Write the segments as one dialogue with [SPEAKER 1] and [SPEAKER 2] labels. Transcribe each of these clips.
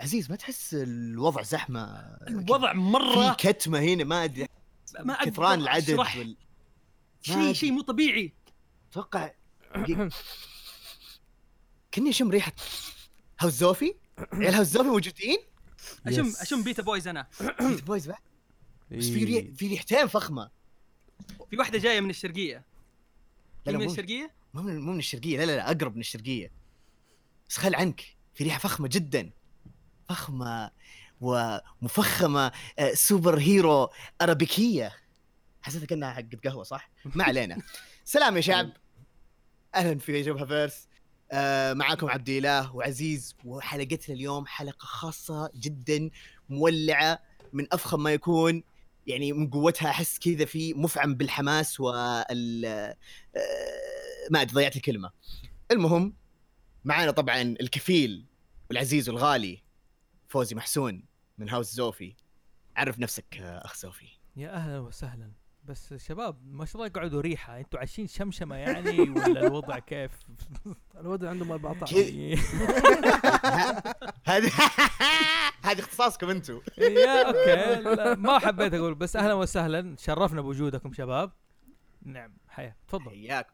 [SPEAKER 1] عزيز ما تحس الوضع زحمه
[SPEAKER 2] الوضع
[SPEAKER 1] في
[SPEAKER 2] مره
[SPEAKER 1] كتمه هنا ما ادري
[SPEAKER 2] ما أقدر
[SPEAKER 1] كثران العدد
[SPEAKER 2] أشرح.
[SPEAKER 1] وال-
[SPEAKER 2] شيء شيء مو طبيعي
[SPEAKER 1] اتوقع كني اشم ريحه هاوس زوفي عيال هاوس زوفي موجودين
[SPEAKER 2] اشم
[SPEAKER 3] Yes.
[SPEAKER 2] اشم بيتا بويز انا
[SPEAKER 1] بيت بويز بعد بس في ريح
[SPEAKER 3] إيه.
[SPEAKER 1] في ريحتين فخمه
[SPEAKER 2] في واحده جايه من الشرقيه
[SPEAKER 1] لا
[SPEAKER 2] هي
[SPEAKER 1] لا
[SPEAKER 2] من
[SPEAKER 1] مو
[SPEAKER 2] الشرقيه
[SPEAKER 1] مو من, مو من الشرقيه لا لا لا اقرب من الشرقيه بس خل عنك في ريحه فخمه جدا فخمه ومفخمه آه، سوبر هيرو ارابيكيه حسيت كانها حقت قهوه صح؟ ما علينا سلام يا شعب اهلا في جبهه فيرس آه معاكم عبد الاله وعزيز وحلقتنا اليوم حلقه خاصه جدا مولعه من افخم ما يكون يعني من قوتها احس كذا في مفعم بالحماس وال آه، ما أدري، ضيعت الكلمه المهم معانا طبعا الكفيل والعزيز والغالي فوزي محسون من هاوس زوفي عرف نفسك آه، اخ زوفي
[SPEAKER 4] يا اهلا وسهلا بس شباب ما شاء الله قعدوا ريحه انتوا عايشين شمشمه يعني ولا الوضع كيف؟
[SPEAKER 3] الواد عندهم 14
[SPEAKER 1] كذا. هذا هذا اختصاصكم انتم
[SPEAKER 4] يا اوكي إيه، لا، ما حبيت اقول بس اهلا وسهلا شرفنا بوجودكم شباب نعم حيا تفضل
[SPEAKER 1] حياك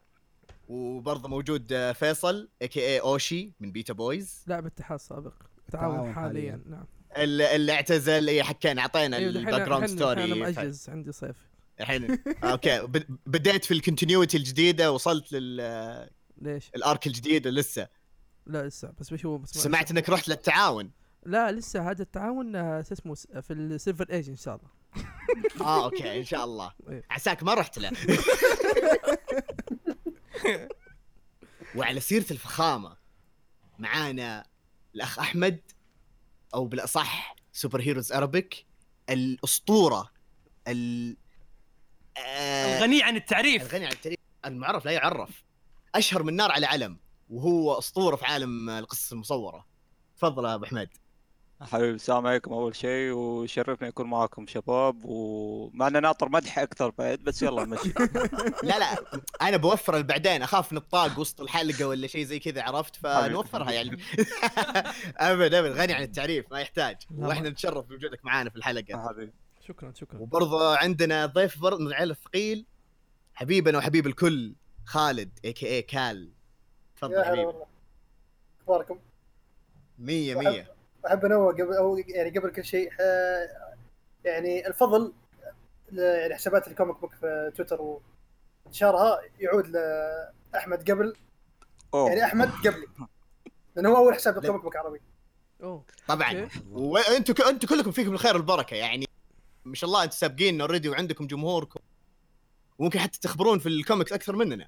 [SPEAKER 1] وبرضه موجود آه، فيصل اي كي اي اوشي من بيتا بويز
[SPEAKER 5] لاعب اتحاد سابق
[SPEAKER 3] تعاون
[SPEAKER 5] تعاون
[SPEAKER 3] حالياً.
[SPEAKER 5] حاليا نعم
[SPEAKER 1] اللي اللي اعتزل اي حكينا اعطينا
[SPEAKER 5] أيوة، دحين-
[SPEAKER 1] الباك جراوند
[SPEAKER 5] دحين- دحين
[SPEAKER 1] ستوري
[SPEAKER 5] انا مأجز عندي صيف
[SPEAKER 1] الحين اوكي بد- بديت في الكونتينيوتي الجديده وصلت للارك
[SPEAKER 5] ليش؟
[SPEAKER 1] الجديد لسه
[SPEAKER 5] لا لسه بس بشوف بس ما-
[SPEAKER 1] سمعت انك رحت للتعاون
[SPEAKER 5] لا لسه هذا التعاون آه، شو اسمه س- في السيلفر ايج ان شاء الله
[SPEAKER 1] اه اوكي ان شاء الله
[SPEAKER 5] إيه.
[SPEAKER 1] عساك ما رحت له وعلى سيره الفخامه معانا الاخ احمد او بالاصح سوبر هيروز ارابيك الاسطوره ال آه،
[SPEAKER 2] الغني عن التعريف
[SPEAKER 1] الغني عن التاريخ المعرف لا يعرف اشهر من نار على علم وهو اسطوره في عالم القصص المصوره تفضل يا ابو حميد
[SPEAKER 6] حبيبي السلام عليكم اول شيء وشرفني اكون معاكم شباب ومع اني ناطر مدح اكثر بعد بس يلا مشي
[SPEAKER 1] لا لا انا بوفر بعدين اخاف نطاق وسط الحلقه ولا شيء زي كذا عرفت فنوفرها يعني ابد ابد غني عن التعريف ما يحتاج
[SPEAKER 4] لا،
[SPEAKER 1] واحنا نتشرف بوجودك معانا في الحلقه
[SPEAKER 6] حبيبي
[SPEAKER 5] شكرا شكرا
[SPEAKER 1] وبرضه عندنا ضيف برضه من العيله الثقيل حبيبنا وحبيب الكل خالد اي كي اي كال
[SPEAKER 7] يا
[SPEAKER 1] تفضل
[SPEAKER 7] هلا
[SPEAKER 1] حبيبي
[SPEAKER 7] والله اخباركم؟
[SPEAKER 1] مية مية
[SPEAKER 7] احب انوه قبل أو يعني قبل كل شيء آه، يعني الفضل ل- يعني حسابات الكوميك بوك في تويتر وانتشارها يعود لاحمد قبل يعني
[SPEAKER 6] اوه
[SPEAKER 7] احمد قبلي لانه هو اول حساب الكوميك بوك عربي
[SPEAKER 5] اوه
[SPEAKER 1] طبعا
[SPEAKER 5] أوكي.
[SPEAKER 1] وانتم ك... انتم كلكم فيكم الخير والبركه يعني ما شاء الله انتم سابقين اوريدي وعندكم جمهوركم وممكن حتى تخبرون في الكوميكس اكثر مننا
[SPEAKER 7] لا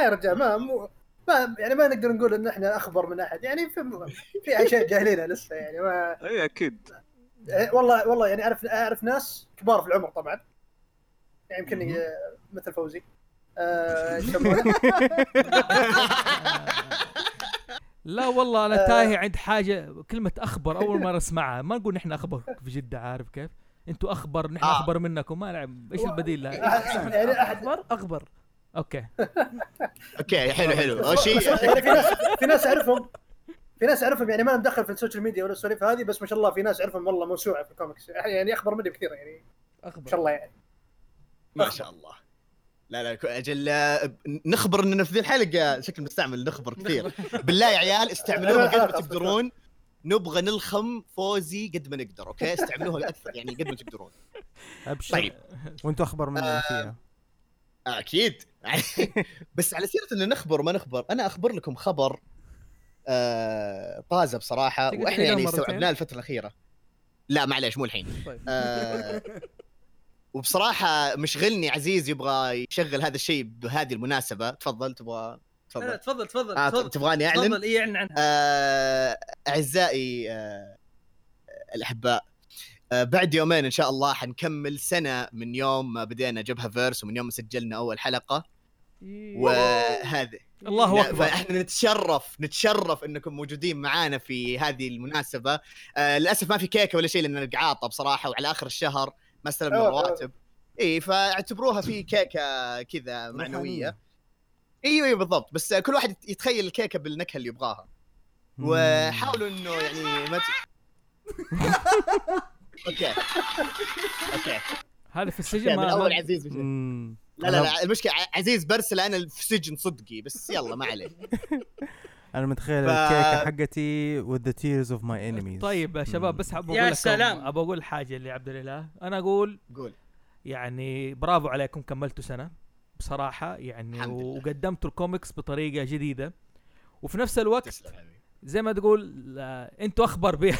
[SPEAKER 7] إيه يا رجال ما مو ما يعني ما نقدر نقول ان احنا اخبر من احد يعني في في اشياء جاهلينها لسه يعني ما
[SPEAKER 6] اي اكيد
[SPEAKER 7] يعني والله والله يعني اعرف اعرف ناس كبار في العمر طبعا يعني يمكن آه، مثل فوزي آه، يسمونه
[SPEAKER 4] لا والله
[SPEAKER 1] آه.
[SPEAKER 4] انا تاهي عند حاجه كلمه اخبر اول مره اسمعها ما نقول نحن اخبر في جده عارف كيف؟ انتوا اخبر نحن
[SPEAKER 1] آه. طيب.
[SPEAKER 4] اخبر منكم ما نعم ايش البديل لها؟
[SPEAKER 7] أحد- يعني احد
[SPEAKER 5] اخبر اخبر
[SPEAKER 4] اوكي
[SPEAKER 1] اوكي حلو حلو اوشي
[SPEAKER 7] بس يعني في ناس في ناس اعرفهم في ناس اعرفهم يعني ما انا مدخل في السوشيال ميديا ولا السواليف هذه بس ما شاء الله في ناس اعرفهم والله موسوعه في الكوميكس يعني اخبر مني بكثير يعني ما شاء
[SPEAKER 5] اخبر
[SPEAKER 7] الله يعني
[SPEAKER 1] ما شاء الله لا لا كو- اجل آه، نخبر اننا في ذي الحلقه شكل بنستعمل نخبر كثير بالله يا عيال استعملوها قد ما تقدرون نبغى نلخم فوزي قد ما نقدر اوكي استعملوها اكثر يعني قد ما تقدرون
[SPEAKER 3] ابشر
[SPEAKER 1] طيب. آه.
[SPEAKER 3] وانتوا اخبر مننا فيها
[SPEAKER 1] اكيد بس على سيره انه نخبر ما نخبر انا اخبر لكم خبر آه طازه بصراحه
[SPEAKER 5] تقدر
[SPEAKER 1] واحنا
[SPEAKER 5] تعيدها
[SPEAKER 1] يعني
[SPEAKER 5] مرتين؟
[SPEAKER 1] استوعبناه الفتره الاخيره لا معليش مو الحين
[SPEAKER 5] طيب
[SPEAKER 1] آه وبصراحه مشغلني عزيز يبغى يشغل هذا الشيء بهذه المناسبه تفضل تبغى
[SPEAKER 2] لا، لا،
[SPEAKER 1] تفضل
[SPEAKER 2] تفضل تفضل
[SPEAKER 1] آه
[SPEAKER 2] تفضل
[SPEAKER 1] تبغاني اعلن
[SPEAKER 2] تفضل اي اعلن عنها
[SPEAKER 1] آه، اعزائي آه، الاحباء آه، بعد يومين ان شاء الله حنكمل سنه من يوم ما بدينا جبهه فيرس ومن يوم ما سجلنا اول حلقه وهذا
[SPEAKER 4] الله
[SPEAKER 1] لا،
[SPEAKER 4] اكبر
[SPEAKER 1] فاحنا نتشرف نتشرف انكم موجودين معانا في هذه المناسبه آه للاسف ما في كيكه ولا شيء لان القعاطه بصراحه وعلى اخر الشهر ما استلمنا
[SPEAKER 7] أوه، أوه.
[SPEAKER 1] الرواتب اي فاعتبروها في كيكه كذا معنويه ايوه ايوه بالضبط بس كل واحد يتخيل الكيكه بالنكهه اللي يبغاها
[SPEAKER 3] مم.
[SPEAKER 1] وحاولوا انه يعني ما ت... اوكي اوكي
[SPEAKER 4] هذا في السجن
[SPEAKER 1] يعني من
[SPEAKER 4] ما
[SPEAKER 1] اول
[SPEAKER 4] ما-
[SPEAKER 1] عزيز مش-
[SPEAKER 4] مم.
[SPEAKER 1] لا لا لا المشكله ع- عزيز برسل انا في سجن صدقي بس يلا ما عليه
[SPEAKER 3] انا متخيل
[SPEAKER 1] ف-
[SPEAKER 3] الكيكه حقتي with the tears of my enemies
[SPEAKER 4] طيب يا شباب
[SPEAKER 3] مم.
[SPEAKER 4] بس ابغى
[SPEAKER 2] يا
[SPEAKER 4] اقول لكم
[SPEAKER 2] سلام.
[SPEAKER 4] ابغى اقول حاجه لعبد الاله انا اقول
[SPEAKER 1] قول
[SPEAKER 4] يعني برافو عليكم كملتوا سنه بصراحه يعني
[SPEAKER 1] الحمد لله.
[SPEAKER 4] وقدمتوا الكوميكس بطريقه جديده وفي نفس الوقت
[SPEAKER 1] تسلم حبيبي إيه.
[SPEAKER 4] زي ما تقول لا، انتوا اخبر بها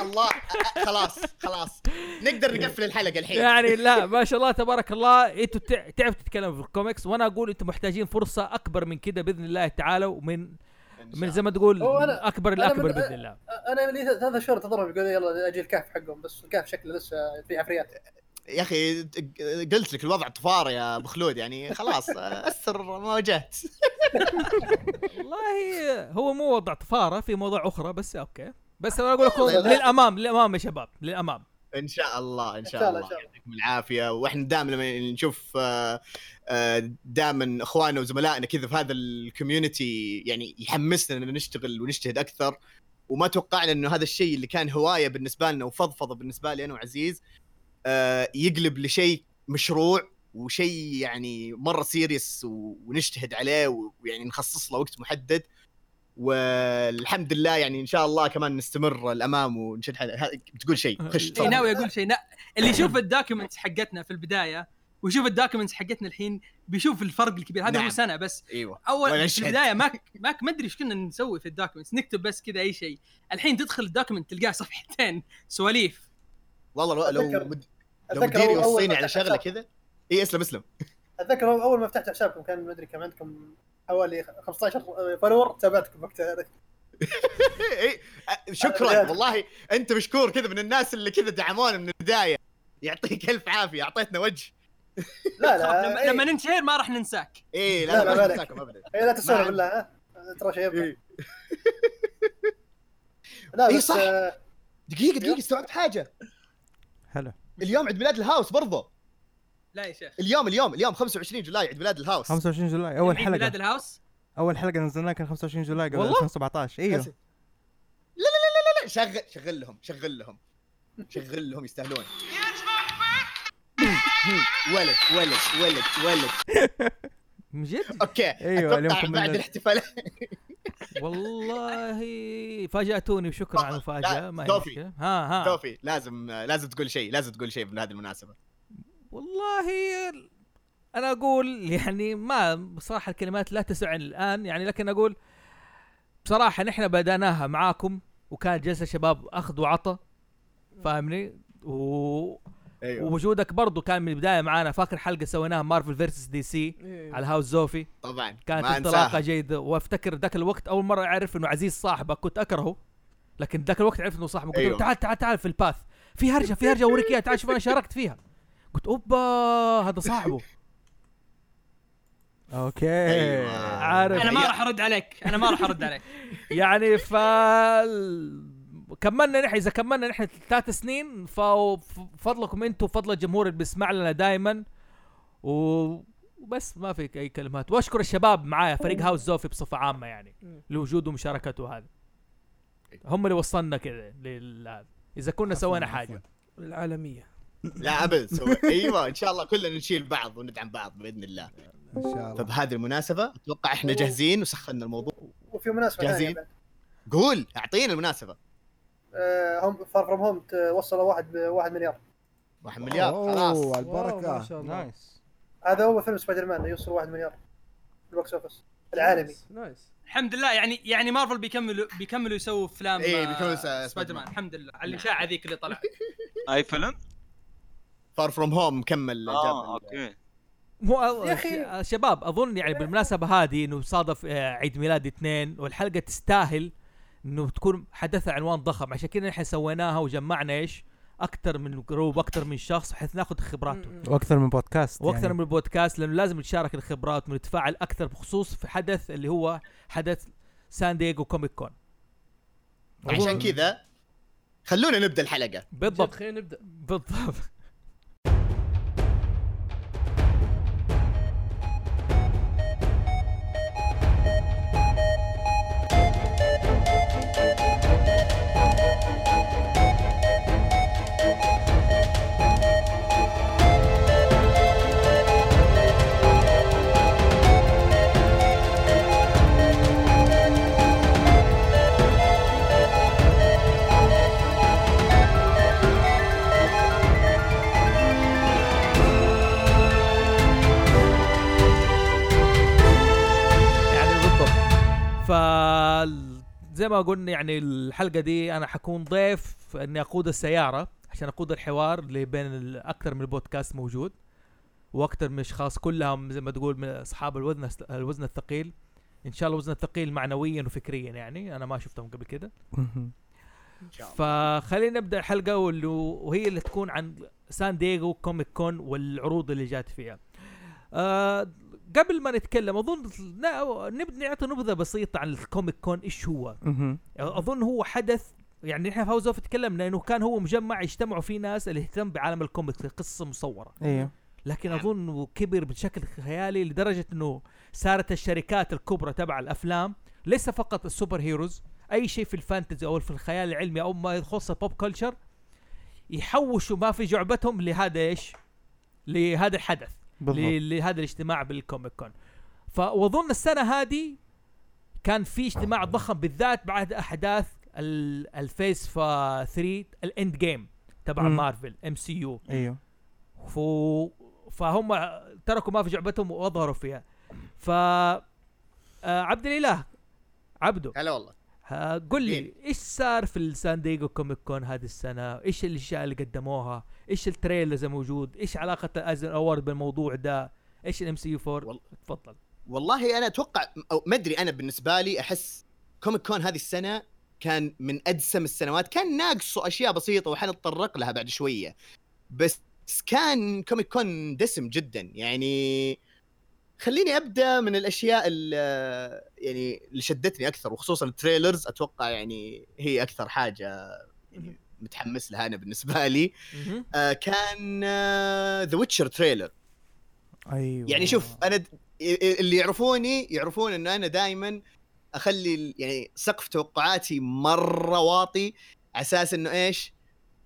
[SPEAKER 1] الله أ- خلاص خلاص نقدر نقفل الحلقه الحين
[SPEAKER 4] يعني لا ما شاء الله تبارك الله انتوا تع- تعرفوا تتكلموا في الكوميكس وانا اقول انتوا محتاجين فرصه اكبر من كده باذن الله تعالى ومن من زي ما تقول
[SPEAKER 7] هو أنا-
[SPEAKER 4] اكبر
[SPEAKER 7] أنا
[SPEAKER 4] الاكبر
[SPEAKER 7] من-
[SPEAKER 4] باذن الله
[SPEAKER 7] انا لي ثلاث شهور انتظرهم يقولوا يلا اجي الكهف حقهم بس الكهف شكله لسه فيه عفريات
[SPEAKER 1] يا اخي قلت لك الوضع طفار يا ابو خلود يعني خلاص اسر ما واجهت
[SPEAKER 4] والله هو مو وضع طفاره في موضوع اخرى بس اوكي بس انا اقول
[SPEAKER 1] يلا.
[SPEAKER 4] لكم للامام للامام يا شباب للامام
[SPEAKER 1] ان شاء الله ان
[SPEAKER 7] إن شاء
[SPEAKER 1] شاء
[SPEAKER 7] الله،
[SPEAKER 1] الله
[SPEAKER 7] إن شاء الله.
[SPEAKER 1] يعطيكم العافيه واحنا دائما لما نشوف آه، آه، دائما اخواننا وزملائنا كذا في هذا الكوميونتي يعني يحمسنا ان نشتغل ونجتهد اكثر وما توقعنا انه هذا الشيء اللي كان هوايه بالنسبه لنا وفضفضه بالنسبه لي انا وعزيز آه، يقلب لشيء مشروع وشيء يعني مره سيريس و- ونجتهد عليه و- ويعني نخصص له وقت محدد والحمد لله يعني ان شاء الله كمان نستمر الامام ونشد حد... ها- تقول شيء خش
[SPEAKER 2] إيه،
[SPEAKER 1] تفضل.
[SPEAKER 2] ناوي اقول شيء نا... اللي يشوف الدوكيومنتس حقتنا في البدايه ويشوف الدوكيومنتس حقتنا الحين بيشوف الفرق الكبير هذا
[SPEAKER 1] نعم.
[SPEAKER 2] هو سنه بس
[SPEAKER 1] ايوه وأنا
[SPEAKER 2] اول في
[SPEAKER 1] أشهد.
[SPEAKER 2] البدايه ماك ماك ما ادري ايش كنا نسوي في الدوكيومنتس نكتب بس كذا اي شيء الحين تدخل الدوكيومنت تلقاه صفحتين سواليف
[SPEAKER 1] والله لو لو
[SPEAKER 7] أتذكر-
[SPEAKER 1] مد- لو
[SPEAKER 7] أتذكر
[SPEAKER 1] مديري
[SPEAKER 7] أول- أول
[SPEAKER 1] يوصيني
[SPEAKER 7] ما
[SPEAKER 1] على
[SPEAKER 7] فتحت
[SPEAKER 1] شغله
[SPEAKER 7] حساب-
[SPEAKER 1] كذا اي اسلم اسلم
[SPEAKER 7] اتذكر اول ما فتحت حسابكم كان ما ادري كم عندكم حوالي 15 فولور تابعتكم وقتها هذاك
[SPEAKER 1] اي إيه، أ- شكرا والله انت مشكور كذا من الناس اللي كذا دعمونا من البدايه يعطيك الف عافيه اعطيتنا وجه
[SPEAKER 7] لا
[SPEAKER 2] خلاص،
[SPEAKER 7] لا
[SPEAKER 2] لما,
[SPEAKER 7] إيه،
[SPEAKER 2] لما ننشهر ما راح ننساك
[SPEAKER 1] اي
[SPEAKER 7] لا،
[SPEAKER 1] إيه، لا
[SPEAKER 7] لا
[SPEAKER 1] لا ما
[SPEAKER 7] بالك.
[SPEAKER 1] أنساكم ابدا
[SPEAKER 7] إيه، لا تستهزئ
[SPEAKER 1] ما-
[SPEAKER 7] بالله ها ترى شيء
[SPEAKER 1] إيه.
[SPEAKER 7] لا
[SPEAKER 1] إيه،
[SPEAKER 7] بس
[SPEAKER 1] صح.
[SPEAKER 7] آه،
[SPEAKER 1] دقيقه دقيقه استوعبت حاجه
[SPEAKER 3] هلا
[SPEAKER 1] اليوم عيد ميلاد الهاوس برضه
[SPEAKER 2] لا يا شيخ
[SPEAKER 1] اليوم اليوم اليوم 25 جولاي عيد ميلاد الهاوس
[SPEAKER 3] 25 جولاي اول
[SPEAKER 2] عيد ميلاد
[SPEAKER 3] حلقه
[SPEAKER 2] الهاوس
[SPEAKER 3] اول حلقه نزلناها كان 25 جولاي قبل
[SPEAKER 4] والله؟
[SPEAKER 3] 2017 ايوه
[SPEAKER 1] أس- لا لا لا لا لا شغل شغل لهم شغل لهم شغل لهم يستاهلون ولد ولد ولد ولد
[SPEAKER 4] من جد
[SPEAKER 1] اوكي
[SPEAKER 3] أيوة، اليوم
[SPEAKER 1] اتوقع بعد
[SPEAKER 3] كملنا.
[SPEAKER 1] الاحتفال
[SPEAKER 4] والله فاجاتوني وشكرا على المفاجاه ما هي
[SPEAKER 1] توفي.
[SPEAKER 4] مشكله ها ها
[SPEAKER 1] توفي لازم لازم تقول شيء لازم تقول شيء من هذه المناسبه
[SPEAKER 4] والله انا اقول يعني ما بصراحه الكلمات لا تسعني الان يعني لكن اقول بصراحه نحن بداناها معاكم وكان جلسه شباب اخذ وعطى فاهمني و...
[SPEAKER 1] ايوه
[SPEAKER 4] ووجودك برضو كان من البدايه معانا فاكر حلقه سويناها مارفل فيرسس دي سي
[SPEAKER 5] إيه،
[SPEAKER 4] على هاوس زوفي
[SPEAKER 1] طبعا
[SPEAKER 4] كانت
[SPEAKER 1] ما
[SPEAKER 4] انطلاقه
[SPEAKER 1] انساها
[SPEAKER 4] جيده وافتكر ذاك الوقت اول مره اعرف انه عزيز صاحبك كنت اكرهه لكن ذاك الوقت عرفت انه صاحبه قلت له
[SPEAKER 1] أيوه.
[SPEAKER 4] تعال تعال تعال في الباث في هرجه في هرجه اوريك اياها تعال شوف انا شاركت فيها قلت اوبا هذا صاحبه
[SPEAKER 3] اوكي
[SPEAKER 1] أيوة.
[SPEAKER 4] عارف
[SPEAKER 2] انا ما راح ارد عليك انا ما راح ارد عليك
[SPEAKER 4] يعني ف كملنا نحن اذا كملنا نحن ثلاث سنين ففضلكم انتم فضل الجمهور اللي بيسمع لنا دائما و... وبس ما في اي كلمات واشكر الشباب معايا فريق هاوس زوفي بصفه عامه يعني لوجوده ومشاركته هذا هم اللي وصلنا كذا لل اذا كنا سوينا حاجه
[SPEAKER 5] العالميه
[SPEAKER 1] لا ابد سوي- ايوه ان شاء الله كلنا نشيل بعض وندعم بعض باذن الله
[SPEAKER 3] ان شاء الله
[SPEAKER 1] فبهذه المناسبه اتوقع احنا جاهزين وسخنا الموضوع
[SPEAKER 7] وفي مناسبه ثانيه
[SPEAKER 1] جاهزين؟
[SPEAKER 7] بعد.
[SPEAKER 1] قول اعطينا المناسبه
[SPEAKER 7] آه، هم فار فروم هوم وصلوا واحد بواحد مليار
[SPEAKER 1] واحد مليار خلاص
[SPEAKER 8] اوه
[SPEAKER 5] واو، ما
[SPEAKER 8] البركه
[SPEAKER 5] شاء الله
[SPEAKER 3] نايس
[SPEAKER 7] هذا اول فيلم سبايدر مان يوصل واحد مليار في البوكس اوفيس العالمي
[SPEAKER 5] نايس، نايس
[SPEAKER 2] الحمد لله يعني يعني مارفل بيكملوا بيكملوا يسووا افلام
[SPEAKER 1] إيه،
[SPEAKER 2] آه،
[SPEAKER 1] بيكملوا س-
[SPEAKER 2] سبايدر
[SPEAKER 1] سبايدر
[SPEAKER 2] مان نعم.
[SPEAKER 1] مان.
[SPEAKER 2] الحمد لله على الاشاعه ذيك اللي طلعت
[SPEAKER 6] اي فيلم؟
[SPEAKER 1] فار فروم هوم مكمل
[SPEAKER 6] اه
[SPEAKER 1] جاب
[SPEAKER 6] اوكي
[SPEAKER 4] مو
[SPEAKER 7] يا أخي.
[SPEAKER 4] يا شباب اظن يعني بالمناسبه هذه انه صادف آه، عيد ميلاد اثنين والحلقه تستاهل انه تكون حدثها عنوان ضخم عشان كذا نحن سويناها وجمعنا ايش؟ اكثر من جروب اكثر من شخص بحيث ناخذ خبراته
[SPEAKER 5] م- م.
[SPEAKER 3] واكثر من بودكاست
[SPEAKER 4] واكثر
[SPEAKER 3] يعني.
[SPEAKER 4] من البودكاست لانه لازم نتشارك الخبرات ونتفاعل اكثر بخصوص في حدث اللي هو حدث سان دييغو كوميك كون
[SPEAKER 1] عشان كذا خلونا نبدا الحلقه
[SPEAKER 5] جد،
[SPEAKER 4] بالضبط
[SPEAKER 5] خلينا نبدا
[SPEAKER 4] بالضبط زي يعني ما قلنا يعني الحلقه دي انا حكون ضيف اني اقود السياره عشان اقود الحوار اللي بين ال- اكثر من بودكاست موجود واكثر من اشخاص كلهم زي ما تقول من اصحاب الوزن الوزن الثقيل ان شاء الله الوزن الثقيل معنويا وفكريا يعني انا ما شفتهم قبل كده فخلينا نبدا الحلقه واللي وهي اللي تكون عن سان دييغو كوميك كون والعروض اللي جات فيها. آه قبل ما نتكلم اظن نا- نبدا نعطي نبذه بسيطه عن الكوميك كون ايش هو؟ اظن هو حدث يعني احنا فوز وفي تكلمنا انه كان هو مجمع يجتمعوا فيه ناس اللي اهتم بعالم الكوميك قصه مصوره
[SPEAKER 3] ايوه
[SPEAKER 4] لكن اظن كبر بشكل خيالي لدرجه انه صارت الشركات الكبرى تبع الافلام ليس فقط السوبر هيروز اي شيء في الفانتزي او في الخيال العلمي او ما يخص البوب كلتشر يحوشوا ما في جعبتهم لهذا ايش؟ لهذا الحدث
[SPEAKER 3] بالضبط
[SPEAKER 4] ل- لهذا الاجتماع بالكوميك كون فاظن السنه هذه كان في اجتماع ضخم بالذات بعد احداث ال- الفيس فا 3 الاند جيم تبع
[SPEAKER 3] مم.
[SPEAKER 4] مارفل ام سي يو
[SPEAKER 3] ايوه
[SPEAKER 4] ف... فهم تركوا ما في جعبتهم واظهروا فيها ف آه، عبد الاله عبده
[SPEAKER 1] هلا والله
[SPEAKER 4] آه، قل لي
[SPEAKER 1] إيه.
[SPEAKER 4] ايش صار في السان دييغو كوميك كون هذه السنه؟ ايش الاشياء اللي قدموها؟ ايش التريلرز الموجود؟ ايش علاقه الازن اوورد بالموضوع ده؟ ايش الام سي يو 4؟
[SPEAKER 1] والله.
[SPEAKER 4] تفضل
[SPEAKER 1] والله انا اتوقع او ما ادري انا بالنسبه لي احس كوميك كون هذه السنه كان من ادسم السنوات كان ناقصه اشياء بسيطه وحنتطرق لها بعد شويه بس كان كوميك كون دسم جدا يعني خليني ابدا من الاشياء اللي يعني اللي شدتني اكثر وخصوصا التريلرز اتوقع يعني هي اكثر حاجه يعني متحمس لها انا بالنسبه لي
[SPEAKER 4] مهم.
[SPEAKER 1] آه كان آه، ذا ويتشر تريلر
[SPEAKER 3] ايوه
[SPEAKER 1] يعني شوف انا د- اللي يعرفوني يعرفون انه انا دائما اخلي ال- يعني سقف توقعاتي مره واطي على اساس انه ايش؟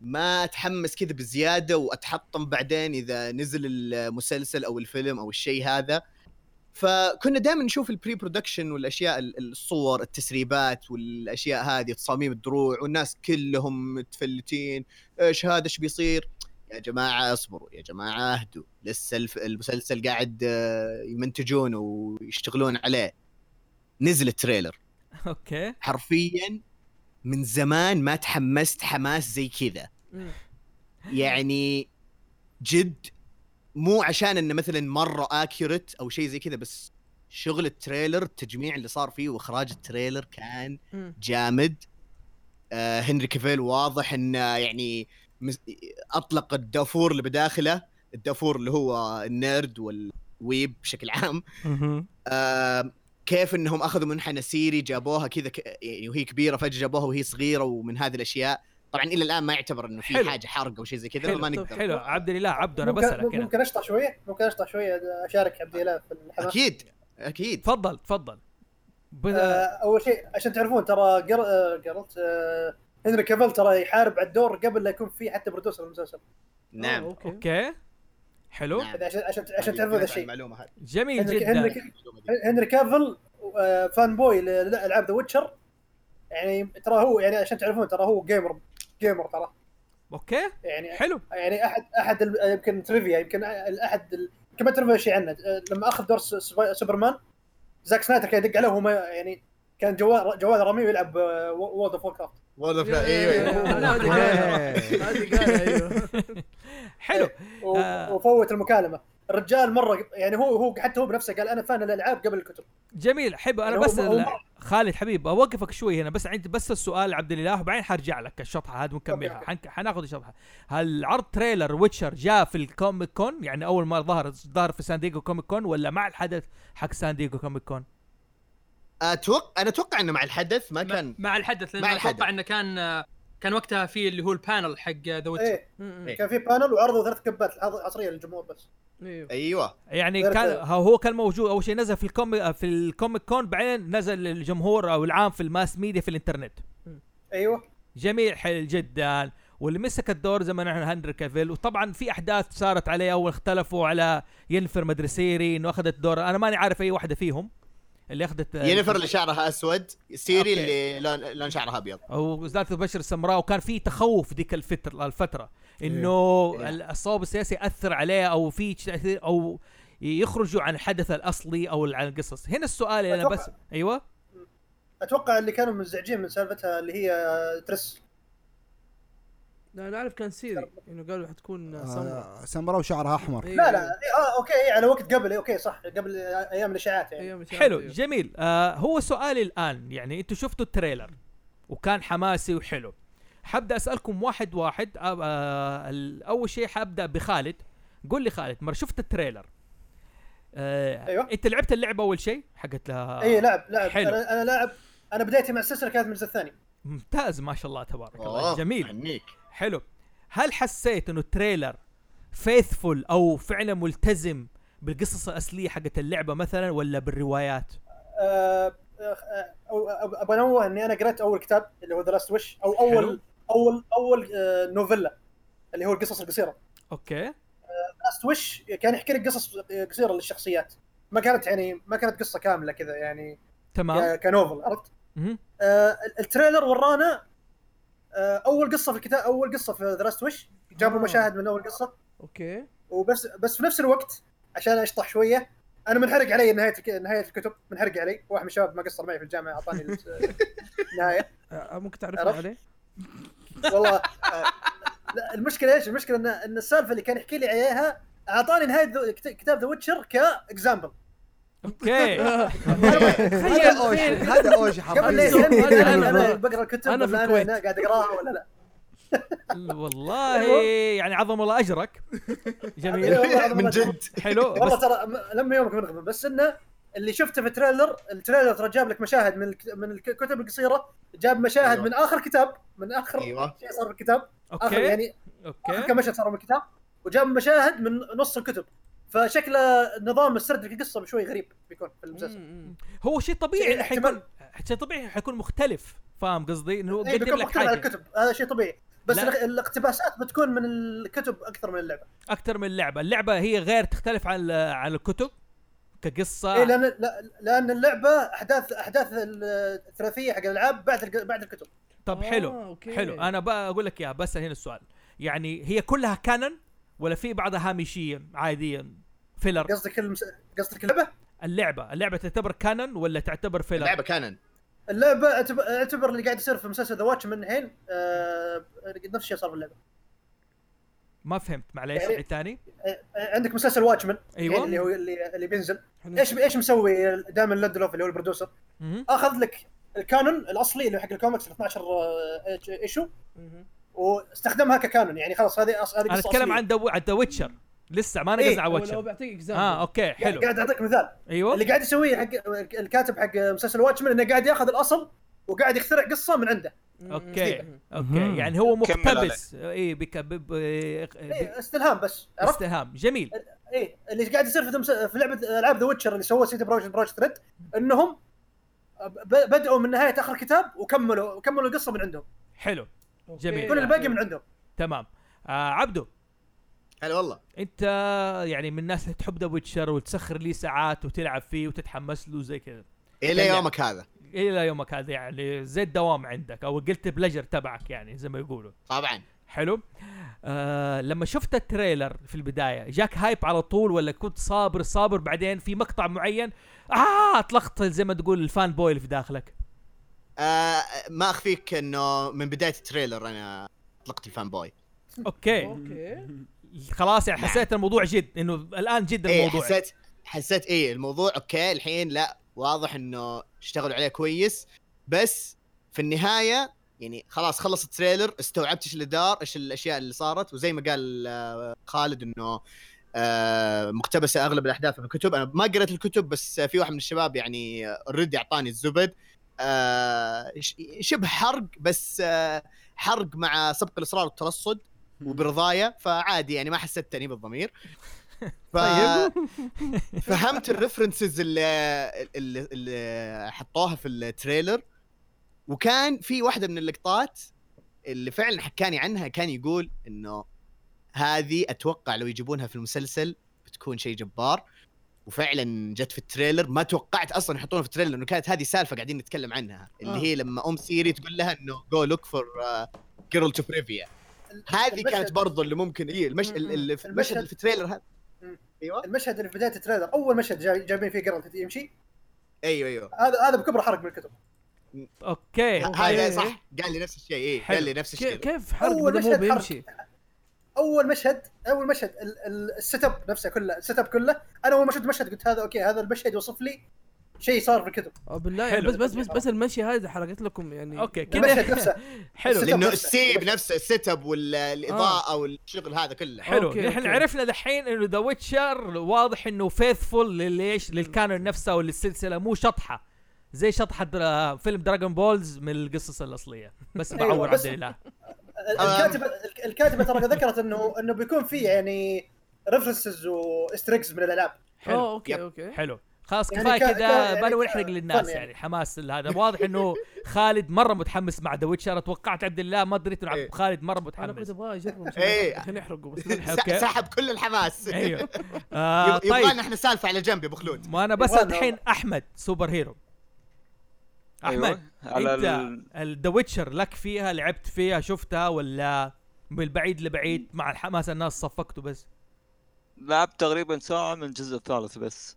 [SPEAKER 1] ما اتحمس كذا بزياده واتحطم بعدين اذا نزل المسلسل او الفيلم او الشيء هذا فكنا دائما نشوف البري برودكشن والاشياء ال- الصور التسريبات والاشياء هذه تصاميم الدروع والناس كلهم متفلتين ايش هذا ايش بيصير يا جماعه اصبروا يا جماعه اهدوا لسه الف- المسلسل قاعد آه، يمنتجونه ويشتغلون عليه نزل التريلر
[SPEAKER 4] اوكي
[SPEAKER 1] حرفيا من زمان ما تحمست حماس زي كذا يعني جد مو عشان انه مثلا مره اكيوريت او شيء زي كذا بس شغل التريلر التجميع اللي صار فيه واخراج التريلر كان
[SPEAKER 5] مم.
[SPEAKER 1] جامد آه هنري كافيل واضح انه يعني مس- اطلق الدافور اللي بداخله الدافور اللي هو النيرد والويب بشكل عام
[SPEAKER 3] مهم.
[SPEAKER 1] آه، كيف انهم اخذوا منحنى سيري جابوها كذا ك... يعني وهي كبيره فجاه جابوها وهي صغيره ومن هذه الاشياء طبعا الى الان ما يعتبر انه في
[SPEAKER 4] حلو.
[SPEAKER 1] حاجه حرق او شيء زي كذا
[SPEAKER 4] حلو
[SPEAKER 1] فما
[SPEAKER 4] طب
[SPEAKER 1] نقدر
[SPEAKER 4] حلو عبد الاله عبده انا
[SPEAKER 7] ممكن-
[SPEAKER 4] بسالك هنا
[SPEAKER 7] ممكن اشطح شويه ممكن اشطح شويه اشارك عبد الاله في الحماس
[SPEAKER 1] اكيد اكيد
[SPEAKER 4] تفضل تفضل ب...
[SPEAKER 7] آه، اول شيء عشان تعرفون ترى قر- آه، قررت آه، هنري كافيل ترى يحارب على الدور قبل لا يكون في حتى برودوسر المسلسل
[SPEAKER 5] آه،
[SPEAKER 1] نعم
[SPEAKER 5] اوكي
[SPEAKER 4] اوكي حلو
[SPEAKER 1] نعم.
[SPEAKER 7] عشان عشان عشان تعرفون ذا الشيء
[SPEAKER 1] المعلومه هذه
[SPEAKER 4] جميل
[SPEAKER 7] هنري هنري
[SPEAKER 4] جدا
[SPEAKER 1] المعلومة دي.
[SPEAKER 7] هنري كافل آه، فان بوي لالعاب ذا ويتشر يعني ترى هو يعني عشان تعرفون ترى هو جيمر جيمر ترى
[SPEAKER 4] اوكي
[SPEAKER 7] يعني
[SPEAKER 4] حلو
[SPEAKER 7] يعني احد احد ال- يمكن تريفيا يمكن ال- احد ال- يمكن ما تعرفون شيء عنه آه، لما اخذ دور س- سب- سوبرمان زاك سنايدر كان يدق عليه وهو ما- يعني كان جوال جوال آه، رامي يلعب وورد اوف وور
[SPEAKER 1] والله فعلا- ايوه ايوه
[SPEAKER 5] لا، هذه قالها. هذه قالها، ايوه
[SPEAKER 4] حلو
[SPEAKER 7] و-
[SPEAKER 4] آه.
[SPEAKER 7] وفوت المكالمه الرجال مره يعني هو هو حتى هو بنفسه قال انا فان الالعاب قبل الكتب
[SPEAKER 4] جميل حب انا
[SPEAKER 7] يعني هو-
[SPEAKER 4] بس
[SPEAKER 7] هو-
[SPEAKER 4] خالد حبيب اوقفك شوي هنا بس عندي بس السؤال عبد الاله وبعدين حرجع لك الشطحه هذه ونكملها
[SPEAKER 7] أوكي،
[SPEAKER 4] حن... حناخذ الشطحه هل عرض تريلر ويتشر جاء في الكوميك كون يعني اول ما ظهر ظهر في سان دييغو كوميك كون ولا مع الحدث حق سان دييغو كوميك كون
[SPEAKER 1] اتوقع انا اتوقع انه مع الحدث ما كان
[SPEAKER 2] مع الحدث لان
[SPEAKER 1] مع
[SPEAKER 2] اتوقع
[SPEAKER 1] الحدث.
[SPEAKER 2] انه كان آه، كان وقتها في اللي هو البانل حق آه، ذا ويتشر
[SPEAKER 7] ايه
[SPEAKER 5] مم.
[SPEAKER 1] إيه.
[SPEAKER 7] كان في بانل وعرضوا ثلاث كبات عض- عصريه للجمهور بس
[SPEAKER 5] ايوه
[SPEAKER 1] ايوه
[SPEAKER 4] يعني
[SPEAKER 7] غير
[SPEAKER 4] كان
[SPEAKER 7] كذا.
[SPEAKER 4] هو هو كان موجود اول شيء نزل في الكوميك في الكوميك كون بعدين نزل للجمهور او العام في الماس ميديا في الانترنت
[SPEAKER 7] ايوه
[SPEAKER 4] جميل حلو جدا واللي مسك الدور زي ما نحن هنري كافيل وطبعا في احداث صارت عليه اول اختلفوا على ينفر مدرسيري انه اخذت دور انا ماني عارف اي واحده فيهم اللي اخذت
[SPEAKER 1] ينفر اللي شعرها اسود سيري
[SPEAKER 4] أوكي.
[SPEAKER 1] اللي لون لون شعرها ابيض
[SPEAKER 4] او ذات البشر السمراء وكان في تخوف ذيك الفتره الفتره انه ال- الصواب السياسي ياثر عليه او في تأثير- او يخرجوا عن الحدث الاصلي او عن القصص هنا السؤال انا
[SPEAKER 7] أتوقع-
[SPEAKER 4] بس ايوه
[SPEAKER 7] اتوقع اللي كانوا منزعجين من سالفتها اللي هي آه، ترس
[SPEAKER 5] لا انا اعرف كان سيري انه قالوا حتكون أيوة، آه سمراء
[SPEAKER 8] آه، سمراء وشعرها احمر
[SPEAKER 7] لا لا اه اوكي إيه، على وقت قبل إيه، اوكي صح قبل ايام الاشاعات
[SPEAKER 4] إيه.
[SPEAKER 7] يعني
[SPEAKER 5] ايام الشهادة،
[SPEAKER 4] حلو
[SPEAKER 5] أيوة.
[SPEAKER 4] جميل آه هو سؤالي الان يعني انتم شفتوا التريلر وكان حماسي وحلو حبدا اسالكم واحد واحد آه آه ال- اول شيء حابدا بخالد قول لي خالد مره شفت التريلر آه
[SPEAKER 7] أيوة.
[SPEAKER 4] انت لعبت اللعبه اول شيء حقت لها
[SPEAKER 7] اي لعب لعب
[SPEAKER 4] آه، حلو.
[SPEAKER 7] انا انا إيه، لاعب انا بدايتي مع السلسله كانت من الجزء الثاني
[SPEAKER 4] ممتاز ما شاء الله تبارك الله
[SPEAKER 1] أوه،
[SPEAKER 7] يعني.
[SPEAKER 4] جميل
[SPEAKER 1] عنيك
[SPEAKER 4] حلو هل حسيت انه التريلر فيثفul او فعلا ملتزم بالقصص الاصليه حقت اللعبه مثلا ولا بالروايات
[SPEAKER 7] آه، آه، آه، أب- ابى انوه اني انا قرأت اول كتاب اللي هو ذا لاست وش او
[SPEAKER 4] حلو.
[SPEAKER 7] اول اول اول آه، نوفيلا اللي هو القصص القصيره
[SPEAKER 4] اوكي
[SPEAKER 7] لاست وش كان يحكي لك قصص قصيره للشخصيات ما كانت يعني ما كانت قصه كامله كذا يعني
[SPEAKER 4] تمام
[SPEAKER 7] ك- كنوفل عرفت
[SPEAKER 4] آه. مهم.
[SPEAKER 7] آه، التريلر ورانا آه، اول قصه في الكتاب اول قصه في ذا لاست وش جابوا
[SPEAKER 5] آه.
[SPEAKER 7] مشاهد من اول قصه
[SPEAKER 5] اوكي
[SPEAKER 7] وبس بس في نفس الوقت عشان اشطح شويه انا منحرق علي نهايه الك- نهايه الكتب منحرق علي واحد من الشباب ما قصر معي في الجامعه اعطاني ال- النهايه
[SPEAKER 5] آه ممكن تعرفنا
[SPEAKER 7] عرفت؟
[SPEAKER 5] عليه
[SPEAKER 7] والله آه، لا المشكله ايش المشكله ان ان السالفه اللي كان يحكي لي عليها اعطاني نهايه ذو- كت- كتاب ذا ويتشر كاكزامبل
[SPEAKER 4] اوكي
[SPEAKER 8] هذا اوشي هذا اوشي
[SPEAKER 7] قبل لا
[SPEAKER 8] حرفيا
[SPEAKER 7] يسالني
[SPEAKER 5] أنا-
[SPEAKER 7] إذا انا
[SPEAKER 5] أنا-
[SPEAKER 7] أنا بقرا الكتب
[SPEAKER 5] أنا
[SPEAKER 7] ولا
[SPEAKER 5] في
[SPEAKER 7] انا
[SPEAKER 5] الكويت.
[SPEAKER 7] هنا قاعد اقراها ولا لا
[SPEAKER 4] والله يعني عظم الله اجرك جميل
[SPEAKER 7] والله-
[SPEAKER 1] من جد
[SPEAKER 4] حلو
[SPEAKER 7] والله
[SPEAKER 4] بس
[SPEAKER 7] ترى م- لما يومك من غبن بس انه اللي شفته في التريلر التريلر ترى جاب لك مشاهد من الك- من الكتب القصيره جاب مشاهد
[SPEAKER 5] أيوه.
[SPEAKER 1] أيوة.
[SPEAKER 7] من اخر كتاب من اخر
[SPEAKER 1] ايوه
[SPEAKER 7] شيء صار في الكتاب اخر
[SPEAKER 4] اوكي
[SPEAKER 7] يعني اخر
[SPEAKER 4] اوكي
[SPEAKER 7] كم مشهد صار من الكتاب وجاب مشاهد من نص الكتب فشكله نظام السرد القصه بشوي غريب بيكون في المسلسل
[SPEAKER 5] مم،
[SPEAKER 4] هو شيء طبيعي
[SPEAKER 7] شيء
[SPEAKER 4] إنه حيكون شيء طبيعي حيكون مختلف فاهم قصدي انه هو
[SPEAKER 7] إيه
[SPEAKER 4] قدم
[SPEAKER 7] بيكون
[SPEAKER 4] لك
[SPEAKER 7] مختلف عن
[SPEAKER 4] حاجه
[SPEAKER 7] الكتب هذا شيء طبيعي بس
[SPEAKER 4] لا.
[SPEAKER 7] الاخ- الاقتباسات بتكون من الكتب اكثر من اللعبه
[SPEAKER 4] اكثر من اللعبه اللعبه هي غير تختلف عن عن الكتب كقصه
[SPEAKER 7] إيه لان لا- لان اللعبه احداث احداث الثلاثيه حق الالعاب بعد الق- بعد الكتب
[SPEAKER 4] طب
[SPEAKER 5] آه،
[SPEAKER 4] حلو
[SPEAKER 5] أوكي.
[SPEAKER 4] حلو انا بقى اقول لك اياها بس هنا السؤال يعني هي كلها كانون ولا في بعضها هامشيه عاديه فيلر
[SPEAKER 7] قصدك المس... قصدك اللعبه
[SPEAKER 4] اللعبه اللعبه تعتبر كانون ولا تعتبر فيلر
[SPEAKER 1] اللعبه كانن
[SPEAKER 7] اللعبه اعتب- اعتبر اللي قاعد يصير في مسلسل ذا واتش من الحين آه... نفس الشيء صار في اللعبه
[SPEAKER 4] ما فهمت معليش
[SPEAKER 7] يعني-
[SPEAKER 4] عيد ثاني
[SPEAKER 7] آه... عندك مسلسل واتشمن
[SPEAKER 4] أيوة.
[SPEAKER 7] اللي هو اللي, اللي بينزل
[SPEAKER 5] حلو.
[SPEAKER 7] ايش ايش مسوي دائما لندلوف اللي هو البرودوسر
[SPEAKER 4] مهم.
[SPEAKER 7] اخذ لك الكانون الاصلي اللي هو حق الكوميكس ال 12 ايشو
[SPEAKER 5] مم.
[SPEAKER 7] واستخدمها ككانون يعني خلاص هذه أص... هذه
[SPEAKER 4] انا
[SPEAKER 7] قصة
[SPEAKER 4] اتكلم
[SPEAKER 7] أصلية.
[SPEAKER 4] عن دو... عن ذا ويتشر لسه ما
[SPEAKER 7] إيه،
[SPEAKER 4] نقزنا على
[SPEAKER 5] هو لو
[SPEAKER 4] ويتشر
[SPEAKER 5] بيعطيك اكزامبل
[SPEAKER 4] اه اوكي حلو
[SPEAKER 7] قاعد اعطيك مثال اللي
[SPEAKER 4] ايوه
[SPEAKER 7] قاعد يسويه حق الكاتب حق مسلسل واتشمان انه قاعد ياخذ الاصل وقاعد يخترع قصه من عنده
[SPEAKER 4] اوكي
[SPEAKER 7] مم.
[SPEAKER 4] اوكي يعني هو
[SPEAKER 6] كمل
[SPEAKER 4] مقتبس اي بك ب... ب...
[SPEAKER 7] إيه
[SPEAKER 4] ب...
[SPEAKER 7] استلهام بس عرفت؟
[SPEAKER 4] استهام جميل
[SPEAKER 7] ايه اللي قاعد يصير في, مس... في لعبه العاب ذا ويتشر اللي سووه سيتي بروجكت بروجكت ريد انهم ب... بدأوا من نهايه اخر كتاب وكملوا كملوا القصه من عندهم
[SPEAKER 4] حلو
[SPEAKER 5] أوكي.
[SPEAKER 4] جميل.
[SPEAKER 7] كل الباقي من عندهم
[SPEAKER 4] تمام آه عبدو
[SPEAKER 1] هلا والله
[SPEAKER 4] انت يعني من الناس اللي تحب ذا ويتشر وتسخر ليه ساعات وتلعب فيه وتتحمس له زي كذا
[SPEAKER 1] الى يومك هذا
[SPEAKER 4] الى يومك هذا يعني زي الدوام عندك او قلت بلجر تبعك يعني زي ما يقولوا
[SPEAKER 1] طبعا
[SPEAKER 4] حلو آه لما شفت التريلر في البدايه جاك هايب على طول ولا كنت صابر صابر بعدين في مقطع معين اه اتلخط زي ما تقول الفان بوي اللي في داخلك
[SPEAKER 1] آه ما اخفيك انه من بدايه التريلر انا اطلقت الفان بوي
[SPEAKER 4] اوكي
[SPEAKER 5] اوكي
[SPEAKER 4] خلاص يعني حسيت الموضوع جد انه الان جد
[SPEAKER 1] ايه
[SPEAKER 4] الموضوع
[SPEAKER 1] حسيت حسيت ايه الموضوع اوكي الحين لا واضح انه اشتغلوا عليه كويس بس في النهايه يعني خلاص خلص التريلر استوعبت ايش اللي دار ايش الاشياء اللي صارت وزي ما قال آه، خالد انه آه، مقتبسه اغلب الاحداث من الكتب انا ما قريت الكتب بس في واحد من الشباب يعني اوريدي اعطاني الزبد آه، ش- شبه حرق بس آه، حرق مع سبق الاصرار والترصد وبرضايا فعادي يعني ما حسيت تاني بالضمير ف... فهمت الريفرنسز اللي, اللي, اللي حطوها في التريلر وكان في واحده من اللقطات اللي فعلا حكاني عنها كان يقول انه هذه اتوقع لو يجيبونها في المسلسل بتكون شيء جبار وفعلا جت في التريلر ما توقعت اصلا يحطونها في التريلر انه كانت هذه سالفه قاعدين نتكلم عنها اللي
[SPEAKER 5] آه.
[SPEAKER 1] هي لما ام سيري تقول لها انه جو لوك فور جيرل تو بريفيا هذه
[SPEAKER 7] المشهد-
[SPEAKER 1] كانت برضو اللي ممكن اي المش...
[SPEAKER 5] مم. أيوة.
[SPEAKER 1] اللي في المشهد
[SPEAKER 7] المشهد-
[SPEAKER 1] اللي في التريلر هذا
[SPEAKER 7] مم.
[SPEAKER 1] ايوه
[SPEAKER 7] المشهد اللي في بدايه التريلر اول مشهد جاي- جايبين فيه قرن يمشي
[SPEAKER 1] ايوه ايوه
[SPEAKER 7] هذا هذا بكبر حرق من الكتب
[SPEAKER 4] اوكي
[SPEAKER 1] هذا صح قال لي نفس الشيء اي قال لي نفس
[SPEAKER 5] كي-
[SPEAKER 1] الشيء
[SPEAKER 5] إيه. كيف حرق
[SPEAKER 7] أول
[SPEAKER 5] بدل مو
[SPEAKER 7] مشهد حرق.
[SPEAKER 5] بيمشي
[SPEAKER 7] اول مشهد اول مشهد ال- ال- السيت اب نفسه كله السيت اب كله انا اول ما شفت مشهد قلت هذا اوكي هذا المشهد يوصف لي شيء صار في الكتب
[SPEAKER 5] آه، بالله يعني
[SPEAKER 4] حلو.
[SPEAKER 5] بس بس بس بس المشي هذا حرقت لكم يعني
[SPEAKER 4] اوكي كذا
[SPEAKER 7] المشهد نفسه
[SPEAKER 4] حلو
[SPEAKER 7] السيت أب
[SPEAKER 1] لانه
[SPEAKER 7] نفسه.
[SPEAKER 1] السيب نفسه السيت اب
[SPEAKER 4] آه.
[SPEAKER 1] والاضاءه والشغل هذا كله
[SPEAKER 4] حلو
[SPEAKER 5] أوكي،
[SPEAKER 4] نحن
[SPEAKER 5] أوكي.
[SPEAKER 4] عرفنا دحين انه ذا ويتشر واضح انه فيثفول للايش للكانون نفسه وللسلسله مو شطحه زي شطحه درا... فيلم دراجون بولز من القصص الاصليه بس
[SPEAKER 7] أيوة،
[SPEAKER 4] بعور عبد
[SPEAKER 7] بس-
[SPEAKER 4] الاله
[SPEAKER 7] ال- الكاتبه ال- الكاتبه ترى ذكرت انه انه بيكون في يعني ريفرنسز واستريكس من الالعاب
[SPEAKER 5] اه
[SPEAKER 4] حلو
[SPEAKER 5] اوكي
[SPEAKER 1] يب.
[SPEAKER 5] اوكي
[SPEAKER 4] حلو خلاص
[SPEAKER 7] يعني
[SPEAKER 4] كفايه
[SPEAKER 7] كا- كا-
[SPEAKER 4] كذا
[SPEAKER 7] يعني
[SPEAKER 4] بلا
[SPEAKER 7] كا-
[SPEAKER 4] ونحرق للناس
[SPEAKER 7] فن يعني.
[SPEAKER 4] يعني حماس هذا واضح انه خالد مره متحمس مع ذا ويتشر توقعت عبد الله ما دريت انه عبد-
[SPEAKER 1] إيه.
[SPEAKER 4] خالد مره
[SPEAKER 5] انا كنت
[SPEAKER 4] متحمس
[SPEAKER 5] ابغى اجرب عشان
[SPEAKER 1] إيه.
[SPEAKER 5] عشان يحرقوا بس
[SPEAKER 4] أوكي.
[SPEAKER 1] س- سحب كل الحماس
[SPEAKER 4] ايوه آه
[SPEAKER 1] يب- يبغى
[SPEAKER 4] طيب
[SPEAKER 1] لنا احنا سالفه على جنب يا ابو خلود
[SPEAKER 4] ما انا بسال
[SPEAKER 7] يبغالنا
[SPEAKER 4] الحين احمد سوبر هيرو احمد
[SPEAKER 6] أيوه. على
[SPEAKER 4] انت
[SPEAKER 6] ال-
[SPEAKER 4] ذا ويتشر لك فيها لعبت فيها شفتها ولا من البعيد لبعيد مع الحماس الناس صفقته بس
[SPEAKER 6] لعبت تقريبا ساعه من الجزء الثالث بس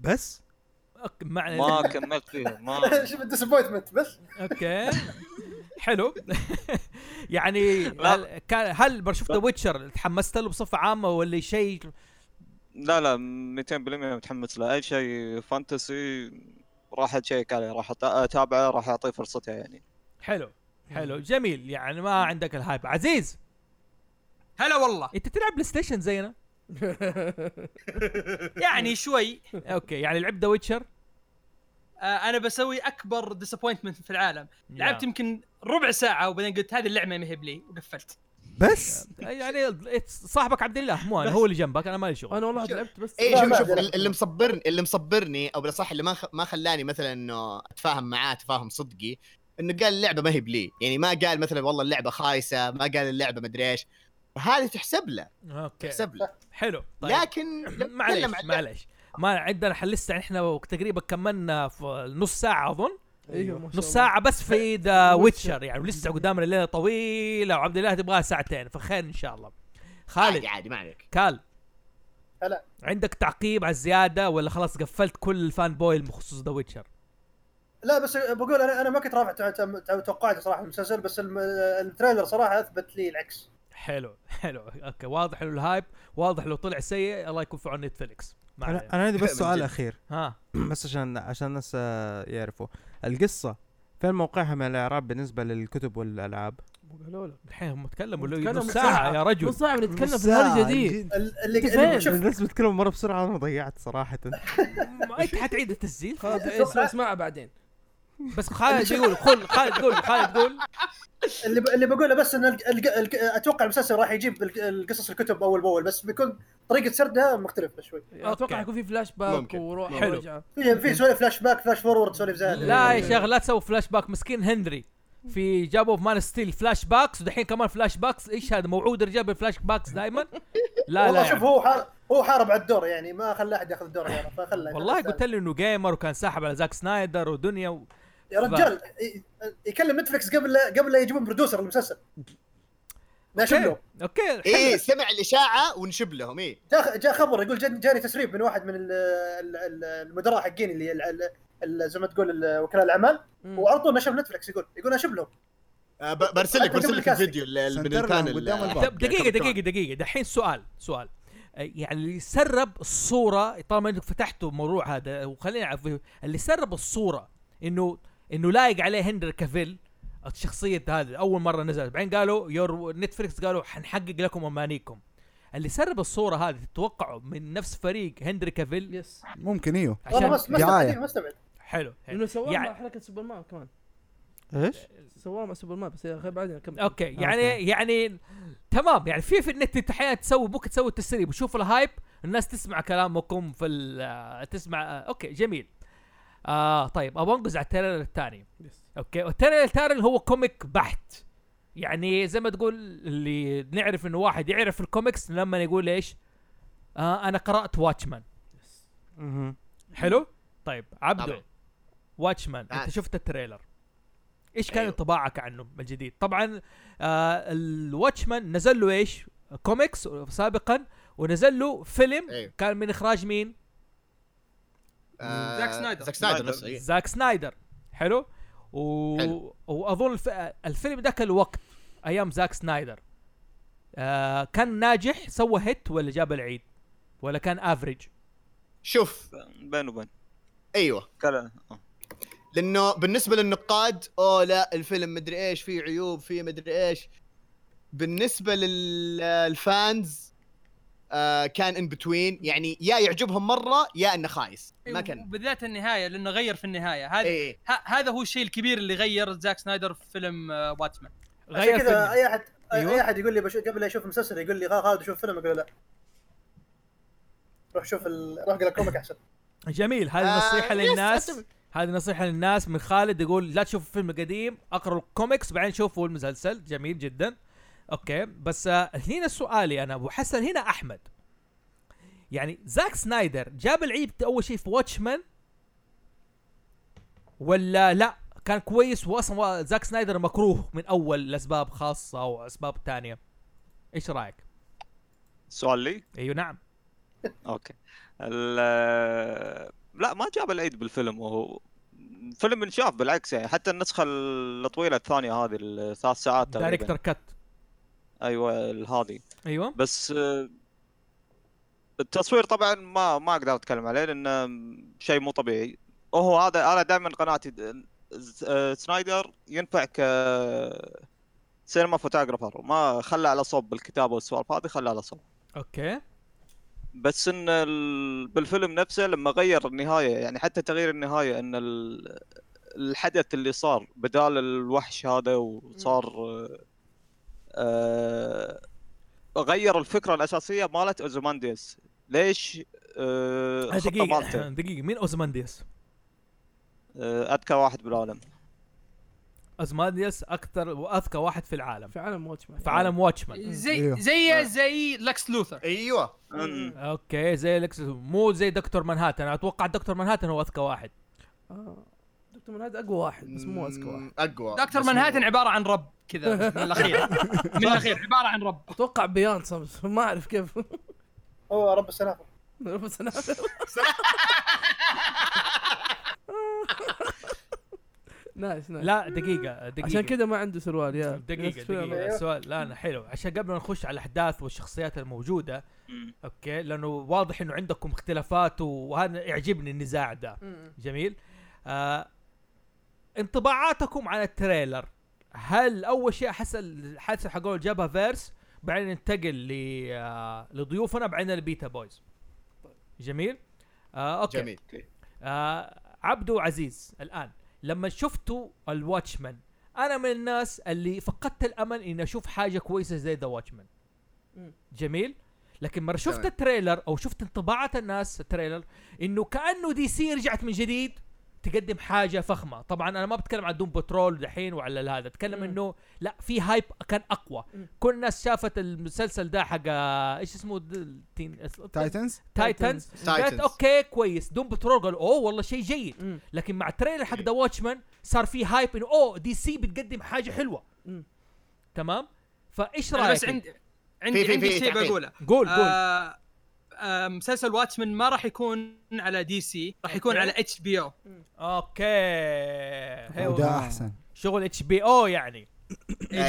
[SPEAKER 3] بس
[SPEAKER 4] أوك- مع
[SPEAKER 6] ما كملت فيها ما
[SPEAKER 7] شوف الديسابوينتمنت بس
[SPEAKER 4] اوكي حلو يعني
[SPEAKER 6] لا.
[SPEAKER 4] هل كان هل بر- شفت ذا ويتشر تحمست له بصفه عامه ولا شيء
[SPEAKER 6] لا لا 200% متحمس له اي شيء فانتسي راح اتشيك عليه راح أت- اتابعه راح اعطيه فرصته يعني
[SPEAKER 4] حلو حلو جميل يعني ما عندك الهايب عزيز
[SPEAKER 2] هلا والله
[SPEAKER 4] انت تلعب بلاي ستيشن زينا
[SPEAKER 2] يعني شوي
[SPEAKER 4] اوكي يعني لعبت ذا ويتشر
[SPEAKER 2] آه، انا بسوي اكبر ديسابوينتمنت في العالم
[SPEAKER 4] نعم.
[SPEAKER 2] لعبت يمكن ربع ساعه وبعدين قلت هذه اللعبه ما هي بلي وقفلت
[SPEAKER 3] بس
[SPEAKER 4] يعني صاحبك عبد الله مو انا هو اللي جنبك انا مالي شغل
[SPEAKER 5] انا والله لعبت بس
[SPEAKER 1] اي إيه، شوف
[SPEAKER 7] لا،
[SPEAKER 1] شوف
[SPEAKER 7] لا.
[SPEAKER 1] ال- اللي مصبرني اللي مصبرني او بالاصح اللي ما خ- ما خلاني مثلا انه اتفاهم معاه تفاهم صدقي انه قال اللعبه ما هي بلي يعني ما قال مثلا والله اللعبه خايسه ما قال اللعبه مدري ايش هذه تحسب له
[SPEAKER 4] اوكي
[SPEAKER 1] تحسب له
[SPEAKER 4] حلو طيب
[SPEAKER 1] لكن لما تكلم
[SPEAKER 4] معليش
[SPEAKER 1] عن-
[SPEAKER 4] معليش ما عندنا حلستها احنا تقريبا كملنا في نص ساعه اظن
[SPEAKER 5] ايوه ما شاء
[SPEAKER 4] نص
[SPEAKER 5] الله.
[SPEAKER 4] ساعه بس في ذا ويتشر
[SPEAKER 5] ويتشر.
[SPEAKER 4] يعني ولسه قدامنا ليله طويله وعبد الله تبغاها ساعتين فخير ان شاء الله خالد
[SPEAKER 1] عادي عادي ما عليك
[SPEAKER 4] كال
[SPEAKER 7] هلا.
[SPEAKER 4] عندك تعقيب على الزياده ولا خلاص قفلت كل الفان بوي بخصوص ذا ويتشر
[SPEAKER 7] لا بس بقول انا انا ما كنت رافع تو- تو- تو- توقعاتي صراحه من المسلسل بس الم- التريلر صراحه اثبت لي العكس
[SPEAKER 4] حلو حلو اوكي واضح انه الهايب واضح لو طلع سيء الله يكون في عون نتفليكس ما
[SPEAKER 3] انا
[SPEAKER 4] علينا.
[SPEAKER 3] انا عندي بس
[SPEAKER 1] من
[SPEAKER 3] سؤال
[SPEAKER 1] جد.
[SPEAKER 3] اخير
[SPEAKER 4] ها
[SPEAKER 3] بس عشان عشان الناس آه، يعرفوا القصه فين موقعها من الاعراب بالنسبه للكتب والالعاب؟
[SPEAKER 5] مو قالوا لك
[SPEAKER 4] الحين هم تكلموا لو
[SPEAKER 5] تكلموا
[SPEAKER 4] نص ساعه يا رجل
[SPEAKER 5] نص ساعه بنتكلم
[SPEAKER 3] نص
[SPEAKER 5] في هذا
[SPEAKER 3] ساعة،
[SPEAKER 5] جديد
[SPEAKER 3] جد.
[SPEAKER 7] ال- اللي
[SPEAKER 5] كيف؟
[SPEAKER 7] اللي- شوف
[SPEAKER 3] الناس بتتكلم مره بسرعه انا ضيعت صراحه
[SPEAKER 4] ما انت حتعيد التسجيل
[SPEAKER 5] خلاص
[SPEAKER 7] إيه،
[SPEAKER 5] اسمع اسمعها بعدين
[SPEAKER 4] بس خالد يقول قول خالد قول خالد قول
[SPEAKER 7] اللي ب- اللي بقوله بس ان ال- ال- ال- اتوقع المسلسل راح يجيب ال- القصص الكتب اول باول بس بيكون طريقه سردها مختلفه شوي
[SPEAKER 4] أوكي.
[SPEAKER 5] اتوقع يكون في فلاش باك
[SPEAKER 1] ممكن.
[SPEAKER 5] وروح
[SPEAKER 4] حلو.
[SPEAKER 5] ورجعه
[SPEAKER 7] في في سوالف فلاش باك فلاش فورورد سوالف زي هذه.
[SPEAKER 4] لا يا شيخ لا تسوي فلاش باك مسكين هنري في جابوا في مان ستيل فلاش باكس ودحين كمان فلاش باكس ايش هذا موعود الرجال بالفلاش باكس دائما لا لا
[SPEAKER 7] والله شوف
[SPEAKER 4] يعني.
[SPEAKER 7] هو حار هو حارب على الدور يعني ما خلى احد ياخذ الدور يعني فخلى
[SPEAKER 4] والله قلت له انه جيمر وكان ساحب على زاك سنايدر ودنيا و...
[SPEAKER 7] يا رجال ي- يكلم نتفلكس قبل لا قبل لا يجيبون برودوسر المسلسل ناشب له
[SPEAKER 4] اوكي
[SPEAKER 1] ايه سمع الاشاعه ونشب لهم ايه
[SPEAKER 7] جاء جاء خبر يقول جا- جاني تسريب من واحد من ال- ال- ال- المدراء حقين اللي ال- ال- ال- زي ما تقول ال- وكلاء الاعمال وعلى طول نشب نتفلكس يقول يقول نشب لهم
[SPEAKER 1] آه،
[SPEAKER 7] طيب،
[SPEAKER 1] ب- برسل لك
[SPEAKER 7] حتى قبل
[SPEAKER 1] برسل لك
[SPEAKER 7] الكاستنج.
[SPEAKER 1] الفيديو ال- ال- من
[SPEAKER 8] سنترهم
[SPEAKER 1] البانل
[SPEAKER 8] قدام
[SPEAKER 1] آه،
[SPEAKER 8] الباب.
[SPEAKER 4] طب دقيقة دقيقة دقيقة دحين سؤال سؤال آه، يعني اللي سرب الصورة طالما انك فتحتوا الموضوع هذا وخلينا نعرف اللي سرب الصورة انه انه لايق عليه هندر كافيل الشخصية هذه اول مرة نزلت بعدين قالوا يور نتفلكس قالوا حنحقق لكم امانيكم اللي سرب الصورة هذه تتوقعوا من نفس فريق هندري كافيل
[SPEAKER 5] يس
[SPEAKER 8] ممكن ايوه
[SPEAKER 7] والله ما
[SPEAKER 4] عشان
[SPEAKER 7] است- ما
[SPEAKER 8] دعاية.
[SPEAKER 7] استبعد ما استبعد
[SPEAKER 4] حلو حلو
[SPEAKER 5] لانه سواه
[SPEAKER 4] يعني-
[SPEAKER 5] مع حركه سوبرمان كمان
[SPEAKER 3] ايش؟
[SPEAKER 5] سواه مع سوبرمان بس يا اخي بعدين اكمل
[SPEAKER 4] اوكي يعني
[SPEAKER 3] أوكي.
[SPEAKER 4] يعني تمام يعني في في النت انت احيانا تسوي ممكن تسوي تسريب وشوف الهايب الناس تسمع كلامكم في ال- آه، تسمع اوكي جميل آه طيب ابغى انقز على التريلر الثاني
[SPEAKER 5] يس.
[SPEAKER 4] اوكي والتريلر الثاني هو كوميك بحت يعني زي ما تقول اللي نعرف انه واحد يعرف الكوميكس لما يقول ايش آه انا قرات واتشمان
[SPEAKER 3] مهم.
[SPEAKER 4] حلو طيب عبدو
[SPEAKER 1] طبعاً.
[SPEAKER 4] واتشمان
[SPEAKER 1] آه.
[SPEAKER 4] انت شفت التريلر ايش كان
[SPEAKER 1] أيوه.
[SPEAKER 4] انطباعك عنه الجديد طبعا آه الواتشمان نزل له ايش كوميكس سابقا ونزل له فيلم
[SPEAKER 1] أيوه.
[SPEAKER 4] كان من اخراج مين
[SPEAKER 1] آه،
[SPEAKER 2] زاك سنايدر.
[SPEAKER 1] زاك سنايدر نفسه إيه.
[SPEAKER 4] زاك سنايدر حلو و...
[SPEAKER 1] حلو.
[SPEAKER 4] واظن الف... الفيلم ذاك الوقت ايام زاك سنايدر آه كان ناجح سوى هيت ولا جاب العيد ولا كان افريج
[SPEAKER 1] شوف
[SPEAKER 6] بين وبين
[SPEAKER 1] ايوه
[SPEAKER 6] كلا آه.
[SPEAKER 1] لانه بالنسبه للنقاد اوه لا الفيلم مدري ايش فيه عيوب فيه مدري ايش بالنسبه للفانز آه كان ان بتوين يعني يا يعجبهم مره يا انه خايس ما
[SPEAKER 5] أيوه.
[SPEAKER 1] كان إيه.
[SPEAKER 2] بالذات النهايه لانه غير في النهايه هذا
[SPEAKER 1] اي إي.
[SPEAKER 2] ه- هذا هو الشيء الكبير اللي غير زاك سنايدر في فيلم آه، باتمان
[SPEAKER 4] غير
[SPEAKER 7] كذا
[SPEAKER 4] فيلم.
[SPEAKER 7] اي احد
[SPEAKER 4] أيوة.
[SPEAKER 7] اي احد يقول لي بش... قبل لا اشوف مسلسل يقول لي خالد شوف فيلم اقول له لا روح شوف ال... روح اقرا كوميك احسن
[SPEAKER 4] جميل هذه
[SPEAKER 1] آه،
[SPEAKER 4] نصيحه
[SPEAKER 1] يس،
[SPEAKER 4] للناس
[SPEAKER 1] أتفق.
[SPEAKER 4] هذه نصيحه للناس من خالد يقول لا تشوفوا فيلم قديم اقروا الكوميكس بعدين شوفوا المسلسل جميل جدا اوكي بس آه، هنا سؤالي انا ابو حسن هنا احمد يعني زاك سنايدر جاب العيب اول شيء في واتشمان ولا لا كان كويس واصلا زاك سنايدر مكروه من اول لاسباب خاصه او اسباب تانية ايش رايك؟
[SPEAKER 6] سؤال لي
[SPEAKER 4] ايوه نعم
[SPEAKER 6] اوكي ال لا ما جاب العيد بالفيلم وهو فيلم انشاف بالعكس يعني حتى النسخه الطويله الثانيه هذه الثلاث ساعات
[SPEAKER 4] دايركتر
[SPEAKER 6] تقريبا
[SPEAKER 4] كت
[SPEAKER 6] ايوه هذه
[SPEAKER 4] ايوه
[SPEAKER 6] بس آه، التصوير طبعا ما ما اقدر اتكلم عليه لانه شيء مو طبيعي وهو هذا انا دائما قناعتي د- ز- آه، سنايدر ينفع ك سينما فوتوغرافر ما خلى على صوب بالكتابه والسوالف هذه خلى على صوب
[SPEAKER 4] اوكي
[SPEAKER 6] بس ان ال... بالفيلم نفسه لما غير النهايه يعني حتى تغيير النهايه ان ال... الحدث اللي صار بدال الوحش هذا وصار آه... غير الفكره الاساسيه مالت اوزمانديس ليش آه...
[SPEAKER 4] آه،
[SPEAKER 6] الخطه
[SPEAKER 4] دقيقه
[SPEAKER 6] مالته
[SPEAKER 4] دقيقه مين اوزمانديس؟
[SPEAKER 6] آه... اذكى واحد بالعالم
[SPEAKER 4] ازماديوس اكثر واذكى واحد في العالم
[SPEAKER 5] في عالم واتشمان
[SPEAKER 4] في عالم واتشمان
[SPEAKER 2] زي
[SPEAKER 8] إيوه.
[SPEAKER 2] زي زي لاكس لوثر
[SPEAKER 1] ايوه
[SPEAKER 6] أن-
[SPEAKER 4] اوكي زي لكس مو زي دكتور منهاتن أنا اتوقع دكتور منهاتن هو اذكى واحد
[SPEAKER 5] آه. دكتور من هذا اقوى واحد بس مو اذكى واحد
[SPEAKER 1] مم، اقوى
[SPEAKER 2] دكتور
[SPEAKER 1] بس مو-
[SPEAKER 2] منهاتن عباره عن رب كذا من الاخير من الاخير عباره عن رب
[SPEAKER 5] اتوقع بيان صمت ما اعرف كيف
[SPEAKER 7] هو رب السنافر
[SPEAKER 5] بس أنا- نايس نايس
[SPEAKER 4] لا دقيقه دقيقه
[SPEAKER 5] عشان كذا ما عنده سروال يا
[SPEAKER 4] دقيقه دقيقه السؤال لا انا حلو عشان قبل ما نخش على الاحداث والشخصيات الموجوده
[SPEAKER 6] مم.
[SPEAKER 4] اوكي لانه واضح انه عندكم اختلافات وهذا يعجبني النزاع ده جميل آه انطباعاتكم عن التريلر هل اول شيء احس الحادثه حقول جابها فيرس بعدين ننتقل ل آه لضيوفنا بعدين البيتا بويز جميل آه اوكي
[SPEAKER 1] جميل
[SPEAKER 2] إيه.
[SPEAKER 4] آه عبدو عزيز الان لما شفتوا الواتشمان انا من الناس اللي فقدت الامل اني اشوف حاجه كويسه زي ذا واتشمان
[SPEAKER 5] مم.
[SPEAKER 4] جميل لكن مره شفت
[SPEAKER 1] تمام.
[SPEAKER 4] التريلر او شفت انطباعات الناس التريلر انه كانه دي سي رجعت من جديد تقدم حاجه فخمه طبعا انا ما بتكلم عن دوم بترول دحين وعلى هذا اتكلم
[SPEAKER 5] مم.
[SPEAKER 4] انه لا في هايب كان اقوى
[SPEAKER 5] مم.
[SPEAKER 4] كل الناس شافت المسلسل ده حق آه، ايش اسمه د- تين-
[SPEAKER 8] تايتنز
[SPEAKER 4] تايتنز قالت
[SPEAKER 1] تايتنز.
[SPEAKER 4] اوكي كويس دوم بترول قالوا اوه Oh, والله شيء جيد
[SPEAKER 5] مم.
[SPEAKER 4] لكن مع التريلر حق ذا واتشمان صار في هايب انه اوه دي سي oh, بتقدم حاجه حلوه
[SPEAKER 5] مم.
[SPEAKER 4] تمام فايش
[SPEAKER 2] أنا
[SPEAKER 4] رايك
[SPEAKER 2] بس عندي عندي
[SPEAKER 1] في- في-
[SPEAKER 2] عندي
[SPEAKER 1] في
[SPEAKER 2] شيء
[SPEAKER 1] تعقيب.
[SPEAKER 2] بقوله
[SPEAKER 4] قول قول
[SPEAKER 2] آه، آه، مسلسل واتشمان ما راح يكون على دي سي راح يكون
[SPEAKER 4] أوكي.
[SPEAKER 2] على اتش بي او
[SPEAKER 4] اوكي هيو.
[SPEAKER 8] وده احسن
[SPEAKER 4] شغل اتش بي او يعني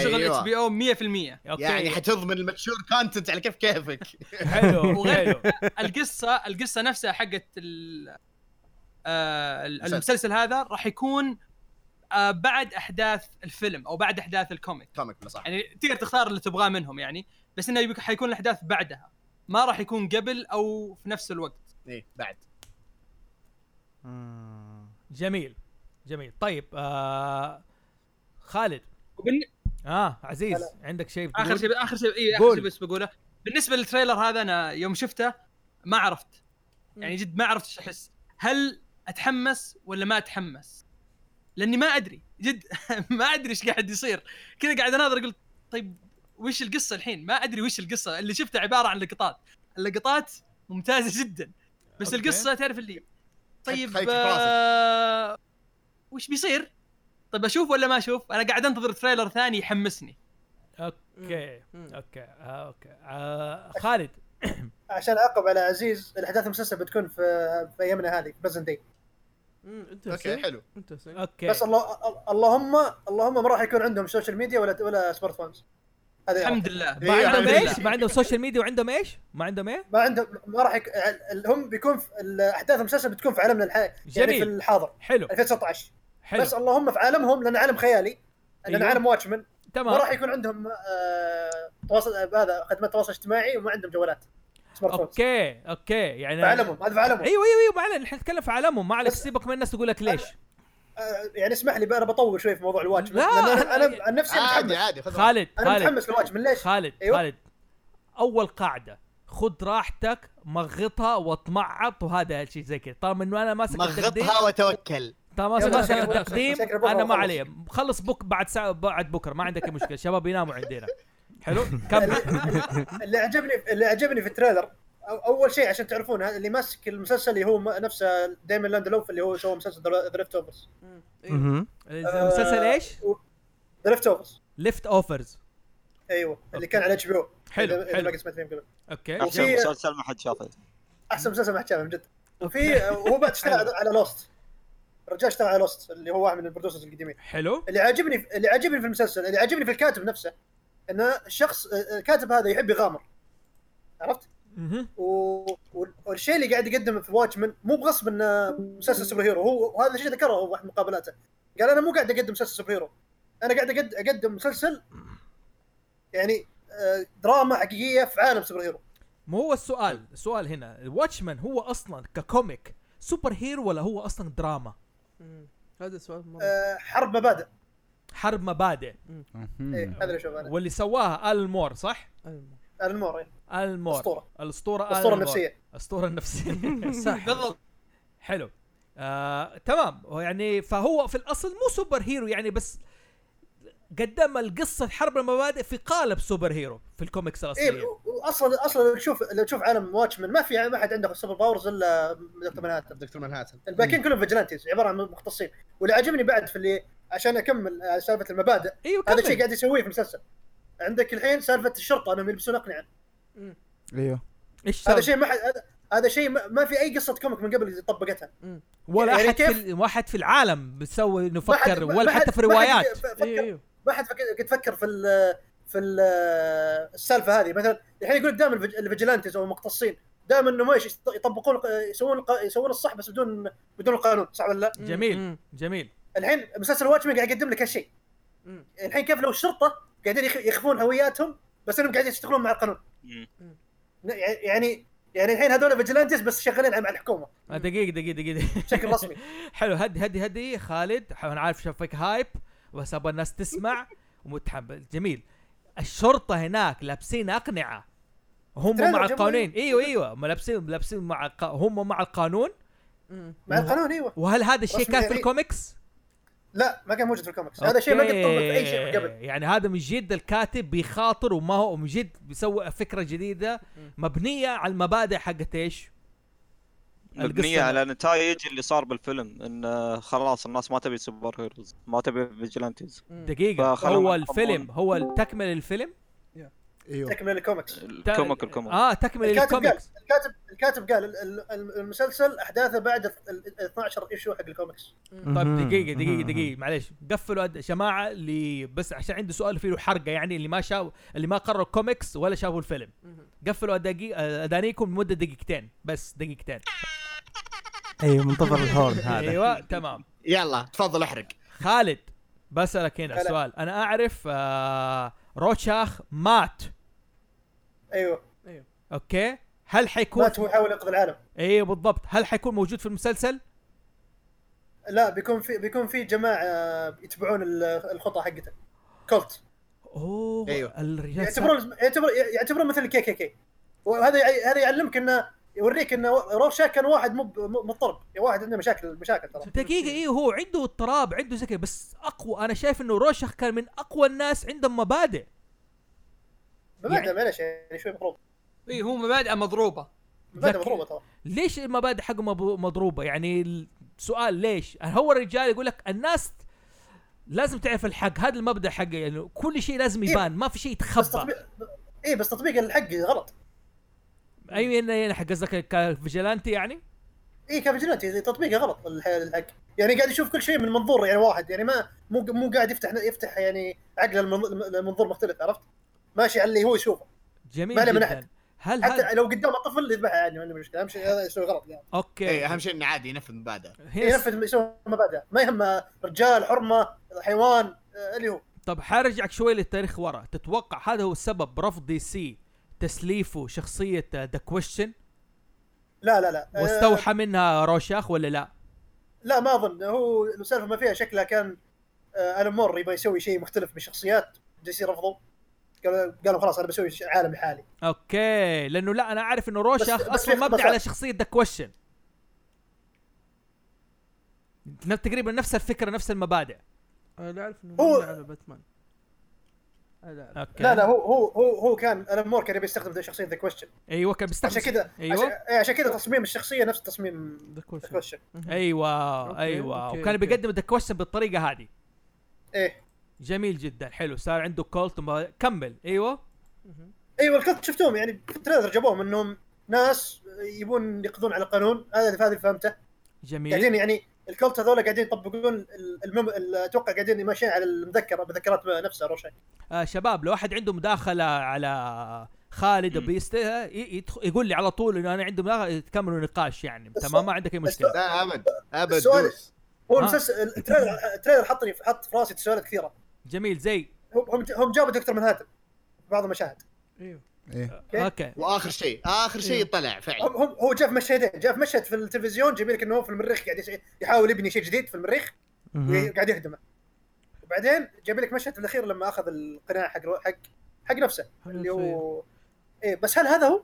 [SPEAKER 2] شغل
[SPEAKER 1] أيوة.
[SPEAKER 2] اتش بي او 100%
[SPEAKER 4] اوكي
[SPEAKER 1] يعني حتضمن الماتشور كونتنت على كيف كيفك
[SPEAKER 4] حلو
[SPEAKER 2] وغير-
[SPEAKER 4] حلو
[SPEAKER 2] القصه القصه نفسها حقت ال- آه، ال-
[SPEAKER 1] مسلسل.
[SPEAKER 2] المسلسل هذا راح يكون آه، بعد احداث الفيلم او بعد احداث الكوميك
[SPEAKER 1] كوميك بلا صح
[SPEAKER 2] يعني تقدر تختار اللي تبغاه منهم يعني بس انه يبقى- حيكون الاحداث بعدها ما راح يكون قبل او في نفس الوقت
[SPEAKER 1] ايه بعد
[SPEAKER 3] مم.
[SPEAKER 4] جميل جميل طيب آه خالد
[SPEAKER 2] وبن...
[SPEAKER 4] اه عزيز عندك شيء
[SPEAKER 2] اخر
[SPEAKER 4] بتقول؟
[SPEAKER 2] شيء اخر شيء اي
[SPEAKER 4] قول.
[SPEAKER 2] اخر شيء بس بقوله بالنسبه للتريلر هذا انا يوم شفته ما عرفت يعني جد ما عرفت ايش احس هل اتحمس ولا ما اتحمس لاني ما ادري جد ما ادري ايش قاعد يصير كذا قاعد اناظر قلت طيب وش القصه الحين ما ادري وش القصه اللي شفته عباره عن لقطات اللقطات ممتازه جدا بس
[SPEAKER 4] أوكي.
[SPEAKER 2] أوكي. القصه تعرف اللي طيب
[SPEAKER 1] خليك
[SPEAKER 2] آه وش بيصير طيب اشوف ولا ما اشوف انا قاعد انتظر تريلر ثاني يحمسني
[SPEAKER 4] اوكي
[SPEAKER 5] مم.
[SPEAKER 4] اوكي آه اوكي آه خالد
[SPEAKER 7] عشان اعقب على عزيز الاحداث المسلسل بتكون في في ايامنا هذه بريزنت داي
[SPEAKER 5] انترستنج
[SPEAKER 9] اوكي حلو
[SPEAKER 5] انترستنج
[SPEAKER 4] اوكي
[SPEAKER 7] بس الله اللهم اللهم ما راح يكون عندهم سوشيال ميديا ولا ولا سمارت فونز هذا يعرف.
[SPEAKER 2] الحمد لله
[SPEAKER 9] إيه،
[SPEAKER 4] ما عندهم
[SPEAKER 9] الحمد
[SPEAKER 2] يعني
[SPEAKER 4] ايش؟ ما عندهم سوشيال ميديا وعندهم ايش؟ ما عندهم ايه؟
[SPEAKER 7] ما عندهم ما راح يك... ال- هم بيكون في ال- احداث المسلسل بتكون في عالمنا الحالي يعني في
[SPEAKER 4] جميل
[SPEAKER 7] الحاضر
[SPEAKER 4] حلو
[SPEAKER 7] 2019
[SPEAKER 4] حلو
[SPEAKER 7] بس اللهم في عالمهم لان عالم خيالي لان
[SPEAKER 4] أيوه.
[SPEAKER 7] عالم واتشمان ما راح
[SPEAKER 4] تمام
[SPEAKER 7] يكون عندهم آه... تواصل آه، هذا خدمات تواصل اجتماعي وما عندهم جوالات سمارت فونز
[SPEAKER 4] اوكي اوكي يعني
[SPEAKER 7] في عالمهم هذا في عالمهم
[SPEAKER 4] ايوه ايوه ايوه ما علينا احنا نتكلم في عالمهم ما عليك
[SPEAKER 7] بس-
[SPEAKER 4] سيبك من الناس تقول لك ليش
[SPEAKER 7] آه، يعني اسمح لي بقى انا بطول شوي في موضوع الواتشمان
[SPEAKER 4] لا،
[SPEAKER 7] لان انا
[SPEAKER 4] أنا-
[SPEAKER 7] انا عن نفسي
[SPEAKER 9] عادي
[SPEAKER 7] متحمس
[SPEAKER 9] عادي خذ راحتك.
[SPEAKER 4] خالد
[SPEAKER 7] انا
[SPEAKER 4] خالد
[SPEAKER 7] متحمس للواتشمان ليش؟
[SPEAKER 4] خالد
[SPEAKER 7] أيوه.
[SPEAKER 4] خالد اول قاعده خذ راحتك مغطها واطمعط وهذا الشيء زي كذا طالما انه انا ماسك التقديم
[SPEAKER 1] مغطها وتوكل
[SPEAKER 4] طالما
[SPEAKER 7] يلا،
[SPEAKER 4] ماسك
[SPEAKER 7] شكل بكرة،
[SPEAKER 4] التقديم
[SPEAKER 7] شكل بكرة
[SPEAKER 4] انا ما
[SPEAKER 7] وخلص.
[SPEAKER 4] علي خلص بك بعد ساعه بعد بكره ما عندك أي مشكله شباب يناموا عندنا حلو كمل
[SPEAKER 7] اللي عجبني اللي عجبني في التريلر أو- اول شيء عشان تعرفون ها- اللي ماسك المسلسل اللي هو م- نفسه دايمون لاندلوف اللي هو سوى مسلسل دريفت اوفرز
[SPEAKER 4] طيب،
[SPEAKER 3] مهم.
[SPEAKER 4] مسلسل ايش؟
[SPEAKER 7] دريفت اوفرز
[SPEAKER 4] ليفت اوفرز
[SPEAKER 7] ايوه اللي كان على اتش بي او
[SPEAKER 4] حلو، حلو.
[SPEAKER 7] سمعت فيه من قبل
[SPEAKER 4] اوكي
[SPEAKER 6] احسن
[SPEAKER 7] وفي-
[SPEAKER 6] مسلسل ما حد شافه
[SPEAKER 7] احسن مسلسل ما حد شافه من جد وفي وهو بعد اشتغل على لوست الرجال اشتغل على لوست اللي هو واحد من البرودوسرز القديمين
[SPEAKER 4] حلو
[SPEAKER 7] اللي عاجبني اللي عاجبني في المسلسل اللي عاجبني في الكاتب نفسه انه الشخص الكاتب هذا يحب يغامر عرفت؟
[SPEAKER 4] مهم.
[SPEAKER 7] و... وال- والشيء اللي قاعد يقدمه في واتشمان مو بغصب انه مسلسل سوبر هيرو هو وهذا الشيء ذكره هو في مقابلاته قال انا مو قاعد اقدم مسلسل سوبر هيرو انا قاعد أقد... اقدم مسلسل يعني آه، دراما حقيقيه في عالم سوبر هيرو
[SPEAKER 4] مو هو السؤال السؤال هنا واتشمان هو اصلا ككوميك سوبر هيرو ولا هو اصلا دراما
[SPEAKER 5] هذا السؤال مره
[SPEAKER 7] آه، حرب مبادئ
[SPEAKER 4] حرب مبادئ
[SPEAKER 7] إيه، هذا اللي اشوفه انا
[SPEAKER 4] واللي سواها ال مور صح
[SPEAKER 5] أيوة.
[SPEAKER 7] ألان مور إيه،
[SPEAKER 4] ال مور
[SPEAKER 7] اسطوره
[SPEAKER 4] الاسطوره آلان
[SPEAKER 7] اسطوره
[SPEAKER 4] مور.
[SPEAKER 7] نفسيه
[SPEAKER 4] الاسطوره النفسيه
[SPEAKER 2] بالضبط
[SPEAKER 4] حلو آه، تمام هو يعني فهو في الاصل مو سوبر هيرو يعني بس قدم القصه حرب المبادئ في قالب سوبر هيرو في الكوميكس
[SPEAKER 7] اي
[SPEAKER 4] الاصليه
[SPEAKER 7] اصلا اصلا إيه، لو تشوف لو تشوف عالم واتشمان ما في يعني ما حد عنده سوبر باورز الا دكتور منهاتن
[SPEAKER 9] دكتور منهاتن
[SPEAKER 7] الباقيين كلهم فيجلانتيز عباره عن مختصين واللي عجبني بعد في اللي عشان اكمل آه، سالفه المبادئ
[SPEAKER 4] ايوه
[SPEAKER 7] هذا الشيء
[SPEAKER 4] كمل
[SPEAKER 7] قاعد يسويه في المسلسل عندك الحين سالفه الشرطه انهم يلبسون اقنعه
[SPEAKER 8] ايوه
[SPEAKER 4] ايش
[SPEAKER 7] هذا
[SPEAKER 4] صار
[SPEAKER 7] شيء ما حد هذا- هذا شيء ما, ما في اي قصه كوميك من قبل طبقتها
[SPEAKER 4] ولا
[SPEAKER 7] يعني
[SPEAKER 4] احد في
[SPEAKER 7] كيف-
[SPEAKER 4] ال- واحد في العالم بيسوي انه
[SPEAKER 7] ما حد-
[SPEAKER 4] فكر
[SPEAKER 7] ما-
[SPEAKER 4] ولا
[SPEAKER 7] ما
[SPEAKER 4] حتى
[SPEAKER 7] حد-
[SPEAKER 4] في إيه.
[SPEAKER 7] ما حد
[SPEAKER 4] روايات
[SPEAKER 7] فكر-
[SPEAKER 5] ايوه ايوه
[SPEAKER 7] ما حد فكر قد فكر في ال في ال السالفه هذه مثلا الحين يقول لك دائما الفج- الفيجلانتيز او المقتصين دائما انه ما يش- يطبقون يسوون الق- يسوون الصح بس بدون بدون القانون صح ولا لا؟
[SPEAKER 4] جميل
[SPEAKER 5] مم.
[SPEAKER 4] جميل
[SPEAKER 7] الحين مسلسل واتشمان قاعد يقدم لك هالشيء
[SPEAKER 5] مم.
[SPEAKER 7] الحين كيف لو الشرطه قاعدين يخ- يخفون هوياتهم بس انهم قاعدين يشتغلون مع القانون
[SPEAKER 6] مم.
[SPEAKER 7] ن- يعني يعني الحين هذول فيجلانتيز بس شغالين مع الحكومه
[SPEAKER 4] آه، دقيقه دقيقه دقيقه
[SPEAKER 7] بشكل رسمي
[SPEAKER 4] حلو هدي هدي هدي خالد ح- انا عارف شافك هايب بس ابغى الناس تسمع ومتحمل جميل الشرطه هناك لابسين اقنعه هم
[SPEAKER 7] تريلر
[SPEAKER 4] مع
[SPEAKER 7] جمهوري.
[SPEAKER 4] القانون ايوه ايوه ما لابسين لابسين مع الق- هم مع القانون
[SPEAKER 5] مم.
[SPEAKER 7] مع القانون ايوه
[SPEAKER 4] وهل هذا الشيء
[SPEAKER 7] رسمي
[SPEAKER 4] كان في
[SPEAKER 7] يعني.
[SPEAKER 4] الكوميكس؟
[SPEAKER 7] لا ما كان موجود في الكوميكس هذا شيء ما قد
[SPEAKER 4] أوكي.
[SPEAKER 7] طبق في اي شيء من قبل
[SPEAKER 4] يعني هذا من جد الكاتب بيخاطر وما هو من جد بيسوي فكره جديده مبنيه على المبادئ حقت ايش؟
[SPEAKER 6] مبنيه على نتائج اللي صار بالفيلم ان آه، خلاص الناس ما تبي سوبر هيروز ما تبي فيجلانتيز
[SPEAKER 4] دقيقه
[SPEAKER 6] فخلونا
[SPEAKER 4] هو
[SPEAKER 6] نحطهم.
[SPEAKER 4] الفيلم هو تكمل الفيلم؟
[SPEAKER 8] ايوه
[SPEAKER 7] تكمل الكوميكس
[SPEAKER 4] تا-
[SPEAKER 6] الكوميك الكوميك
[SPEAKER 4] اه تكمل
[SPEAKER 7] الكاتب قال
[SPEAKER 4] الكوميكس
[SPEAKER 7] الكاتب الكاتب قال ال- ال- ال- المسلسل احداثه بعد ال- ال- 12 ايشو حق الكوميكس
[SPEAKER 4] طيب
[SPEAKER 3] مهم.
[SPEAKER 4] دقيقة دقيقة
[SPEAKER 3] مهم.
[SPEAKER 4] دقيقة معليش قفلوا يا جماعة اللي بس عشان عنده سؤال فيه له حرقة يعني اللي ما شاف اللي ما قروا الكوميكس ولا شافوا الفيلم قفلوا أداقي- أدانيكم لمدة دقيقتين بس دقيقتين
[SPEAKER 3] ايوه منتظر الهورن هذا
[SPEAKER 4] ايوه تمام
[SPEAKER 1] يلا تفضل احرق
[SPEAKER 4] خالد بسألك هنا
[SPEAKER 7] هلا.
[SPEAKER 4] سؤال أنا أعرف آه روتشاخ مات
[SPEAKER 7] ايوه
[SPEAKER 4] أوكي هل حيكون
[SPEAKER 7] مات هو يحاول ينقذ العالم
[SPEAKER 4] ايوه بالضبط هل حيكون موجود في المسلسل؟
[SPEAKER 7] لا بيكون في بيكون في جماعه يتبعون ال- الخطه حقته كولت
[SPEAKER 4] اوه
[SPEAKER 1] أيوه.
[SPEAKER 4] الرجال سا-
[SPEAKER 7] أيوة. يعتبرون يعتبر يعتبرون مثل الكي كي كي وهذا يع- هذا يعلمك انه يوريك انه روشا كان واحد مو ب- مو مضطرب يعني واحد عنده مشاكل مشاكل ترى
[SPEAKER 4] دقيقة ايه هو عنده اضطراب عنده زي كده، بس اقوى انا شايف انه روشخ كان من اقوى الناس عندهم مبادئ
[SPEAKER 7] مبادئ معلش يعني شوي مضروب
[SPEAKER 2] اي هو مبادئه مضروبه
[SPEAKER 7] مبادئ
[SPEAKER 4] لكن-
[SPEAKER 7] مضروبه ترى
[SPEAKER 4] ليش المبادئ حقه مب- مضروبه يعني السؤال ليش هو الرجال يقول لك الناس لازم تعرف الحق هذا المبدا حقه يعني كل شيء لازم يبان ما في شيء
[SPEAKER 7] إيه. بس
[SPEAKER 4] يتخبى
[SPEAKER 7] تطبيق اي بس تطبيق الحق غلط
[SPEAKER 4] اي يعني حق قصدك كفيجلانتي يعني
[SPEAKER 7] اي كافيجيلانتي إيه، تطبيقه غلط الح- الحق يعني قاعد يشوف كل شيء من منظور يعني واحد يعني ما مو مو قاعد يفتح يفتح يعني عقله لمن- لمنظور مختلف عرفت؟ ماشي على اللي هو يشوفه
[SPEAKER 4] جميل
[SPEAKER 7] ما له من
[SPEAKER 4] جدا
[SPEAKER 7] أحد.
[SPEAKER 4] هل هل
[SPEAKER 7] حتى لو قدامه طفل يذبحه عادي ما عنده مشكله اهم شيء هذا يسوي غلط يعني
[SPEAKER 4] اوكي
[SPEAKER 1] اي اهم إيه، شيء انه عادي ينفذ مبادئ
[SPEAKER 4] هنا
[SPEAKER 7] ينفذ يسوي مبادئ ما يهم رجال حرمه حيوان آه، اللي هو
[SPEAKER 4] طب حرجعك شوي للتاريخ ورا تتوقع هذا هو السبب رفض دي سي تسليفه شخصية ذا كويشن
[SPEAKER 7] لا لا لا آه،
[SPEAKER 4] واستوحى منها روشاخ ولا لا؟
[SPEAKER 7] لا ما اظن هو السالفه ما فيها شكلها كان آه، الان مور يبغى يسوي شيء مختلف بالشخصيات جي سي رفضوا قالوا قالوا خلاص انا بسوي ش- عالم لحالي
[SPEAKER 4] اوكي لانه لا انا اعرف انه روشاخ
[SPEAKER 7] بس
[SPEAKER 4] اصلا
[SPEAKER 7] في-
[SPEAKER 4] مبني
[SPEAKER 7] بس-
[SPEAKER 4] على شخصية ذا كويشن تقريبا نفس الفكرة نفس المبادئ
[SPEAKER 5] انا آه، لا اعرف انه
[SPEAKER 7] هو-
[SPEAKER 5] مبني على باتمان أنا لا أعرف.
[SPEAKER 4] اوكي
[SPEAKER 7] لا لا هو هو هو هو كان الان مور كان يبي يستخدم ذا شخصيه ذا كويشن
[SPEAKER 4] ايوه كان بيستخدم
[SPEAKER 7] عشان كذا
[SPEAKER 4] ايوه
[SPEAKER 7] عشان- إيه، عشان كذا تصميم الشخصيه نفس تصميم
[SPEAKER 5] ذا
[SPEAKER 7] ذا
[SPEAKER 5] كويشن
[SPEAKER 7] كويشن
[SPEAKER 4] ايوه
[SPEAKER 5] أوكي،
[SPEAKER 4] ايوه
[SPEAKER 5] أوكي،
[SPEAKER 4] وكان
[SPEAKER 5] أوكي.
[SPEAKER 4] بيقدم ذا كويشن بالطريقة هذه
[SPEAKER 7] ايه
[SPEAKER 4] جميل جدا حلو صار عنده كولت وما- كمل ايوه
[SPEAKER 7] ايوه الكت شفتوهم يعني في التريلر جابوهم انهم ناس يبون يقضون على القانون هذا هذا اللي فهمته
[SPEAKER 4] جميل
[SPEAKER 7] قاعدين يعني الكلت هذول قاعدين يطبقون ال- المم... ال- اتوقع قاعدين ماشيين على المذكره مذكرات نفسها او شيء
[SPEAKER 4] آه شباب لو احد عنده مداخله على خالد بيست يقول لي على طول انه انا عندي مداخله تكملوا نقاش يعني
[SPEAKER 7] بس-
[SPEAKER 4] تمام ما عندك اي مشكله
[SPEAKER 1] لا ابد ابد
[SPEAKER 7] السؤال-
[SPEAKER 1] دوس
[SPEAKER 7] هو
[SPEAKER 4] آه.
[SPEAKER 7] المسلسل التريلر التريلر حطني حط في راسي تساؤلات كثيره
[SPEAKER 4] جميل زي
[SPEAKER 7] هم هم- هم جابوا دكتور منهاتن في بعض المشاهد
[SPEAKER 5] ايوه
[SPEAKER 8] ايه
[SPEAKER 7] إيه.
[SPEAKER 4] اوكي
[SPEAKER 1] واخر شيء اخر شيء طلع فعلا
[SPEAKER 7] هم هم هو جاء في مشهدين جاء في مشهد في التلفزيون جايب لك انه هو في المريخ قاعد يش- يحاول يبني شيء جديد في المريخ وقاعد يهدمه وبعدين جايب لك مشهد في الاخير لما اخذ القناع حق رو- حق حق نفسه اللي هو
[SPEAKER 5] إيه.
[SPEAKER 7] ايه بس هل هذا هو؟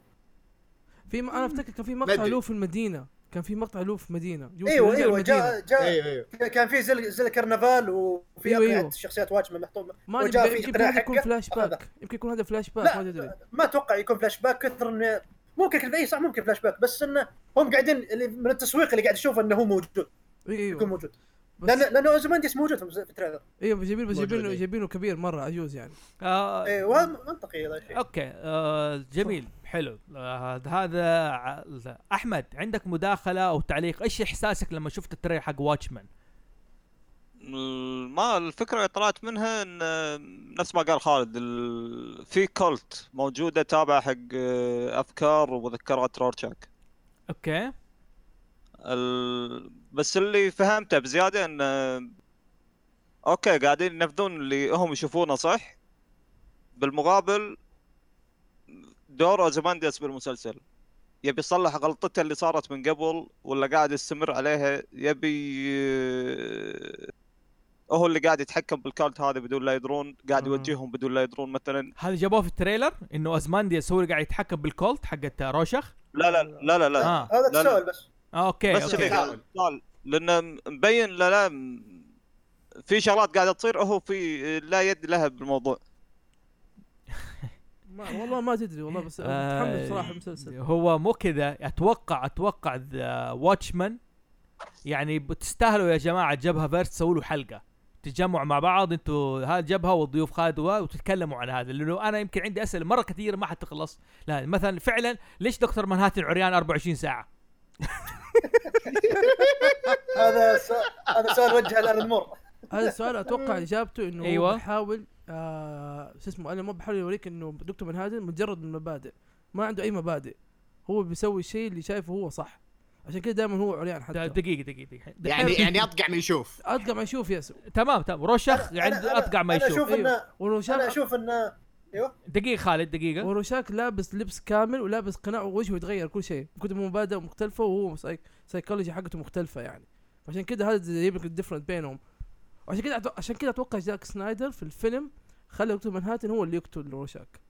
[SPEAKER 5] في م... انا افتكر كان في مقطع
[SPEAKER 1] مدري.
[SPEAKER 5] له في المدينه كان في مقطع له في مدينه يوم
[SPEAKER 7] ايوه
[SPEAKER 5] يرجع
[SPEAKER 7] ايوه
[SPEAKER 5] المدينة.
[SPEAKER 7] جاء جاء
[SPEAKER 1] ايوه ايوه
[SPEAKER 7] كان في زي زي الكرنفال وفي
[SPEAKER 5] أيوه،
[SPEAKER 7] أقنعة
[SPEAKER 5] أيوه.
[SPEAKER 7] شخصيات واجمه محطومه
[SPEAKER 5] ما
[SPEAKER 7] وجاء
[SPEAKER 5] ادري
[SPEAKER 7] في
[SPEAKER 5] يمكن
[SPEAKER 7] اقتراح
[SPEAKER 5] هذا يكون
[SPEAKER 7] حقه.
[SPEAKER 5] فلاش باك
[SPEAKER 7] أخذها.
[SPEAKER 5] يمكن يكون هذا فلاش باك
[SPEAKER 7] لا،
[SPEAKER 5] ما تدري
[SPEAKER 7] ما اتوقع يكون فلاش باك كثر انه ممكن كذا اي صح ممكن فلاش باك بس انه هم قاعدين اللي من التسويق اللي قاعد يشوفه انه هو موجود يكون
[SPEAKER 5] ايوه
[SPEAKER 7] موجود
[SPEAKER 5] بس
[SPEAKER 7] لان لانه اوزمانديس موجود في التريلر
[SPEAKER 5] ايوه جايبين بس
[SPEAKER 1] موجود،
[SPEAKER 5] جايبينه
[SPEAKER 1] إيه.
[SPEAKER 5] جايبينه كبير مره عجوز يعني
[SPEAKER 4] آه
[SPEAKER 7] اي وهذا إيوه، منطقي هذا الشيء
[SPEAKER 4] اوكي آه جميل حلو آه هذا ع- احمد عندك مداخله او تعليق ايش احساسك لما شفت التريلر حق واتشمان
[SPEAKER 6] ما الفكره اللي طلعت منها ان نفس ما قال خالد ال- في كولت موجوده تابعه حق آه، افكار ومذكرات رورتشاك
[SPEAKER 4] اوكي
[SPEAKER 6] ال... بس اللي فهمته بزياده ان اوكي قاعدين ينفذون اللي هم يشوفونه صح بالمقابل دور اوزمانديس بالمسلسل يبي يصلح غلطته اللي صارت من قبل ولا قاعد يستمر عليها يبي آه، هو اللي قاعد يتحكم بالكارت هذا بدون لا يدرون قاعد
[SPEAKER 3] مم.
[SPEAKER 6] يوجههم بدون لا يدرون مثلا
[SPEAKER 4] هذا جابوه في التريلر انه ازمانديس هو اللي قاعد يتحكم بالكولت حقت روشخ
[SPEAKER 6] لا لا لا لا, لا.
[SPEAKER 4] اه
[SPEAKER 7] هذا
[SPEAKER 6] لا،
[SPEAKER 7] التساؤل بس
[SPEAKER 4] آه، اوكي
[SPEAKER 6] آه. بس
[SPEAKER 4] اوكي
[SPEAKER 6] شذي قال قال لان مبين لا لا م- في شغلات قاعده تصير هو في لا يد لها بالموضوع
[SPEAKER 5] ما والله ما تدري والله بس
[SPEAKER 4] آه،
[SPEAKER 5] متحمس صراحه المسلسل
[SPEAKER 4] هو مو كذا اتوقع اتوقع ذا واتشمان يعني بتستاهلوا يا جماعه جبهه فيرس تسووا له حلقه تجمع مع بعض انتوا هذا الجبهه والضيوف خالد و- وتتكلموا عن هذا لانه انا يمكن عندي اسئله مره كثيره ما حتخلص لا مثلا فعلا ليش دكتور منهاتن عريان 24 ساعه
[SPEAKER 7] هذا س... هذا سؤال وجهه لالان مور
[SPEAKER 5] هذا السؤال اتوقع اجابته انه
[SPEAKER 4] أيوة.
[SPEAKER 5] ايوه بحاول آه شو اسمه انا ما بحاول يوريك انه دكتور منهاتن مجرد من مبادئ ما عنده اي مبادئ هو بيسوي الشيء اللي شايفه هو صح عشان كده دائما هو عريان
[SPEAKER 4] دقيقه
[SPEAKER 5] حتى
[SPEAKER 4] دقيقه دقيقه
[SPEAKER 1] يعني يعني اطقع من يشوف
[SPEAKER 5] اطلع ما يشوف ياسو
[SPEAKER 4] تمام تمام روشخ
[SPEAKER 7] أنا-
[SPEAKER 4] عنده
[SPEAKER 7] أنا-
[SPEAKER 4] اطقع ما
[SPEAKER 7] انا
[SPEAKER 4] يشوف
[SPEAKER 7] اشوف انه انا
[SPEAKER 5] وروشاك
[SPEAKER 7] اشوف انه
[SPEAKER 4] دقيقه خالد دقيقه
[SPEAKER 5] وروشاك لابس لبس كامل ولابس قناع ووجهه يتغير كل شيء كتب مبادئ مختلفه وهو سايك- سايكولوجي حقته مختلفه يعني عشان كده هذا يجيب لك الديفرنت بينهم وعشان كده أتو- عشان كده اتوقع جاك سنايدر في الفيلم خلى دكتور منهاتن هو اللي يقتل روشاك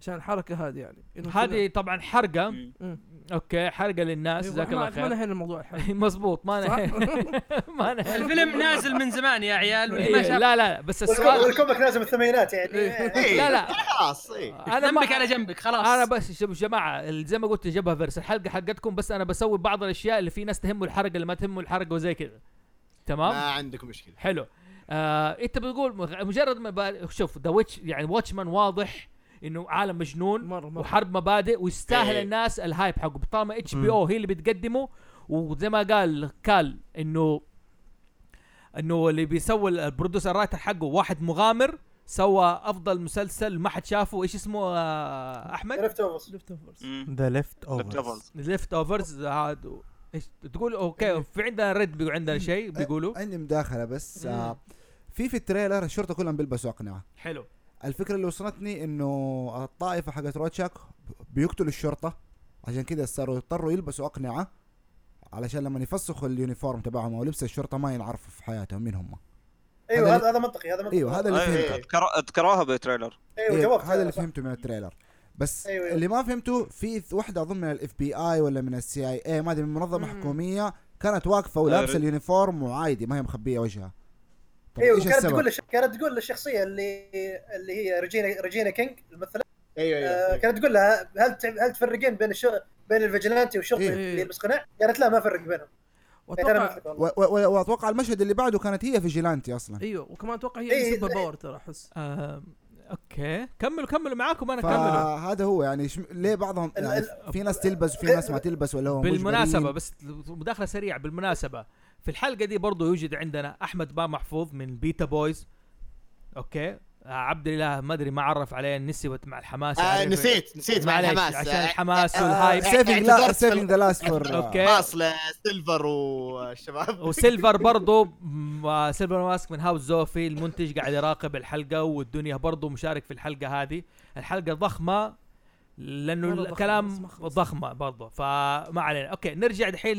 [SPEAKER 5] عشان الحركه هذه يعني إنه
[SPEAKER 4] هذه طبعا حرقه
[SPEAKER 5] مم.
[SPEAKER 4] اوكي حرقه للناس
[SPEAKER 5] كذا-
[SPEAKER 4] جزاك
[SPEAKER 5] أيوة، ما-
[SPEAKER 4] الله
[SPEAKER 5] ما
[SPEAKER 4] خير
[SPEAKER 5] نهينا الموضوع الحين
[SPEAKER 4] مظبوط ما أنا- ما أنا-
[SPEAKER 2] الفيلم نازل من زمان يا عيال واللي ما
[SPEAKER 4] إيه،
[SPEAKER 2] شاف
[SPEAKER 4] لا لا لا بس
[SPEAKER 7] والكوم-
[SPEAKER 4] السؤال
[SPEAKER 7] والكوميك لازم الثمانينات يعني
[SPEAKER 1] إيه،
[SPEAKER 4] لا لا
[SPEAKER 1] خلاص إيه.
[SPEAKER 4] انا ما
[SPEAKER 2] ذنبك على جنبك خلاص
[SPEAKER 4] انا بس شوف جماعه ال- زي ما قلت جبهه فيرس الحلقه حقتكم بس انا بسوي بعض الاشياء اللي في ناس تهمه الحرقه اللي ما تهمه الحرقه وزي كذا تمام
[SPEAKER 2] نعم.
[SPEAKER 1] ما عندكم مشكله
[SPEAKER 4] حلو آه، انت بتقول مغ- مجرد ما بقى- شوف ذا ويتش يعني واتشمان واضح انه عالم مجنون
[SPEAKER 5] مره مره
[SPEAKER 4] وحرب مبادئ ويستاهل
[SPEAKER 1] إيه.
[SPEAKER 4] الناس الهايب حقه طالما اتش بي
[SPEAKER 3] مم.
[SPEAKER 4] او هي اللي بتقدمه وزي ما قال كال انه انه اللي بيسوي البرودوسر رايتر حقه واحد مغامر سوى افضل مسلسل ما حد شافه ايش اسمه آه، احمد
[SPEAKER 7] عرفت اوفرز
[SPEAKER 5] ليفت اوفرز
[SPEAKER 6] مم.
[SPEAKER 3] ذا ليفت اوفر
[SPEAKER 6] Leftovers.
[SPEAKER 4] ليفت اوفرز هذا ايش آه، تقول اوكي في عندنا ريد بيقول عندنا شيء بيقولوا
[SPEAKER 8] عندي مداخله بس آه في في التريلر الشرطه كلهم بيلبسوا اقنعه
[SPEAKER 4] حلو
[SPEAKER 8] الفكره اللي وصلتني انه الطائفه حقت روتشاك بيقتلوا الشرطه عشان كذا صاروا يضطروا يلبسوا اقنعه علشان لما يفسخوا اليونيفورم تبعهم او لبس الشرطه ما ينعرفوا في حياتهم مين هم
[SPEAKER 7] ايوه
[SPEAKER 8] هذا-
[SPEAKER 7] هذا هذا منطقي هذا منطقي
[SPEAKER 8] ايوه هذا اللي
[SPEAKER 6] أي-
[SPEAKER 8] فهمته
[SPEAKER 6] أذكر- اذكروها آه، بالتريلر
[SPEAKER 7] ايوه
[SPEAKER 8] إيه
[SPEAKER 7] جاوبت
[SPEAKER 8] هذا اللي
[SPEAKER 7] صح.
[SPEAKER 8] فهمته من التريلر بس
[SPEAKER 7] أيوة،
[SPEAKER 8] أيوة
[SPEAKER 7] أيوة.
[SPEAKER 8] اللي ما فهمته في ث- واحده اظن من الاف بي اي ولا من السي اي اي ما ادري من منظمه
[SPEAKER 5] مم.
[SPEAKER 8] حكوميه كانت واقفه ولابسه
[SPEAKER 6] أيوة.
[SPEAKER 8] اليونيفورم وعادي ما هي مخبيه وجهها طب
[SPEAKER 7] ايوه
[SPEAKER 8] ايش
[SPEAKER 7] كانت
[SPEAKER 8] السبب؟
[SPEAKER 7] تقول للش... كانت تقول للشخصيه اللي اللي هي ريجينا ريجينا كينج الممثله
[SPEAKER 1] ايوه
[SPEAKER 7] آه،
[SPEAKER 1] ايوه
[SPEAKER 7] كانت تقول لها هل تع- هل تفرقين بين الش... بين الفيجلانتي والشرطي
[SPEAKER 8] إيه.
[SPEAKER 7] اللي يلبس قناع؟ قالت لا ما افرق بينهم يعني أنا
[SPEAKER 5] واتوقع
[SPEAKER 7] مثلك والله.
[SPEAKER 8] و- و- واتوقع المشهد اللي بعده كانت هي فيجيلانتي اصلا
[SPEAKER 5] ايوه وكمان اتوقع هي
[SPEAKER 7] إيه،
[SPEAKER 5] إيه سوبر
[SPEAKER 7] إيه.
[SPEAKER 5] باور ترى احس
[SPEAKER 4] آه، اوكي كملوا كملوا معاكم انا كملوا
[SPEAKER 8] فهذا هو يعني شم... ليه بعضهم
[SPEAKER 7] ال-
[SPEAKER 8] يعني في ناس تلبس وفي
[SPEAKER 7] غير-
[SPEAKER 8] ناس ما تلبس ولا هو
[SPEAKER 4] بالمناسبه
[SPEAKER 8] مجبرين.
[SPEAKER 4] بس مداخله سريعه بالمناسبه في الحلقه دي برضو يوجد عندنا احمد با محفوظ من بيتا بويز اوكي آه، عبد الاله ما ادري ما عرف عليه نسبت مع الحماس
[SPEAKER 1] آه
[SPEAKER 4] عارف-
[SPEAKER 1] نسيت نسيت مع
[SPEAKER 4] معليش،
[SPEAKER 1] الحماس
[SPEAKER 4] عشان
[SPEAKER 1] آه،
[SPEAKER 4] الحماس
[SPEAKER 1] آه،
[SPEAKER 4] والهايب.
[SPEAKER 1] آه،
[SPEAKER 8] سيفنج لا
[SPEAKER 1] اعتذرت في
[SPEAKER 8] سيفنج ذا لاست فور
[SPEAKER 4] اوكي
[SPEAKER 1] الخاص لسيلفر والشباب
[SPEAKER 4] وسيلفر برضو م- آه، سيلفر ماسك من هاوس زوفي المنتج قاعد يراقب الحلقه والدنيا برضو مشارك في الحلقه هذه الحلقه ضخمه لانه
[SPEAKER 5] مرة ضخمة، بس
[SPEAKER 4] الكلام
[SPEAKER 5] ما خلص.
[SPEAKER 4] ضخمه برضه فما علينا اوكي نرجع دحين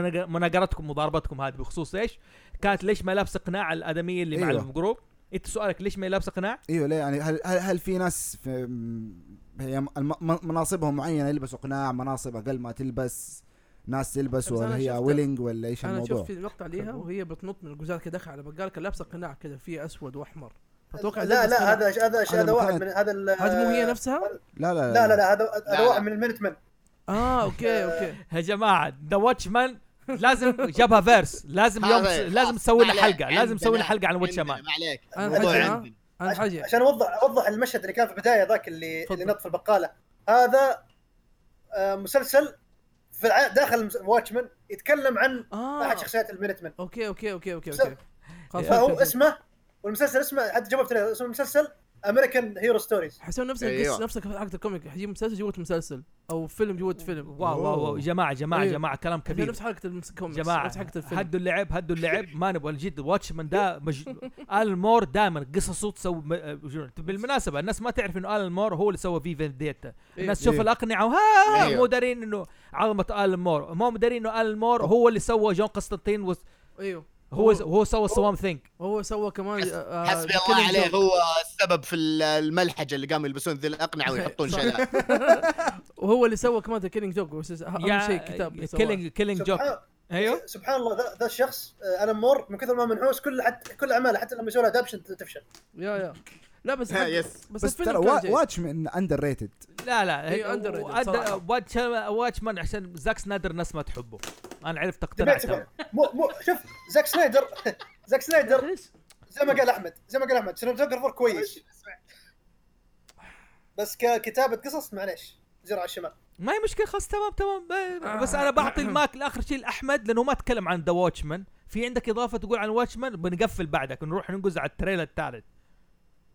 [SPEAKER 4] لمناقرتكم مضاربتكم هذه بخصوص ايش كانت ليش ما لابسه قناع الادميه اللي مع
[SPEAKER 8] أيوة.
[SPEAKER 4] الجروب انت سؤالك ليش ما لابسه قناع
[SPEAKER 8] ايوه ليه يعني هل هل, هل في ناس في م- هي م- الم- م- مناصبهم معينه يلبسوا قناع مناصب اقل ما تلبس ناس تلبس
[SPEAKER 5] بس أنا
[SPEAKER 8] ولا هي
[SPEAKER 5] شفت-
[SPEAKER 8] ويلنج ولا ايش
[SPEAKER 5] انا
[SPEAKER 8] الموضوع
[SPEAKER 5] شفت مقطع ليها وهي بتنط من الجزار كده داخل على بقال كان لابسه قناع كده فيه اسود واحمر اتوقع
[SPEAKER 7] لا لا هذا هذا
[SPEAKER 8] أنا
[SPEAKER 7] هذا واحد
[SPEAKER 8] متأكد.
[SPEAKER 7] من هذا ال-
[SPEAKER 5] هذه مو هي نفسها؟
[SPEAKER 8] لا لا
[SPEAKER 7] لا لا لا هذا هذا
[SPEAKER 1] لا.
[SPEAKER 7] واحد من المينتمن
[SPEAKER 5] اه اوكي اوكي
[SPEAKER 4] يا جماعه ذا واتش مان لازم جابها فيرس لازم يوم لازم تسوي لنا حلقه لازم تسوي لنا حلقه عن واتش مان
[SPEAKER 1] ما عليك
[SPEAKER 5] أنا- آه،
[SPEAKER 1] الموضوع
[SPEAKER 5] أنا-
[SPEAKER 1] عندنا
[SPEAKER 5] انا حاجه
[SPEAKER 7] عشان اوضح اوضح المشهد اللي كان في البدايه ذاك اللي
[SPEAKER 5] تفضل.
[SPEAKER 7] اللي نط في البقاله هذا آه، مسلسل في الع- داخل واتشمان يتكلم عن احد
[SPEAKER 5] اه
[SPEAKER 7] شخصيات المينتمن
[SPEAKER 5] اوكي اوكي اوكي اوكي
[SPEAKER 7] سر.
[SPEAKER 5] اوكي خلاص
[SPEAKER 7] فهو
[SPEAKER 5] فهمت.
[SPEAKER 7] اسمه والمسلسل اسمه حتى جابوا في التريلر، اسم المسلسل امريكان هيرو ستوريز
[SPEAKER 5] حيسوي نفس
[SPEAKER 1] أيوة.
[SPEAKER 5] القصه نفس حقت الكوميك حيجيب مسلسل جوة مسلسل او فيلم جوة فيلم
[SPEAKER 4] واو واو واو جماعه جماعه
[SPEAKER 5] أيوة.
[SPEAKER 4] جماعه كلام
[SPEAKER 5] كبير
[SPEAKER 4] كبير
[SPEAKER 5] نفس حلقه الكوميك
[SPEAKER 4] جماعه
[SPEAKER 5] نفس حلقه الفيلم
[SPEAKER 4] هدوا اللعب هدوا اللعب ما نبغى الجد واتشمان ده مج... آل مور دائما قصصه تسوي م- مجنون. بالمناسبه الناس ما تعرف انه آل مور هو اللي سوى في فنديتا الناس تشوف
[SPEAKER 8] إيه.
[SPEAKER 4] الاقنعه وها
[SPEAKER 1] أيوة.
[SPEAKER 4] مو دارين انه عظمه آل مور مو دارين انه آل مور هو اللي سوى جون قسطنطين و...
[SPEAKER 5] ايوه
[SPEAKER 4] هو هو سوى سوام ثينك
[SPEAKER 5] هو سوى كمان آه،
[SPEAKER 1] حسبي الله
[SPEAKER 5] كيلينج
[SPEAKER 1] عليه
[SPEAKER 5] جوك.
[SPEAKER 1] هو السبب في ال- الملحجه اللي قاموا يلبسون ذي الاقنعه ويحطون
[SPEAKER 5] صح.
[SPEAKER 1] شيء
[SPEAKER 5] وهو اللي سوى كمان ذا كيلينج جوك اهم شيء كتاب
[SPEAKER 4] كيلينج كيلينج جوك
[SPEAKER 7] سبحان,
[SPEAKER 4] ايوه
[SPEAKER 7] سبحان الله ذا, ذا الشخص الم مور من كثر ما منحوس كل حتى كل اعماله حتى لما يسوي لها ادابشن تفشل
[SPEAKER 5] يا يا لا بس
[SPEAKER 1] ها، يس.
[SPEAKER 5] بس,
[SPEAKER 8] بس ترى
[SPEAKER 5] وات
[SPEAKER 8] واتشمان اندر ريتد
[SPEAKER 4] لا لا
[SPEAKER 5] أيوة، underrated صراحة.
[SPEAKER 4] واتشمان عشان زاك سنايدر الناس ما تحبه انا عرفت اقتنعت
[SPEAKER 7] دبيتبل مو مو شوف زاك سنايدر زاك سنايدر زي ما قال احمد زي ما قال احمد سينماتوجرافر كويس بس ككتابه قصص معليش زر على الشمال
[SPEAKER 4] ما هي مشكله خلاص تمام تمام ب- بس انا بعطي الماك لاخر شيء لاحمد لانه ما تكلم عن ذا واتشمان في عندك اضافه تقول عن واتشمان بنقفل بعدك نروح ننقز على التريلر الثالث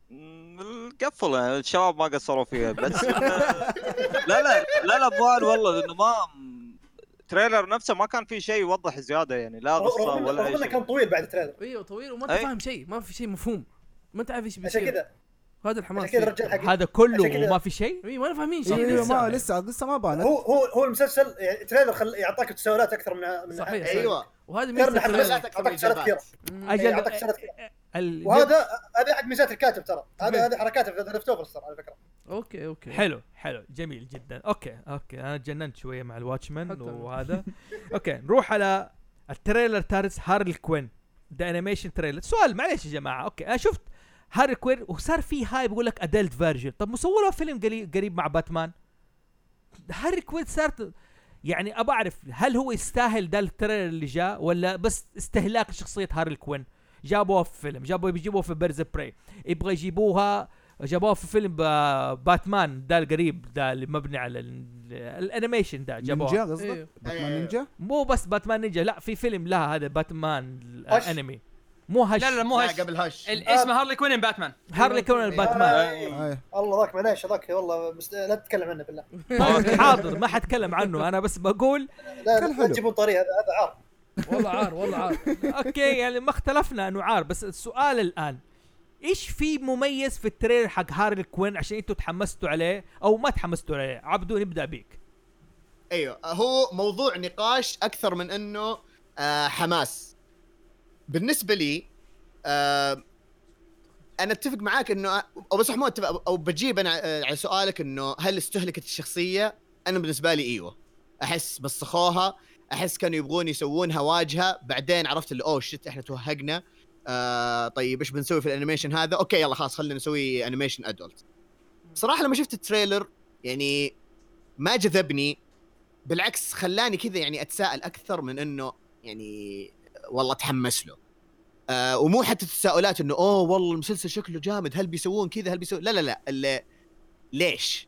[SPEAKER 6] مم، قفل يعني الشباب ما قصروا فيها بس لا لا لا لا بوال والله لانه ما تريلر نفسه ما كان فيه شيء يوضح زياده يعني لا قصه
[SPEAKER 7] رغم
[SPEAKER 6] ولا
[SPEAKER 7] رغم
[SPEAKER 6] اي
[SPEAKER 7] انه كان
[SPEAKER 6] شيء
[SPEAKER 7] طويل بعد التريلر
[SPEAKER 5] ايوه طويل وما انت
[SPEAKER 6] أي.
[SPEAKER 5] فاهم شيء ما في شيء مفهوم ما انت عارف ايش
[SPEAKER 7] عشان
[SPEAKER 5] بيصير
[SPEAKER 7] كذا
[SPEAKER 5] هذا
[SPEAKER 7] عشان
[SPEAKER 5] الحماس
[SPEAKER 7] كذا
[SPEAKER 5] فيه.
[SPEAKER 7] الرجال حق
[SPEAKER 4] هذا كله
[SPEAKER 7] عشان كده-
[SPEAKER 4] وما في شيء
[SPEAKER 5] ايوه ما أنا فاهمين شيء
[SPEAKER 8] ايوه
[SPEAKER 5] لسه
[SPEAKER 8] ما لسه القصه ما بانت
[SPEAKER 7] هو هو هو المسلسل يعني التريلر خل... يعطاك تساؤلات اكثر من من
[SPEAKER 5] صحيح، صحيح.
[SPEAKER 6] أيوة.
[SPEAKER 1] ايوه
[SPEAKER 5] وهذه
[SPEAKER 7] غير
[SPEAKER 5] ميزه
[SPEAKER 7] إنه
[SPEAKER 5] التريلر.
[SPEAKER 1] حماسات
[SPEAKER 7] يعطاك
[SPEAKER 1] اكثر
[SPEAKER 7] تساءلات
[SPEAKER 1] إجابات.
[SPEAKER 7] كثيره
[SPEAKER 5] مم.
[SPEAKER 4] اجل
[SPEAKER 7] يعني يعطيك سنة كثيرة.
[SPEAKER 4] ال-
[SPEAKER 7] وهذا هذا احد ميزات الكاتب ترى هذا هذه حركاته في ليفت اوفرز ترى على فكره
[SPEAKER 5] اوكي اوكي
[SPEAKER 4] حلو حلو جميل جدا اوكي اوكي انا تجننت شويه مع الواتشمان
[SPEAKER 5] حتى أنا.
[SPEAKER 4] وهذا اوكي نروح على التريلر تارس هارلي كوين ذا انيميشن تريلر سؤال معليش يا جماعه اوكي انا شفت هارلي كوين وصار في هاي بيقول لك ادلت فيرجن طب مسووا له فيلم قلي- قريب مع باتمان هارلي كوين صارت يعني ابى اعرف هل هو يستاهل ده التريلر اللي جاء ولا بس استهلاك شخصيه هارلي كوين جابوها في فيلم جابوها بيجيبوها في بيرز براي يبغى يجيبوها جابوها في فيلم با- باتمان ده القريب ده اللي مبني على ال- الانيميشن ده
[SPEAKER 8] نينجا
[SPEAKER 4] جابوه
[SPEAKER 8] قصدك
[SPEAKER 5] إيه.
[SPEAKER 8] باتمان
[SPEAKER 1] أيوة.
[SPEAKER 8] نينجا
[SPEAKER 4] مو بس باتمان نينجا لا في فيلم لها هذا باتمان
[SPEAKER 7] هش.
[SPEAKER 4] الانمي مو هش
[SPEAKER 2] لا لا مو
[SPEAKER 1] لا
[SPEAKER 2] هش
[SPEAKER 1] قبل هش
[SPEAKER 2] ال- اسمه
[SPEAKER 4] آه.
[SPEAKER 2] هارلي كوين إن باتمان
[SPEAKER 4] هارلي كوين الباتمان
[SPEAKER 7] آه،
[SPEAKER 8] أيوة.
[SPEAKER 7] الله ذاك معليش ذاك والله مست... لا تتكلم عنه بالله
[SPEAKER 4] حاضر ما حتكلم عنه انا بس بقول
[SPEAKER 7] لا
[SPEAKER 8] كان
[SPEAKER 7] لا
[SPEAKER 8] حلو.
[SPEAKER 7] تجيبون طريق هذا هذا عار
[SPEAKER 5] والله عار والله عار
[SPEAKER 4] اوكي يعني ما اختلفنا انه عار بس السؤال الان ايش في مميز في التريلر حق هارلي كوين عشان انتوا تحمستوا عليه او ما تحمستوا عليه عبدو نبدا بيك
[SPEAKER 1] ايوه هو موضوع نقاش اكثر من انه آه حماس بالنسبه لي آه انا اتفق معاك انه او بس مو اتفق او بجيب انا آه، على سؤالك انه هل استهلكت الشخصيه انا بالنسبه لي ايوه احس بسخوها احس كانوا يبغون يسوونها واجهه بعدين عرفت اللي اوه شت احنا توهقنا آه طيب ايش بنسوي في الانيميشن هذا اوكي يلا خلاص خلينا نسوي انيميشن ادولت صراحه لما شفت التريلر يعني ما جذبني بالعكس خلاني كذا يعني اتساءل اكثر من انه يعني والله اتحمس له آه ومو حتى تساؤلات انه اوه والله المسلسل شكله جامد هل بيسوون كذا هل بيسوون لا لا لا ال- ليش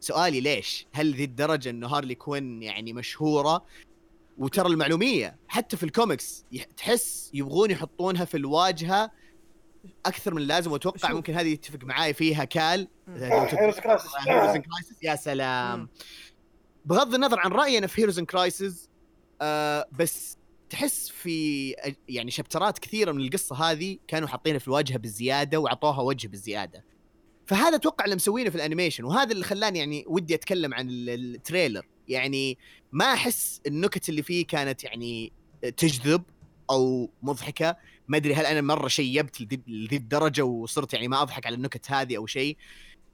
[SPEAKER 1] سؤالي ليش هل ذي الدرجه انه هارلي كوين يعني مشهوره وترى المعلوميه حتى في الكوميكس يح- تحس يبغون يحطونها في الواجهه اكثر من اللازم واتوقع
[SPEAKER 5] شوف.
[SPEAKER 1] ممكن هذه يتفق معاي فيها كال آه،
[SPEAKER 7] هيروز كراسس
[SPEAKER 1] هيروز ان كرايسيس يا سلام بغض النظر عن رايي انا في هيروز ان كرايسيس آه بس تحس في أج- يعني شابترات كثيره من القصه هذه كانوا حاطينها في الواجهه بالزياده وعطوها وجه بالزياده فهذا اتوقع اللي مسوينه في الانيميشن وهذا اللي خلاني يعني ودي اتكلم عن ال- التريلر يعني ما احس النكت اللي فيه كانت يعني تجذب او مضحكه ما ادري هل انا مره شيبت لذي- لذي الدرجه وصرت يعني ما اضحك على النكت هذه او شيء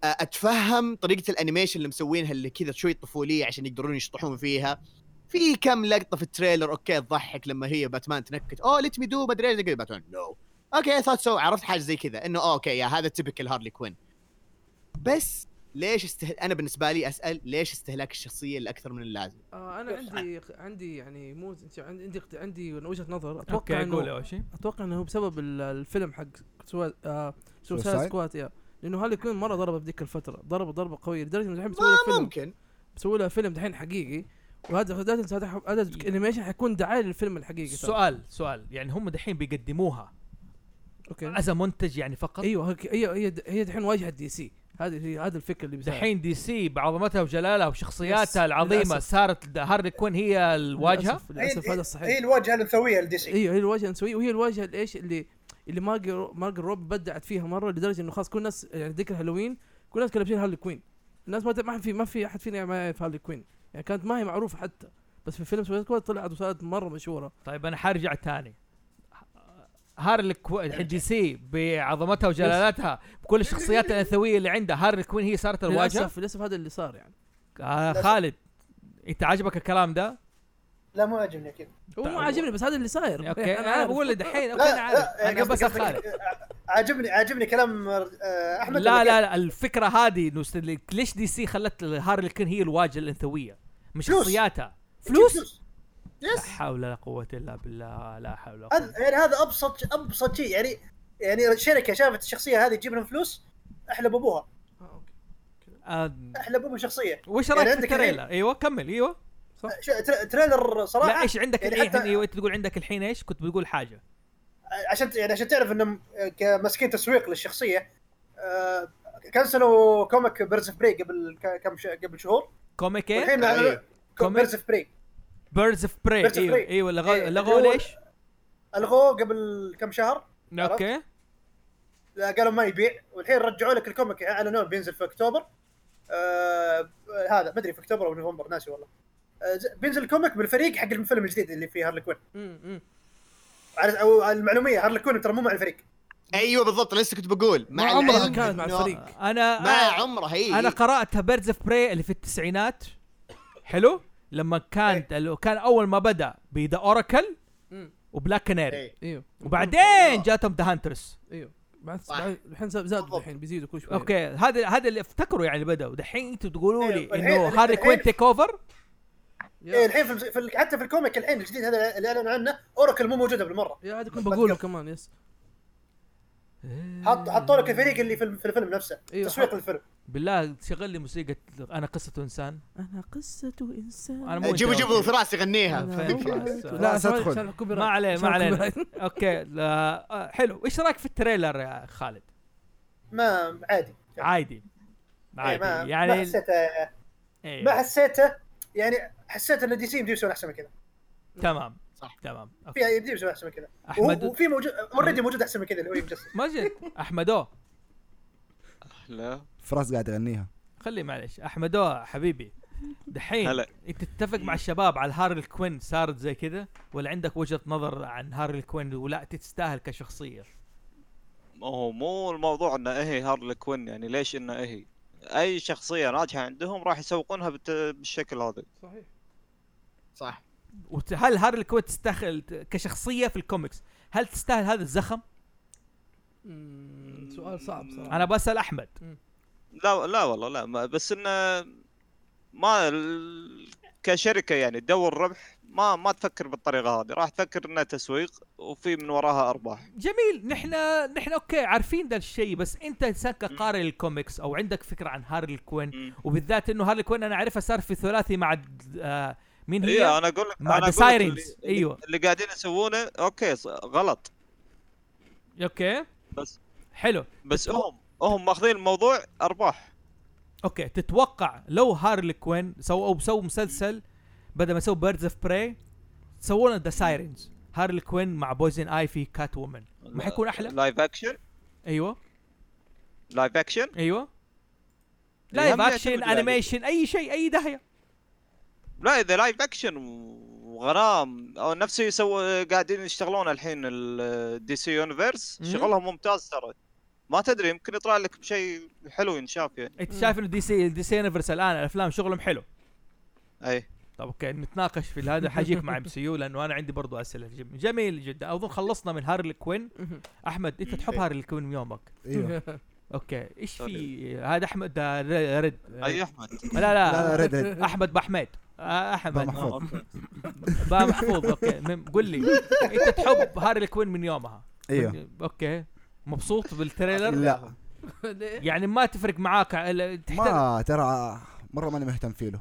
[SPEAKER 1] اتفهم طريقه الانيميشن اللي مسوينها اللي كذا شوي طفوليه عشان يقدرون يشطحون فيها في كم لقطه في التريلر اوكي تضحك لما هي باتمان تنكت اوه ليت مي دو ما ادري ايش كذا باتمان نو اوكي ثوت سو عرفت حاجه زي كذا انه أوه، اوكي يا هذا تبكل هارلي كوين بس ليش استهل... انا بالنسبه لي اسال ليش استهلاك الشخصيه الاكثر من اللازم
[SPEAKER 5] آه انا عندي عندي يعني مو عندي عندي عندي وجهه نظر
[SPEAKER 4] اوكي
[SPEAKER 5] اتوقع
[SPEAKER 4] قول
[SPEAKER 5] انه
[SPEAKER 4] اول شيء
[SPEAKER 5] اتوقع انه هو بسبب ال- الفيلم حق سوا آه
[SPEAKER 8] Suicide؟
[SPEAKER 5] سوسايد سكوات يا لانه هالي كوين مره ضرب بذيك الفتره ضرب ضربه قويه لدرجه انه الحين بيسوي له
[SPEAKER 1] ما
[SPEAKER 5] فيلم
[SPEAKER 1] ممكن
[SPEAKER 5] بيسوي له فيلم دحين حقيقي وهذا هذا هذا- هذا الانيميشن حيكون دعايه للفيلم الحقيقي ترى.
[SPEAKER 4] إيه. سؤال سؤال يعني هم دحين بيقدموها
[SPEAKER 5] اوكي
[SPEAKER 4] از منتج يعني فقط
[SPEAKER 5] ايوه هيك- هي هي هي دحين واجهه دي سي هذه هي هذا الفكر اللي بيساعد.
[SPEAKER 4] دحين دي سي بعظمتها وجلالها وشخصياتها
[SPEAKER 5] يس،
[SPEAKER 4] العظيمه
[SPEAKER 5] للأسف.
[SPEAKER 4] صارت هارلي كوين هي الواجهه
[SPEAKER 5] للاسف, للأسف هذا
[SPEAKER 7] إيه، هي
[SPEAKER 1] إيه،
[SPEAKER 5] الصحيح
[SPEAKER 7] الواجهه الانثويه لدي
[SPEAKER 4] إيه.
[SPEAKER 7] سي
[SPEAKER 5] ايوه هي الواجهه النسويه وهي الواجهه الايش اللي اللي مارجر مارجر روب بدعت فيها مره لدرجه انه خلاص كل الناس يعني ذكر هالوين كل الناس كانوا لابسين هارلي كوين الناس ما ت- ما في ما في احد فينا ما يعرف هارلي كوين يعني كانت ما هي معروفه حتى بس في فيلم سويت كواد طلعت وصارت مره مشهوره
[SPEAKER 4] طيب انا حرجع تاني هارلي كوين الحين دي سي بعظمتها وجلالتها بكل الشخصيات الانثويه اللي عندها هارلي كوين هي صارت الواجهه
[SPEAKER 5] للاسف للاسف هذا اللي صار يعني
[SPEAKER 4] آه خالد انت عاجبك الكلام ده؟
[SPEAKER 7] لا مو عاجبني اكيد
[SPEAKER 5] هو
[SPEAKER 4] طيب.
[SPEAKER 5] مو عاجبني بس هذا اللي صاير يعني
[SPEAKER 4] اوكي انا
[SPEAKER 5] عارف.
[SPEAKER 4] بقول لي آه، دحين اوكي
[SPEAKER 7] لا،
[SPEAKER 4] انا عارف
[SPEAKER 7] لا، يعني
[SPEAKER 4] انا بس
[SPEAKER 7] قصدي-
[SPEAKER 4] خالد
[SPEAKER 7] عاجبني عاجبني كلام آه، احمد
[SPEAKER 4] لا
[SPEAKER 7] اللي
[SPEAKER 4] لا لا الفكره هذه إنه س- ليش دي سي خلت هارلي كوين هي الواجهه الانثويه مش
[SPEAKER 7] فلوس.
[SPEAKER 4] شخصياتها
[SPEAKER 7] قال-
[SPEAKER 4] فلوس لا
[SPEAKER 7] يس
[SPEAKER 4] حول ولا قوه الا بالله لا حول ولا قوه
[SPEAKER 7] هذا- يعني هذا ابسط ابسط شيء يعني يعني شركه شافت الشية هذه تجيب لهم فلوس احلب ابوها
[SPEAKER 5] آه، أوكي.
[SPEAKER 4] آه،
[SPEAKER 7] احلب ابو شخصيه
[SPEAKER 4] وش
[SPEAKER 7] يعني
[SPEAKER 4] رايك في
[SPEAKER 7] عندك
[SPEAKER 4] التريلر؟ ايوه كمل ايوه
[SPEAKER 7] ش- تر- تريلر صراحه
[SPEAKER 4] لا ايش عندك
[SPEAKER 7] يعني
[SPEAKER 4] الحين
[SPEAKER 7] حتى-
[SPEAKER 4] ايوه انت تقول عندك الحين ايش؟ كنت بتقول حاجه
[SPEAKER 7] عشان يعني عشان تعرف انهم ماسكين تسويق للشخصيه آه، كنسلوا كوميك بيرز اوف بري قبل ك- كم ش- قبل شهور
[SPEAKER 4] كوميك ايه؟
[SPEAKER 7] والحين
[SPEAKER 1] أيوه.
[SPEAKER 7] كوميك بيرز اوف بري
[SPEAKER 4] بيردز اوف براي
[SPEAKER 7] Birds of
[SPEAKER 4] ايوه
[SPEAKER 7] Prey.
[SPEAKER 4] ايوه لغوا
[SPEAKER 7] إيه،
[SPEAKER 4] لغوا
[SPEAKER 7] اللي هو-
[SPEAKER 4] ليش؟
[SPEAKER 7] الغوه قبل كم شهر عرفت؟
[SPEAKER 4] اوكي
[SPEAKER 7] لا، قالوا ما يبيع والحين رجعوا لك الكوميك اعلنوه بينزل في اكتوبر آه هذا ما ادري في اكتوبر او نوفمبر ناسي والله آه ز- بينزل كوميك بالفريق حق الفيلم الجديد اللي فيه هارلي كوين
[SPEAKER 5] مم، مم.
[SPEAKER 7] على او على المعلوميه هارلي كوين ترى مو مع الفريق
[SPEAKER 1] ايوه بالضبط لسه كنت بقول
[SPEAKER 5] ما
[SPEAKER 1] مع
[SPEAKER 5] عمرها
[SPEAKER 1] العلم
[SPEAKER 5] كانت مع
[SPEAKER 1] إنه-
[SPEAKER 5] الفريق
[SPEAKER 4] انا
[SPEAKER 1] ما عمرها
[SPEAKER 7] إيه.
[SPEAKER 1] هي
[SPEAKER 4] انا قرات بيردز اوف براي اللي في التسعينات حلو لما
[SPEAKER 7] إيه.
[SPEAKER 4] كانت ال- كان اول ما بدا بذا اوراكل
[SPEAKER 5] مم.
[SPEAKER 4] وبلاك كناري
[SPEAKER 1] إيه.
[SPEAKER 5] ايوه
[SPEAKER 7] آه.
[SPEAKER 4] وبعدين جاتهم ذا هانترس
[SPEAKER 7] إيه.
[SPEAKER 5] ايوه بعد
[SPEAKER 1] صح.
[SPEAKER 5] بعد- الحين زادوا
[SPEAKER 1] بالضبط.
[SPEAKER 5] الحين بيزيدوا كل شوي
[SPEAKER 4] اوكي هذا هذا اللي افتكروا يعني بداوا دحين انتوا تقولوا لي
[SPEAKER 7] أيوة، الحين-
[SPEAKER 4] انه هاري
[SPEAKER 7] الحين-
[SPEAKER 4] كوين تيك اوفر
[SPEAKER 5] يا-
[SPEAKER 7] إيه الحين في, في حتى في الكوميك الحين الجديد هذا اللي اعلنوا عنه اوراكل مو موجوده بالمره
[SPEAKER 5] يا هذا كنت بقوله كمان يس
[SPEAKER 7] حط حطوا لك الفريق اللي في الم- في الفيلم نفسه
[SPEAKER 5] ايوه
[SPEAKER 7] تسويق
[SPEAKER 5] حط-
[SPEAKER 7] الفيلم
[SPEAKER 4] بالله شغل لي موسيقى انا قصة انسان
[SPEAKER 5] انا قصة انسان
[SPEAKER 4] انا مو أنت
[SPEAKER 1] جيبوا
[SPEAKER 4] يا
[SPEAKER 1] جيبوا
[SPEAKER 4] وفي.
[SPEAKER 1] فراس يغنيها
[SPEAKER 5] أنا
[SPEAKER 4] فين
[SPEAKER 5] وعد-
[SPEAKER 4] خلاص.
[SPEAKER 5] لا
[SPEAKER 8] خلاص ادخل.
[SPEAKER 5] عشان الكوبي
[SPEAKER 4] ما
[SPEAKER 5] رايت.
[SPEAKER 4] عليه ما
[SPEAKER 5] عشان الكوبي
[SPEAKER 4] عليه
[SPEAKER 5] رايت.
[SPEAKER 4] اوكي لا آه، حلو ايش رايك في التريلر يا خالد
[SPEAKER 7] ما عادي
[SPEAKER 4] عادي
[SPEAKER 7] إيه،
[SPEAKER 4] عادي
[SPEAKER 7] ما ما
[SPEAKER 4] يعني
[SPEAKER 7] حسيته
[SPEAKER 4] إيه،
[SPEAKER 7] ما حسيته يعني حسيت ان دي سي يمديهم يسوون احسن من كذا
[SPEAKER 4] تمام
[SPEAKER 1] صح.
[SPEAKER 4] تمام
[SPEAKER 7] في
[SPEAKER 4] أوكي.
[SPEAKER 7] يمديهم يسوون احسن من كذا وهو-
[SPEAKER 4] احمد
[SPEAKER 7] وفي موجود اوريدي موجود احسن من كذا اللي هو يمجسد
[SPEAKER 4] ماجد احمدو
[SPEAKER 6] لا
[SPEAKER 8] فراس قاعد يغنيها
[SPEAKER 4] خلي معلش احمدو حبيبي دحين
[SPEAKER 6] هلا.
[SPEAKER 4] انت تتفق مع الشباب على هارل كوين صارت زي كذا ولا عندك وجهه نظر عن هارل كوين ولا تستاهل كشخصيه
[SPEAKER 6] هو مو الموضوع انه ايه هارلي كوين يعني ليش انه ايه اي شخصيه ناجحه عندهم راح يسوقونها بالت- بالشكل هذا
[SPEAKER 5] صحيح
[SPEAKER 1] صح
[SPEAKER 4] وت- هل هارل كوين تستاهل ت- كشخصيه في الكوميكس هل تستاهل هذا الزخم
[SPEAKER 6] آه.
[SPEAKER 5] مم، سؤال صعب صراحة
[SPEAKER 4] انا بسال احمد
[SPEAKER 6] لا لا والله لا ما بس انه ما ال- كشركه يعني تدور ربح ما ما تفكر بالطريقه هذه راح تفكر انها تسويق وفي من وراها ارباح
[SPEAKER 4] جميل نحن نحن اوكي عارفين ذا الشيء بس انت انسان كقارئ الكوميكس او عندك فكره عن هارلي كوين
[SPEAKER 6] مم.
[SPEAKER 4] وبالذات انه هارلي كوين انا اعرفها صار في ثلاثي مع د- آه مين هي
[SPEAKER 6] ايوه انا اقول لك
[SPEAKER 4] مع
[SPEAKER 6] أنا
[SPEAKER 4] The
[SPEAKER 6] أقول لك اللي-
[SPEAKER 4] Sirens، أيوة.
[SPEAKER 6] اللي قاعدين يسوونه اوكي ص- غلط
[SPEAKER 4] اوكي
[SPEAKER 6] بس
[SPEAKER 4] حلو
[SPEAKER 6] بس هم هم ماخذين الموضوع ارباح
[SPEAKER 4] اوكي تتوقع لو هارلي كوين سو او سووا مسلسل بدل ما يسووا بيردز اوف براي سوونا ذا سايرنز هارلي كوين مع بويزن اي في كات وومن ما حيكون احلى
[SPEAKER 6] لايف اكشن
[SPEAKER 4] ايوه
[SPEAKER 6] لايف اكشن
[SPEAKER 4] ايوه
[SPEAKER 6] لا،
[SPEAKER 4] لايف
[SPEAKER 6] هم
[SPEAKER 4] اكشن
[SPEAKER 6] يعتمدوا عليه.
[SPEAKER 4] انيميشن اي شيء اي داهيه
[SPEAKER 6] لا اذا لايف اكشن وغرام او نفس اللي يسووا قاعدين يشتغلون الحين الدي سي يونيفرس
[SPEAKER 4] مم.
[SPEAKER 6] شغلهم ممتاز ترى ما تدري يمكن يطلع لك بشيء حلو ينشاف يعني
[SPEAKER 4] انت شايف انه دي سي دي سي يونيفرس الان الافلام شغلهم حلو
[SPEAKER 6] اي
[SPEAKER 4] طب اوكي نتناقش في هذا حاجيك مع ام سي يو لانه انا عندي برضو اسئله في جم- جميل جدا اظن خلصنا من هارلي كوين احمد انت تحب هارلي كوين من يومك
[SPEAKER 8] ايوه
[SPEAKER 5] إيه.
[SPEAKER 4] اوكي ايش في
[SPEAKER 6] طيب. أيوة.
[SPEAKER 4] هذا احمد ده ر- رد
[SPEAKER 6] اي احمد
[SPEAKER 4] لا
[SPEAKER 8] لا لا
[SPEAKER 4] لا
[SPEAKER 8] ريد ريد
[SPEAKER 4] احمد بحميد آه،
[SPEAKER 8] با
[SPEAKER 4] احمد
[SPEAKER 8] محفوظ
[SPEAKER 4] با محفوظ اوكي مم، قل لي انت تحب هارلي كوين من يومها
[SPEAKER 8] ايوه
[SPEAKER 4] من- اوكي مبسوط بالتريلر
[SPEAKER 8] لا
[SPEAKER 5] ليه؟
[SPEAKER 4] يعني ما تفرق معاك على- تحتاج
[SPEAKER 8] ما ترى مره ماني مهتم فيه له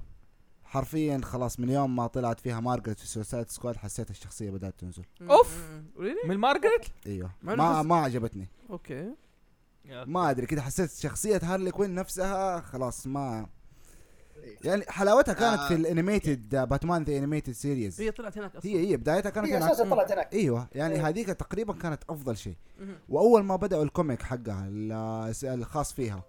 [SPEAKER 8] حرفيا خلاص من يوم ما طلعت فيها مارجريت في سوسايد سكواد حسيت الشخصيه بدات تنزل
[SPEAKER 4] أوف.
[SPEAKER 5] مم، really?
[SPEAKER 4] من مارغريت
[SPEAKER 8] ايوه
[SPEAKER 5] ما
[SPEAKER 8] ما
[SPEAKER 5] نحس-
[SPEAKER 8] ما عجبتني
[SPEAKER 5] اوكي
[SPEAKER 8] ما ادري كده حسيت شخصيه هارلي كوين نفسها خلاص ما
[SPEAKER 1] إيه.
[SPEAKER 8] يعني حلاوتها كانت
[SPEAKER 1] آه.
[SPEAKER 8] في الانيميتد باتمان ذا انيميتد سيريز
[SPEAKER 5] هي طلعت هناك اصلا
[SPEAKER 8] هي هي بدايتها كانت
[SPEAKER 7] إيه. هي
[SPEAKER 8] هناك
[SPEAKER 7] اساسا طلعت هناك
[SPEAKER 8] ايوه يعني
[SPEAKER 7] إيه.
[SPEAKER 8] هذيك تقريبا كانت افضل شيء
[SPEAKER 5] مهم.
[SPEAKER 8] واول ما بداوا الكوميك حقها ال- الخاص فيها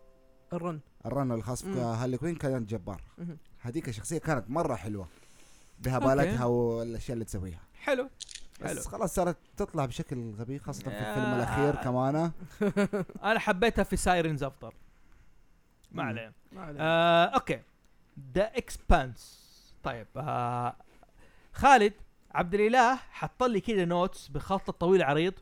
[SPEAKER 5] الرن
[SPEAKER 8] الرن الخاص
[SPEAKER 5] مم.
[SPEAKER 8] بهارلي كوين كانت جبار
[SPEAKER 5] مهم.
[SPEAKER 8] هذيك الشخصيه كانت مره حلوه بهبالتها والاشياء اللي تسويها
[SPEAKER 4] حلو حلو.
[SPEAKER 8] بس خلاص صارت تطلع بشكل غبي خاصه في الفيلم
[SPEAKER 4] آه.
[SPEAKER 8] الاخير كمان
[SPEAKER 4] انا حبيتها في سايرنز افضل ما
[SPEAKER 8] مم.
[SPEAKER 4] عليه
[SPEAKER 5] ما علينا.
[SPEAKER 4] آه، اوكي ذا اكسبانس طيب آه، خالد عبد الاله حط لي كذا نوتس بخط طويل عريض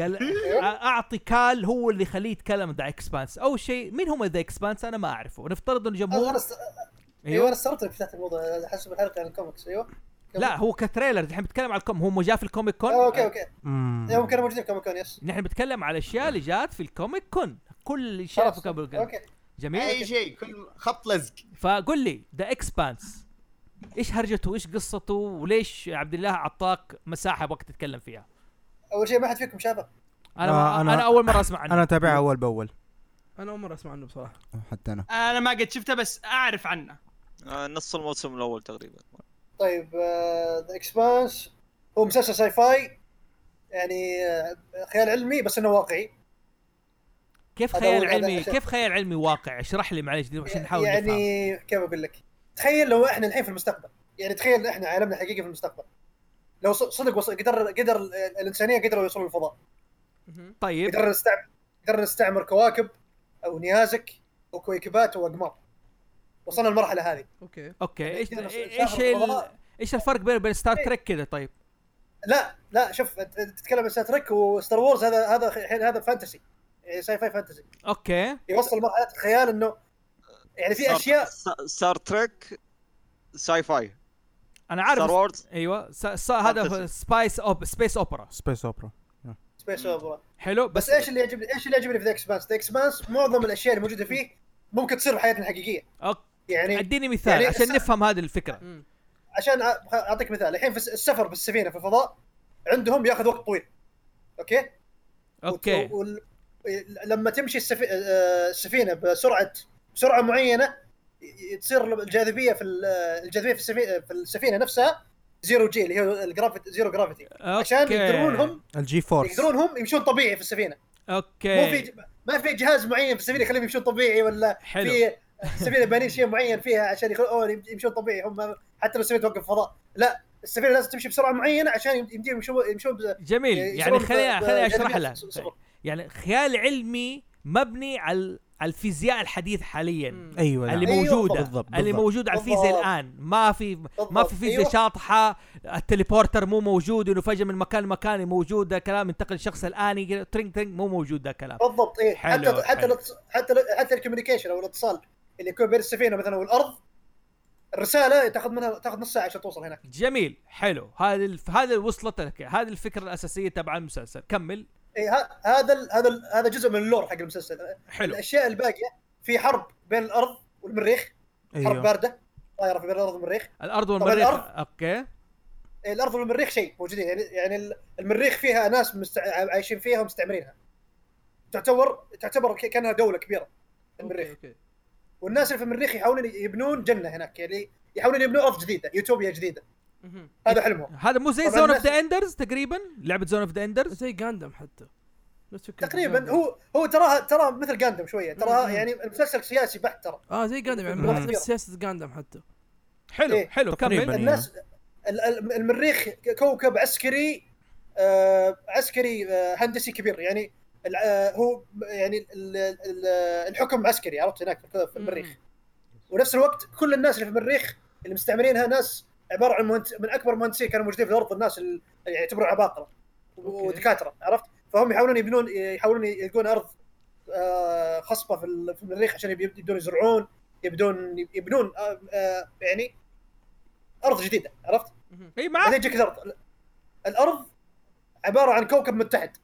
[SPEAKER 4] قال أ- اعطي كال هو اللي يخليه يتكلم ذا اكسبانس اول شيء مين هم ذا اكسبانس انا ما اعرفه نفترض انه
[SPEAKER 7] انا
[SPEAKER 4] جمهور
[SPEAKER 7] است- ايوه
[SPEAKER 4] ايوه
[SPEAKER 7] انا استغربت انك فتحت الموضوع حسب الحلقه عن الكوميكس ايوه
[SPEAKER 4] لا هو كتريلر الحين بتكلم على الكوم هو جاء في الكوميك كون
[SPEAKER 7] آه، اوكي اوكي
[SPEAKER 3] مم.
[SPEAKER 7] يوم أيوه، كانوا موجودين في كوميك كون يس
[SPEAKER 4] نحن بنتكلم على الاشياء اللي جات في الكوميك كون كل الاشياء
[SPEAKER 7] خلاص.
[SPEAKER 4] في الكوميك كون
[SPEAKER 7] اوكي
[SPEAKER 4] جميل
[SPEAKER 1] اي شيء كل خط لزق
[SPEAKER 4] فقل لي ذا اكسبانس ايش هرجته وايش قصته وليش عبد الله عطاك مساحه وقت تتكلم فيها
[SPEAKER 7] اول شيء ما حد فيكم شافه
[SPEAKER 4] انا
[SPEAKER 3] آه،
[SPEAKER 4] آه أنا,
[SPEAKER 3] أنا-
[SPEAKER 4] انا اول مره اسمع عنه
[SPEAKER 3] انا اتابعها اول باول
[SPEAKER 5] انا اول مره اسمع عنه بصراحه
[SPEAKER 8] حتى انا
[SPEAKER 2] انا ما قد شفته بس اعرف عنه
[SPEAKER 6] آه، نص الموسم الاول تقريبا
[SPEAKER 7] طيب ذا اكسبانس هو مسلسل ساي فاي يعني آه، خيال علمي بس انه واقعي
[SPEAKER 4] كيف
[SPEAKER 7] هذا
[SPEAKER 4] خيال
[SPEAKER 7] أول- هذا
[SPEAKER 4] علمي
[SPEAKER 7] آخر.
[SPEAKER 4] كيف خيال علمي واقع اشرح لي معلش دي عشان نحاول يعني نفهم
[SPEAKER 7] يعني كيف اقول لك تخيل لو احنا الحين في المستقبل يعني تخيل احنا عالمنا الحقيقي في المستقبل لو ص- صدق وصل قدر قدر ال- الانسانيه قدروا يوصلوا للفضاء
[SPEAKER 5] مهم.
[SPEAKER 4] طيب
[SPEAKER 7] قدرنا نستعمر قدرنا نستعمر كواكب او نيازك او كويكبات او اقمار وصلنا للمرحله هذه
[SPEAKER 5] اوكي
[SPEAKER 4] اوكي ايش
[SPEAKER 7] قدرنا نسافر
[SPEAKER 4] ايش ال...
[SPEAKER 7] الفضاء.
[SPEAKER 4] ايش الفرق بين بين ستار تريك كذا طيب
[SPEAKER 7] لا لا شوف أنت- أنت تتكلم عن ستار تريك وستار وورز هذا هذا الحين هذا فانتسي يعني ساي فاي فانتسي
[SPEAKER 4] اوكي
[SPEAKER 7] يوصل لمرحله الخيال انه يعني في اشياء
[SPEAKER 6] ستار تريك ساي فاي
[SPEAKER 4] انا
[SPEAKER 6] ستار
[SPEAKER 4] عارف
[SPEAKER 6] وورز
[SPEAKER 4] ايوه س... س... هذا
[SPEAKER 6] Fantasy.
[SPEAKER 4] سبايس اوب سبيس اوبرا
[SPEAKER 3] سبيس اوبرا
[SPEAKER 7] سبيس اوبرا
[SPEAKER 4] حلو بس,
[SPEAKER 7] بس ايش اللي يعجبني ايش اللي يعجبني في ذا اكسبانس؟ ذا اكسبانس معظم الاشياء اللي موجوده فيه ممكن تصير بحياتنا الحقيقيه
[SPEAKER 4] أوك.
[SPEAKER 7] يعني
[SPEAKER 4] اديني مثال
[SPEAKER 7] يعني
[SPEAKER 4] عشان
[SPEAKER 7] س-
[SPEAKER 4] نفهم هذه الفكره
[SPEAKER 5] مم.
[SPEAKER 7] عشان أ- اعطيك مثال الحين في الس- السفر بالسفينه في الفضاء عندهم ياخذ وقت طويل اوكي
[SPEAKER 4] اوكي
[SPEAKER 7] وت- وال... لما تمشي السفي... آه، السفينه بسرعه بسرعه معينه ي- تصير الجاذبيه في ال- الجاذبيه في السفينه في السفينه نفسها زيرو جي اللي هي الجرافيتي زيرو جرافيتي عشان
[SPEAKER 4] أوكي.
[SPEAKER 7] يقدرون هم
[SPEAKER 3] الجي فورس
[SPEAKER 7] يقدرون هم يمشون طبيعي في السفينه مو في
[SPEAKER 4] اوكي
[SPEAKER 7] ج- ما في جهاز معين في السفينه يخليهم يمشون طبيعي ولا
[SPEAKER 4] حلو
[SPEAKER 7] في السفينه بانين شيء معين فيها عشان يخل... أوه يمشون طبيعي هم حتى لو السفينه توقف فضاء لا السفينه لازم تمشي بسرعه معينه عشان يمديهم يمشون يمشون ب-
[SPEAKER 4] جميل يعني
[SPEAKER 7] يصيرون ب-
[SPEAKER 4] خليني خليني اشرح
[SPEAKER 7] بجاذبية
[SPEAKER 4] لك
[SPEAKER 7] س- صفر.
[SPEAKER 4] يعني خيال علمي مبني على على الفيزياء الحديث حاليا
[SPEAKER 5] مم.
[SPEAKER 3] ايوه
[SPEAKER 4] اللي
[SPEAKER 3] نعم.
[SPEAKER 7] أيوة
[SPEAKER 4] موجوده
[SPEAKER 3] بالضبط،
[SPEAKER 4] اللي
[SPEAKER 3] بالضبط.
[SPEAKER 4] موجوده على الفيزياء
[SPEAKER 7] بالضبط.
[SPEAKER 4] الان ما في ما
[SPEAKER 7] بالضبط،
[SPEAKER 4] في فيزياء
[SPEAKER 7] أيوة.
[SPEAKER 4] شاطحه التليبورتر مو موجود انه فجاه من مكان لمكان موجود ده كلام ينتقل الشخص الاني ترينج ترينج مو موجود ده كلام
[SPEAKER 7] بالضبط ايه
[SPEAKER 4] حلو،
[SPEAKER 7] حتى حتى
[SPEAKER 4] حلو.
[SPEAKER 7] الاتص- حتى حتى الكوميونيكيشن او الاتصال اللي يكون بين السفينه مثلا والارض الرساله تاخذ منها تاخذ نص ساعه عشان توصل هناك
[SPEAKER 4] جميل حلو هذه الف... هذه وصلت لك هذه الفكره الاساسيه تبع المسلسل كمل
[SPEAKER 7] إيه ه- هذا ال- هذا ال- هذا جزء من اللور حق المسلسل
[SPEAKER 4] حلو
[SPEAKER 7] الاشياء الباقيه في حرب بين الارض والمريخ
[SPEAKER 4] أيوه.
[SPEAKER 7] حرب
[SPEAKER 3] ايوه
[SPEAKER 7] بارده طايره في بين الارض والمريخ
[SPEAKER 4] الارض
[SPEAKER 7] طب
[SPEAKER 4] والمريخ
[SPEAKER 7] الأرض؟
[SPEAKER 4] اوكي
[SPEAKER 7] إيه، الارض والمريخ شيء موجودين يعني يعني ال- المريخ فيها ناس مست... عايشين فيها ومستعمرينها تعتبر تعتبر ك- كانها دوله كبيره المريخ
[SPEAKER 5] اوكي اوكي
[SPEAKER 7] والناس اللي في المريخ يحاولون يبنون جنه هناك يعني يحاولون يبنون ارض جديده يوتوبيا جديده
[SPEAKER 5] مهم.
[SPEAKER 7] هذا حلمهم
[SPEAKER 4] هذا مو زي
[SPEAKER 7] طبعاً
[SPEAKER 4] زون اوف
[SPEAKER 7] الناس-
[SPEAKER 4] ذا اندرز تقريبا لعبه زون اوف ذا اندرز
[SPEAKER 5] زي جاندم حتى نفس فكرة
[SPEAKER 7] تقريبا
[SPEAKER 5] Gundam.
[SPEAKER 7] هو هو تراها تراها مثل جاندم شويه تراها
[SPEAKER 5] مم.
[SPEAKER 7] يعني مسلسل سياسي بحت ترى
[SPEAKER 5] اه زي جاندم يعني
[SPEAKER 3] مم.
[SPEAKER 5] راحت نفس سياسه جاندم حتى
[SPEAKER 4] حلو
[SPEAKER 7] إيه.
[SPEAKER 4] حلو
[SPEAKER 3] تقريباً.
[SPEAKER 4] كمل
[SPEAKER 3] يعني.
[SPEAKER 7] الناس ال- ال- المريخ كوكب عسكري آه عسكري آه هندسي كبير يعني ال- آه، هو يعني ال- ال- الحكم عسكري عرفت هناك في المريخ ونفس الوقت كل الناس اللي في المريخ اللي مستعمرينها ناس عباره عن مهندس من اكبر مهندسين كانوا موجودين في الارض الناس اللي يعتبروا عباقره
[SPEAKER 5] أوكي.
[SPEAKER 7] ودكاتره عرفت فهم يحاولون يبنون يحاولون يلقون ارض آه، خصبه في ال- في المريخ عشان يب- يبدون يزرعون يبدون يبنون آه، آه، يعني ارض جديده عرفت؟
[SPEAKER 4] اي
[SPEAKER 7] بعدين
[SPEAKER 4] معك
[SPEAKER 7] يجيك الارض الارض عباره عن كوكب متحد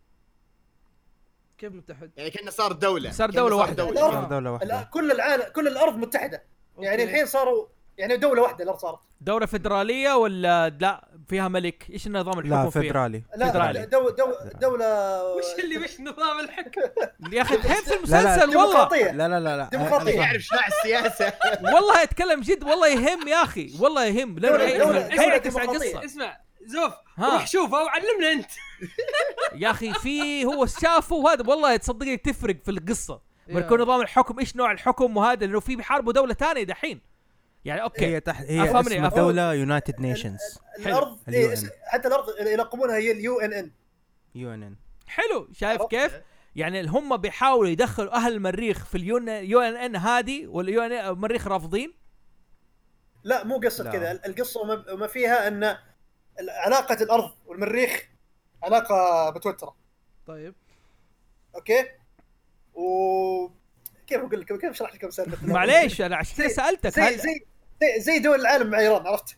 [SPEAKER 5] كيف متحد
[SPEAKER 1] يعني كانه صار دوله
[SPEAKER 4] صار
[SPEAKER 1] كأنه
[SPEAKER 4] دولة واحدة.
[SPEAKER 7] الأرض-
[SPEAKER 3] صار دولة
[SPEAKER 7] الآن
[SPEAKER 3] واحدة
[SPEAKER 7] كل العالم كل الارض متحده يعني
[SPEAKER 5] أوكي.
[SPEAKER 7] الحين صاروا يعني دوله واحده الارض صارت
[SPEAKER 4] دولة فدرالية ولا لا فيها ملك؟ ايش النظام
[SPEAKER 3] لا
[SPEAKER 4] الحكم فيها؟
[SPEAKER 3] فيدرالي
[SPEAKER 7] لا
[SPEAKER 4] فيدرالي.
[SPEAKER 7] دو دو دوله
[SPEAKER 2] وش اللي مش نظام الحكم؟
[SPEAKER 4] يا اخي تحب في
[SPEAKER 3] لا، لا،
[SPEAKER 4] المسلسل والله
[SPEAKER 7] ديمقراطيه
[SPEAKER 3] لا لا لا لا
[SPEAKER 7] ديمقراطية.
[SPEAKER 3] أنا-
[SPEAKER 1] يعرف ايش مع السياسه
[SPEAKER 4] والله اتكلم جد والله يهم يا اخي والله يهم لانه
[SPEAKER 7] دولة- دولة-
[SPEAKER 4] حي- حيعكس على
[SPEAKER 7] دولة
[SPEAKER 4] القصة
[SPEAKER 7] ديمقراطية.
[SPEAKER 2] اسمع زوف
[SPEAKER 4] طيب. ها.
[SPEAKER 2] روح شوفه وعلمنا انت
[SPEAKER 4] يا اخي في هو شافه وهذا والله تصدقني تفرق في القصة
[SPEAKER 5] يا.
[SPEAKER 4] بيكون نظام الحكم ايش نوع الحكم وهذا لانه في بيحاربوا دولة ثانية دحين يعني اوكي
[SPEAKER 7] إيه.
[SPEAKER 3] هي تحت هي
[SPEAKER 4] أفهمني،
[SPEAKER 3] اسم
[SPEAKER 4] أفهم-
[SPEAKER 3] الدولة يونايتد نيشنز
[SPEAKER 7] الارض
[SPEAKER 3] حلو.
[SPEAKER 7] إيه
[SPEAKER 3] ال
[SPEAKER 7] اس- حتى الارض اللي يلقبونها هي اليو ان ان
[SPEAKER 3] يو ان ان
[SPEAKER 4] حلو شايف
[SPEAKER 7] عرفت؟
[SPEAKER 4] كيف؟ يعني هم بيحاولوا يدخلوا اهل المريخ في اليون يو ان ان هذه واليو ان المريخ رافضين
[SPEAKER 7] لا مو قصه
[SPEAKER 3] لا.
[SPEAKER 7] كذا ال- القصه ما- ما فيها ان ال- علاقه الارض والمريخ علاقه متوتره
[SPEAKER 5] طيب
[SPEAKER 7] اوكي و كيف اقول لكم كيف اشرح لكم سالفه
[SPEAKER 4] معليش انا عشان كذا
[SPEAKER 7] إيه. زي-
[SPEAKER 4] سالتك
[SPEAKER 7] زي
[SPEAKER 4] هل
[SPEAKER 7] زي زي- زي دول العالم مع ايران عرفت؟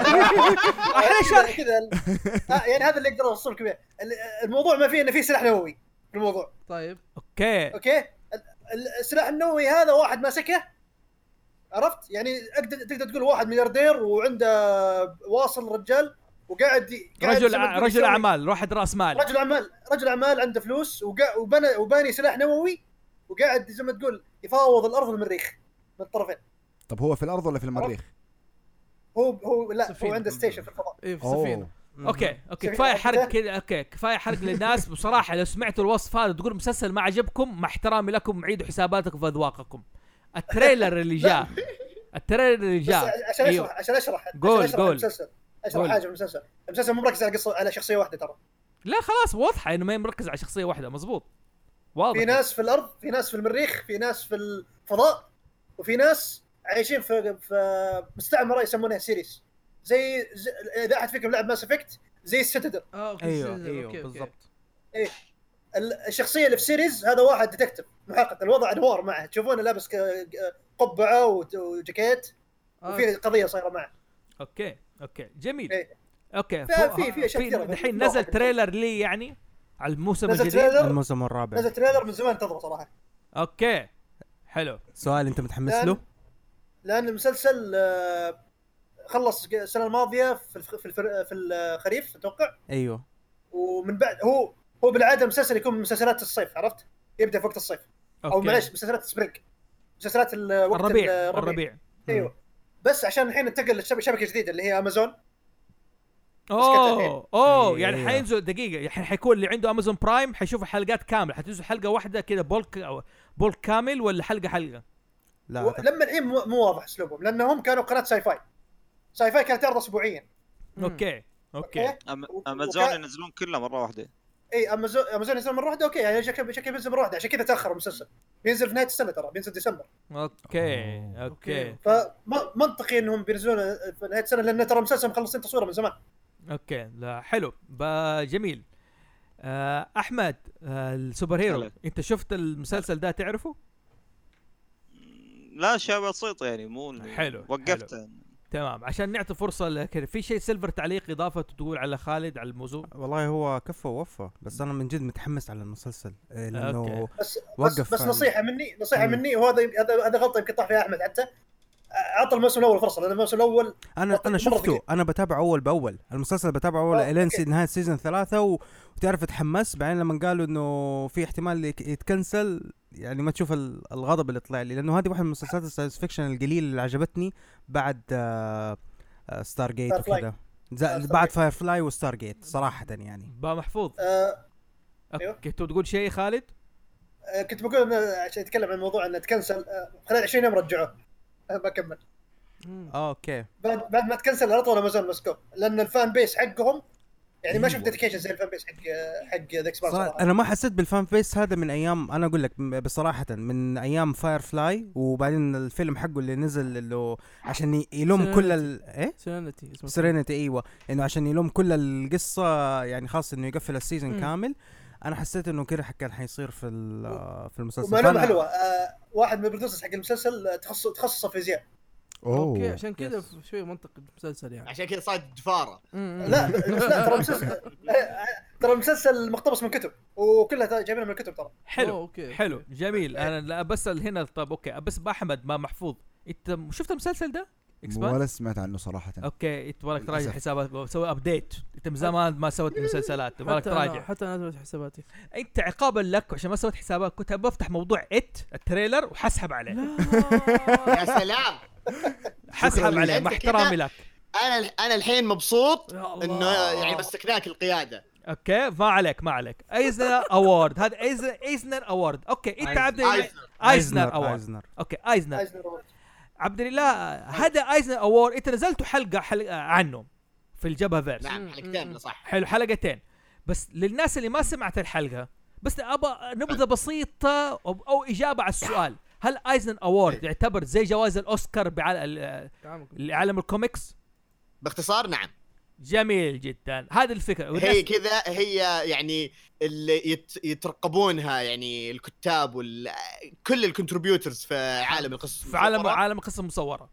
[SPEAKER 4] احنا شرح
[SPEAKER 7] كذا ال- آه، يعني هذا اللي اقدر اوصل لكم إياه. ال- الموضوع ما فيه انه فيه سلاح نووي في الموضوع
[SPEAKER 5] طيب
[SPEAKER 4] اوكي
[SPEAKER 7] اوكي ال- ال- السلاح النووي هذا واحد ماسكه عرفت يعني اقدر تقدر تقول واحد ملياردير وعنده واصل رجال وقاعد ي- قاعد
[SPEAKER 4] رجل
[SPEAKER 7] زي ما تقول
[SPEAKER 4] رجل
[SPEAKER 7] يسوي-
[SPEAKER 4] اعمال واحد راس مال
[SPEAKER 7] رجل اعمال رجل اعمال عنده فلوس وقا- وبنى وباني سلاح نووي وقاعد زي ما تقول يفاوض الارض والمريخ من الطرفين
[SPEAKER 8] طب هو في الارض ولا في المريخ؟
[SPEAKER 7] هو هو لا
[SPEAKER 5] سفينة.
[SPEAKER 7] هو عنده ستيشن في الفضاء
[SPEAKER 5] ايه في
[SPEAKER 8] اوه
[SPEAKER 5] السفينه
[SPEAKER 4] اوكي اوكي
[SPEAKER 7] سمعت
[SPEAKER 4] كفايه
[SPEAKER 7] عن
[SPEAKER 4] حرق
[SPEAKER 7] كده؟
[SPEAKER 4] كذا اوكي كفايه حرق للناس بصراحه لو سمعتوا الوصف هذا تقول مسلسل ما عجبكم مع احترامي لكم عيدوا حساباتكم في اذواقكم التريلر اللي جاء التريلر اللي
[SPEAKER 7] بس
[SPEAKER 4] جاء
[SPEAKER 7] ع- عشان
[SPEAKER 4] أيوه.
[SPEAKER 7] اشرح عشان اشرح عشان
[SPEAKER 4] قول-
[SPEAKER 7] أشرح
[SPEAKER 4] قول.
[SPEAKER 7] المسلسل
[SPEAKER 4] قول.
[SPEAKER 7] اشرح حاجه في المسلسل المسلسل مو مركز على قصه على شخصيه واحده ترى
[SPEAKER 4] لا خلاص واضحه انه ما هي مركز على شخصيه واحده مزبوط واضح
[SPEAKER 7] في ناس في الارض في ناس في المريخ في ناس في الفضاء وفي ناس عايشين في في مستعمره يسمونها سيريس زي, زي اذا احد فيكم لعب ماس افكت زي السيتادل
[SPEAKER 5] اه اوكي
[SPEAKER 4] أيوه. إيه.
[SPEAKER 3] ايوه
[SPEAKER 5] سلسلة.
[SPEAKER 3] ايوه
[SPEAKER 5] أوكي، أوكي.
[SPEAKER 3] بالضبط
[SPEAKER 7] ال- الشخصيه اللي في سيريز هذا واحد ديتكتيف محقق الوضع انوار معه تشوفونه لابس ك- قبعه وت- وجاكيت
[SPEAKER 5] آه،
[SPEAKER 7] وفي قضيه صايره معه
[SPEAKER 4] اوكي اوكي جميل
[SPEAKER 7] إيه.
[SPEAKER 4] اوكي
[SPEAKER 7] ففي-
[SPEAKER 4] فوق-
[SPEAKER 7] في- في أشياء كثيرة.
[SPEAKER 4] دحين
[SPEAKER 7] فوق
[SPEAKER 4] نزل
[SPEAKER 7] حق الفيلم.
[SPEAKER 4] تريلر لي يعني على الموسم
[SPEAKER 7] نزل
[SPEAKER 4] الجديد
[SPEAKER 7] تريلر
[SPEAKER 3] الموسم الرابع
[SPEAKER 7] نزل تريلر من زمان انتظره صراحه
[SPEAKER 4] اوكي حلو
[SPEAKER 3] سؤال انت متحمس
[SPEAKER 7] لأن-
[SPEAKER 3] له؟
[SPEAKER 7] لان المسلسل آه، خلص السنه الماضيه في الف- في الفر- في الخريف اتوقع
[SPEAKER 3] ايوه
[SPEAKER 7] ومن بعد هو هو بالعاده مسلسل يكون من مسلسلات الصيف عرفت؟ يبدا في وقت الصيف او
[SPEAKER 4] اوكي
[SPEAKER 7] معلش مسلسلات السبرينج مسلسلات ال- وقت
[SPEAKER 4] الربيع
[SPEAKER 7] الربيع.
[SPEAKER 4] الربيع
[SPEAKER 7] ايوه بس عشان الحين انتقل لشبكه جديده اللي هي امازون
[SPEAKER 4] اوه اوه
[SPEAKER 3] أي-
[SPEAKER 4] يعني
[SPEAKER 3] أيوة.
[SPEAKER 4] حينزل دقيقه يعني حيكون اللي عنده امازون برايم حيشوف الحلقات كامله حتنزل حلقه واحده كده بولك او بولك كامل ولا حلقه حلقه آه،
[SPEAKER 3] لا
[SPEAKER 7] و-
[SPEAKER 3] أعتقد-
[SPEAKER 7] لما الحين مو مو واضح اسلوبهم لانهم كانوا قناه ساي فاي ساي فاي كانت تعرض اسبوعيا
[SPEAKER 4] اوكي اوكي
[SPEAKER 6] أم-
[SPEAKER 7] وك-
[SPEAKER 6] امازون
[SPEAKER 7] وكا-
[SPEAKER 6] ينزلون كله مره واحده
[SPEAKER 7] اي امازون امازون ينزل مره واحده اوكي يعني شكله شكله بينزل مره واحده عشان كذا تاخر المسلسل بينزل في نهايه السنه ترى بينزل ديسمبر
[SPEAKER 4] اوكي
[SPEAKER 3] أوه.
[SPEAKER 4] اوكي
[SPEAKER 7] فمنطقي انهم بينزلون في نهايه السنه لان ترى المسلسل مخلصين تصويره من زمان
[SPEAKER 4] اوكي لا حلو ب- جميل آه، احمد آه، السوبر هيرو
[SPEAKER 6] هلا.
[SPEAKER 4] انت شفت المسلسل ده تعرفه
[SPEAKER 6] لا شيء بسيط يعني مو اللي-
[SPEAKER 4] حلو،
[SPEAKER 6] وقفت
[SPEAKER 4] تمام عشان نعطي فرصه لك في شيء سيلفر تعليق اضافه تقول على خالد على الموضوع
[SPEAKER 3] والله هو كفى ووفى بس انا من جد متحمس على المسلسل إيه، لانه
[SPEAKER 4] أوكي.
[SPEAKER 7] بس بس,
[SPEAKER 3] وقف
[SPEAKER 7] بس
[SPEAKER 3] عن-
[SPEAKER 7] نصيحه مني نصيحه
[SPEAKER 3] مم.
[SPEAKER 7] مني وهذا يم- هذا هذا غلطه يمكن طاح فيها احمد حتى اعطى الموسم الاول فرصه لان الموسم الاول
[SPEAKER 3] انا انا
[SPEAKER 7] مرة
[SPEAKER 3] شفته
[SPEAKER 7] كتير.
[SPEAKER 3] انا بتابع اول باول المسلسل بتابعه اول
[SPEAKER 7] آه،
[SPEAKER 3] لين
[SPEAKER 7] أوكي.
[SPEAKER 3] سي- نهايه سيزون ثلاثة و- وتعرف تحمس بعدين لما قالوا انه في احتمال يك- يتكنسل يعني ما تشوف ال- الغضب اللي طلع لي لانه هذه واحده من المسلسلات الساينس فيكشن القليله اللي عجبتني بعد آه آه ستار جيت
[SPEAKER 7] Firefly.
[SPEAKER 3] وكذا
[SPEAKER 7] آه،
[SPEAKER 3] زا-
[SPEAKER 7] Stargate.
[SPEAKER 3] بعد فاير فلاي وستار جيت صراحه يعني
[SPEAKER 4] با محفوظ
[SPEAKER 7] آه أيوه.
[SPEAKER 4] اوكي تبغى تقول شيء خالد
[SPEAKER 7] آه، كنت بقول انه عشان يتكلم عن موضوع انه تكنسل آه، خلال 20 يوم رجعوه آه، ما كمل
[SPEAKER 3] اوكي
[SPEAKER 7] بعد بعد ما تكنسل على طول امازون مسكوه لان الفان بيس حقهم يعني ما شفت
[SPEAKER 3] أيوة.
[SPEAKER 7] ديديكيشن زي الفان بيس حق آه، حق ذا اكسبانس
[SPEAKER 3] صراحة
[SPEAKER 7] صراحه
[SPEAKER 3] انا ما حسيت بالفان بيس هذا من ايام انا اقول لك م- بصراحه من ايام فاير فلاي وبعدين الفيلم حقه اللي نزل اللي عشان ي- يلوم كل ال... ايه
[SPEAKER 5] سيرينتي اسمه
[SPEAKER 3] سيرينيتي ايوه انه عشان يلوم كل القصه يعني خلاص انه يقفل السيزون
[SPEAKER 5] مم.
[SPEAKER 3] كامل انا حسيت انه كده كان حيصير في ال- في المسلسل
[SPEAKER 7] ومعلومه
[SPEAKER 3] فأنا-
[SPEAKER 7] حلوه آه واحد من البرودوسرز حق المسلسل آه، تخصص تخصصه فيزياء
[SPEAKER 5] اوكي عشان كذا
[SPEAKER 3] يس.
[SPEAKER 5] شوي منطق المسلسل يعني
[SPEAKER 1] عشان كذا صارت جفاره
[SPEAKER 7] لا بس لا ترى المسلسل آه، ترى المسلسل مقتبس من كتب وكلها ترى جايبينها من الكتب ترى
[SPEAKER 4] حلو
[SPEAKER 5] أوه، اوكي
[SPEAKER 4] حلو جميل انا لا بسال هنا طب اوكي بس احمد ما محفوظ انت شفت المسلسل ده؟ اكسبان؟
[SPEAKER 8] ولا سمعت عنه صراحه
[SPEAKER 4] اوكي انت تبغالك تراجع
[SPEAKER 8] للأسف.
[SPEAKER 4] حسابك سوي ابديت انت من زمان ما سويت مسلسلات تبغالك
[SPEAKER 5] حتى أنا-
[SPEAKER 4] تراجع
[SPEAKER 5] حتى انا اتبع حساباتي
[SPEAKER 4] انت عقابا لك عشان ما سويت حسابك كنت بفتح موضوع ات التريلر وحسحب عليه
[SPEAKER 1] يا سلام
[SPEAKER 4] حسحب
[SPEAKER 1] شكراً.
[SPEAKER 4] عليه
[SPEAKER 1] أنت
[SPEAKER 4] مع
[SPEAKER 1] كده-
[SPEAKER 4] احترامي لك
[SPEAKER 1] انا انا الحين مبسوط
[SPEAKER 5] يا الله.
[SPEAKER 1] انه يعني مسكناك القياده
[SPEAKER 4] اوكي ما عليك ما عليك ايزنر اوورد هذا ايزنر ايزنر اوورد اوكي انت
[SPEAKER 3] أيزنر.
[SPEAKER 4] عبد
[SPEAKER 1] أيزنر.
[SPEAKER 4] ايزنر اوورد
[SPEAKER 3] ايزنر
[SPEAKER 4] اوكي ايزنر
[SPEAKER 7] أيزنر.
[SPEAKER 4] عبد الله هذا ايزنر اوورد انت نزلت حلقه حلقه عنه في الجبهه فيرس
[SPEAKER 1] نعم حلقتين صح
[SPEAKER 4] حلو حلقتين بس للناس اللي ما سمعت الحلقه بس ابى نبذه بسيطه او أو اجابه على السؤال هل ايزنر
[SPEAKER 1] إيه.
[SPEAKER 4] اوورد يعتبر زي جوائز الاوسكار بعالم
[SPEAKER 5] دعمكم.
[SPEAKER 4] العالم الكوميكس
[SPEAKER 1] باختصار نعم
[SPEAKER 4] جميل جدا هذه الفكره
[SPEAKER 1] هي
[SPEAKER 4] والناس-
[SPEAKER 1] كذا هي يعني اللي يت يترقبونها يعني الكتاب وال كل الكونتريبيوترز في عالم القصص
[SPEAKER 4] في عالم
[SPEAKER 1] المصورة.
[SPEAKER 4] عالم قصه مصوره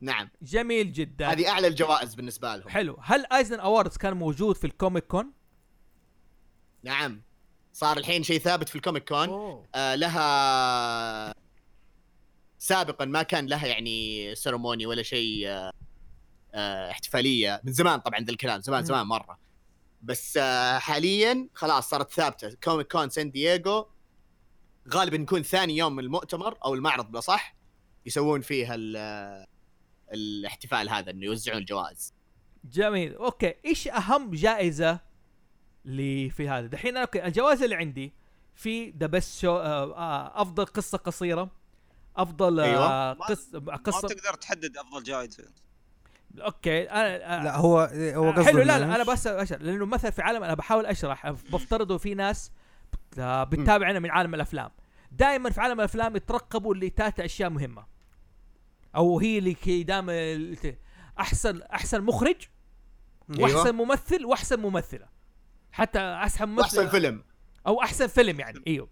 [SPEAKER 1] نعم
[SPEAKER 4] جميل جدا
[SPEAKER 1] هذه اعلى الجوائز بالنسبه لهم
[SPEAKER 4] حلو هل ايزن اووردز كان موجود في الكوميك كون
[SPEAKER 1] نعم صار الحين شيء ثابت في الكوميك كون
[SPEAKER 5] أوه.
[SPEAKER 1] آه لها سابقا ما كان لها يعني سيرموني ولا شيء آه آه احتفاليه من زمان طبعا ذا الكلام زمان زمان مره بس آه حاليا خلاص صارت ثابته كوميك كون سان دييغو غالبا يكون ثاني يوم من المؤتمر او المعرض بالاصح يسوون فيها ال- آه، الاحتفال هذا انه يوزعون الجوائز
[SPEAKER 4] جميل اوكي ايش اهم جائزه لي في هذا دحين أنا- اوكي الجوائز اللي عندي في ذا بيست شو افضل قصه قصيره افضل أيوة.
[SPEAKER 1] أيوة.
[SPEAKER 4] قصه
[SPEAKER 6] ما
[SPEAKER 4] قصه
[SPEAKER 6] تقدر تحدد افضل جائزه
[SPEAKER 4] اوكي انا
[SPEAKER 3] لا هو هو قصده
[SPEAKER 4] آه، حلو لا لا
[SPEAKER 3] إنه-
[SPEAKER 4] انا بس اشرح لانه مثلا في عالم انا بحاول اشرح بفترضوا في ناس بت- آه، بتتابعنا من عالم الافلام دائما في عالم الافلام يترقبوا اللي تاتا اشياء مهمه او هي اللي كي دائما الت- احسن احسن مخرج
[SPEAKER 3] أيوة.
[SPEAKER 4] واحسن ممثل واحسن ممثله حتى احسن
[SPEAKER 1] واحسن
[SPEAKER 4] ممثل
[SPEAKER 1] فيلم
[SPEAKER 4] او احسن فيلم يعني ايوه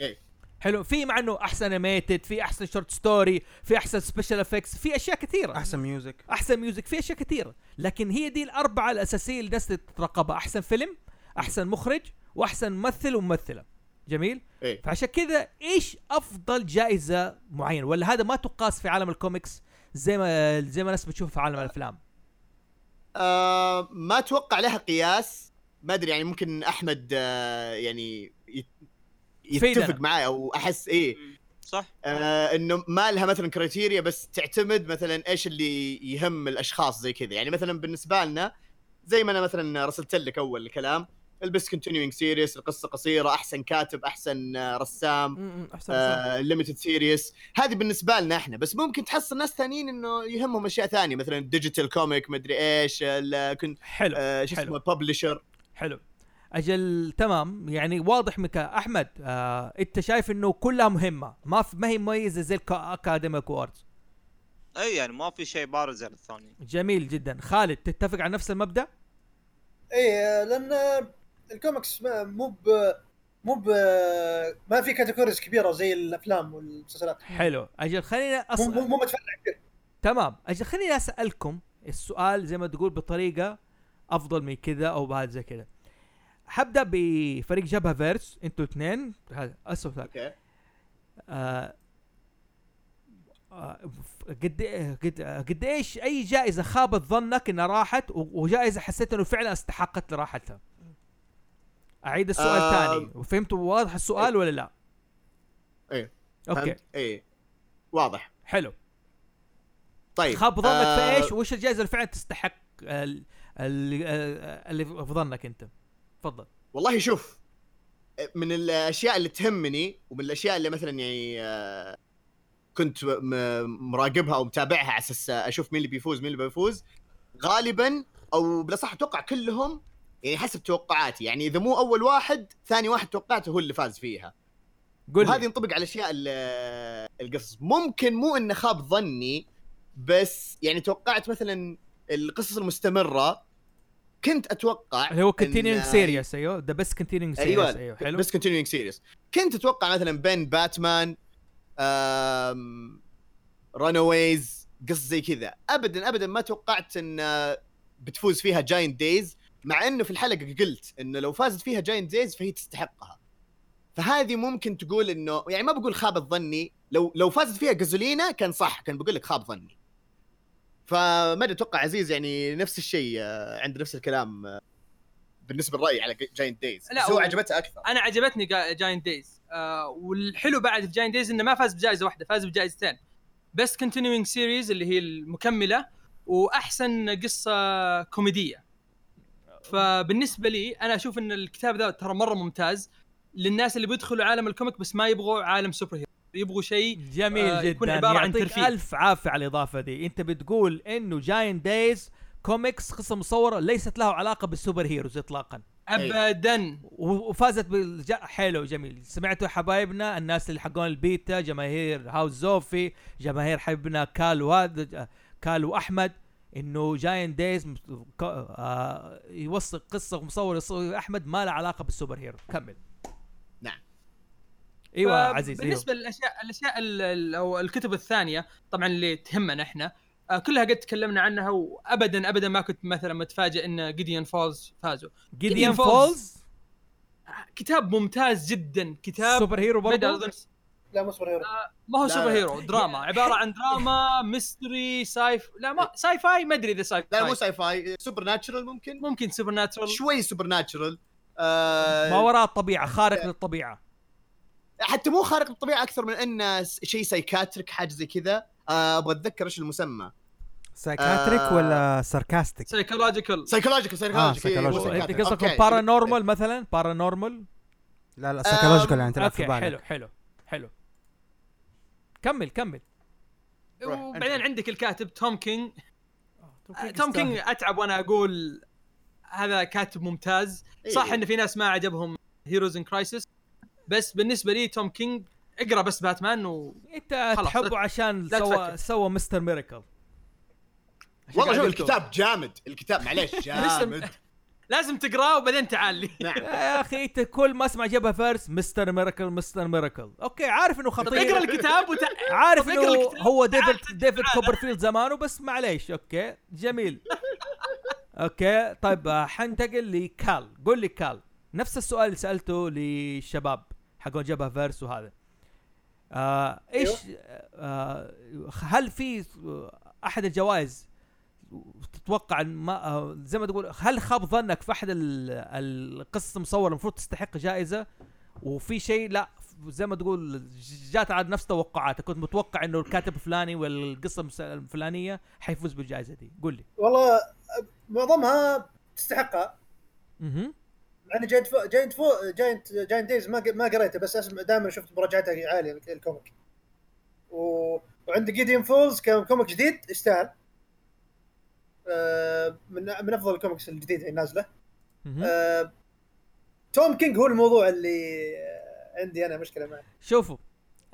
[SPEAKER 1] إيه.
[SPEAKER 4] حلو في مع انه احسن انيميتد في احسن شورت ستوري في احسن سبيشال افكس في اشياء كثيره
[SPEAKER 3] احسن ميوزك
[SPEAKER 4] احسن ميوزك في اشياء كثيره لكن هي دي الاربعه الاساسيه اللي الناس تترقبها احسن فيلم احسن مخرج واحسن ممثل وممثله جميل
[SPEAKER 1] إيه.
[SPEAKER 4] فعشان كذا ايش افضل جائزه معينه ولا هذا ما تقاس في عالم الكوميكس زي ما زي ما الناس بتشوف في عالم الافلام
[SPEAKER 1] آه ما اتوقع لها قياس ما ادري يعني ممكن احمد آه يعني يت-
[SPEAKER 4] يفيدنا.
[SPEAKER 1] يتفق معي او احس ايه
[SPEAKER 6] صح
[SPEAKER 1] آه انه ما لها مثلا كريتيريا بس تعتمد مثلا ايش اللي يهم الاشخاص زي كذا يعني مثلا بالنسبه لنا زي ما انا مثلا رسلت لك اول الكلام البس كونتينيوينج سيريس القصه قصيره احسن كاتب احسن آه، رسام
[SPEAKER 5] م- م، احسن
[SPEAKER 1] آه،
[SPEAKER 5] أحسن.
[SPEAKER 1] ليمتد سيريس هذه بالنسبه لنا احنا بس ممكن تحصل ناس ثانيين انه يهمهم اشياء ثانيه مثلا الديجيتال كوميك مدري ايش ال- كنت
[SPEAKER 4] حلو
[SPEAKER 1] آه، شو
[SPEAKER 4] حلو.
[SPEAKER 1] اسمه ببلشر
[SPEAKER 4] حلو اجل تمام يعني واضح مكا احمد آه انت شايف انه كلها مهمه ما في ما هي مميزه زي الاكاديميك ووردز
[SPEAKER 6] اي يعني ما في شيء بارز على الثاني
[SPEAKER 4] جميل جدا خالد تتفق على نفس المبدا
[SPEAKER 7] اي لان الكوميكس إيه، ما- مو ب مو ب ما في كاتيجوريز كبيره زي الافلام والمسلسلات
[SPEAKER 4] حلو اجل خلينا
[SPEAKER 7] مو مو
[SPEAKER 4] أص...
[SPEAKER 7] مو متفرع كثير
[SPEAKER 4] تمام اجل خليني اسالكم السؤال زي ما تقول بطريقه افضل من كذا او بعد زي كذا حبدا بفريق جبهه فيرس انتوا اثنين هذا اسوء سؤال
[SPEAKER 1] اوكي
[SPEAKER 4] آه، آه، ف- قد إيه- قد آه، قد ايش اي جائزه خابت ظنك انها راحت و- وجائزه حسيت انه فعلا استحقت راحتها اعيد السؤال
[SPEAKER 1] آه،
[SPEAKER 4] ثاني وفهمتوا واضح السؤال ولا لا
[SPEAKER 1] إيه.
[SPEAKER 4] اوكي
[SPEAKER 1] فهمت؟ اي واضح
[SPEAKER 4] حلو
[SPEAKER 1] طيب
[SPEAKER 4] خاب ظنك في
[SPEAKER 1] آه،
[SPEAKER 4] ايش وايش الجائزه اللي فعلا تستحق ال- ال- آه، اللي في ظنك انت تفضل
[SPEAKER 1] والله شوف من الاشياء اللي تهمني ومن الاشياء اللي مثلا يعني آه، كنت م- مراقبها او متابعها على اساس اشوف مين اللي بيفوز مين اللي بيفوز غالبا او بالاصح اتوقع كلهم يعني حسب توقعاتي يعني اذا مو اول واحد ثاني واحد توقعته هو اللي فاز فيها
[SPEAKER 4] قول
[SPEAKER 1] وهذه
[SPEAKER 4] لي
[SPEAKER 1] ينطبق على اشياء ال- القصص ممكن مو انه خاب ظني بس يعني توقعت مثلا القصص المستمره كنت اتوقع
[SPEAKER 4] اللي هو
[SPEAKER 1] إن- أيوة،
[SPEAKER 4] كونتينيوينج سيريس ايوه ذا بيست كونتينيوينج سيريس ايوه حلو
[SPEAKER 1] بس كونتينيوينج سيريس كنت اتوقع مثلا بين باتمان آم... رانويز قصص زي كذا ابدا ابدا ما توقعت ان آه، بتفوز فيها جاينت دايز مع انه في الحلقه قلت انه لو فازت فيها جاينت دايز فهي تستحقها فهذه ممكن تقول انه يعني ما بقول خابت ظني لو لو فازت فيها جازولينا كان صح كان بقول لك خاب ظني فما أدري، اتوقع عزيز يعني نفس الشيء آه، عنده نفس الكلام آه، بالنسبه للراي على جاينت دايز
[SPEAKER 2] لا،
[SPEAKER 1] بس هو
[SPEAKER 2] هو-
[SPEAKER 1] عجبته اكثر
[SPEAKER 2] انا عجبتني جاينت دايز آه والحلو بعد في جاينت دايز انه ما فاز بجائزه واحده فاز بجائزتين بيست كونتينيوينج سيريز اللي هي المكمله واحسن قصه كوميديه فبالنسبه لي انا اشوف ان الكتاب ذا ترى مره ممتاز للناس اللي بيدخلوا عالم الكوميك بس ما يبغوا عالم سوبر هيرو يبغوا شيء
[SPEAKER 4] جميل
[SPEAKER 2] آه،
[SPEAKER 4] جدا
[SPEAKER 2] يكون عبارة عن
[SPEAKER 4] يعطيك
[SPEAKER 2] ترفيه.
[SPEAKER 4] الف عافيه على الاضافه دي انت بتقول انه جاين دايز كوميكس قصه مصوره ليست له علاقه بالسوبر هيروز اطلاقا
[SPEAKER 1] أيوة.
[SPEAKER 2] ابدا
[SPEAKER 4] و- وفازت بالج... حلو جميل سمعتوا يا حبايبنا الناس اللي حقون البيتا جماهير هاوس زوفي جماهير حبنا كال وهذا كال واحمد انه جاين دايز م- ك- آه يوثق قصه مصور يصور احمد ما لها علاقه بالسوبر هيرو كمل
[SPEAKER 1] نعم.
[SPEAKER 4] ايوه
[SPEAKER 2] فب-
[SPEAKER 4] عزيز أيوة.
[SPEAKER 2] بالنسبه للاشياء الاشياء ال- ال- او الكتب الثانيه طبعا اللي تهمنا احنا آه، كلها قد تكلمنا عنها وابدا ابدا ما كنت مثلا متفاجئ ان جيديان فولز فازوا
[SPEAKER 4] جيديان
[SPEAKER 2] Gideon Falls.
[SPEAKER 4] فولز
[SPEAKER 2] كتاب ممتاز جدا كتاب
[SPEAKER 4] سوبر هيرو
[SPEAKER 2] بدأ
[SPEAKER 4] برضه
[SPEAKER 2] أظن-
[SPEAKER 7] لا مو سوبر هيرو
[SPEAKER 2] ما هو
[SPEAKER 1] لا،
[SPEAKER 2] سوبر
[SPEAKER 1] لا.
[SPEAKER 2] هيرو دراما عباره عن دراما ميستري سايف لا ما ساي فاي ما ادري اذا ساي
[SPEAKER 1] لا مو
[SPEAKER 2] فاي
[SPEAKER 1] ساي فاي سوبر ناتشرال ممكن
[SPEAKER 2] ممكن سوبر ناتشرال
[SPEAKER 1] شوي سوبر ناتشرال آه
[SPEAKER 4] ما وراء الطبيعه خارق للطبيعه
[SPEAKER 1] حتى مو خارق للطبيعه اكثر من انه س- شيء سايكاتريك حاجه زي كذا آه ابغى اتذكر ايش المسمى
[SPEAKER 3] سايكاتريك
[SPEAKER 1] آه.
[SPEAKER 3] ولا ساركاستيك
[SPEAKER 2] سايكولوجيكال
[SPEAKER 1] سايكولوجيكال سايكولوجيكال إيه،
[SPEAKER 3] psychological.
[SPEAKER 1] هو
[SPEAKER 3] أوكي.
[SPEAKER 4] انت
[SPEAKER 1] psychiatric.
[SPEAKER 4] قصدك
[SPEAKER 1] أوكي.
[SPEAKER 4] بارانورمال مثلا بارانورمال
[SPEAKER 3] لا لا سايكولوجيكال يعني تلعب في
[SPEAKER 4] اوكي
[SPEAKER 3] بالك
[SPEAKER 4] حلو حلو حلو كمل كمل
[SPEAKER 1] روح،
[SPEAKER 2] وبعدين
[SPEAKER 1] أنت.
[SPEAKER 2] عندك الكاتب توم كينج
[SPEAKER 5] توم
[SPEAKER 2] آه،
[SPEAKER 5] كينج
[SPEAKER 2] توم كينج
[SPEAKER 5] يستاهل.
[SPEAKER 2] اتعب وانا اقول هذا كاتب ممتاز
[SPEAKER 1] إيه.
[SPEAKER 2] صح ان في ناس ما عجبهم هيروز ان كرايسيس بس بالنسبه لي توم كينج اقرا بس باتمان و
[SPEAKER 4] انت
[SPEAKER 2] خلاص،
[SPEAKER 4] تحبه عشان
[SPEAKER 2] لا
[SPEAKER 4] سوى
[SPEAKER 2] تفكر.
[SPEAKER 4] سوى مستر ميراكل
[SPEAKER 1] والله شوف الكتاب جامد الكتاب معليش جامد
[SPEAKER 2] لازم تقراه وبعدين تعال لي
[SPEAKER 1] نعم
[SPEAKER 4] يا اخي انت كل ما اسمع جبهه فارس مستر ميراكل مستر ميراكل اوكي عارف انه
[SPEAKER 2] طب اقرا
[SPEAKER 4] خطير
[SPEAKER 2] الكتاب وتع...
[SPEAKER 4] عارف
[SPEAKER 2] طب اقرا
[SPEAKER 4] انه
[SPEAKER 2] الكتاب،
[SPEAKER 4] هو
[SPEAKER 2] تعال،
[SPEAKER 4] ديفيد ديفيد كوبرفيلد زمانه بس معليش اوكي جميل اوكي طيب آه، حنتقل لكال قول لي كال نفس السؤال اللي سالته للشباب حقون جبهه فيرس وهذا آه ايش
[SPEAKER 2] أيوه.
[SPEAKER 4] آه هل في احد الجوائز تتوقع ان ما آه زي ما تقول هل خاب ظنك في احد ال- القصص المصوره المفروض تستحق جائزه وفي شيء لا زي ما تقول ج- جات على نفس توقعاتك كنت متوقع انه الكاتب الفلاني والقصه المس- الفلانيه حيفوز بالجائزه دي قول لي
[SPEAKER 7] والله أب- معظمها تستحقها
[SPEAKER 4] اها
[SPEAKER 7] مع ان جاينت فو جاينت فو جاينت جاينت دايز ما ق- ما قريته بس اسمع دائما شفت مراجعتها عاليه الك- الكوميك و... وعند جيديان فولز كوميك جديد يستاهل آه، من من افضل الكوميكس الجديده اللي نازله
[SPEAKER 4] اها
[SPEAKER 7] آه، توم كينج هو الموضوع اللي آه، عندي انا مشكله معه
[SPEAKER 4] شوفوا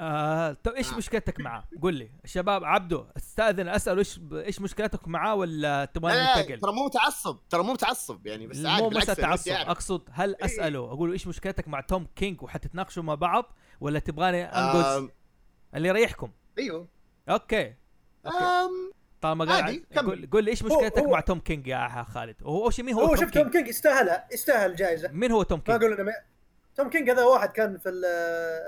[SPEAKER 4] آه، طب ايش
[SPEAKER 1] آه.
[SPEAKER 4] مشكلتك معاه؟ قول لي الشباب عبده استاذن اساله ايش ب- ايش مشكلتك معاه ولا تبغى
[SPEAKER 1] لا، لا،
[SPEAKER 4] ننتقل؟
[SPEAKER 1] ترى مو متعصب ترى مو متعصب يعني بس عادي
[SPEAKER 4] مو
[SPEAKER 1] بالعكس، يعني
[SPEAKER 4] مسألة
[SPEAKER 1] أنا ودي
[SPEAKER 4] تعصب
[SPEAKER 1] أعرف. إيه.
[SPEAKER 4] اقصد هل اساله اقول له ايش مشكلتك مع توم كينج وحتتناقشوا مع بعض ولا تبغاني انقز
[SPEAKER 1] آم،
[SPEAKER 4] اللي يريحكم؟
[SPEAKER 1] ايوه
[SPEAKER 4] اوكي
[SPEAKER 1] آم،
[SPEAKER 4] طالما
[SPEAKER 1] عادي،
[SPEAKER 4] قال
[SPEAKER 1] كمل.
[SPEAKER 4] قول قول لي ايش
[SPEAKER 7] هو-
[SPEAKER 4] مشكلتك
[SPEAKER 7] هو-
[SPEAKER 4] مع توم كينج يا ح- خالد؟ هو أول شيء مين هو,
[SPEAKER 7] هو
[SPEAKER 4] توم
[SPEAKER 7] شوف توم
[SPEAKER 4] كينج؟
[SPEAKER 7] كينج يستاهلها يستاهل جائزه
[SPEAKER 4] مين هو توم
[SPEAKER 7] ما
[SPEAKER 4] كينج؟
[SPEAKER 7] اقول انه ما- توم كينج هذا واحد كان في ال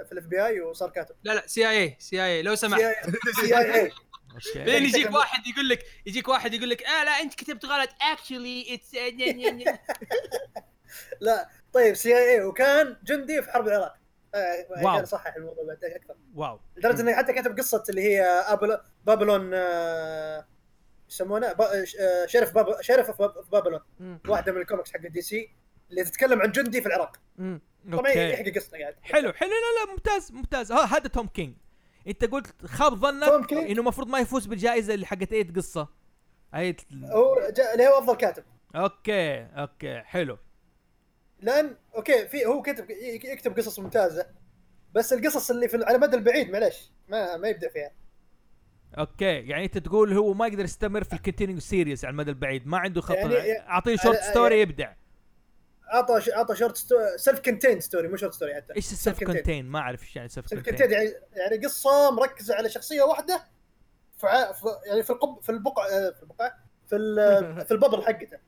[SPEAKER 7] في الاف بي اي وصار كاتب
[SPEAKER 2] لا لا سي اي سي اي لو سمحت
[SPEAKER 7] سي اي اي
[SPEAKER 4] اوكي
[SPEAKER 2] لين يجيك
[SPEAKER 7] تكمل.
[SPEAKER 2] واحد يقول لك يجيك واحد يقول لك اه لا انت كتبت غلط آه، اكشلي اتس
[SPEAKER 7] لا طيب سي اي اي وكان جندي في حرب العراق آه،
[SPEAKER 4] واو.
[SPEAKER 7] كان صحح الموضوع بعد اكثر
[SPEAKER 4] واو
[SPEAKER 7] لدرجه انه حتى كتب قصه اللي هي أبل... بابلون آه، يسمونه با... ش- آه، شرف باب... شرف في باب- في بابلون
[SPEAKER 5] مم.
[SPEAKER 7] واحده من الكوميكس حق دي سي اللي تتكلم عن جندي في العراق
[SPEAKER 5] مم.
[SPEAKER 7] طبعا
[SPEAKER 4] اوكي
[SPEAKER 7] يحكي قصه قاعد
[SPEAKER 4] حلو حلو لا لا ممتاز ممتاز ها- هذا توم كينج انت قلت خاب
[SPEAKER 7] توم
[SPEAKER 4] ظنك
[SPEAKER 7] كينج.
[SPEAKER 4] انه المفروض ما يفوز بالجائزه اللي حقت اي قصه اي
[SPEAKER 7] هو جا... اللي هو افضل كاتب
[SPEAKER 4] اوكي اوكي حلو
[SPEAKER 7] لان اوكي في هو كتب ي- يكتب قصص ممتازه بس القصص اللي في على المدى البعيد معلش ما ما يبدع فيها
[SPEAKER 4] اوكي يعني انت تقول هو ما يقدر يستمر في الكونتينيو سيريز على المدى البعيد ما عنده خط
[SPEAKER 7] يعني-
[SPEAKER 4] اعطيه شورت
[SPEAKER 7] يعني-
[SPEAKER 4] ستوري يبدع
[SPEAKER 7] اعطى ش... اعطى شورت ستو... سيلف كونتين ستوري مو شورت ستوري حتى
[SPEAKER 4] ايش السيلف
[SPEAKER 7] contained.
[SPEAKER 4] كونتين ما اعرف ايش يعني سيلف
[SPEAKER 7] سيلف
[SPEAKER 4] كونتين
[SPEAKER 7] كونتين يعني يعني قصه مركزه على شخصيه واحده في ع- في- يعني في القب في البقعه آه، في البقعه في ال- في الببل حقته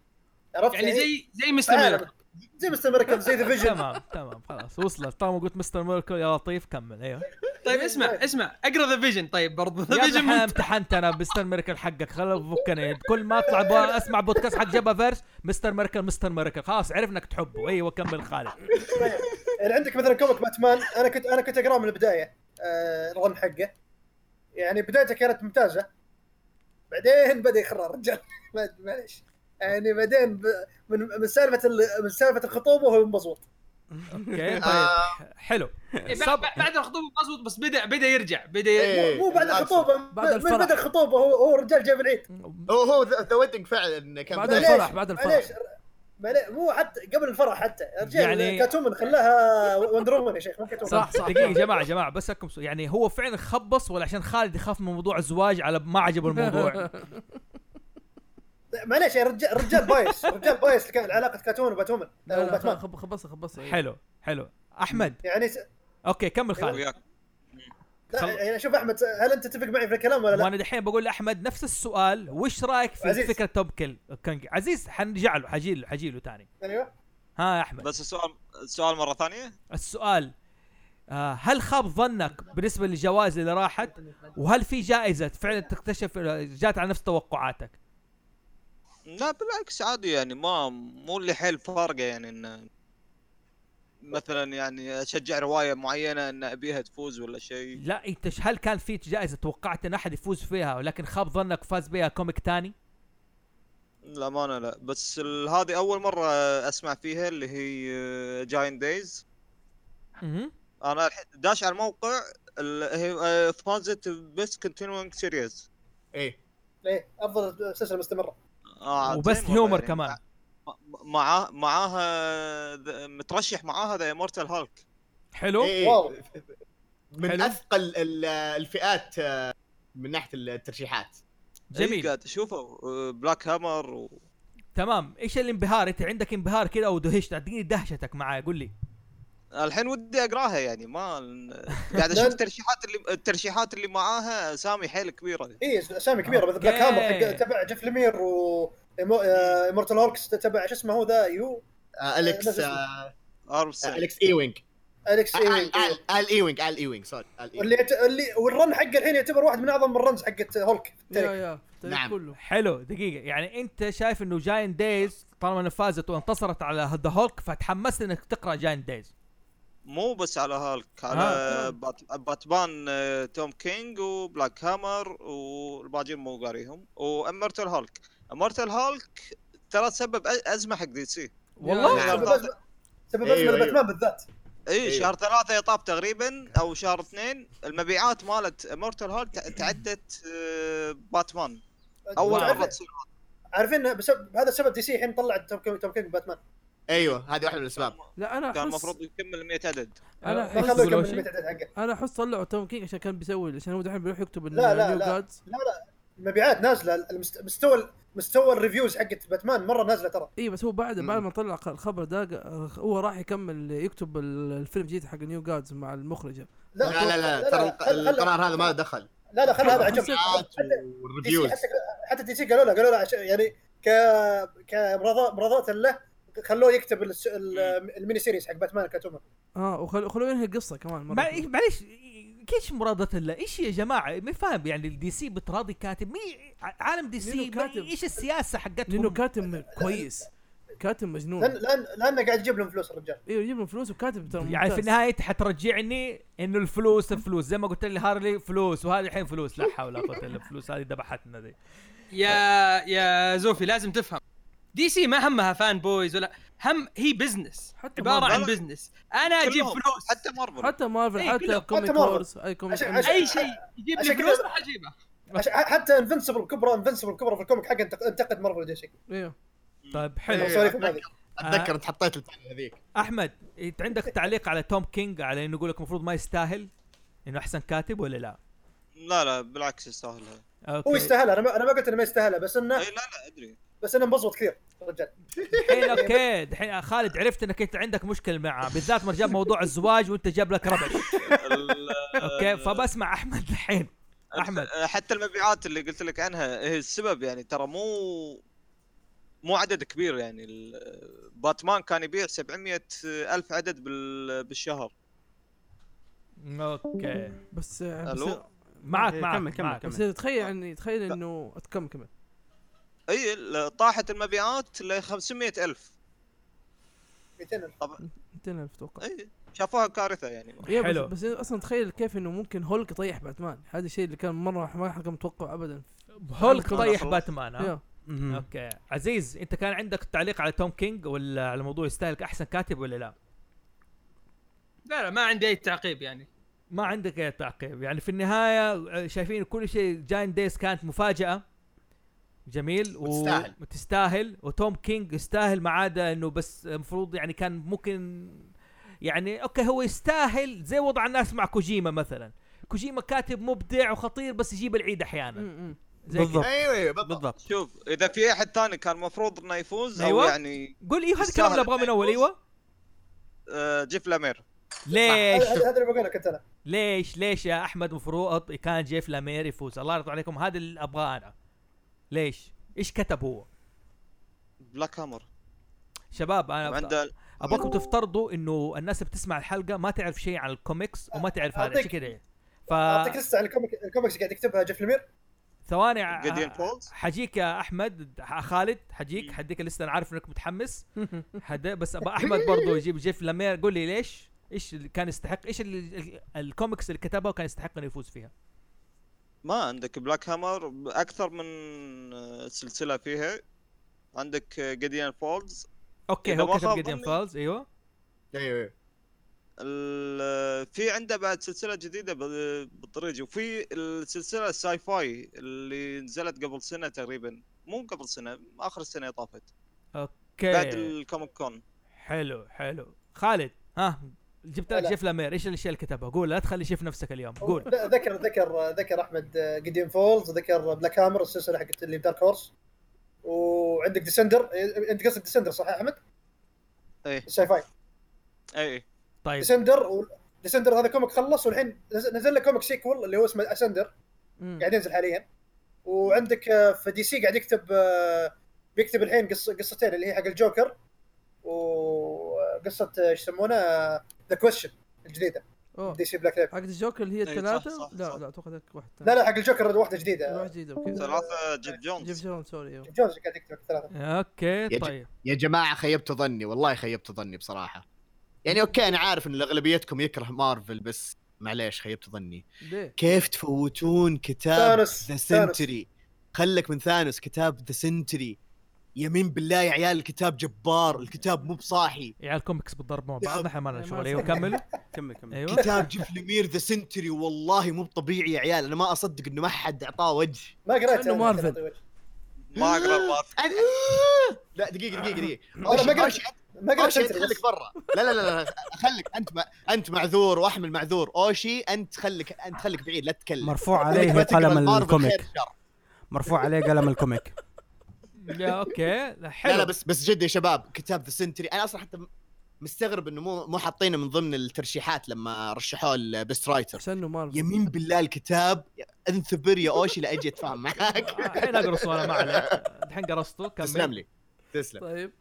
[SPEAKER 7] عرفت
[SPEAKER 2] يعني زي زي
[SPEAKER 7] عالم.
[SPEAKER 2] مستمر
[SPEAKER 7] زي مستر ميركل زي ذا فيجن
[SPEAKER 4] تمام تمام خلاص وصلت طالما قلت مستر ميركل يا لطيف كمل ايوه
[SPEAKER 2] طيب اسمع اسمع اقرا ذا فيجن طيب برضو
[SPEAKER 4] يا
[SPEAKER 2] ذا
[SPEAKER 4] ابني
[SPEAKER 2] فيجن
[SPEAKER 4] انا امتحنت انا مستر ميركل حقك خلاص فكني كل ما اطلع ابغى اسمع بودكاست حق جبا فيرس مستر ميركل مستر ميركل خلاص عرفنا انك تحبه ايوه كمل خالد
[SPEAKER 7] يعني عندك مثلا كوميك باتمان انا كنت انا كنت اقراه من البدايه آه، الرن حقه يعني بدايته كانت ممتازه بعدين بدا يخرع الرجال ما- معليش يعني بعدين ب- من من سالفه ال- من سالفه الخطوبه وهو مبسوط
[SPEAKER 1] آه.
[SPEAKER 4] اوكي طيب
[SPEAKER 1] آم،
[SPEAKER 4] حلو
[SPEAKER 2] بعد بعد الخطوبه مزبوط بس بدا بدا يرجع بدا ي-
[SPEAKER 1] إيه،
[SPEAKER 7] مو بعد
[SPEAKER 1] بالعكس.
[SPEAKER 7] الخطوبه
[SPEAKER 5] بعد
[SPEAKER 7] من
[SPEAKER 5] الفرح.
[SPEAKER 7] بدا الخطوبه هو هو الرجال جاب العيد
[SPEAKER 1] هو هو ذا ويدنج فعلا كان
[SPEAKER 5] بعد
[SPEAKER 1] بداية.
[SPEAKER 7] معليش،
[SPEAKER 5] الفرح بعد
[SPEAKER 7] معليش
[SPEAKER 5] الفرح
[SPEAKER 7] معليش، مو حتى قبل الفرح حتى
[SPEAKER 4] يعني-
[SPEAKER 7] يعني كاتومن خلاها وندر وومن يا شيخ مو كاتومن
[SPEAKER 5] صح صح
[SPEAKER 4] دقيقة يا جماعة يا جماعة بس لكم سؤال يعني هو فعلا خبص ولا عشان خالد يخاف من موضوع الزواج على ما عجبه الموضوع
[SPEAKER 7] معليش يا رجال رجال بايس رجال بايس كان علاقه كاتومن وباتومن
[SPEAKER 5] لا لا
[SPEAKER 7] وباتمان
[SPEAKER 5] خب- خبصها خبصها
[SPEAKER 4] حلو حلو احمد
[SPEAKER 7] يعني س...
[SPEAKER 4] اوكي كمل خالد
[SPEAKER 6] وياك
[SPEAKER 7] لا
[SPEAKER 4] خل-
[SPEAKER 7] يعني شوف احمد هل انت تتفق معي في الكلام ولا لا؟
[SPEAKER 4] وانا دحين بقول لاحمد نفس السؤال وش رايك في
[SPEAKER 7] عزيز.
[SPEAKER 4] فكره توب كيل كينج عزيز حنرجع له حجي له حجي له ثاني
[SPEAKER 7] ايوه
[SPEAKER 4] ها يا احمد
[SPEAKER 6] بس السؤال السؤال مره ثانيه
[SPEAKER 4] السؤال آه هل خاب ظنك بالنسبه للجوائز اللي راحت وهل في جائزه فعلا تكتشف آه، جات على نفس توقعاتك
[SPEAKER 6] لا بالعكس عادي يعني ما مو اللي حيل فارقه يعني انه مثلا يعني اشجع روايه معينه ان ابيها تفوز ولا شيء
[SPEAKER 4] لا انت ش- هل كان في جائزه توقعت ان احد يفوز فيها ولكن خاب ظنك فاز بها كوميك تاني
[SPEAKER 6] للامانه لا بس ال- هذه اول مره اسمع فيها اللي هي آه، جاين دايز
[SPEAKER 4] مهم.
[SPEAKER 6] انا الحين داش على الموقع ال- هي آه، فازت بس كونتينوينج سيريز
[SPEAKER 1] ايه
[SPEAKER 7] ليه؟ افضل سلسله مستمره
[SPEAKER 6] آه،
[SPEAKER 4] وبس هيومر كمان
[SPEAKER 6] معاه يعني. معاها ذ- مترشح معاها ذا امورتال هالك
[SPEAKER 4] حلو
[SPEAKER 1] إيه،
[SPEAKER 7] واو.
[SPEAKER 1] إيه. من
[SPEAKER 4] حلو.
[SPEAKER 1] اثقل ال- الفئات آه، من ناحيه الترشيحات
[SPEAKER 4] جميل
[SPEAKER 6] قاعد اشوفه بلاك هامر و...
[SPEAKER 4] تمام ايش الانبهار انت عندك انبهار كذا او دهشت اديني دهشتك معايا قول لي
[SPEAKER 6] الحين ودي اقراها يعني ما قاعد اشوف الترشيحات اللي الترشيحات اللي معاها اسامي حيل كبيره
[SPEAKER 7] اي اسامي كبيره إيه، مثل بلاك
[SPEAKER 4] أوكي.
[SPEAKER 7] هامر حق تبع جيف لمير و مورتال هوركس آه، تبع شو اسمه هو ذا يو
[SPEAKER 1] آه، اليكس
[SPEAKER 7] نفس اسمه.
[SPEAKER 1] آه،
[SPEAKER 6] 64
[SPEAKER 1] الكس ايوينج آه،
[SPEAKER 7] الكس ايوينج
[SPEAKER 1] ال ال- ال ايوينج ال ايوينج سوري ال إيوينج.
[SPEAKER 7] واللي يت... اللي والرن حقه الحين يعتبر واحد من اعظم الرنز حقت هولك في
[SPEAKER 5] يا
[SPEAKER 4] أيوه،
[SPEAKER 7] التاريخ
[SPEAKER 5] يا التاريخ
[SPEAKER 1] نعم.
[SPEAKER 5] كله
[SPEAKER 4] حلو دقيقة يعني انت شايف انه جاين دايز طالما انها فازت وانتصرت على ذا هولك فتحمست انك تقرا جاين دايز
[SPEAKER 6] مو بس على هالك
[SPEAKER 4] آه.
[SPEAKER 6] على بات... باتمان آه، توم كينج وبلاك هامر والباقيين مو قاريهم وامرتل هالك امرتل هالك ترى سبب أ- ازمه حق دي سي
[SPEAKER 4] والله
[SPEAKER 1] نعم.
[SPEAKER 7] سبب أزمة- سبب
[SPEAKER 1] أيوة،
[SPEAKER 7] ازمه
[SPEAKER 1] أيوة.
[SPEAKER 7] باتمان بالذات
[SPEAKER 6] اي
[SPEAKER 1] أيوة.
[SPEAKER 6] شهر ثلاثة يطاب تقريبا او شهر اثنين المبيعات مالت امورتال هول تعدت آه، باتمان اول
[SPEAKER 4] واو.
[SPEAKER 6] مره تصير
[SPEAKER 7] عارفين بسبب هذا السبب دي سي الحين طلعت توم كينج توم كينج باتمان
[SPEAKER 1] ايوه هذه واحده من الاسباب
[SPEAKER 5] لا انا
[SPEAKER 6] كان
[SPEAKER 5] احس
[SPEAKER 6] يعني المفروض يكمل 100 عدد
[SPEAKER 5] انا
[SPEAKER 7] أه، ما
[SPEAKER 5] احس
[SPEAKER 7] خلوه يكمل
[SPEAKER 4] قولوا شيء.
[SPEAKER 7] الميت عدد حقه
[SPEAKER 5] انا احس طلعوا توم كينج عشان كان بيسوي عشان هو دحين بيروح يكتب ال-
[SPEAKER 7] لا، لا،
[SPEAKER 5] New
[SPEAKER 7] لا.
[SPEAKER 5] Gods.
[SPEAKER 7] لا لا المبيعات نازله المست... مستوى مستوى الريفيوز حقت باتمان مره نازله ترى
[SPEAKER 5] اي إيه، بس هو بعد
[SPEAKER 1] مم.
[SPEAKER 5] بعد ما طلع ق- الخبر ده ق- هو راح يكمل يكتب ال- الفيلم جديد حق نيو جادز مع المخرجه
[SPEAKER 1] لا لا لا ترى الق-
[SPEAKER 7] خل- خل-
[SPEAKER 1] القرار هذا ما دخل
[SPEAKER 7] لا لا خلها هذا عجب
[SPEAKER 5] حسيت-
[SPEAKER 7] دي سي
[SPEAKER 1] والريفيوز
[SPEAKER 7] حتى حتى دي سي قالوا له قالوا له عشان يعني ك كمراضاة له خلوه يكتب الس- ال- الميني سيريز حق باتمان كاتوما
[SPEAKER 5] اه وخلوه وخلوه ينهي القصه كمان مره
[SPEAKER 4] مع- معليش ايش مرادة الله ايش يا جماعة ما فاهم يعني الدي سي بتراضي كاتب مي عالم دي سي
[SPEAKER 5] لأنه
[SPEAKER 4] ما-
[SPEAKER 5] كاتب.
[SPEAKER 4] ايش السياسة حقتهم
[SPEAKER 5] لانه كاتب كويس كاتب مجنون
[SPEAKER 7] لان لان لانه قاعد يجيب لهم فلوس الرجال
[SPEAKER 5] ايوه يجيب لهم فلوس وكاتب ترى
[SPEAKER 4] يعني في
[SPEAKER 5] ممتاز.
[SPEAKER 4] النهايه انت حترجعني انه الفلوس الفلوس زي ما قلت لي هارلي فلوس وهذه الحين فلوس لا حول ولا قوه الا بالفلوس هذه ذبحتنا ذي
[SPEAKER 2] يا يا زوفي لازم تفهم دي سي ما همها فان بويز ولا هم هي بزنس
[SPEAKER 5] حتى
[SPEAKER 2] عباره
[SPEAKER 5] مارفل.
[SPEAKER 2] عن بزنس انا اجيب
[SPEAKER 6] كلهم،
[SPEAKER 2] فلوس
[SPEAKER 6] حتى مارفل
[SPEAKER 5] حتى مارفل
[SPEAKER 2] إيه، كلهم.
[SPEAKER 5] حتى
[SPEAKER 2] حتى
[SPEAKER 5] كوميك
[SPEAKER 7] مارفل.
[SPEAKER 5] وورز اي كوميك
[SPEAKER 7] عشان-
[SPEAKER 5] أمس.
[SPEAKER 7] عشان-
[SPEAKER 2] اي شيء يجيب
[SPEAKER 7] عشان
[SPEAKER 2] لي
[SPEAKER 7] كذا-
[SPEAKER 2] فلوس راح اجيبه
[SPEAKER 7] عشان- حتى انفنسبل الكبرى انفنسبل الكبرى في الكوميك حقه انتق- انتقد مارفل دي سي
[SPEAKER 5] ايوه
[SPEAKER 4] طيب حلو
[SPEAKER 1] إيه،
[SPEAKER 7] سوري في
[SPEAKER 1] أتذكر-
[SPEAKER 7] هذه.
[SPEAKER 1] اتذكر انت حطيت الثانيه هذيك
[SPEAKER 4] احمد انت عندك تعليق على توم كينج على انه يقول لك المفروض ما يستاهل انه احسن كاتب ولا لا
[SPEAKER 6] لا لا بالعكس يستاهلها
[SPEAKER 7] هو
[SPEAKER 4] اوكي
[SPEAKER 7] يستاهلها انا ما انا ما قلت انه ما يستاهلها بس انه
[SPEAKER 6] اي لا لا ادري
[SPEAKER 7] بس انا انبسط كثير الرجال
[SPEAKER 4] الحين اوكي الحين خالد عرفت انك انت عندك مشكله معه بالذات ما جاب موضوع الزواج وانت جاب لك ربع
[SPEAKER 6] ال-
[SPEAKER 4] اوكي فبسمع احمد الحين احمد
[SPEAKER 6] حتى المبيعات اللي قلت لك عنها هي السبب يعني ترى مو مو عدد كبير يعني ال- باتمان كان يبيع 700 الف عدد بال- بالشهر
[SPEAKER 4] اوكي
[SPEAKER 5] بس آه، بس-
[SPEAKER 6] ألو؟
[SPEAKER 4] معك
[SPEAKER 3] إيه،
[SPEAKER 4] معك
[SPEAKER 3] كمل، كمل،
[SPEAKER 4] معك.
[SPEAKER 5] بس تخيل يعني تخيل انه كمل كمل
[SPEAKER 6] اي ال- طاحت المبيعات ل 500 الف
[SPEAKER 7] 200
[SPEAKER 5] انتهى اتوقع
[SPEAKER 6] اي شافوها كارثه يعني
[SPEAKER 5] إيه، بس-
[SPEAKER 4] حلو.
[SPEAKER 5] بس اصلا تخيل كيف انه ممكن هولك يطيح باتمان هذا الشيء اللي كان مره ما حد متوقع ابدا
[SPEAKER 4] هولك طيح باتمان ها
[SPEAKER 5] يا.
[SPEAKER 3] مهم.
[SPEAKER 4] اوكي عزيز انت كان عندك تعليق على توم كينج ولا على موضوع يستاهل احسن كاتب ولا لا
[SPEAKER 2] لا لا ما عندي اي تعقيب يعني
[SPEAKER 4] ما عندك اي تعقيب يعني في النهايه آه، شايفين كل شيء جاين ديز كانت مفاجاه جميل
[SPEAKER 1] وتستاهل.
[SPEAKER 4] وتستاهل وتوم كينج يستاهل ما عدا انه بس المفروض يعني كان ممكن يعني اوكي هو يستاهل زي وضع الناس مع كوجيما مثلا كوجيما كاتب مبدع وخطير بس يجيب العيد احيانا
[SPEAKER 5] م- م.
[SPEAKER 4] زي كده.
[SPEAKER 3] بالضبط.
[SPEAKER 1] ايوه أيوة، بالضبط
[SPEAKER 3] بالضبط
[SPEAKER 6] شوف اذا في احد ثاني كان المفروض انه يفوز او
[SPEAKER 4] أيوة.
[SPEAKER 6] يعني
[SPEAKER 4] قول ايوه هذا الكلام اللي ابغاه من اول ايوه
[SPEAKER 6] آه، جيف لامير
[SPEAKER 4] ليش
[SPEAKER 7] هذا هذا اللي بقوله كنت انا
[SPEAKER 4] ليش ليش يا احمد مفروض كان جيف لامير يفوز الله يرضى عليكم هذا اللي ابغاه انا ليش ايش كتب هو
[SPEAKER 6] بلاك هامر
[SPEAKER 4] شباب انا
[SPEAKER 6] عنده
[SPEAKER 4] ابغاكم تفترضوا انه الناس اللي بتسمع الحلقه ما تعرف شيء عن الكوميكس وما تعرف هذا
[SPEAKER 7] أعطيك-
[SPEAKER 4] عشان كذا ف
[SPEAKER 7] اعطيك لسه على الكوميك الكوميكس قاعد يكتبها جيف لمير
[SPEAKER 4] ثواني
[SPEAKER 6] جديان
[SPEAKER 4] ع-
[SPEAKER 6] فولز
[SPEAKER 4] حجيك يا احمد ح- خالد حجيك حديك لسه انا عارف انك متحمس حد بس ابغى احمد برضو يجيب جيف لامير قول لي ليش ايش اللي كان يستحق ايش اللي ال- الكوميكس اللي كتبها وكان يستحق انه يفوز فيها
[SPEAKER 6] ما عندك بلاك هامر اكثر من آه، سلسله فيها عندك آه، جديان فولز
[SPEAKER 4] اوكي
[SPEAKER 6] إذا
[SPEAKER 4] هو
[SPEAKER 6] ما
[SPEAKER 4] كتب
[SPEAKER 6] خاب
[SPEAKER 4] جديان
[SPEAKER 6] ظني-
[SPEAKER 4] فالز ايوه
[SPEAKER 1] ايوه أيوة.
[SPEAKER 6] ال- آه، في عنده بعد سلسله جديده ب- بالطريق وفي السلسله الساي فاي اللي نزلت قبل سنه تقريبا مو قبل سنه اخر السنه اللي طافت
[SPEAKER 4] إيه.
[SPEAKER 6] بعد
[SPEAKER 4] اوكي
[SPEAKER 6] الكوميك كون
[SPEAKER 4] حلو حلو خالد ها جبت لك
[SPEAKER 7] هلا.
[SPEAKER 4] جيف لامير ايش الاشياء اللي كتبها قول لا تخلي شيف نفسك اليوم قول
[SPEAKER 7] لا، ذكر ذكر ذكر احمد جيديان فولز ذكر بلاك هامر السلسله حقت اللي بدارك هورس وعندك ديسندر انت قصدك ديسندر صح يا احمد؟
[SPEAKER 6] ايه
[SPEAKER 7] الساي فاي
[SPEAKER 6] اي
[SPEAKER 4] طيب
[SPEAKER 7] ديسندر و... ديسندر هذا كوميك خلص والحين نزل- نزل له كوميك سيكول اللي هو اسمه اسندر
[SPEAKER 5] م.
[SPEAKER 7] قاعد ينزل حاليا وعندك آه، في دي سي قاعد يكتب آه، بيكتب الحين قص... قصتين اللي هي حق الجوكر و قصه آه، ايش يسمونه ذا كويشن الجديده
[SPEAKER 5] اوه
[SPEAKER 7] دي سي بلاك ليب
[SPEAKER 5] حق الجوكر اللي هي
[SPEAKER 6] إيه، صح،
[SPEAKER 5] الثلاثه
[SPEAKER 6] صح،
[SPEAKER 5] لا
[SPEAKER 6] صح.
[SPEAKER 5] لا اتوقع ذاك واحد ثاني
[SPEAKER 7] لا لا حق الجوكر واحده جديده
[SPEAKER 5] واحد جديد اوكي
[SPEAKER 6] ثلاثة جيف
[SPEAKER 5] جيف
[SPEAKER 6] جونز
[SPEAKER 5] جون سوري أيوه.
[SPEAKER 7] جونز قاعد يكتب ثلاثه
[SPEAKER 4] اوكي
[SPEAKER 1] يجب.
[SPEAKER 4] طيب
[SPEAKER 1] يا جماعه خيبت ظني والله خيبت ظني بصراحه يعني اوكي انا عارف ان اغلبيتكم يكره مارفل بس معليش خيبت ظني
[SPEAKER 5] ليه؟
[SPEAKER 1] كيف تفوتون كتاب
[SPEAKER 7] ثانوس
[SPEAKER 1] ذا
[SPEAKER 7] ثانوس.
[SPEAKER 1] سنتري خلك من ثانوس كتاب ذا سنتري يمين بالله يا عيال الكتاب جبار الكتاب مو بصاحي
[SPEAKER 4] عيال كوميكس بتضرب مع بعض نحن ما لنا
[SPEAKER 5] ما
[SPEAKER 4] شغل
[SPEAKER 5] أصدق.
[SPEAKER 4] ايوه كملوا
[SPEAKER 3] كمل كمل
[SPEAKER 4] ايوه
[SPEAKER 1] كتاب جيفلمير ذا سنتري والله مو طبيعي يا عيال انا ما اصدق انه ما حد اعطاه وجه
[SPEAKER 7] ما قريت
[SPEAKER 5] كأنه
[SPEAKER 7] أنا
[SPEAKER 5] مارفل.
[SPEAKER 7] طويل.
[SPEAKER 6] ما اقدر مارفل
[SPEAKER 1] أنا... لا دقيقه دقيقه دقيقه
[SPEAKER 7] أنا ما قريت-
[SPEAKER 1] أوشي-
[SPEAKER 7] ما قريت
[SPEAKER 1] اوشي
[SPEAKER 7] سنتري
[SPEAKER 1] انت
[SPEAKER 7] بس.
[SPEAKER 1] خليك برا لا لا لا لا خليك انت ما انت معذور واحمل معذور اوشي انت خليك انت خليك بعيد لا تتكلم
[SPEAKER 3] مرفوع
[SPEAKER 1] أنت
[SPEAKER 3] عليه
[SPEAKER 1] ما تقرأ
[SPEAKER 3] قلم
[SPEAKER 1] المارفل
[SPEAKER 3] الكوميك
[SPEAKER 1] خير شر.
[SPEAKER 3] مرفوع عليه قلم الكوميك
[SPEAKER 4] يا اوكي لا،
[SPEAKER 1] لا لا
[SPEAKER 4] حلو
[SPEAKER 1] بس بس جد يا شباب كتاب ذا سنتري انا اصلا حتى مستغرب انه مو مو حاطينه من ضمن الترشيحات لما رشحوه البيست رايتر
[SPEAKER 5] عشان انه مارفل
[SPEAKER 1] يمين بالله الكتاب انثبر يا اوشي لاجي اتفاهم معاك
[SPEAKER 4] آه، الحين اقرص وانا ما عليك الحين قرصته
[SPEAKER 1] تسلم
[SPEAKER 4] كمل
[SPEAKER 1] لي تسلم
[SPEAKER 5] طيب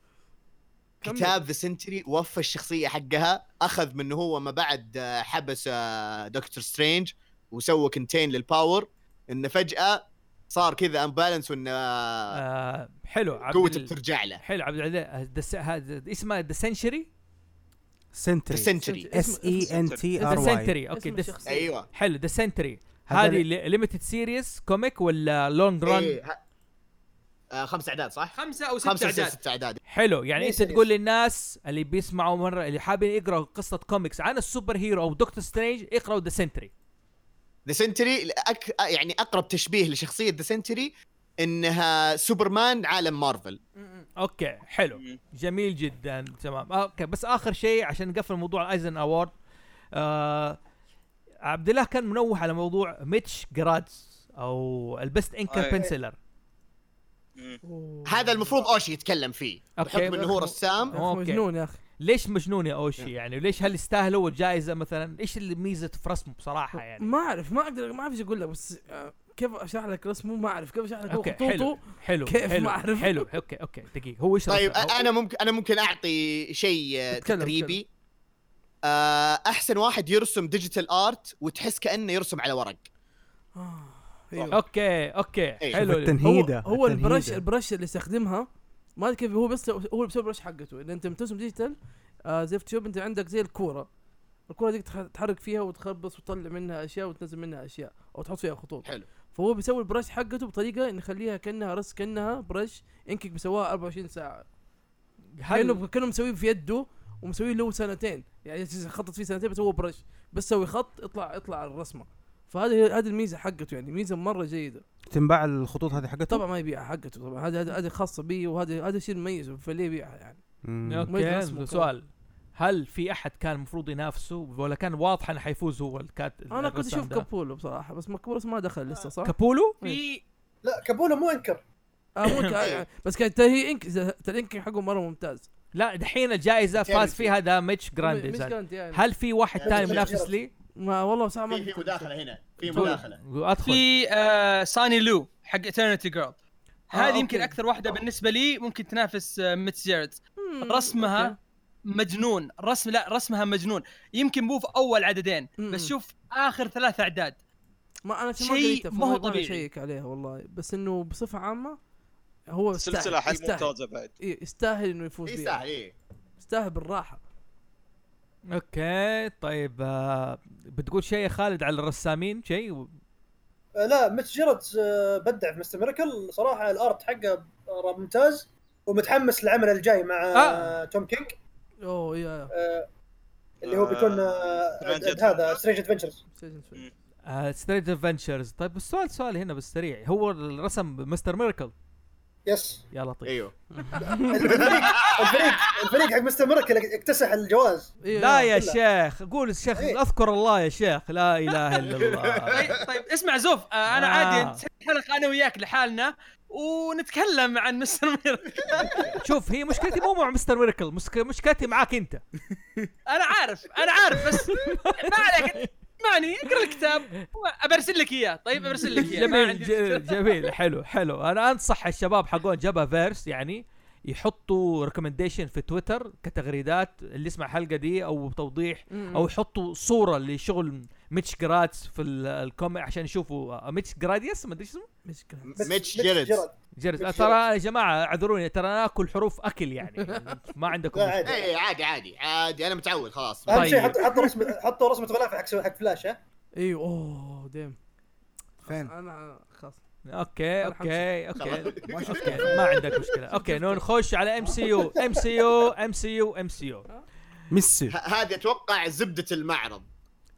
[SPEAKER 5] كمل.
[SPEAKER 1] كتاب ذا سنتري وفى الشخصيه حقها اخذ منه هو ما بعد آه، حبس آه، دكتور سترينج وسوى كنتين للباور انه فجاه صار كذا امبالانس وان آه،
[SPEAKER 4] آه، حلو عبد
[SPEAKER 1] قوته
[SPEAKER 4] ال-
[SPEAKER 1] بترجع له
[SPEAKER 4] حلو عبد العزيز آه، هذا اسمه ذا سنشري
[SPEAKER 1] ذا
[SPEAKER 4] إيه،
[SPEAKER 3] سنتري
[SPEAKER 1] سنتري
[SPEAKER 7] E
[SPEAKER 3] اس اي ان تي
[SPEAKER 4] ذا
[SPEAKER 3] ار واي
[SPEAKER 4] سنتري اوكي
[SPEAKER 5] اسم
[SPEAKER 4] The-
[SPEAKER 5] الشخصية.
[SPEAKER 1] ايوه
[SPEAKER 4] حلو ذا سنتري
[SPEAKER 3] هذا
[SPEAKER 4] هذه ليمتد سيريس كوميك ولا لونج رن
[SPEAKER 1] إيه، ه- آه، خمس اعداد صح؟
[SPEAKER 2] خمسه او ست
[SPEAKER 1] خمسة أو إيه،
[SPEAKER 2] اعداد
[SPEAKER 1] ست اعداد
[SPEAKER 4] حلو يعني
[SPEAKER 7] مين
[SPEAKER 4] انت
[SPEAKER 7] سيريس؟
[SPEAKER 4] تقول للناس اللي بيسمعوا مره اللي حابين يقراوا قصه كوميكس عن السوبر هيرو او دكتور سترينج اقراوا ذا سنتري
[SPEAKER 1] ذا سنتري أك... يعني اقرب تشبيه لشخصيه ذا سنتري انها سوبرمان عالم مارفل
[SPEAKER 4] اوكي حلو
[SPEAKER 6] مم.
[SPEAKER 4] جميل جدا تمام اوكي بس اخر شيء عشان نقفل موضوع ايزن اوورد آه عبد الله كان منوه على موضوع ميتش جرادز او البست انكر
[SPEAKER 6] أي.
[SPEAKER 4] بنسلر
[SPEAKER 5] أوه.
[SPEAKER 1] هذا المفروض اوشي يتكلم فيه
[SPEAKER 4] أوكي.
[SPEAKER 1] بحكم انه هو رسام
[SPEAKER 5] يا أخي
[SPEAKER 4] أوكي.
[SPEAKER 5] مجنون يا اخي
[SPEAKER 4] ليش مجنون يا اوشي يعني ليش هل يستاهلوا الجائزه مثلا ايش اللي ميزه في رسمه بصراحه يعني
[SPEAKER 5] ما اعرف ما اقدر ما اعرف ايش اقول لك بس آه، كيف اشرح لك رسمه ما اعرف كيف اشرح لك هو
[SPEAKER 4] اوكي حلو
[SPEAKER 5] خطوطه
[SPEAKER 4] حلو
[SPEAKER 5] كيف
[SPEAKER 4] حلو
[SPEAKER 5] ما أعرف؟
[SPEAKER 4] حلو اوكي اوكي دقيقه هو ايش
[SPEAKER 1] طيب
[SPEAKER 4] رسم؟ أو-
[SPEAKER 1] انا ممكن انا ممكن اعطي شيء آه،
[SPEAKER 5] اتكلم،
[SPEAKER 1] تقريبي آه، احسن واحد يرسم ديجيتال ارت وتحس كانه يرسم على ورق
[SPEAKER 5] آه، أيوه.
[SPEAKER 4] اوكي اوكي
[SPEAKER 1] إيه.
[SPEAKER 3] شوف
[SPEAKER 4] حلو
[SPEAKER 3] التنهيده
[SPEAKER 5] هو, هو البرش
[SPEAKER 3] التنهيدة.
[SPEAKER 5] البرش اللي يستخدمها ما أدري كيف هو بس هو بسبب البرش حقته اذا انت بترسم ديجيتال آه زي فوتوشوب انت عندك زي الكوره الكوره دي تح- تحرك فيها وتخبص وتطلع منها اشياء وتنزل منها اشياء او تحط فيها خطوط
[SPEAKER 1] حلو.
[SPEAKER 5] فهو بيسوي البرش حقته بطريقه إن يخليها كانها رس كانها برش انكك مسواها 24 ساعه كانه
[SPEAKER 4] هل
[SPEAKER 5] كانه مسويه في يده ومسويه له سنتين يعني خطط فيه سنتين بس هو برش بس سوي خط اطلع اطلع على الرسمه فهذه هذه الميزه حقته يعني ميزه مره جيده
[SPEAKER 3] تنباع الخطوط هذه حقته
[SPEAKER 5] طبعا ما يبيعها حقته طبعا هذا هذا هذا خاصه بي وهذا هذا الشيء المميز فليه يبيعها يعني
[SPEAKER 3] مم.
[SPEAKER 5] ما يدري
[SPEAKER 4] اوكي
[SPEAKER 5] اسمه
[SPEAKER 4] سؤال هل في احد كان المفروض ينافسه ولا كان واضح انه حيفوز هو الكات
[SPEAKER 5] انا كنت
[SPEAKER 4] الرسام
[SPEAKER 5] اشوف
[SPEAKER 4] ده؟
[SPEAKER 5] كابولو بصراحه بس ما كابولو ما دخل لسه صح؟
[SPEAKER 4] كابولو
[SPEAKER 5] طيب.
[SPEAKER 2] في
[SPEAKER 7] لا كابولا مو انكر
[SPEAKER 5] آه ممكن آه بس كان ترى انك الانك حقه مره ممتاز
[SPEAKER 4] لا دحين الجائزه
[SPEAKER 1] تعرف
[SPEAKER 4] فاز فيها ده ميتش
[SPEAKER 5] م- مش
[SPEAKER 4] جراندي
[SPEAKER 5] كانت يعني
[SPEAKER 4] هل في واحد
[SPEAKER 1] يعني
[SPEAKER 4] ثاني
[SPEAKER 1] مش
[SPEAKER 4] منافس
[SPEAKER 1] جرس.
[SPEAKER 4] لي؟
[SPEAKER 5] ما والله ساعه ما
[SPEAKER 1] في
[SPEAKER 5] كنت-
[SPEAKER 1] مداخله هنا في
[SPEAKER 4] تقول-
[SPEAKER 1] مداخله
[SPEAKER 4] ادخل
[SPEAKER 2] في آه ساني لو حق ايترنتي جيرل هذه يمكن
[SPEAKER 5] آه، أوكي.
[SPEAKER 2] اكثر واحده بالنسبه لي ممكن تنافس آه، ميتس جيرد
[SPEAKER 5] مم،
[SPEAKER 2] رسمها
[SPEAKER 5] أوكي.
[SPEAKER 2] مجنون رسم لا رسمها مجنون يمكن مو في اول عددين
[SPEAKER 5] مم.
[SPEAKER 2] بس شوف اخر ثلاث اعداد
[SPEAKER 5] ما انا ما
[SPEAKER 2] شيء
[SPEAKER 5] قريته،
[SPEAKER 2] ما
[SPEAKER 5] فما-
[SPEAKER 2] هو
[SPEAKER 5] ما
[SPEAKER 2] طبيعي.
[SPEAKER 5] شيك عليها والله بس انه بصفه عامه هو يستاهل-
[SPEAKER 6] سلسلة حيل
[SPEAKER 5] يستاهل
[SPEAKER 6] ممتازة بعد
[SPEAKER 5] إيه، يستاهل انه يفوز فيها
[SPEAKER 1] يستاهل إيه.
[SPEAKER 5] يستاهل بالراحه
[SPEAKER 4] اوكي طيب آه بتقول شيء يا خالد على الرسامين شيء
[SPEAKER 7] آه، لا ميت جيرد آه، بدع في مستر ميركل صراحه الارت حقه آه، ممتاز ومتحمس للعمل الجاي مع
[SPEAKER 4] آه.
[SPEAKER 7] آه. توم كينج
[SPEAKER 5] اوه يا يا
[SPEAKER 7] آه، اللي هو بيكون آه،
[SPEAKER 6] Strange
[SPEAKER 7] آه، هذا سترينج ادفنتشرز
[SPEAKER 5] سجن شوي.
[SPEAKER 6] مم.
[SPEAKER 4] آه ستريت ادفنتشرز طيب السؤال سؤال هنا بالسريع هو الرسم مستر ميركل
[SPEAKER 7] يس
[SPEAKER 4] يا لطيف
[SPEAKER 1] ايوه
[SPEAKER 7] الفريق الفريق الفريق حق مستر ميركل اكتسح الجواز
[SPEAKER 5] إيه،
[SPEAKER 4] لا يا
[SPEAKER 7] لا.
[SPEAKER 4] شيخ قول يا شيخ
[SPEAKER 7] إيه.
[SPEAKER 4] اذكر الله يا شيخ لا اله الا الله
[SPEAKER 2] طيب- طيب اسمع زوف آه انا
[SPEAKER 4] آه.
[SPEAKER 2] عادي نسوي حلقه انا وياك لحالنا ونتكلم عن مستر مير
[SPEAKER 4] شوف هي مشكلتي مو مع مستر ميركل مسك- مشكلتي معاك انت
[SPEAKER 2] انا عارف انا عارف بس ما عليك اسمعني اقرا الكتاب ابرسل لك اياه طيب
[SPEAKER 7] يعني
[SPEAKER 2] ابرسل لك اياه ما
[SPEAKER 4] جميل
[SPEAKER 2] عندي
[SPEAKER 4] ج- جميل حلو حلو انا انصح الشباب حقون جبهه فيرس يعني يحطوا ريكومنديشن في تويتر كتغريدات اللي يسمع الحلقه دي او توضيح او يحطوا صوره لشغل ميتش جراتس في ال- الكوميك عشان يشوفوا آه، ميتش جراديس ما ادري إيش اسمه
[SPEAKER 5] مشكلة
[SPEAKER 1] ميتش جيرتس.
[SPEAKER 4] جرس آه،
[SPEAKER 7] ميتش
[SPEAKER 4] ترى يا جماعه اعذروني ترى انا اكل حروف اكل يعني ما عندكم
[SPEAKER 7] لا،
[SPEAKER 4] مشكلة.
[SPEAKER 7] عادي.
[SPEAKER 1] اي عادي عادي عادي انا متعود خلاص
[SPEAKER 7] اهم شيء
[SPEAKER 4] طيب.
[SPEAKER 7] حطوا حطوا رسمه حطوا رسمه غلاف حق حق فلاش ها
[SPEAKER 5] ايوه اوه ديم
[SPEAKER 8] فين؟
[SPEAKER 5] انا خلاص
[SPEAKER 4] اوكي
[SPEAKER 5] الحمد
[SPEAKER 4] اوكي اوكي
[SPEAKER 8] ما شفت
[SPEAKER 4] اوكي ما عندك مشكله اوكي نو نخش على ام سي يو ام سي يو ام سي يو ام سي يو
[SPEAKER 3] ميسي
[SPEAKER 1] ه- هذه اتوقع زبده المعرض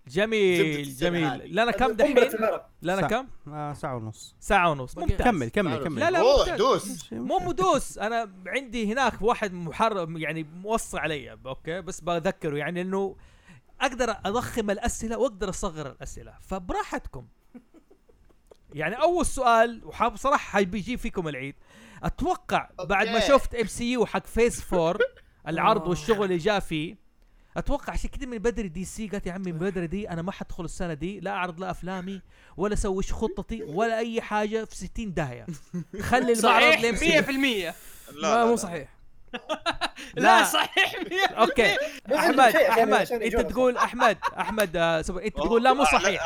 [SPEAKER 1] زبدة
[SPEAKER 4] جميل
[SPEAKER 1] السنة هذه.
[SPEAKER 4] جميل لنا كم
[SPEAKER 7] قنبلة
[SPEAKER 4] دحين
[SPEAKER 7] المعرض.
[SPEAKER 4] لنا
[SPEAKER 3] ساعة.
[SPEAKER 4] كم
[SPEAKER 3] آه ساعة ونص
[SPEAKER 4] ساعه ونص ممتاز
[SPEAKER 3] كمل كمل كمل
[SPEAKER 4] لا، لا،
[SPEAKER 1] روح
[SPEAKER 4] ممتاز.
[SPEAKER 1] دوس
[SPEAKER 4] مو مدوس انا عندي هناك واحد محرم يعني موصي علي اوكي بس بذكره يعني انه اقدر اضخم الاسئله واقدر اصغر الاسئله فبراحتكم يعني اول سؤال وصراحه بيجي فيكم العيد اتوقع بعد ما
[SPEAKER 1] أوكي.
[SPEAKER 4] شفت ام سي يو حق فيس فور العرض
[SPEAKER 5] آه.
[SPEAKER 4] والشغل اللي جاء فيه اتوقع عشان كده من بدري دي سي قالت يا عمي من بدري دي انا ما حدخل السنه دي لا اعرض لا افلامي ولا اسويش خطتي ولا اي حاجه في 60 داهيه خلي المعرض لام سي يو.
[SPEAKER 2] صحيح 100%
[SPEAKER 5] لا
[SPEAKER 6] لا
[SPEAKER 5] مو صحيح
[SPEAKER 4] لا.
[SPEAKER 2] لا صحيح 100%
[SPEAKER 4] اوكي
[SPEAKER 7] مو عنده
[SPEAKER 4] احمد
[SPEAKER 7] شيء عشان-
[SPEAKER 4] احمد
[SPEAKER 7] عشان
[SPEAKER 4] انت
[SPEAKER 7] يجاوب.
[SPEAKER 4] تقول احمد احمد آه، سب- انت تقول لا مو صحيح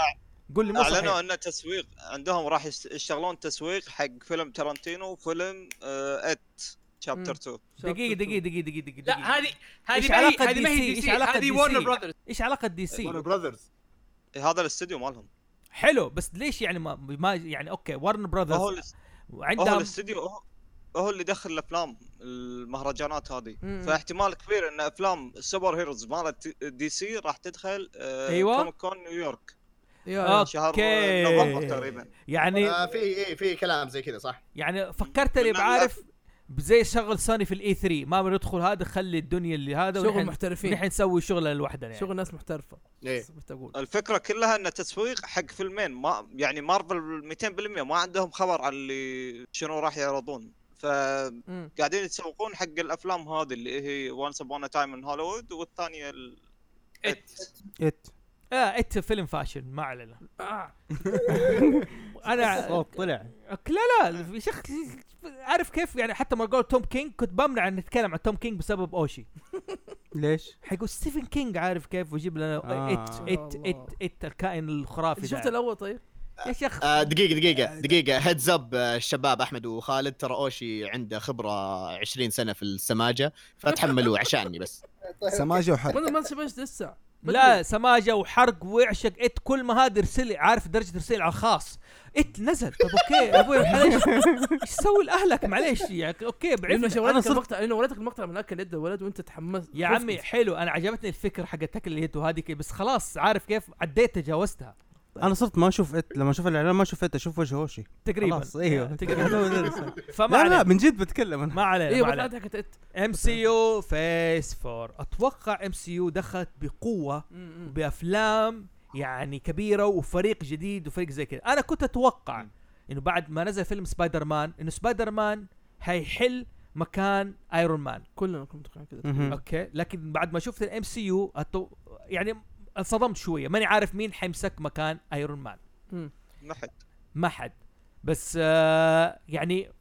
[SPEAKER 4] قول لي مو
[SPEAKER 6] اعلنوا
[SPEAKER 4] صحيح
[SPEAKER 6] انه تسويق عندهم راح يس- يشتغلون تسويق حق فيلم ترنتينو وفيلم آه، ات
[SPEAKER 5] مم.
[SPEAKER 6] شابتر 2
[SPEAKER 4] دقيقه دقيقه دقيقه دقيقه دقيقه
[SPEAKER 2] لا هذه
[SPEAKER 4] إيش
[SPEAKER 2] هذه ما هي
[SPEAKER 4] علاقة
[SPEAKER 2] هذه ما
[SPEAKER 4] DC؟
[SPEAKER 2] هي دي
[SPEAKER 4] إيش
[SPEAKER 2] سي
[SPEAKER 4] علاقة
[SPEAKER 2] هذه
[SPEAKER 4] DC؟
[SPEAKER 2] ورنر براذرز
[SPEAKER 4] ايش علاقه دي سي
[SPEAKER 1] براذرز
[SPEAKER 6] إيه، هذا الاستوديو مالهم
[SPEAKER 4] حلو بس ليش يعني ما, ما يعني اوكي ورن
[SPEAKER 6] هو
[SPEAKER 4] براذرز
[SPEAKER 6] الاس- هو
[SPEAKER 4] عندهم
[SPEAKER 6] الاستوديو هو- هو اللي يدخل الافلام المهرجانات هذه
[SPEAKER 5] مم.
[SPEAKER 6] فاحتمال كبير ان افلام السوبر هيروز مالت دي سي راح تدخل آه،
[SPEAKER 4] أيوة.
[SPEAKER 6] كوميك كون نيويورك
[SPEAKER 4] آه،
[SPEAKER 5] يا
[SPEAKER 6] شهر
[SPEAKER 4] أوكي.
[SPEAKER 6] نوفمبر تقريبا
[SPEAKER 4] يعني
[SPEAKER 1] آه، في ايه في كلام زي كذا صح
[SPEAKER 4] يعني فكرت لي بعارف زي شغل سوني في الاي 3 ما بندخل هذا خلي الدنيا اللي هذا
[SPEAKER 5] شغل
[SPEAKER 4] ونحن
[SPEAKER 5] محترفين
[SPEAKER 4] نحن نسوي شغلنا لوحدنا يعني
[SPEAKER 5] شغل ناس محترفه
[SPEAKER 1] ايه
[SPEAKER 5] بس بتقول
[SPEAKER 6] الفكره كلها انه تسويق حق فيلمين ما يعني مارفل 200% ما عندهم خبر عن اللي شنو راح يعرضون فقاعدين
[SPEAKER 5] مم.
[SPEAKER 6] يتسوقون حق الافلام هذه اللي هي وانس ابون تايم ان هوليوود والثانيه ال...
[SPEAKER 3] ات
[SPEAKER 4] اه ات فيلم فاشل ما علينا
[SPEAKER 5] آه.
[SPEAKER 4] انا
[SPEAKER 3] صوت طلع
[SPEAKER 4] أوكي، لا لا يا شيخ عارف كيف يعني حتى ما قول توم كينج كنت بمنع ان نتكلم عن توم كينج بسبب اوشي
[SPEAKER 3] ليش؟
[SPEAKER 4] حيقول ستيفن كينج عارف كيف ويجيب لنا
[SPEAKER 3] آه.
[SPEAKER 4] ات ات ات ات الكائن الخرافي
[SPEAKER 5] انت
[SPEAKER 4] ده
[SPEAKER 5] شفت الاول طيب
[SPEAKER 4] يا شيخ
[SPEAKER 1] آه، دقيقة دقيقة دقيقة هيدز اب الشباب احمد وخالد ترى اوشي عنده خبرة 20 سنة في السماجة فتحملوه عشاني بس
[SPEAKER 7] طيب.
[SPEAKER 8] سماجه وحرق
[SPEAKER 5] وانا ما سمعت لسه
[SPEAKER 4] لا سماجه وحرق وعشق ات كل ما هذا يرسل لي- عارف درجه ارسال على الخاص ات نزل طب اوكي يا ابوي معليش ايش تسوي لاهلك معليش يعني اوكي
[SPEAKER 5] لانه
[SPEAKER 4] بعدنا انا
[SPEAKER 5] شغلتك
[SPEAKER 4] صرت
[SPEAKER 5] المقطع لانه وريتك المقطع من اكل يد الولد وانت تحمست
[SPEAKER 4] يا
[SPEAKER 5] خفت.
[SPEAKER 4] عمي حلو انا عجبتني الفكره حقت تاكل اليد وهذيك بس خلاص عارف كيف عديت تجاوزتها
[SPEAKER 3] انا صرت ما اشوف ات لما اشوف الاعلان ما اشوف ات اشوف وجه هوشي
[SPEAKER 4] تقريبا
[SPEAKER 3] خلاص ايوه
[SPEAKER 4] تقريبا يعني فما
[SPEAKER 3] لا لا
[SPEAKER 4] علينا
[SPEAKER 3] من جد بتكلم انا
[SPEAKER 4] ما علينا ما
[SPEAKER 5] ايوه ما
[SPEAKER 4] علينا
[SPEAKER 5] حكت ات
[SPEAKER 4] ام سي يو فيس 4 اتوقع ام سي يو دخلت بقوه
[SPEAKER 5] مم.
[SPEAKER 4] بافلام يعني كبيره وفريق جديد وفريق زي كذا انا كنت اتوقع
[SPEAKER 1] مم.
[SPEAKER 4] انه بعد ما نزل فيلم سبايدر مان انه سبايدر مان حيحل مكان ايرون مان
[SPEAKER 5] كلنا كنا متوقعين كذا
[SPEAKER 3] مهم.
[SPEAKER 4] اوكي لكن بعد ما شفت الام سي يو أتو... يعني انصدمت شويه ماني عارف مين حيمسك مكان ايرون مان
[SPEAKER 6] ما حد
[SPEAKER 4] ما حد بس آه يعني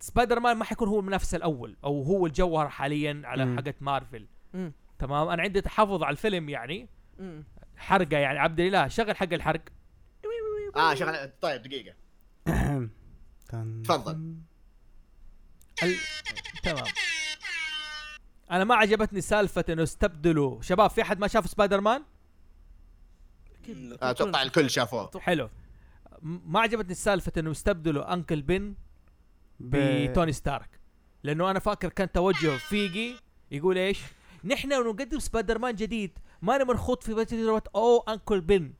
[SPEAKER 4] سبايدر مان ما حيكون هو المنافس الاول او هو الجوهر حاليا على
[SPEAKER 3] مم.
[SPEAKER 4] حقت مارفل
[SPEAKER 5] مم.
[SPEAKER 4] تمام انا عندي تحفظ على الفيلم يعني
[SPEAKER 5] مم.
[SPEAKER 4] حرقه يعني عبد الاله شغل حق الحرق
[SPEAKER 1] اه شغل طيب دقيقة
[SPEAKER 3] تن-
[SPEAKER 1] تفضل.
[SPEAKER 4] ال... تمام انا ما عجبتني سالفه انه استبدلوا شباب في احد ما شاف سبايدر مان
[SPEAKER 5] أكيد.
[SPEAKER 1] آه، اتوقع الكل شافوه
[SPEAKER 4] حلو م- ما عجبتني سالفه انه استبدلوا انكل بن
[SPEAKER 3] ب-
[SPEAKER 4] بتوني ستارك لانه انا فاكر كان توجه فيجي يقول ايش؟ نحن نقدم سبايدر مان جديد ما انا منخوض في تجربه او انكل بن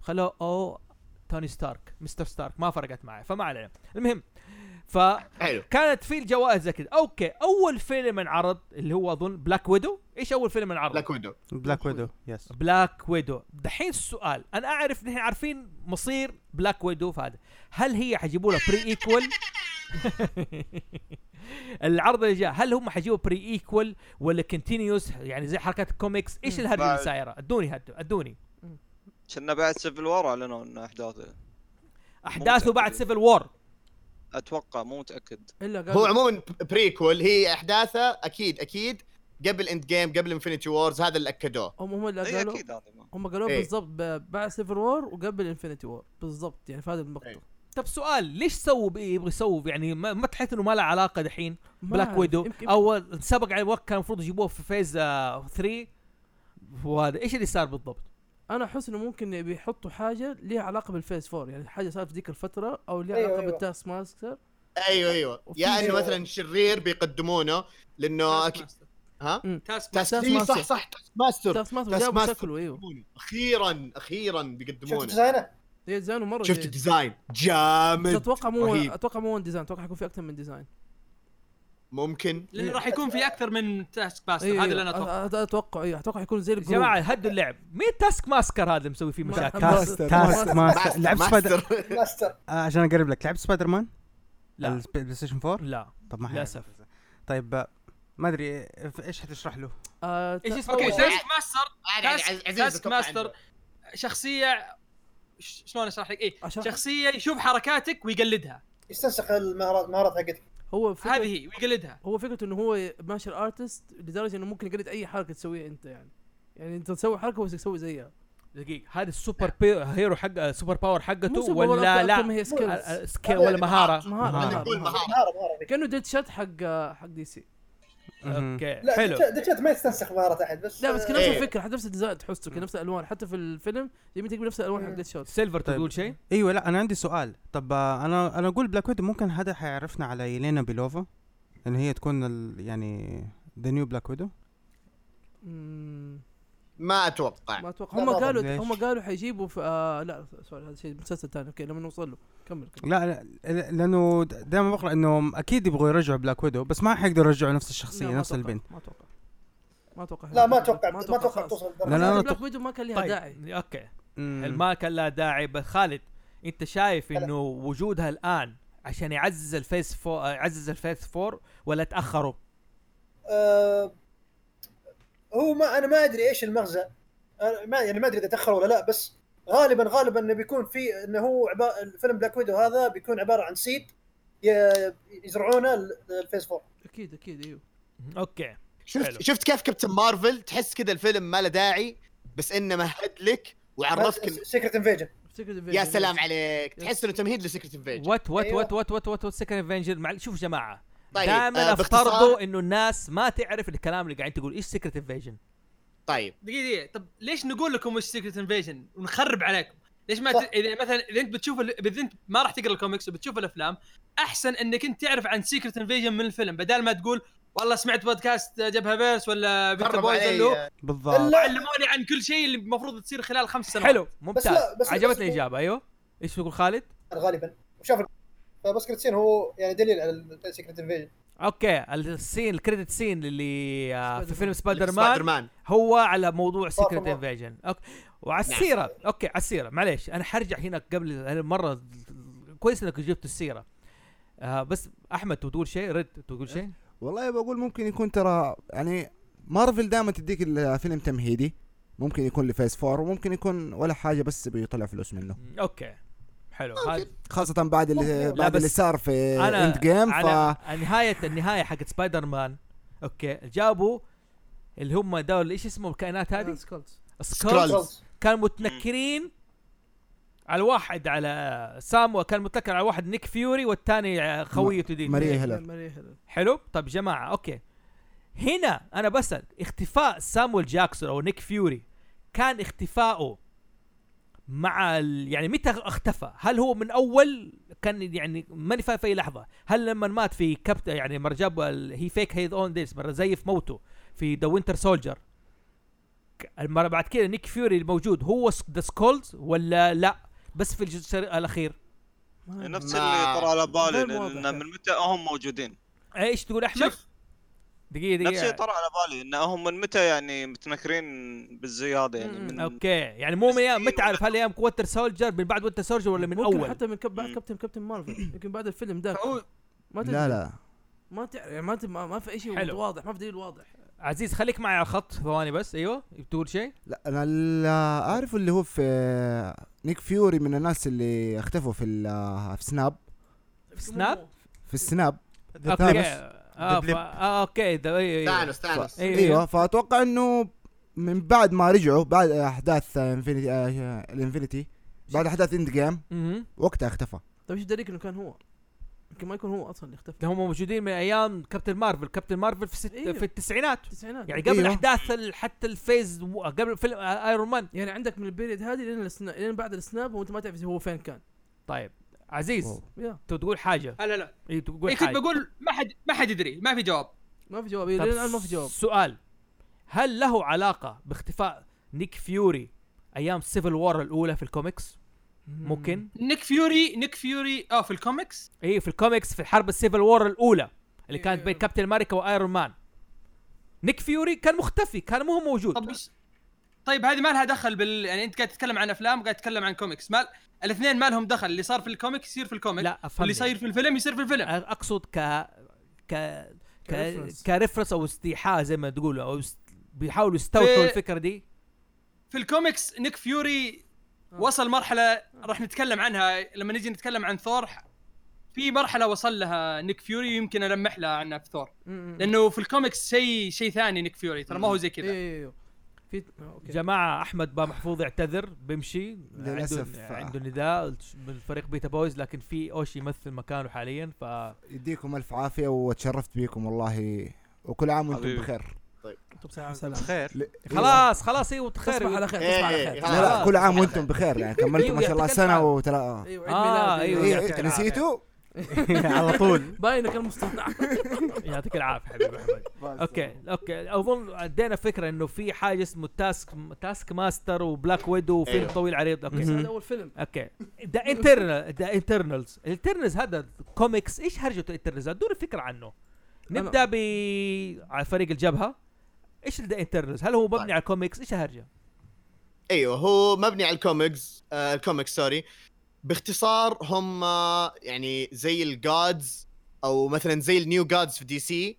[SPEAKER 4] خلوه او توني ستارك مستر ستارك ما فرقت معي فما علينا المهم فكانت
[SPEAKER 1] حلو
[SPEAKER 4] في الجوائز زي كذا اوكي اول فيلم انعرض اللي هو اظن بلاك ويدو ايش اول فيلم انعرض؟
[SPEAKER 1] بلاك ويدو
[SPEAKER 3] بلاك ويدو يس
[SPEAKER 4] بلاك ويدو دحين السؤال انا اعرف نحن عارفين مصير بلاك ويدو في هذا هل هي حيجيبوا لها بري ايكول العرض اللي جاء هل هم حيجيبوا بري ايكول ولا كونتينيوس يعني زي حركات الكوميكس ايش الهرجه اللي
[SPEAKER 6] بعد.
[SPEAKER 4] سايره ادوني هدو ادوني
[SPEAKER 6] كنا بعد سيفل وور اعلنوا ان احداثه
[SPEAKER 4] احداثه
[SPEAKER 6] ممكن.
[SPEAKER 4] بعد سيفل وور
[SPEAKER 6] اتوقع مو متاكد
[SPEAKER 5] الا قال
[SPEAKER 1] هو عموما بريكول هي احداثها اكيد اكيد قبل اند جيم قبل انفنتي وورز هذا اللي اكدوه
[SPEAKER 5] هم هم اللي
[SPEAKER 6] اي
[SPEAKER 5] قالوا
[SPEAKER 6] اكيد هذه ما
[SPEAKER 5] هم قالوا
[SPEAKER 1] إيه.
[SPEAKER 5] بالضبط ب- بعد سيفر وور وقبل انفنتي وور بالضبط يعني في هذا المقطع
[SPEAKER 1] إيه.
[SPEAKER 4] طب سؤال ليش سووا بإيه يبغى يسووا يعني ما, ما تحس انه ما له علاقه دحين
[SPEAKER 5] ما
[SPEAKER 4] بلاك
[SPEAKER 5] أعرف،
[SPEAKER 4] ويدو
[SPEAKER 5] يمكن-
[SPEAKER 4] اول سبق على وقت كان المفروض يجيبوه في فيز آه، 3 وهذا ايش اللي صار بالضبط؟
[SPEAKER 5] انا احس انه ممكن بيحطوا حاجه ليها علاقه بالفيس فور يعني حاجه صارت في ذيك الفتره او ليها
[SPEAKER 1] إيه،
[SPEAKER 7] أيوة،
[SPEAKER 5] علاقه
[SPEAKER 7] أيوة.
[SPEAKER 5] بالتاس ماستر
[SPEAKER 1] ايوه ايوه
[SPEAKER 5] وفي
[SPEAKER 1] يا انه
[SPEAKER 7] زي-
[SPEAKER 1] مثلا شرير بيقدمونه لانه أك... ها
[SPEAKER 5] مم.
[SPEAKER 2] تاسك
[SPEAKER 1] تاسك
[SPEAKER 5] تاسك
[SPEAKER 1] إيه، صح
[SPEAKER 5] ماستر.
[SPEAKER 1] صح تاسك ماستر
[SPEAKER 5] تاس ماستر
[SPEAKER 1] تاس
[SPEAKER 5] جابوا
[SPEAKER 1] ماستر.
[SPEAKER 5] شكله ايوه
[SPEAKER 1] اخيرا اخيرا
[SPEAKER 7] شفت
[SPEAKER 1] بيقدمونه
[SPEAKER 7] ديزاينه؟
[SPEAKER 5] هي ديزاينه مره
[SPEAKER 1] شفت
[SPEAKER 5] جيد.
[SPEAKER 1] الديزاين
[SPEAKER 5] بس
[SPEAKER 1] جامد
[SPEAKER 5] اتوقع مو
[SPEAKER 1] رهيب.
[SPEAKER 5] اتوقع مو وان ديزاين اتوقع حيكون في اكثر من ديزاين
[SPEAKER 1] ممكن
[SPEAKER 2] لانه راح يكون
[SPEAKER 4] إيه.
[SPEAKER 2] في اكثر من تاسك باستر
[SPEAKER 5] أيوة،
[SPEAKER 2] هذا اللي انا
[SPEAKER 4] أه،
[SPEAKER 2] اتوقع
[SPEAKER 5] أيوة. أ- أ- اتوقع ايوه اتوقع حيكون زي
[SPEAKER 4] يا
[SPEAKER 5] الجروب
[SPEAKER 4] جماعه هدوا اللعب مين تاسك ماسكر هذا اللي مسوي فيه
[SPEAKER 5] ما-
[SPEAKER 8] تاسك
[SPEAKER 4] مشاكل؟
[SPEAKER 5] ما-
[SPEAKER 8] ماستر
[SPEAKER 3] تاسك
[SPEAKER 8] ماستر.
[SPEAKER 3] ماستر لعبت سبايدر
[SPEAKER 1] ماستر.
[SPEAKER 7] ماستر
[SPEAKER 3] آه، عشان اقرب لك لعبت سبايدر مان؟
[SPEAKER 4] لا
[SPEAKER 3] البلاي ستيشن 4
[SPEAKER 4] لا
[SPEAKER 3] طب ما حلو.
[SPEAKER 4] للأسف.
[SPEAKER 3] طيب آه، ما ادري آه، ايش حتشرح له؟
[SPEAKER 5] آه،
[SPEAKER 4] ايش
[SPEAKER 5] تا-
[SPEAKER 4] اسمه؟
[SPEAKER 2] اوكي
[SPEAKER 4] هو-
[SPEAKER 2] تاسك ماستر
[SPEAKER 1] عاد- عاد-
[SPEAKER 2] تاسك-
[SPEAKER 1] عاد- عزيز
[SPEAKER 2] تاسك
[SPEAKER 1] أتوقع
[SPEAKER 2] ماستر.
[SPEAKER 1] عنده.
[SPEAKER 2] شخصيه ش- شلون اشرح لك؟ اي
[SPEAKER 5] أشرح؟
[SPEAKER 2] شخصيه يشوف حركاتك ويقلدها
[SPEAKER 7] يستنسخ المهارات المهارات حقتك
[SPEAKER 5] هو فكرة-
[SPEAKER 2] هذه هي ويقلدها
[SPEAKER 5] هو فكرته انه هو مارشال ارتست لدرجه انه ممكن يقلد اي حركه تسويها انت يعني يعني انت تسوي حركه هو يسوي زيها
[SPEAKER 4] دقيقه هذا السوبر بي... هيرو حق آه، سوبر باور حقته
[SPEAKER 5] مو سوبر باور،
[SPEAKER 4] ولا
[SPEAKER 5] أكثر-
[SPEAKER 4] لا
[SPEAKER 5] أكثر ما هي
[SPEAKER 4] آه، آه،
[SPEAKER 5] skills.
[SPEAKER 4] سكيل ولا مهاره
[SPEAKER 5] مهارة.
[SPEAKER 1] نقول مهارة.
[SPEAKER 7] مهاره مهاره ذيك.
[SPEAKER 5] كانه ديد شات حق حق دي سي
[SPEAKER 3] مهم.
[SPEAKER 4] اوكي
[SPEAKER 7] لا
[SPEAKER 4] حلو
[SPEAKER 7] ديتشات- ديتشات ما يستنسخ مهارات احد بس
[SPEAKER 5] لا بس كان
[SPEAKER 7] آه،
[SPEAKER 5] نفس
[SPEAKER 1] إيه.
[SPEAKER 5] الفكره حتى نفس الديزاين تحسه كان نفس الالوان حتى في الفيلم يبي تجيب نفس الالوان حق
[SPEAKER 4] إيه.
[SPEAKER 5] ديد شات
[SPEAKER 4] سيلفر
[SPEAKER 3] طيب.
[SPEAKER 4] تقول شيء؟
[SPEAKER 3] ايوه لا انا عندي سؤال طب آه، انا انا اقول بلاك ويدو ممكن هذا حيعرفنا على يلينا بيلوفا ان هي تكون ال... يعني ذا نيو بلاك ويدو
[SPEAKER 5] مم،
[SPEAKER 1] ما اتوقع
[SPEAKER 5] ما اتوقع
[SPEAKER 7] لا،
[SPEAKER 5] هم
[SPEAKER 7] ما أظن.
[SPEAKER 5] قالوا
[SPEAKER 3] ليش؟
[SPEAKER 5] هم قالوا حيجيبوا في آه لا سوري هذا شيء مسلسل ثاني اوكي لما نوصل له كمل كمل
[SPEAKER 3] لا لا لا- لانه د- دائما بقرا انه اكيد يبغوا يرجعوا بلاك ويدو بس ما حيقدروا يرجعوا نفس
[SPEAKER 5] لا،
[SPEAKER 3] الشخصيه
[SPEAKER 5] ما
[SPEAKER 3] نفس
[SPEAKER 5] أتوقع،
[SPEAKER 3] البنت
[SPEAKER 5] ما اتوقع ما اتوقع
[SPEAKER 7] لا ما اتوقع ما اتوقع
[SPEAKER 5] خلاص.
[SPEAKER 7] توصل
[SPEAKER 3] لا،
[SPEAKER 5] لا
[SPEAKER 3] لا،
[SPEAKER 7] للدرجه
[SPEAKER 3] أنا
[SPEAKER 5] لا
[SPEAKER 3] أتوقع-
[SPEAKER 5] بلاك ويدو ما كان لها داعي
[SPEAKER 4] طيب اوكي
[SPEAKER 3] مم.
[SPEAKER 4] ما كان لها داعي بس خالد انت شايف انه وجودها الان عشان يعزز الفيس فور آه، يعزز الفيس فور ولا تاخروا؟
[SPEAKER 7] آه، هو ما انا ما ادري ايش المغزى أنا ما يعني ما ادري اذا تاخر ولا لا بس غالبا غالبا انه بيكون في انه هو عبارة الفيلم بلاك ويدو هذا بيكون عباره عن سيد ي- يزرعونه ل- للفيس فور
[SPEAKER 5] اكيد اكيد ايوه
[SPEAKER 4] اوكي حلو.
[SPEAKER 1] شفت شفت كيف كابتن مارفل تحس كذا الفيلم ما له داعي بس انه مهد لك وعرفك إن-
[SPEAKER 7] سيكرت انفيجن
[SPEAKER 5] Secret Invasion.
[SPEAKER 1] يا سلام عليك تحس انه تمهيد لسكرت انفيجن
[SPEAKER 4] وات وات
[SPEAKER 7] أيوة.
[SPEAKER 4] وات وات وات وات وات سكن افنجر مع شوف يا جماعه
[SPEAKER 1] طيب
[SPEAKER 4] دائما
[SPEAKER 1] آه باختصار
[SPEAKER 4] افترضوا انه الناس ما تعرف الكلام اللي قاعدين تقول ايش سكرت انفيجن
[SPEAKER 1] طيب
[SPEAKER 2] دقيقه دقيقه طب ليش نقول لكم وش سيكريت انفيجن ونخرب عليكم؟ ليش ما ت...
[SPEAKER 7] صح.
[SPEAKER 2] اذا مثلا اذا انت بتشوف ال... اذا انت ما راح تقرا الكوميكس وبتشوف الافلام احسن انك انت تعرف عن سيكريت انفيجن من الفيلم بدل ما تقول والله سمعت بودكاست جبهه بيرس ولا بيتر
[SPEAKER 1] قرب
[SPEAKER 2] بويز
[SPEAKER 1] علي
[SPEAKER 2] اللي هو
[SPEAKER 3] بالضبط
[SPEAKER 7] لا.
[SPEAKER 2] علموني عن كل شيء اللي المفروض تصير خلال خمس سنوات
[SPEAKER 4] حلو
[SPEAKER 7] بس
[SPEAKER 4] ممتاز
[SPEAKER 7] لا بس
[SPEAKER 4] عجبتني
[SPEAKER 7] بس-
[SPEAKER 4] الاجابه ايوه ايش تقول خالد؟
[SPEAKER 7] غالبا وشاف فبس كرت سين هو يعني دليل على سيكرت انفيجن
[SPEAKER 4] اوكي السين الكريدت سين اللي آه، في
[SPEAKER 5] سبايدر
[SPEAKER 4] فيلم سبايدر
[SPEAKER 1] سبايدر
[SPEAKER 4] مان
[SPEAKER 1] مان
[SPEAKER 4] هو على موضوع
[SPEAKER 7] سبايدر
[SPEAKER 4] سكرت انفيجن اوكي وعلى السيره
[SPEAKER 7] نعم.
[SPEAKER 4] اوكي على السيره معليش انا حرجع هنا قبل أنا مره كويس انك جبت السيره آه بس احمد تقول شيء رد تقول شيء
[SPEAKER 8] والله بقول ممكن يكون ترى يعني مارفل دائما تديك الفيلم تمهيدي ممكن يكون لفيس فور وممكن يكون ولا حاجه بس بيطلع فلوس منه
[SPEAKER 7] إيه.
[SPEAKER 4] اوكي حلو هذا
[SPEAKER 8] خاصه بعد اللي
[SPEAKER 4] لا،
[SPEAKER 8] بعد
[SPEAKER 4] بس
[SPEAKER 8] اللي صار في
[SPEAKER 4] انا
[SPEAKER 8] اند إيه، جيم
[SPEAKER 4] على
[SPEAKER 8] ف
[SPEAKER 4] نهايه النهايه حقت سبايدر مان اوكي جابوا اللي هم دول ايش اسمه الكائنات هذه؟
[SPEAKER 5] سكولز
[SPEAKER 7] إيه.
[SPEAKER 4] سكرولز كانوا متنكرين على واحد على سام وكان متنكر على واحد نيك فيوري والثاني آه، خويته دي
[SPEAKER 8] ماريا هيلر
[SPEAKER 5] ماريا هيلر
[SPEAKER 4] حلو طب جماعه اوكي هنا انا بسال اختفاء سامويل جاكسون او نيك فيوري كان اختفائه مع ال... يعني متى اختفى؟ هل هو من اول كان يعني ماني فاهم في اي لحظه، هل لما مات في كابت يعني مرة جاب هي فيك هيز اون ديس مره زي في موته في ذا وينتر سولجر المره بعد كده نيك فيوري الموجود هو ذا سكولز ولا لا؟ بس في الجزء الاخير
[SPEAKER 6] نفس
[SPEAKER 1] ما-
[SPEAKER 6] اللي طرى على بالي
[SPEAKER 5] غير واضح
[SPEAKER 6] لان
[SPEAKER 5] يعني.
[SPEAKER 6] من متى هم موجودين
[SPEAKER 4] ايش تقول احمد؟
[SPEAKER 2] شوف.
[SPEAKER 4] دقيقه دقيقه
[SPEAKER 6] نفس اللي طرى على بالي ان هم من متى يعني متنكرين بالزي هذا يعني
[SPEAKER 5] مم.
[SPEAKER 6] من
[SPEAKER 4] اوكي يعني مو من ايام متى عارف هل ايام كوتر سولجر من بعد وتر سولجر ولا من
[SPEAKER 5] ممكن
[SPEAKER 4] اول
[SPEAKER 5] حتى من كب... بعد
[SPEAKER 6] مم.
[SPEAKER 5] كابتن كابتن مارفل يمكن بعد الفيلم ذاك
[SPEAKER 2] فهو-
[SPEAKER 5] ما تدري
[SPEAKER 8] لا لا
[SPEAKER 5] ما تعرف يعني ما ت- ما ما في اي شيء
[SPEAKER 4] حلو.
[SPEAKER 5] واضح ما في دليل واضح
[SPEAKER 4] عزيز خليك معي على الخط ثواني بس ايوه بتقول شيء
[SPEAKER 8] لا انا اللي اعرفه اللي هو في نيك فيوري من الناس اللي اختفوا في ال- في سناب
[SPEAKER 4] سناب؟
[SPEAKER 8] آه، في السناب
[SPEAKER 4] اوكي
[SPEAKER 8] ثانوس.
[SPEAKER 4] آه،
[SPEAKER 3] دبلب.
[SPEAKER 4] ف- آه، اوكي ده اي
[SPEAKER 1] تانس تانس
[SPEAKER 4] إيه.
[SPEAKER 8] ايوه فاتوقع انه من بعد ما رجعوا بعد آه، احداث انفينيتي الانفينيتي آه، بعد احداث اند جيم وقتها اختفى
[SPEAKER 5] طيب ايش دليلك انه كان هو؟ يمكن ما يكون هو اصلا اللي اختفى
[SPEAKER 4] هم موجودين من ايام كابتن مارفل كابتن مارفل في, ست...
[SPEAKER 5] أيوه.
[SPEAKER 4] في التسعينات
[SPEAKER 5] التسعينات
[SPEAKER 4] يعني قبل
[SPEAKER 8] أيوه.
[SPEAKER 4] احداث ال- حتى الفيز و- قبل فيلم آه، آ- ايرون مان
[SPEAKER 5] يعني عندك من البيريد هذه لين السنا... لين بعد السناب وانت ما تعرف هو فين كان
[SPEAKER 4] طيب عزيز
[SPEAKER 8] واو.
[SPEAKER 5] يا
[SPEAKER 4] انت تقول حاجه
[SPEAKER 2] لا لا لا
[SPEAKER 4] اي
[SPEAKER 2] إيه
[SPEAKER 4] تقول
[SPEAKER 2] كنت
[SPEAKER 4] حاجه
[SPEAKER 2] بقول ما حد ما حد يدري ما في جواب
[SPEAKER 5] ما في جواب إيه،
[SPEAKER 4] طب
[SPEAKER 5] لين الان ما في جواب
[SPEAKER 4] سؤال هل له علاقه باختفاء نيك فيوري ايام سيفل وور الاولى في الكوميكس ممكن
[SPEAKER 2] نيك فيوري نيك فيوري اه في الكوميكس
[SPEAKER 4] اي في الكوميكس في حرب السيفل وور الاولى اللي
[SPEAKER 5] إيه،
[SPEAKER 4] كانت
[SPEAKER 5] إيه.
[SPEAKER 4] بين كابتن امريكا وايرون مان نيك فيوري كان مختفي كان مو موجود
[SPEAKER 2] طب ايش طيب هذه ما لها دخل بال يعني انت قاعد تتكلم عن افلام وقاعد تتكلم عن كوميكس ما الاثنين ما لهم دخل اللي صار في الكوميكس يصير في الكوميك
[SPEAKER 4] لا افهم
[SPEAKER 2] واللي يصير في الفيلم يصير في الفيلم
[SPEAKER 4] آه. اقصد ك ك ك
[SPEAKER 5] كريفرنس.
[SPEAKER 4] كرفرس او استيحاء زي ما تقول او است... بيحاولوا يستوحوا
[SPEAKER 2] إيه.
[SPEAKER 4] الفكره دي
[SPEAKER 2] في الكوميكس نيك فيوري
[SPEAKER 5] آه.
[SPEAKER 2] وصل مرحله راح نتكلم عنها لما نجي نتكلم عن ثور في مرحله وصل لها نيك فيوري يمكن المح لها عنها في ثور لانه في الكوميكس شيء شيء ثاني نيك فيوري ترى ما هو زي كذا
[SPEAKER 5] كذا إيه، في آه، اوكي
[SPEAKER 4] جماعه احمد با محفوظ يعتذر بيمشي
[SPEAKER 8] للأسف.
[SPEAKER 4] عنده, عنده نداء من فريق بيتا بويز لكن في اوشي يمثل مكانه حاليا ف
[SPEAKER 8] يديكم الف عافيه وتشرفت بيكم والله وكل عام وانتم
[SPEAKER 6] حبيبي.
[SPEAKER 8] بخير
[SPEAKER 5] سلام
[SPEAKER 6] خير
[SPEAKER 8] ل-
[SPEAKER 4] خلاص خلاص ايوه
[SPEAKER 5] تصبح
[SPEAKER 4] تخيل
[SPEAKER 5] على خير تصبح على
[SPEAKER 1] إيه،
[SPEAKER 5] خير
[SPEAKER 8] لا لا
[SPEAKER 4] خلاص.
[SPEAKER 8] كل عام وانتم بخير يعني كملتوا ما شاء الله
[SPEAKER 4] أيوة، يعطيك
[SPEAKER 8] سنه
[SPEAKER 4] العافية.
[SPEAKER 8] وتلا
[SPEAKER 5] ايوه
[SPEAKER 4] آه،
[SPEAKER 5] عيد ميلاد
[SPEAKER 4] أيوه،
[SPEAKER 5] إيه.
[SPEAKER 4] يعطيك
[SPEAKER 8] إيه،
[SPEAKER 4] العافية.
[SPEAKER 8] نسيتوا
[SPEAKER 4] على طول
[SPEAKER 5] باينك المصطنع
[SPEAKER 4] يعطيك العافيه حبيبي احمد اوكي اوكي اظن ادينا فكره انه في حاجه اسمه تاسك تاسك ماستر وبلاك ويدو وفيلم
[SPEAKER 1] أيوه.
[SPEAKER 4] طويل عريض اوكي
[SPEAKER 5] هذا اول فيلم
[SPEAKER 4] اوكي ذا انترنال ذا انترنالز الانترنالز هذا كوميكس ايش هرجته الانترنالز ادوني فكره عنه نبدا ب على فريق الجبهه ايش ذا انترنالز هل هو مبني
[SPEAKER 1] طيب.
[SPEAKER 4] على كوميكس ايش هرجه
[SPEAKER 1] ايوه هو مبني على الكوميكس آه الكوميكس سوري باختصار هم آه، يعني زي الجادز او مثلا زي النيو جادز في دي سي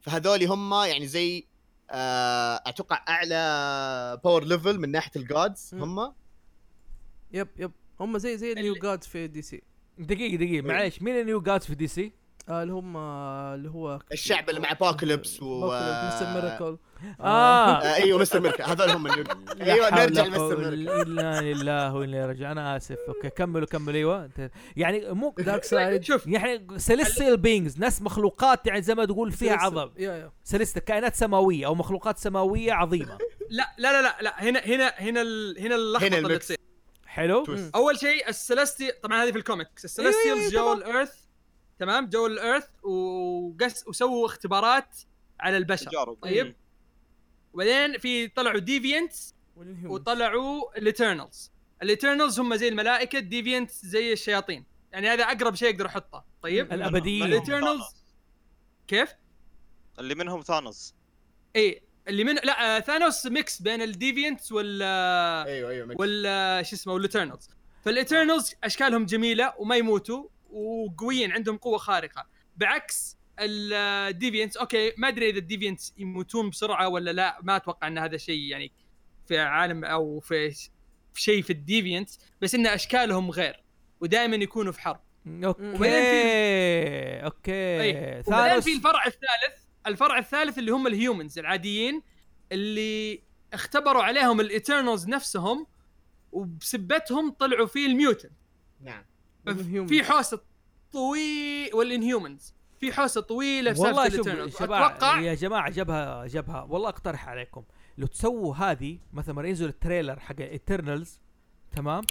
[SPEAKER 1] فهذول هم يعني زي آه اتوقع اعلى باور ليفل من ناحيه الجادز
[SPEAKER 5] مم.
[SPEAKER 1] هم
[SPEAKER 5] يب يب هم زي زي النيو جاد في دي سي
[SPEAKER 4] دقيقه دقيقه معلش مين النيو جادز في دي سي
[SPEAKER 5] آه، اللي هم آه، اللي هو
[SPEAKER 1] الشعب اللي مع Apocalypse و-
[SPEAKER 5] مستر ميراكل
[SPEAKER 4] اه
[SPEAKER 1] آه ايوه مستر ميركا هذول هم النيو ايوه
[SPEAKER 4] لا حول
[SPEAKER 1] نرجع
[SPEAKER 4] ولا قوة
[SPEAKER 1] لمستر ميركا
[SPEAKER 4] الا لله وانا رجع انا اسف اوكي كملوا كملوا ايوه انت- يعني مو
[SPEAKER 5] دارك سايد
[SPEAKER 2] شوف
[SPEAKER 4] يعني سيليستيال بينجز ناس مخلوقات يعني زي ما تقول فيها عظم
[SPEAKER 5] يا يا
[SPEAKER 4] سيليستيال كائنات سماويه او مخلوقات سماويه عظيمه
[SPEAKER 2] لا لا لا لا, لا هنا هنا هنا ال... هنا اللخبطه اللي
[SPEAKER 1] الميكس.
[SPEAKER 2] تصير
[SPEAKER 4] حلو
[SPEAKER 1] تويست.
[SPEAKER 5] مم.
[SPEAKER 2] اول شيء السلستي طبعا هذه في الكوميكس
[SPEAKER 4] أيوة، أيوة،
[SPEAKER 2] السلستيالز جو
[SPEAKER 4] تمام.
[SPEAKER 2] الارث تمام جو الارث وقس وسووا اختبارات على البشر
[SPEAKER 6] تجارب
[SPEAKER 2] طيب وبعدين في طلعوا ديفينتس وطلعوا الاترنالز الاترنالز هم زي الملائكه الديفينتس زي الشياطين يعني هذا اقرب شيء اقدر احطه طيب
[SPEAKER 4] الابديين
[SPEAKER 2] الاترنالز كيف
[SPEAKER 6] اللي منهم ثانوس
[SPEAKER 2] اي اللي من لا آه، ثانوس ميكس بين الديفينتس وال
[SPEAKER 1] ايوه ايوه ميكس.
[SPEAKER 2] وال شو اسمه والاترنالز فالاترنالز اشكالهم جميله وما يموتوا وقويين عندهم قوه خارقه بعكس الديفينتس اوكي ما ادري اذا الديفينتس يموتون بسرعه ولا لا ما اتوقع ان هذا شيء يعني في عالم او في في شيء في الديفينتس بس ان اشكالهم غير ودائما يكونوا في حرب وبعدين
[SPEAKER 4] اوكي اوكي
[SPEAKER 2] وبعدين
[SPEAKER 4] ثانوس
[SPEAKER 2] في الفرع الثالث الفرع الثالث اللي هم الهيومنز العاديين اللي اختبروا عليهم الايترنالز نفسهم وبسبتهم طلعوا فيه الميوتن
[SPEAKER 1] نعم
[SPEAKER 2] في حوسه طويل والانهيومنز في حوسه طويله في
[SPEAKER 4] والله
[SPEAKER 2] سالفة
[SPEAKER 4] شوف
[SPEAKER 2] Eternals.
[SPEAKER 4] شباب
[SPEAKER 2] اتوقع
[SPEAKER 4] يا جماعه جبهه جبهه والله اقترح عليكم لو تسووا هذه مثلا لما ينزل التريلر حق ايترنالز تمام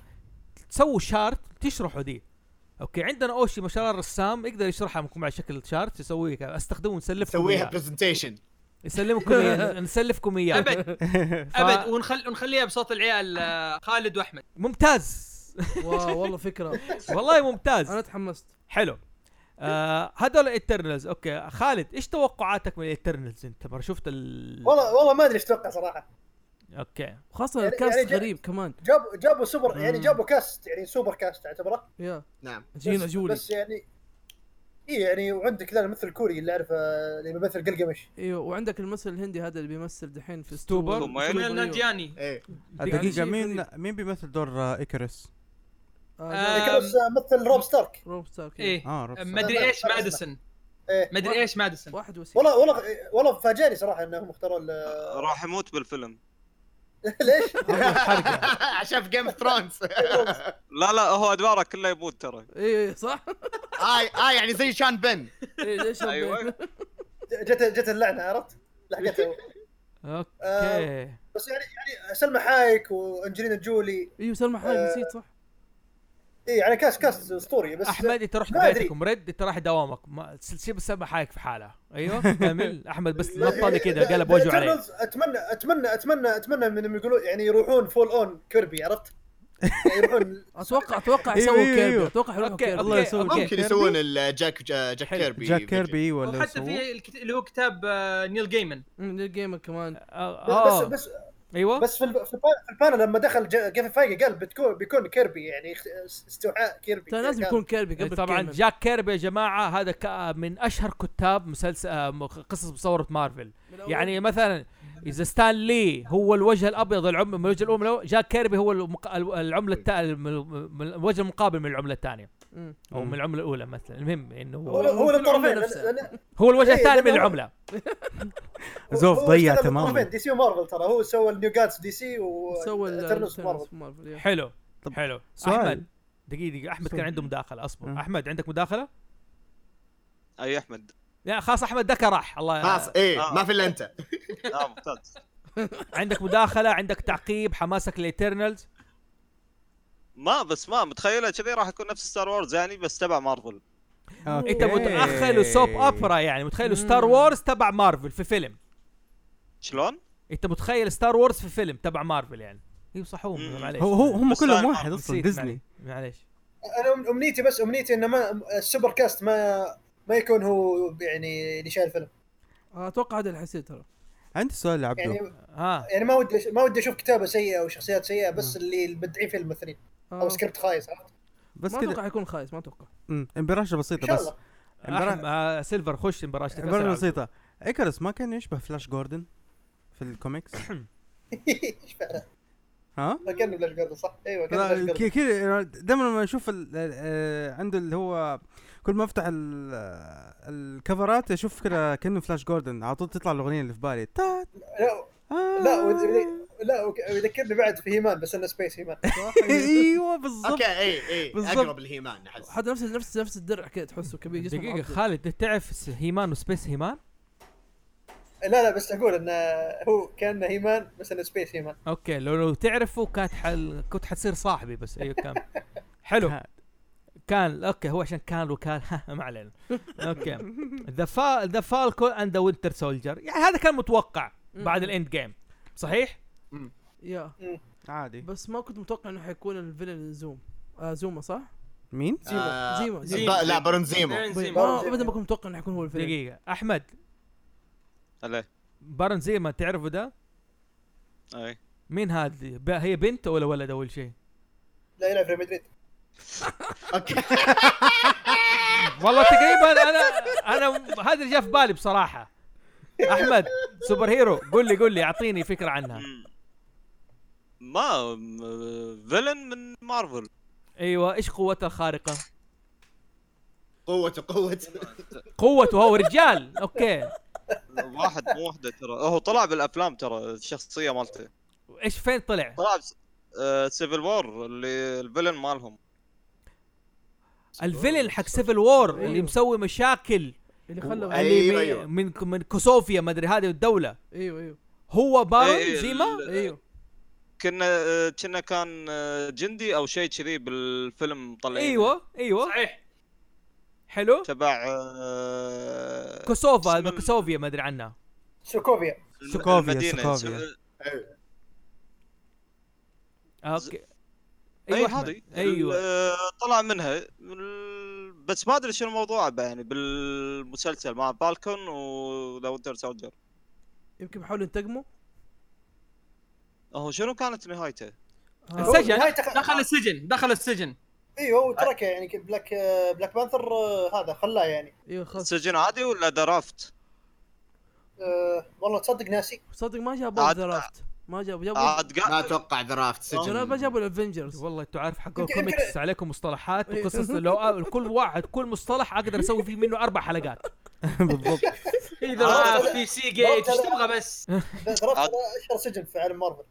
[SPEAKER 4] تسووا شارت تشرحوا دي اوكي عندنا اوشي ما شاء الله رسام يقدر يشرحها لكم على شكل شارت يسويه كذا. استخدمه ونسلفكم
[SPEAKER 1] سويها
[SPEAKER 4] اياه
[SPEAKER 1] برزنتيشن
[SPEAKER 4] يسلمكم اياه نسلفكم اياه
[SPEAKER 2] ابد
[SPEAKER 4] ف-
[SPEAKER 2] ابد ونخل... ونخليها بصوت العيال آه، خالد واحمد
[SPEAKER 4] ممتاز
[SPEAKER 5] واو والله فكره
[SPEAKER 4] والله ممتاز
[SPEAKER 5] انا تحمست
[SPEAKER 4] حلو آه هذول الايترنالز اوكي خالد ايش توقعاتك من الايترنالز انت مره شفت ال
[SPEAKER 7] والله والله ما ادري ايش اتوقع صراحه
[SPEAKER 4] اوكي
[SPEAKER 5] وخاصه
[SPEAKER 7] يعني- يعني
[SPEAKER 5] الكاست
[SPEAKER 7] جا-
[SPEAKER 5] غريب كمان
[SPEAKER 7] جابوا جابوا سوبر يعني
[SPEAKER 4] مم.
[SPEAKER 7] جابوا كاست يعني سوبر كاست اعتبره
[SPEAKER 5] يا
[SPEAKER 1] نعم
[SPEAKER 7] بس-
[SPEAKER 5] جينا جولي
[SPEAKER 7] بس يعني اي يعني وعندك ذا الممثل الكوري اللي اعرفه اللي بيمثل قلقمش
[SPEAKER 5] ايوه وعندك الممثل الهندي هذا اللي بيمثل دحين في
[SPEAKER 4] ستوبر.
[SPEAKER 5] ستوبر
[SPEAKER 6] ثم
[SPEAKER 2] من
[SPEAKER 5] أيوه.
[SPEAKER 1] إيه.
[SPEAKER 2] الناندياني
[SPEAKER 1] ايه
[SPEAKER 3] دقيقه
[SPEAKER 5] شيء
[SPEAKER 3] مين مين بيمثل دور آه، ايكرس
[SPEAKER 5] آه،
[SPEAKER 2] آه،
[SPEAKER 7] نيكولاس مثل روب ستارك
[SPEAKER 5] روب ستارك إيه.
[SPEAKER 2] ايه
[SPEAKER 3] اه روب
[SPEAKER 2] ما ادري ايش ماديسون
[SPEAKER 7] إيه.
[SPEAKER 2] ما ادري ايش ماديسون
[SPEAKER 5] واحد وسيم
[SPEAKER 7] والله والله والله فاجأني صراحه انهم اختاروا ال-
[SPEAKER 6] راح يموت بالفيلم
[SPEAKER 7] ليش؟
[SPEAKER 1] عشان في جيم اوف ثرونز
[SPEAKER 6] لا لا هو ادواره كله يموت ترى
[SPEAKER 5] ايه إيه، صح
[SPEAKER 1] اي اي يعني زي شان بن
[SPEAKER 5] ايه ليش
[SPEAKER 6] أيوة.
[SPEAKER 7] جت جت اللعنه عرفت؟ لحقته آه،
[SPEAKER 4] اوكي
[SPEAKER 7] بس يعني يعني سلمى حايك وانجلينا جولي
[SPEAKER 5] ايوه سلمى حاج
[SPEAKER 7] آه.
[SPEAKER 5] نسيت صح
[SPEAKER 7] اي يعني كاس كاس اسطوري بس
[SPEAKER 4] احمد انت رحت
[SPEAKER 7] ما أدري.
[SPEAKER 4] بدايتكم رد انت راح دوامك ما سيب السبع حايك في حالها ايوه كمل احمد بس نطه لي كذا قلب وجهه عليه
[SPEAKER 7] Eternals اتمنى اتمنى اتمنى اتمنى منهم يقولوا يعني يروحون فول اون كيربي عرفت؟ يعني يروحون
[SPEAKER 5] اتوقع اتوقع
[SPEAKER 3] أيوة،
[SPEAKER 5] يسووا
[SPEAKER 3] أيوة،
[SPEAKER 5] كيربي
[SPEAKER 3] أيوة.
[SPEAKER 5] اتوقع يروحوا
[SPEAKER 4] أوكي،
[SPEAKER 5] كيربي أمم،
[SPEAKER 4] الله يسوي كيربي.
[SPEAKER 1] ممكن يسوون الجاك جا- جاك
[SPEAKER 4] حلو.
[SPEAKER 1] كيربي
[SPEAKER 3] جاك كيربي ولا
[SPEAKER 2] وحتى
[SPEAKER 3] يسووه.
[SPEAKER 2] في الكت- اللي هو كتاب آه، نيل جيمن
[SPEAKER 5] من أمم، الجيمر كمان
[SPEAKER 7] بس
[SPEAKER 4] اه
[SPEAKER 7] بس
[SPEAKER 3] آه.
[SPEAKER 4] ايوه
[SPEAKER 7] بس في الب- في البا- في البانل لما دخل جا- جيفي فايجا قال بتكون بيكون كيربي يعني اخت- استوعاء كيربي
[SPEAKER 5] ترى لازم
[SPEAKER 7] كان-
[SPEAKER 5] يكون كيربي قبل
[SPEAKER 4] طبعا
[SPEAKER 5] كيربي.
[SPEAKER 4] جاك كيربي يا جماعه هذا ك- من اشهر كتاب مسلسل آه، م- قصص مصوره مارفل
[SPEAKER 5] من أول-
[SPEAKER 4] يعني مثلا اذا ستان لي هو الوجه الابيض العم من الوجه الام الأول، جاك كيربي هو المق... ال- العمله التا... الم- الم- الوجه المقابل من العمله الثانيه
[SPEAKER 5] مم.
[SPEAKER 4] او من العمله الاولى مثلا المهم انه
[SPEAKER 7] هو
[SPEAKER 4] هو,
[SPEAKER 5] هو-
[SPEAKER 7] هو
[SPEAKER 5] في العملة
[SPEAKER 7] للطرفين
[SPEAKER 5] نفسها.
[SPEAKER 7] لأن- لأن-
[SPEAKER 4] هو الوجه
[SPEAKER 7] إيه،
[SPEAKER 4] الثاني من
[SPEAKER 7] لأنه-
[SPEAKER 4] العمله
[SPEAKER 7] هو-
[SPEAKER 3] زوف
[SPEAKER 7] هو
[SPEAKER 3] ضيع
[SPEAKER 7] اشتغل
[SPEAKER 3] تماماً.
[SPEAKER 7] بالطرفين، دي سي ومارفل ترى هو سوى النيو جادز دي سي
[SPEAKER 5] سوى ال-
[SPEAKER 7] وترنس مارفل
[SPEAKER 5] Eternals مارفل يا.
[SPEAKER 4] حلو
[SPEAKER 3] طب،
[SPEAKER 4] حلو
[SPEAKER 3] سؤال.
[SPEAKER 4] احمد دقيقه دقيقه احمد كان
[SPEAKER 3] سؤال.
[SPEAKER 4] عنده مداخله اصبر
[SPEAKER 3] آه.
[SPEAKER 4] احمد عندك مداخله
[SPEAKER 6] اي احمد
[SPEAKER 4] لا خلاص احمد ذكر راح الله
[SPEAKER 1] خلاص ايه
[SPEAKER 6] آه.
[SPEAKER 1] ما في الا انت
[SPEAKER 6] اه ممتاز
[SPEAKER 4] عندك مداخله عندك تعقيب حماسك للايترنالز
[SPEAKER 6] ما بس ما متخيله كذي راح يكون نفس ستار وورز يعني بس تبع مارفل
[SPEAKER 3] أوكي. إيه.
[SPEAKER 4] انت متاخر وسوب اوبرا يعني متخيل ستار وورز تبع مارفل في فيلم
[SPEAKER 6] شلون؟
[SPEAKER 4] انت متخيل ستار وورز في فيلم تبع مارفل يعني ايوه صح هو
[SPEAKER 6] مم.
[SPEAKER 4] معليش
[SPEAKER 3] هو هو هم
[SPEAKER 6] بس
[SPEAKER 3] كلهم
[SPEAKER 6] أنا-
[SPEAKER 3] واحد اصلا
[SPEAKER 4] نسيت،
[SPEAKER 3] ديزني
[SPEAKER 4] معليش- معليش
[SPEAKER 7] انا أم- امنيتي بس امنيتي انه ما السوبر كاست ما ما يكون هو يعني اللي شايل الفيلم
[SPEAKER 5] آه، اتوقع هذا اللي حسيت ترى
[SPEAKER 3] عندي سؤال لعبده
[SPEAKER 7] يعني
[SPEAKER 4] ها
[SPEAKER 7] يعني ما ودي ما ودي اشوف كتابه سيئه او شخصيات سيئه بس اللي مبدعين فيه الممثلين
[SPEAKER 5] آه.
[SPEAKER 7] او سكريبت خايس عرفت؟
[SPEAKER 3] بس
[SPEAKER 5] ما
[SPEAKER 3] كذا
[SPEAKER 5] اتوقع يكون خايس ما اتوقع
[SPEAKER 3] أمم، امبراشه
[SPEAKER 7] ان
[SPEAKER 3] بسيطه
[SPEAKER 7] شاء
[SPEAKER 3] بس
[SPEAKER 7] الله
[SPEAKER 3] امبرا-
[SPEAKER 4] أحمد- آه، سيلفر خش مباراه
[SPEAKER 3] عباره بسيطه ايكرس ما كان يشبه فلاش جوردن في الكوميكس
[SPEAKER 7] ايش فعلا
[SPEAKER 3] ها
[SPEAKER 7] كانه بلاش قرده صح ايوه كانه بلاش
[SPEAKER 3] لا،
[SPEAKER 7] قرده
[SPEAKER 3] ك- كذا دائما يعني لما اشوف ال- آه، عنده اللي هو كل ما افتح ال- آه، الكفرات اشوف كذا كانه فلاش جوردن على طول تطلع الاغنيه اللي في بالي تا-
[SPEAKER 7] لا
[SPEAKER 3] آه.
[SPEAKER 7] لا وذ- لا وك- ويذكرني بعد في هيمان بس انه سبيس هيمان
[SPEAKER 3] ايوه بالضبط
[SPEAKER 1] اوكي اي اي
[SPEAKER 3] بالضبط.
[SPEAKER 1] اقرب الهيمان احس
[SPEAKER 5] حتى نفس نفس نفس الدرع كذا تحسه كبير جسمه
[SPEAKER 4] دقيقه
[SPEAKER 5] معضل.
[SPEAKER 4] خالد تعرف س- هيمان وسبيس هيمان
[SPEAKER 7] لا لا بس اقول انه هو كان هيمان بس انه سبيس هيمان
[SPEAKER 4] اوكي لو لو تعرفه كانت حل... كنت حتصير صاحبي بس ايوه كان حلو كان اوكي هو عشان كان وكان ما علينا اوكي ذا فا ذا فالكون اند ذا وينتر سولجر يعني هذا كان متوقع بعد الاند جيم صحيح؟
[SPEAKER 5] يا
[SPEAKER 3] عادي
[SPEAKER 5] بس ما كنت متوقع انه حيكون الفيلن زوم آه زوما صح؟
[SPEAKER 3] مين؟
[SPEAKER 5] زيما
[SPEAKER 1] آه،
[SPEAKER 5] زيما
[SPEAKER 2] زيما.
[SPEAKER 5] زيما
[SPEAKER 1] ب- لا بارون زيمو
[SPEAKER 2] بارون زيمو.
[SPEAKER 5] ما ابدا طيب، آه، ما كنت متوقع انه حيكون هو الفيلن
[SPEAKER 4] دقيقه احمد
[SPEAKER 6] عليه
[SPEAKER 4] بارن زي ما تعرفه ده
[SPEAKER 3] إيه.
[SPEAKER 6] اي
[SPEAKER 4] مين هذه ب- هي بنت ولا ولد اول شيء
[SPEAKER 7] لا يلعب في مدريد
[SPEAKER 1] اوكي
[SPEAKER 4] والله تقريبا انا انا هذا اللي جاء في بالي بصراحه احمد سوبر هيرو قول لي قول لي اعطيني فكره عنها
[SPEAKER 6] ما فيلن من مارفل
[SPEAKER 4] ايوه ايش قوتها الخارقه
[SPEAKER 1] قوته قوته
[SPEAKER 4] قوته هو رجال اوكي
[SPEAKER 6] واحد مو وحده ترى هو طلع بالافلام ترى الشخصيه مالته
[SPEAKER 4] ايش فين طلع
[SPEAKER 6] طلع سيفل وور اللي الفيلن مالهم
[SPEAKER 4] الفيلن حق سيفل وور اللي
[SPEAKER 5] أيوه.
[SPEAKER 4] مسوي مشاكل
[SPEAKER 5] اللي خلى
[SPEAKER 1] أي-
[SPEAKER 4] اللي
[SPEAKER 1] أيوه،
[SPEAKER 4] من-
[SPEAKER 1] أيوه.
[SPEAKER 4] من من كوسوفيا ما ادري هذه الدوله
[SPEAKER 5] ايوه ايوه
[SPEAKER 4] هو بارون
[SPEAKER 6] إيه،
[SPEAKER 4] آه، زيما
[SPEAKER 6] ال-
[SPEAKER 5] ايوه
[SPEAKER 6] كنا آه، كنا كان آه، جندي او شيء كذي بالفيلم مطلعين
[SPEAKER 4] ايوه ايوه
[SPEAKER 2] صحيح
[SPEAKER 4] حلو
[SPEAKER 6] تبع آه،
[SPEAKER 4] كوسوفا
[SPEAKER 6] اسم ال-
[SPEAKER 4] كوسوفيا ما ادري عنها
[SPEAKER 7] سوكوفيا
[SPEAKER 3] سوكوفيا،
[SPEAKER 6] المدينة.
[SPEAKER 3] سوكوفيا.
[SPEAKER 6] س-
[SPEAKER 4] اوكي
[SPEAKER 6] اي
[SPEAKER 4] أيوه، أحمد.
[SPEAKER 6] هذه
[SPEAKER 4] ايوه
[SPEAKER 6] آه، طلع منها ال- بس ما ادري شنو الموضوع بقى يعني بالمسلسل مع بالكون وذا وينتر سولجر
[SPEAKER 5] يمكن بيحاولوا ينتقموا
[SPEAKER 6] هو شنو كانت نهايته؟
[SPEAKER 5] آه.
[SPEAKER 4] السجن.
[SPEAKER 7] هاي تخ-
[SPEAKER 2] دخل السجن دخل السجن
[SPEAKER 7] ايوه وتركه يعني ك- بلاك بلاك بانثر آه، هذا خلاه يعني
[SPEAKER 5] ايوه خلاص
[SPEAKER 6] سجن عادي ولا درافت؟
[SPEAKER 7] آه، والله تصدق ناسي
[SPEAKER 5] صدق ما جاب
[SPEAKER 6] عاد-
[SPEAKER 5] درافت ما جابوا جابوا
[SPEAKER 6] عاد
[SPEAKER 1] ما
[SPEAKER 6] قا-
[SPEAKER 1] اتوقع درافت
[SPEAKER 5] لا، ما
[SPEAKER 1] سجن
[SPEAKER 5] جابوا الافنجرز
[SPEAKER 4] والله انتوا عارف حق
[SPEAKER 7] يمكن- يمكن-
[SPEAKER 4] كوميكس عليكم مصطلحات وقصص لو كل واحد كل مصطلح اقدر اسوي فيه منه اربع حلقات
[SPEAKER 3] بالضبط
[SPEAKER 2] في ذراف آه، في سي جيت ايش تبغى بس؟
[SPEAKER 7] درافت هذا اشهر سجن في عالم مارفل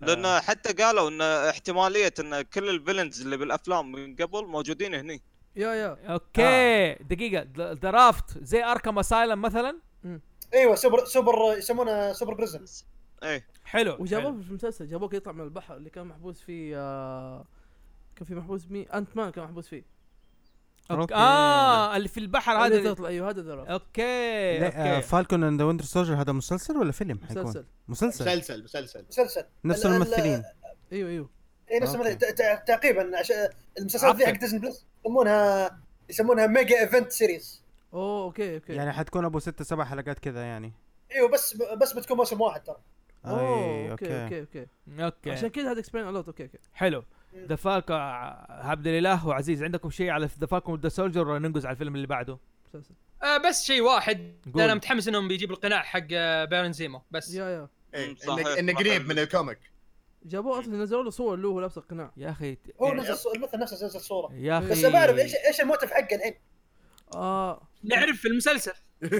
[SPEAKER 6] لان حتى قالوا ان احتماليه ان كل الفيلنز اللي بالافلام من قبل موجودين هني
[SPEAKER 5] يا يا
[SPEAKER 4] اوكي دقيقه د- درافت زي اركم اسايلم مثلا
[SPEAKER 7] ايوه سوبر سوبر يسمونه سوبر بريزن
[SPEAKER 6] ايه
[SPEAKER 4] حلو حلو.
[SPEAKER 5] وجابوه في المسلسل جابوه يطلع من البحر اللي كان محبوس فيه آه كان في محبوس مين انت مان كان محبوس فيه
[SPEAKER 4] أوكي. اه اللي في البحر
[SPEAKER 5] هذا
[SPEAKER 4] هذا
[SPEAKER 5] تطلع ايوه هذا درافت
[SPEAKER 4] اوكي
[SPEAKER 3] لا آه،
[SPEAKER 4] اوكي
[SPEAKER 3] فالكون اند ذا وينتر سولجر هذا مسلسل ولا فيلم حيكون
[SPEAKER 5] مسلسل
[SPEAKER 3] مسلسل
[SPEAKER 1] مسلسل مسلسل
[SPEAKER 7] مسلسل
[SPEAKER 3] نفس
[SPEAKER 7] ال- ال-
[SPEAKER 3] الممثلين
[SPEAKER 5] ايوه ايوه
[SPEAKER 7] اي نفس
[SPEAKER 3] أوكي.
[SPEAKER 7] المثل- تع- تع- تعقيبا عشان المسلسلات ذي حق
[SPEAKER 4] عفن.
[SPEAKER 7] ديزني بلس يسمونها يسمونها ميجا ايفنت سيريز
[SPEAKER 5] اوه اوكي اوكي
[SPEAKER 3] يعني حتكون ابو ستة سبع حلقات كذا يعني
[SPEAKER 7] ايوه بس بس بتكون موسم واحد ترى
[SPEAKER 5] اوه
[SPEAKER 3] أي،
[SPEAKER 5] اوكي اوكي اوكي عشان
[SPEAKER 4] اوكي
[SPEAKER 5] كذا هذا اكسبلين الوت اوكي اوكي
[SPEAKER 4] حلو
[SPEAKER 7] مم.
[SPEAKER 4] ذا فالكون عبد الاله وعزيز عندكم شيء على ذا فالكون ذا سولجر ولا ننقز على الفيلم اللي بعده
[SPEAKER 5] مسلسل
[SPEAKER 2] آه بس شيء واحد
[SPEAKER 4] قول.
[SPEAKER 2] انا متحمس انهم بيجيبوا القناع حق آه، بيرن زيمو بس
[SPEAKER 5] يا يا
[SPEAKER 1] إيه،
[SPEAKER 6] صحيح.
[SPEAKER 1] إنه- انه قريب من الكوميك
[SPEAKER 5] جابوه اصلا نزلوا له صور له وهو لابس القناع
[SPEAKER 4] يا اخي ت-
[SPEAKER 7] هو نفس الص- المثل نفس نفس الصوره
[SPEAKER 4] يا اخي
[SPEAKER 7] بس ما اعرف ايش
[SPEAKER 4] إيه.
[SPEAKER 7] ايش الموتف حقه الحين
[SPEAKER 5] اه
[SPEAKER 2] نعرف في المسلسل
[SPEAKER 5] أيوة،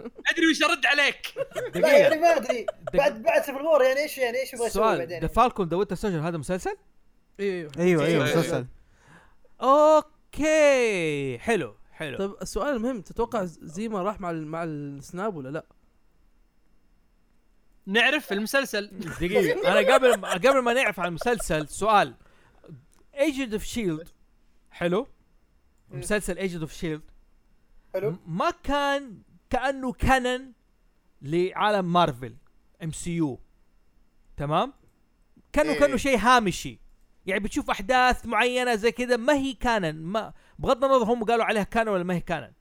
[SPEAKER 2] ادري وش ارد عليك
[SPEAKER 7] لا
[SPEAKER 4] دقيقه
[SPEAKER 7] يعني ما ادري بعد بعد سيفل وور يعني ايش يعني ايش يبغى يسوي
[SPEAKER 4] سؤال
[SPEAKER 7] بعدين
[SPEAKER 4] ذا فالكون ذا وينتر سولجر هذا مسلسل
[SPEAKER 5] ايوه ايوه
[SPEAKER 4] أيوه،
[SPEAKER 3] ايوه
[SPEAKER 6] أيوة،
[SPEAKER 3] ايوه
[SPEAKER 6] أيوة.
[SPEAKER 3] مسلسل
[SPEAKER 4] اوكي حلو حلو
[SPEAKER 5] طيب السؤال المهم تتوقع زيما راح مع ال- مع السناب ولا لا؟
[SPEAKER 2] نعرف في المسلسل
[SPEAKER 4] دقيقة أنا قبل ما قبل ما نعرف عن المسلسل سؤال ايجنت اوف شيلد حلو E مسلسل ايجنت اوف شيلد
[SPEAKER 7] حلو
[SPEAKER 4] ما كان كأنه كانن لعالم مارفل ام سي يو تمام؟ كانه
[SPEAKER 1] إيه.
[SPEAKER 4] كانه شيء هامشي يعني بتشوف احداث معينه زي كذا ما هي كانن ما بغض النظر هم قالوا عليها كانن ولا ما هي كانن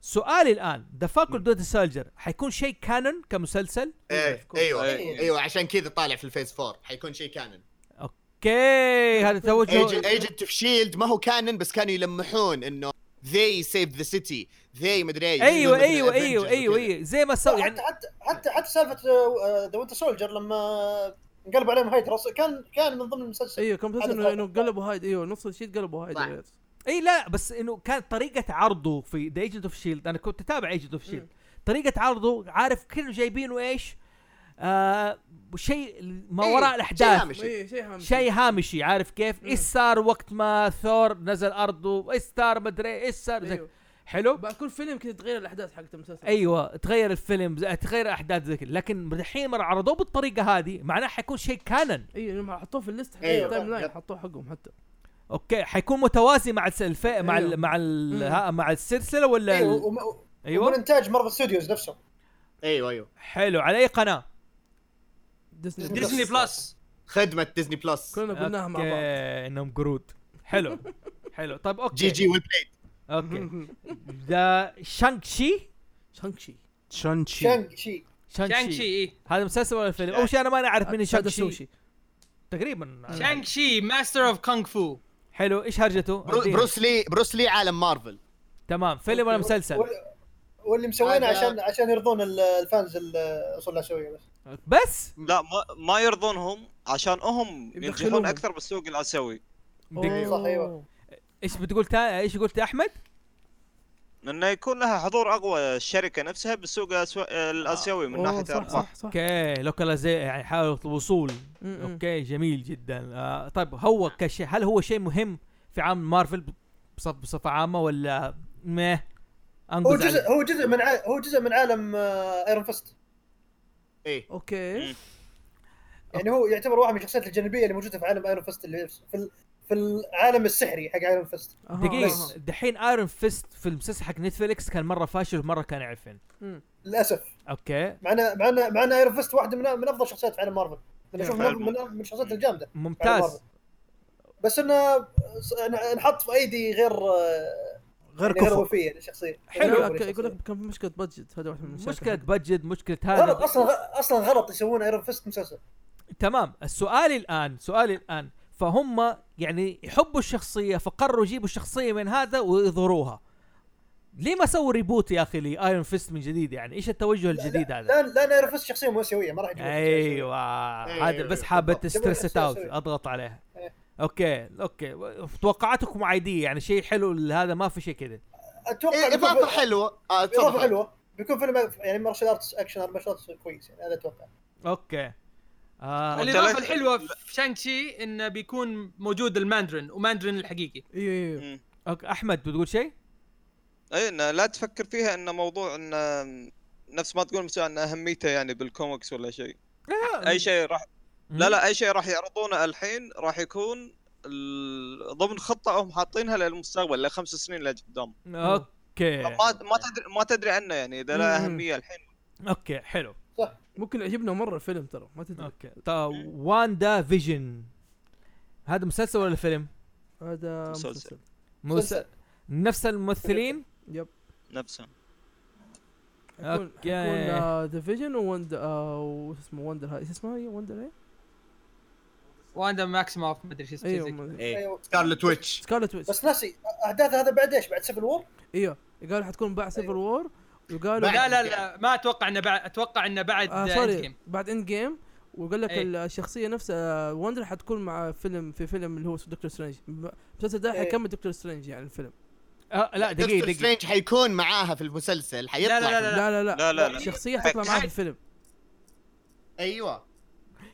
[SPEAKER 4] سؤالي الان ذا فاكر دوت سولجر حيكون شيء كانن كمسلسل
[SPEAKER 1] ايه ايوه
[SPEAKER 7] إيه.
[SPEAKER 1] ايوه عشان كذا طالع في الفيز 4 حيكون شيء كانن
[SPEAKER 4] اوكي هذا توجه
[SPEAKER 1] ايجنت اوف شيلد E ما هو كانن بس كانوا يلمحون انه they save the city they مدري ايش
[SPEAKER 2] أيوة،
[SPEAKER 4] ايوه
[SPEAKER 1] مثل
[SPEAKER 4] ايوه
[SPEAKER 1] الأفنجرز
[SPEAKER 4] ايوه ايوه
[SPEAKER 1] وكذا.
[SPEAKER 4] ايوه زي ما سووا
[SPEAKER 7] حتى,
[SPEAKER 4] يعني
[SPEAKER 7] حتى حتى حتى آه، سالفه ذا وينتر سولجر لما انقلب عليهم هايد راسل كان كان من ضمن المسلسل
[SPEAKER 4] إيه،
[SPEAKER 5] ايوه كان مسلسل انه انه قلبوا هايد ايوه نص الشيء قلبوا هايد
[SPEAKER 1] صح.
[SPEAKER 5] أيوة.
[SPEAKER 4] اي لا بس انه كانت طريقه عرضه في ذا ايجنت اوف شيلد انا كنت اتابع ايجنت اوف شيلد طريقه عرضه عارف كانوا جايبينه ايش؟ آه شيء ما
[SPEAKER 1] إيه،
[SPEAKER 4] وراء
[SPEAKER 1] شيء
[SPEAKER 4] الاحداث
[SPEAKER 2] أيوة.
[SPEAKER 1] هامشي.
[SPEAKER 5] اي شيء هامش
[SPEAKER 4] شيء هامشي عارف كيف؟ ايش صار وقت ما ثور نزل ارضه؟ ايش صار مدري ايش صار؟
[SPEAKER 1] أيوه.
[SPEAKER 4] زي-
[SPEAKER 5] أيوة.
[SPEAKER 4] حلو؟
[SPEAKER 5] بعد كل فيلم كذا تغير الاحداث حقت المسلسل
[SPEAKER 4] ايوه تغير الفيلم زي- تغير احداث زي كذا لكن الحين مرة عرضوه بالطريقه هذه معناه حيكون شيء كانن
[SPEAKER 5] ايوه لما حطوه في الليست حق
[SPEAKER 1] أيوة.
[SPEAKER 5] التايم لاين
[SPEAKER 1] يب.
[SPEAKER 5] حطوه حقهم حتى
[SPEAKER 4] اوكي حيكون متوازي مع الس- الف...
[SPEAKER 1] أيوه.
[SPEAKER 4] مع ال...
[SPEAKER 5] أيوة.
[SPEAKER 4] مع ال... ها- مع السلسله ولا
[SPEAKER 7] ايوه
[SPEAKER 4] ال...
[SPEAKER 7] وم- وم-
[SPEAKER 4] ايوه
[SPEAKER 7] ومن انتاج مارفل ستوديوز نفسهم
[SPEAKER 1] ايوه ايوه
[SPEAKER 4] حلو على اي قناه
[SPEAKER 5] ديزني
[SPEAKER 7] ديزني.
[SPEAKER 2] ديزني بلس
[SPEAKER 1] خدمه ديزني بلس
[SPEAKER 5] كلنا قلناها مع بعض
[SPEAKER 4] أوكي، انهم قرود حلو حلو طيب اوكي
[SPEAKER 1] جي جي ويل بلاي
[SPEAKER 4] اوكي ذا شانك شي
[SPEAKER 5] شانكشي
[SPEAKER 4] إيه.
[SPEAKER 3] شانشي
[SPEAKER 7] شانج شي
[SPEAKER 4] شانك
[SPEAKER 2] شانك
[SPEAKER 4] شي
[SPEAKER 2] شي إيه.
[SPEAKER 4] هذا مسلسل ولا فيلم اول شيء انا ما اعرف مين شانك
[SPEAKER 5] هذا
[SPEAKER 4] شي
[SPEAKER 5] سوشي
[SPEAKER 4] تقريبا
[SPEAKER 5] آه.
[SPEAKER 4] أنا-
[SPEAKER 2] شانك شي ماستر اوف كونغ فو
[SPEAKER 4] حلو ايش هرجته أديني.
[SPEAKER 1] بروس لي بروس لي عالم مارفل
[SPEAKER 4] تمام فيلم ولا مسلسل
[SPEAKER 7] وال- واللي مسوينه
[SPEAKER 1] هذا-
[SPEAKER 7] عشان عشان يرضون ال- الفانز الاصول الاسيويه بس
[SPEAKER 4] بس
[SPEAKER 6] لا ما, ما يرضونهم عشان هم ينجحون
[SPEAKER 5] يدخلوهم.
[SPEAKER 6] اكثر بالسوق الاسيوي
[SPEAKER 4] دقيقة.
[SPEAKER 7] صح، أيوة.
[SPEAKER 4] ايش بتقول تا... ايش قلت يا احمد
[SPEAKER 6] انه يكون لها حضور اقوى الشركه نفسها بالسوق الأسو- الاسيوي من
[SPEAKER 5] آه. أوه،
[SPEAKER 6] ناحيه
[SPEAKER 5] صح
[SPEAKER 6] الارباح
[SPEAKER 5] صح أمم، صح
[SPEAKER 4] اوكي لوكاليزيشن يعني حاله الوصول
[SPEAKER 5] م- م.
[SPEAKER 4] اوكي جميل جدا آه طيب هو كشيء هل هو شيء مهم في عالم مارفل بصف بصفه عامه ولا مه
[SPEAKER 7] هو
[SPEAKER 4] انقز عليه.
[SPEAKER 7] جزء هو جزء من ع... هو جزء من عالم آه، ايرون فيست
[SPEAKER 1] ايه
[SPEAKER 5] اوكي
[SPEAKER 7] يعني هو يعتبر واحد من الشخصيات الجانبيه اللي موجوده في عالم ايرون فيست اللي في في ال- في العالم السحري حق ايرون فيست
[SPEAKER 5] أها،
[SPEAKER 4] دقيقة
[SPEAKER 5] أها.
[SPEAKER 4] دحين ايرون فيست في المسلسل حق نتفليكس كان مرة فاشل ومرة كان عفن
[SPEAKER 7] للاسف
[SPEAKER 4] اوكي
[SPEAKER 7] مع ان مع ان مع ان ايرون فيست واحده من من افضل الشخصيات في عالم مارفل انا اشوف
[SPEAKER 6] فعلاً.
[SPEAKER 7] من من من الشخصيات الجامده
[SPEAKER 4] ممتاز
[SPEAKER 7] بس انه س- أنا- انحط في ايدي غير آه،
[SPEAKER 3] غير
[SPEAKER 7] يعني غير يعني
[SPEAKER 3] كفو
[SPEAKER 7] وفيه للشخصيه
[SPEAKER 4] حلو.
[SPEAKER 5] لا،
[SPEAKER 7] غير
[SPEAKER 5] ك-
[SPEAKER 7] وفية
[SPEAKER 5] يقول
[SPEAKER 7] للشخصية.
[SPEAKER 5] لك كان في مشكله بادجت هذا واحد من المشاكل
[SPEAKER 4] مشكلة بادجت مشكلة
[SPEAKER 7] غلط
[SPEAKER 4] هذا
[SPEAKER 7] اصلا غ- اصلا غلط يسوون ايرون فيست مسلسل
[SPEAKER 4] تمام السؤال الان سؤالي الان فهم يعني يحبوا الشخصية فقرروا يجيبوا الشخصية من هذا ويظهروها ليه ما سووا ريبوت يا اخي لايرون فيست من جديد يعني ايش التوجه الجديد هذا
[SPEAKER 7] لا لا نعرف بس شخصيه مؤسيويه ما راح يجيبها
[SPEAKER 4] ايوه هذا بس
[SPEAKER 7] أيوة،
[SPEAKER 4] حابه
[SPEAKER 7] بالضبط. جمهور
[SPEAKER 4] تسترس اوت
[SPEAKER 7] السويسري.
[SPEAKER 4] اضغط عليها
[SPEAKER 7] إيه.
[SPEAKER 4] اوكي اوكي توقعاتكم عاديه يعني شيء حلو هذا ما في شيء كذا
[SPEAKER 7] اتوقع
[SPEAKER 1] إيه،
[SPEAKER 7] بيكون
[SPEAKER 1] اضافه
[SPEAKER 7] فيلم-
[SPEAKER 1] حلوه آه،
[SPEAKER 7] اضافه
[SPEAKER 1] تفضل.
[SPEAKER 7] حلوه بيكون فيلم يعني مارشال ارتس اكشن مارشال ارتس كويس يعني هذا اتوقع
[SPEAKER 4] اوكي آه
[SPEAKER 6] وال-
[SPEAKER 2] الاضافه
[SPEAKER 6] لا-
[SPEAKER 2] الحلوه في شانك شي انه بيكون موجود الماندرين وماندرين الحقيقي
[SPEAKER 5] ايوه ايوه
[SPEAKER 4] أوكي. احمد بتقول شيء؟
[SPEAKER 6] اي إيه، إن لا تفكر فيها انه موضوع انه نفس ما تقول مثلا ان اهميته يعني بالكوميكس ولا شيء اي شيء راح لا لا اي شيء راح يعرضونه الحين راح يكون ال- ضمن خطه هم حاطينها للمستقبل لخمس سنين لقدام
[SPEAKER 4] اوكي
[SPEAKER 6] ما ما تدري ما تدري عنه يعني اذا لا
[SPEAKER 5] مم.
[SPEAKER 6] اهميه الحين
[SPEAKER 4] اوكي حلو
[SPEAKER 5] ممكن يعجبنا مره الفيلم ترى ما تدري
[SPEAKER 4] اوكي طيب واندا فيجن هذا مسلسل ولا فيلم؟
[SPEAKER 5] هذا
[SPEAKER 6] مسلسل.
[SPEAKER 5] مسلسل
[SPEAKER 4] مس... نفس الممثلين
[SPEAKER 6] نفسه
[SPEAKER 4] أوكي.
[SPEAKER 5] حيكون ديفيجن ووند آه، وش اسمه وندر هاي ايش اسمها هي وندر هاي؟
[SPEAKER 2] واندا ماكسيموف ما ادري شو اسمه
[SPEAKER 5] ايوه
[SPEAKER 2] زي كذا.
[SPEAKER 5] ما-
[SPEAKER 1] ايه
[SPEAKER 7] أيوة.
[SPEAKER 1] سكارلت ويتش
[SPEAKER 5] سكارلت ويتش
[SPEAKER 7] بس ناسي احداث هذا بعد ايش بعد سيفل وور
[SPEAKER 5] ايوه قالوا حتكون بعد سيفل وور وقالوا
[SPEAKER 2] لا لا لا ما اتوقع انه بعد اتوقع انه بعد
[SPEAKER 5] آه
[SPEAKER 2] آه Endgame.
[SPEAKER 5] سوري بعد اند جيم وقال لك
[SPEAKER 2] إيه.
[SPEAKER 5] ال- الشخصيه نفسها آه، وندر حتكون مع فيلم في فيلم اللي هو دكتور سترينج ب- المسلسل ده
[SPEAKER 7] إيه.
[SPEAKER 5] حيكمل دكتور سترينج يعني الفيلم
[SPEAKER 4] آه لا دقيقه
[SPEAKER 1] دكتور
[SPEAKER 4] دقيقه
[SPEAKER 1] سترينج حيكون معاها في المسلسل حيطلع
[SPEAKER 2] لا لا لا.
[SPEAKER 5] لا لا لا
[SPEAKER 6] لا لا لا
[SPEAKER 5] شخصيه حتطلع معاه في الفيلم
[SPEAKER 1] ايوه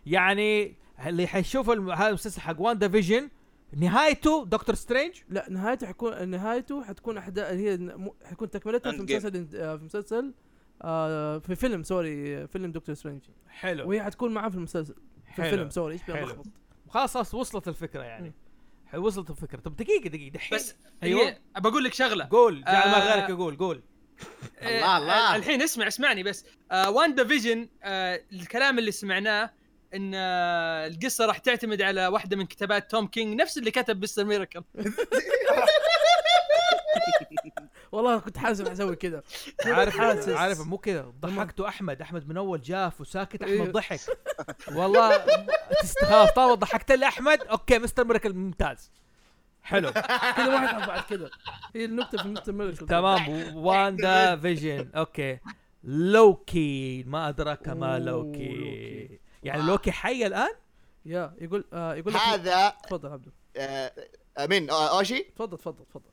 [SPEAKER 4] يعني اللي حيشوف الم... هذا المسلسل حق واندا فيجن نهايته دكتور سترينج
[SPEAKER 5] لا نهايته حيكون نهايته حتكون احداث هي مو- حيكون تكملتها في
[SPEAKER 6] Endgame.
[SPEAKER 5] مسلسل آه، في مسلسل آه، في فيلم سوري آه، فيلم دكتور سترينج
[SPEAKER 4] حلو
[SPEAKER 5] وهي حتكون معاه في المسلسل في
[SPEAKER 4] حلو.
[SPEAKER 5] الفيلم سوري ايش
[SPEAKER 4] حلو.
[SPEAKER 5] بلخبط
[SPEAKER 4] خلاص خلاص وصلت الفكره يعني حلو، وصلت الفكره طب دقيقه دقيقه دحين
[SPEAKER 2] بس
[SPEAKER 4] ايوه
[SPEAKER 5] أيوة.
[SPEAKER 2] ايوه بقول لك شغله
[SPEAKER 4] قول جعل ما
[SPEAKER 2] آه.
[SPEAKER 4] غيرك يقول قول
[SPEAKER 1] الله، الله.
[SPEAKER 2] الحين اسمع اسمعني بس آه واندا فيجن آه الكلام اللي سمعناه ان آه القصه راح تعتمد على واحده من كتابات توم كينج نفس اللي كتب مستر ميراكل
[SPEAKER 5] والله كنت حاسب حسوي كذا
[SPEAKER 4] عارف
[SPEAKER 5] حاسس.
[SPEAKER 4] عارف مو كذا ضحكته احمد احمد من اول جاف وساكت
[SPEAKER 5] إيه.
[SPEAKER 4] احمد ضحك والله تستخاف طالما ضحكت لي احمد اوكي مستر ميراكل ممتاز حلو
[SPEAKER 5] كذا ما حتعرف بعد كذا هي النكته في النكته الملك
[SPEAKER 4] تمام واندا فيجن اوكي لوكي ما ادراك ما
[SPEAKER 5] أوه،
[SPEAKER 4] لوكي
[SPEAKER 5] لوكي.
[SPEAKER 4] يعني لوكي حي الان
[SPEAKER 5] يا يقول آه يقول لك
[SPEAKER 1] هذا
[SPEAKER 5] تفضل عبده
[SPEAKER 1] آه، آه، مين آه، اوشي
[SPEAKER 5] تفضل تفضل تفضل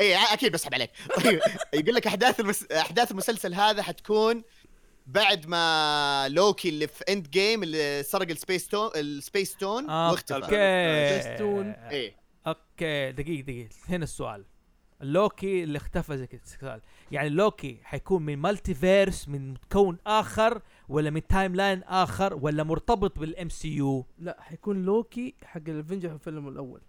[SPEAKER 1] اي اكيد إيه، بسحب عليك طيب، يقول لك احداث المس... احداث المسلسل هذا حتكون بعد ما لوكي اللي في اند جيم اللي سرق السبيس تون السبيس تون إيه.
[SPEAKER 4] آه،
[SPEAKER 1] واختفى
[SPEAKER 4] اوكي
[SPEAKER 5] جستون.
[SPEAKER 1] اي
[SPEAKER 4] اوكي دقيقه دقيقه هنا السؤال لوكي اللي اختفى زي كذا السؤال يعني لوكي حيكون من مالتي فيرس من كون اخر ولا من تايم لاين اخر ولا مرتبط بالام سي يو
[SPEAKER 5] لا حيكون لوكي حق الافنجر في الفيلم الاول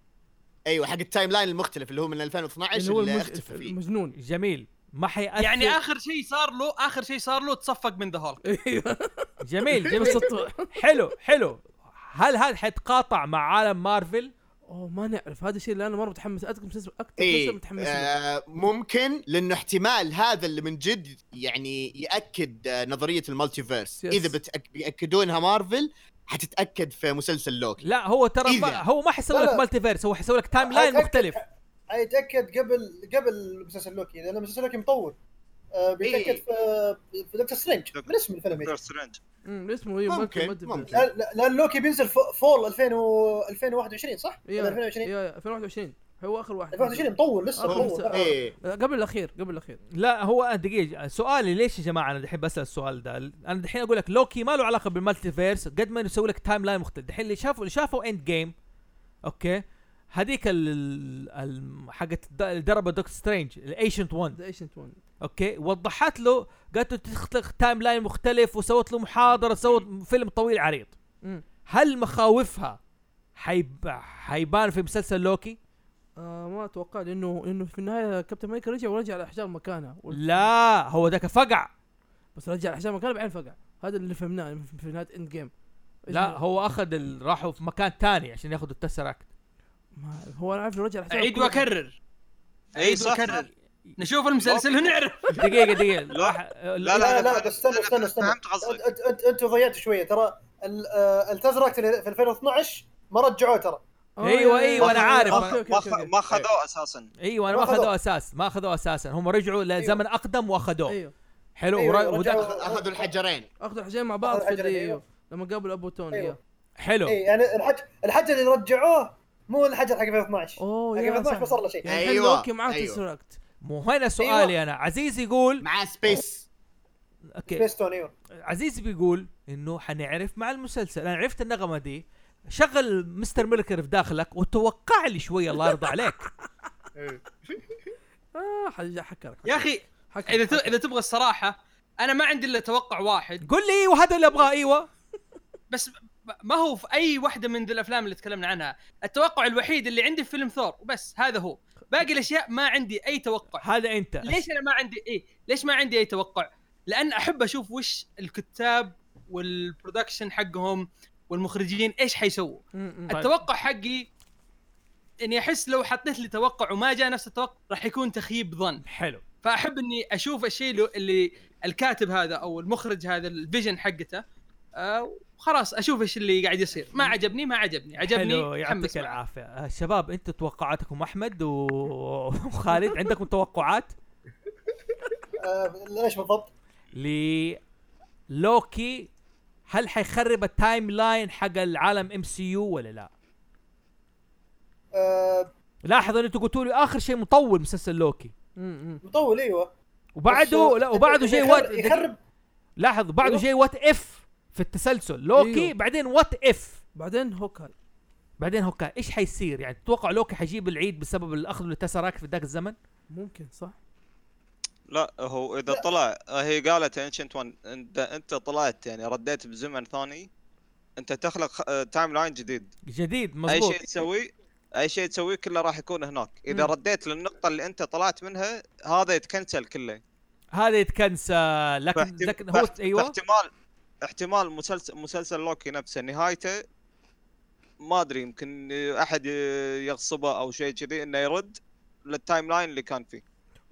[SPEAKER 1] ايوه حق التايم لاين المختلف اللي هو من 2012
[SPEAKER 5] اللي
[SPEAKER 1] اللي,
[SPEAKER 5] يعني هو
[SPEAKER 1] اللي
[SPEAKER 5] المج-
[SPEAKER 1] اختفى فيه
[SPEAKER 5] المجنون
[SPEAKER 4] جميل ما حيأثر
[SPEAKER 2] يعني اخر شيء صار له اخر شيء صار له تصفق من ذا هولك
[SPEAKER 5] ايوه
[SPEAKER 4] جميل
[SPEAKER 5] بس
[SPEAKER 4] جميل
[SPEAKER 5] الط-
[SPEAKER 4] حلو حلو هل هذا حيتقاطع مع عالم مارفل
[SPEAKER 5] اوه ما نعرف هذا الشيء اللي انا مره متحمس اكثر مسلسل اكثر مسلسل
[SPEAKER 1] اي
[SPEAKER 5] متحمس له.
[SPEAKER 1] إيه، آه ممكن لانه احتمال هذا اللي من جد يعني ياكد آه، نظريه المالتيفيرس
[SPEAKER 5] Yes.
[SPEAKER 1] اذا بتأك... بياكدونها مارفل حتتاكد في مسلسل لوكي
[SPEAKER 4] لا هو ترى ما
[SPEAKER 1] إذا.
[SPEAKER 4] هو ما حيسوي
[SPEAKER 7] لا،
[SPEAKER 4] لك
[SPEAKER 7] لا.
[SPEAKER 4] مالتي فيرس هو حيسوي لك تايم لاين
[SPEAKER 7] أتأكد.
[SPEAKER 4] مختلف
[SPEAKER 7] يتاكد قبل قبل مسلسل لوكي لان مسلسل لوكي مطول آه بيتاكد
[SPEAKER 1] إيه.
[SPEAKER 7] في في دكتور سترينج من اسم الفيلم
[SPEAKER 6] دكتور
[SPEAKER 7] يعني.
[SPEAKER 6] سترينج
[SPEAKER 5] أمم، اسمه ايوه
[SPEAKER 1] ممكن،
[SPEAKER 5] مايكل مدبر.
[SPEAKER 1] ممكن.
[SPEAKER 7] لأن- لان لوكي بينزل فو- فول 2000 و 2021 صح؟
[SPEAKER 5] يا-
[SPEAKER 7] ولا 2020
[SPEAKER 5] يا- يا 2021 هو اخر واحد
[SPEAKER 7] 2020 مطول لسه
[SPEAKER 5] آخر
[SPEAKER 7] مطول
[SPEAKER 5] مسلسل.
[SPEAKER 7] آه.
[SPEAKER 1] اي
[SPEAKER 5] آه، قبل الاخير قبل الاخير
[SPEAKER 4] لا هو دقيقة سؤالي ليش يا جماعة أنا دحين بسأل السؤال ده أنا دحين أقول لك لوكي ما له علاقة بالمالتيفيرس قد ما يسوي لك تايم لاين مختلف دحين اللي شافوا اللي شافوا إند جيم أوكي هذيك ال ال- حقت الد- اللي ضربه دكتور سترينج الايشنت 1
[SPEAKER 5] ذا ايشنت 1
[SPEAKER 4] اوكي وضحت له قالت له تخلق تايم لاين مختلف وسوت له محاضره سوت فيلم طويل عريض
[SPEAKER 5] أمم.
[SPEAKER 4] هل مخاوفها حيب... حيبان في مسلسل لوكي؟
[SPEAKER 5] آه ما اتوقع لانه انه في النهايه كابتن امريكا رجع ورجع الاحجار مكانها وال-
[SPEAKER 4] لا هو ذاك فقع
[SPEAKER 5] بس رجع الاحجار مكانها بعدين فقع هذا اللي فهمناه في في نهايه اند جيم إيه.
[SPEAKER 4] لا هو اخذ ال... راحوا في مكان تاني عشان ياخذوا التسراكت
[SPEAKER 5] ما هو انا عارف إنه رجع الاحجار
[SPEAKER 2] اعيد
[SPEAKER 5] كلها.
[SPEAKER 2] واكرر
[SPEAKER 7] إيه،
[SPEAKER 6] اي
[SPEAKER 2] اعيد
[SPEAKER 6] إيه، صح
[SPEAKER 2] واكرر نشوف المسلسل ونعرف
[SPEAKER 4] دقيقه دقيقه
[SPEAKER 6] لا.
[SPEAKER 4] راح-
[SPEAKER 6] لا
[SPEAKER 7] لا
[SPEAKER 6] لا
[SPEAKER 7] لا بس استنى استنى استنى
[SPEAKER 6] فهمت قصدك
[SPEAKER 7] أنت- أنت- انتوا ضيعتوا شويه ترى ال- آه، التزركت اللي في 2012 ما رجعوه ترى
[SPEAKER 4] أيوة، أيوة، أنا عارف.
[SPEAKER 6] ما- ما خ- ما خذوه اساسا
[SPEAKER 4] ايوه انا
[SPEAKER 7] ما
[SPEAKER 4] ما
[SPEAKER 7] أخذوه.
[SPEAKER 4] اخذوه اساس ما اخذوه اساسا هم رجعوا لزمن اقدم واخذوه
[SPEAKER 5] ايوه
[SPEAKER 4] حلو
[SPEAKER 7] أيوه،
[SPEAKER 4] ورا-
[SPEAKER 7] رجعوا-
[SPEAKER 4] وده
[SPEAKER 1] اخذوا الحجرين
[SPEAKER 5] اخذوا الحجين مع بعض
[SPEAKER 7] أخذوا
[SPEAKER 5] في
[SPEAKER 7] الحجرين،
[SPEAKER 5] اللي-
[SPEAKER 7] أيوة.
[SPEAKER 5] لما قابلوا ابو توني
[SPEAKER 7] أيوة.
[SPEAKER 5] أيوه.
[SPEAKER 4] حلو
[SPEAKER 7] اي يعني الحجر الحجر اللي رجعوه مو الحجر حق 2012
[SPEAKER 5] اوه
[SPEAKER 7] حق
[SPEAKER 5] يا
[SPEAKER 7] 2012 ما
[SPEAKER 5] صح
[SPEAKER 7] صار له شيء
[SPEAKER 5] يعني الحين
[SPEAKER 1] أيوة،
[SPEAKER 5] لوكي معاه
[SPEAKER 1] أيوة.
[SPEAKER 5] تسركت
[SPEAKER 4] مو هنا سؤالي انا عزيز يقول
[SPEAKER 1] مع سبيس
[SPEAKER 4] اوكي
[SPEAKER 7] بيستون ايوه
[SPEAKER 4] عزيز بيقول انه حنعرف مع المسلسل انا عرفت النغمه دي شغل مستر ميلكر في داخلك وتوقع لي شويه الله يرضى عليك
[SPEAKER 5] اه حج- حكرك
[SPEAKER 2] يا اخي
[SPEAKER 5] حكرك
[SPEAKER 2] اذا ت-
[SPEAKER 5] حكرك.
[SPEAKER 2] اذا تبغى الصراحه انا ما عندي الا توقع واحد
[SPEAKER 4] قول لي ايوه هذا اللي ابغاه ايوه
[SPEAKER 2] بس ب- ما هو في اي واحده من ذي الافلام اللي تكلمنا عنها التوقع الوحيد اللي عندي في فيلم ثور وبس هذا هو باقي الاشياء ما عندي اي توقع
[SPEAKER 4] هذا انت
[SPEAKER 2] ليش انا ما عندي ايه ليش ما عندي اي توقع لان احب اشوف وش الكتاب والبرودكشن حقهم والمخرجين ايش حيسووا
[SPEAKER 5] م- م.
[SPEAKER 4] طيب.
[SPEAKER 2] التوقع حقي اني احس لو حطيت لي توقع وما جاء نفس التوقع راح يكون تخيب ظن
[SPEAKER 4] حلو
[SPEAKER 2] فاحب اني اشوف الشيء اللي, اللي الكاتب هذا او المخرج هذا الفيجن حقته آه وخلاص اشوف ايش اللي قاعد يصير ما عجبني ما عجبني عجبني
[SPEAKER 4] حلو
[SPEAKER 2] أتحمس
[SPEAKER 4] يعطيك
[SPEAKER 2] معه.
[SPEAKER 4] العافيه آه، شباب انتم توقعاتكم احمد و- وخالد عندكم توقعات
[SPEAKER 7] آه، ايش بالضبط؟
[SPEAKER 4] لوكي هل حيخرب التايم لاين حق العالم ام سي يو ولا لا؟
[SPEAKER 7] آه،
[SPEAKER 4] لاحظ ان انتم قلتوا لي اخر شيء مطول مسلسل لوكي
[SPEAKER 5] م- م.
[SPEAKER 7] مطول ايوه
[SPEAKER 4] وبعده
[SPEAKER 7] بس-
[SPEAKER 4] لا وبعده شيء وات
[SPEAKER 7] يخرب- يخرب
[SPEAKER 4] لاحظ بعده
[SPEAKER 7] أيوه.
[SPEAKER 4] شيء وات اف في التسلسل لوكي
[SPEAKER 5] أيوه.
[SPEAKER 4] بعدين وات اف
[SPEAKER 5] بعدين هوكاي
[SPEAKER 4] بعدين هوكا ايش حيصير يعني تتوقع لوكي حيجيب العيد بسبب الاخذ للتسراكت في ذاك الزمن
[SPEAKER 5] ممكن صح
[SPEAKER 6] لا هو اذا طلع هي قالت انشنت وان انت انت طلعت يعني رديت بزمن ثاني انت تخلق تايم لاين جديد
[SPEAKER 4] جديد
[SPEAKER 6] اي
[SPEAKER 4] مزبوط
[SPEAKER 6] شيء تسويه اي شيء تسويه كله راح يكون هناك اذا
[SPEAKER 5] مم.
[SPEAKER 6] رديت للنقطه اللي انت طلعت منها هذا يتكنسل كله
[SPEAKER 4] هذا يتكنسل لكن
[SPEAKER 6] فاحتم-
[SPEAKER 4] لكن هو
[SPEAKER 6] فاحت-
[SPEAKER 4] ايوه
[SPEAKER 6] فاحتمال احتمال مسلسل مسلسل لوكي نفسه نهايته ما ادري يمكن احد يغصبه او شيء كذي انه يرد للتايم لاين اللي كان فيه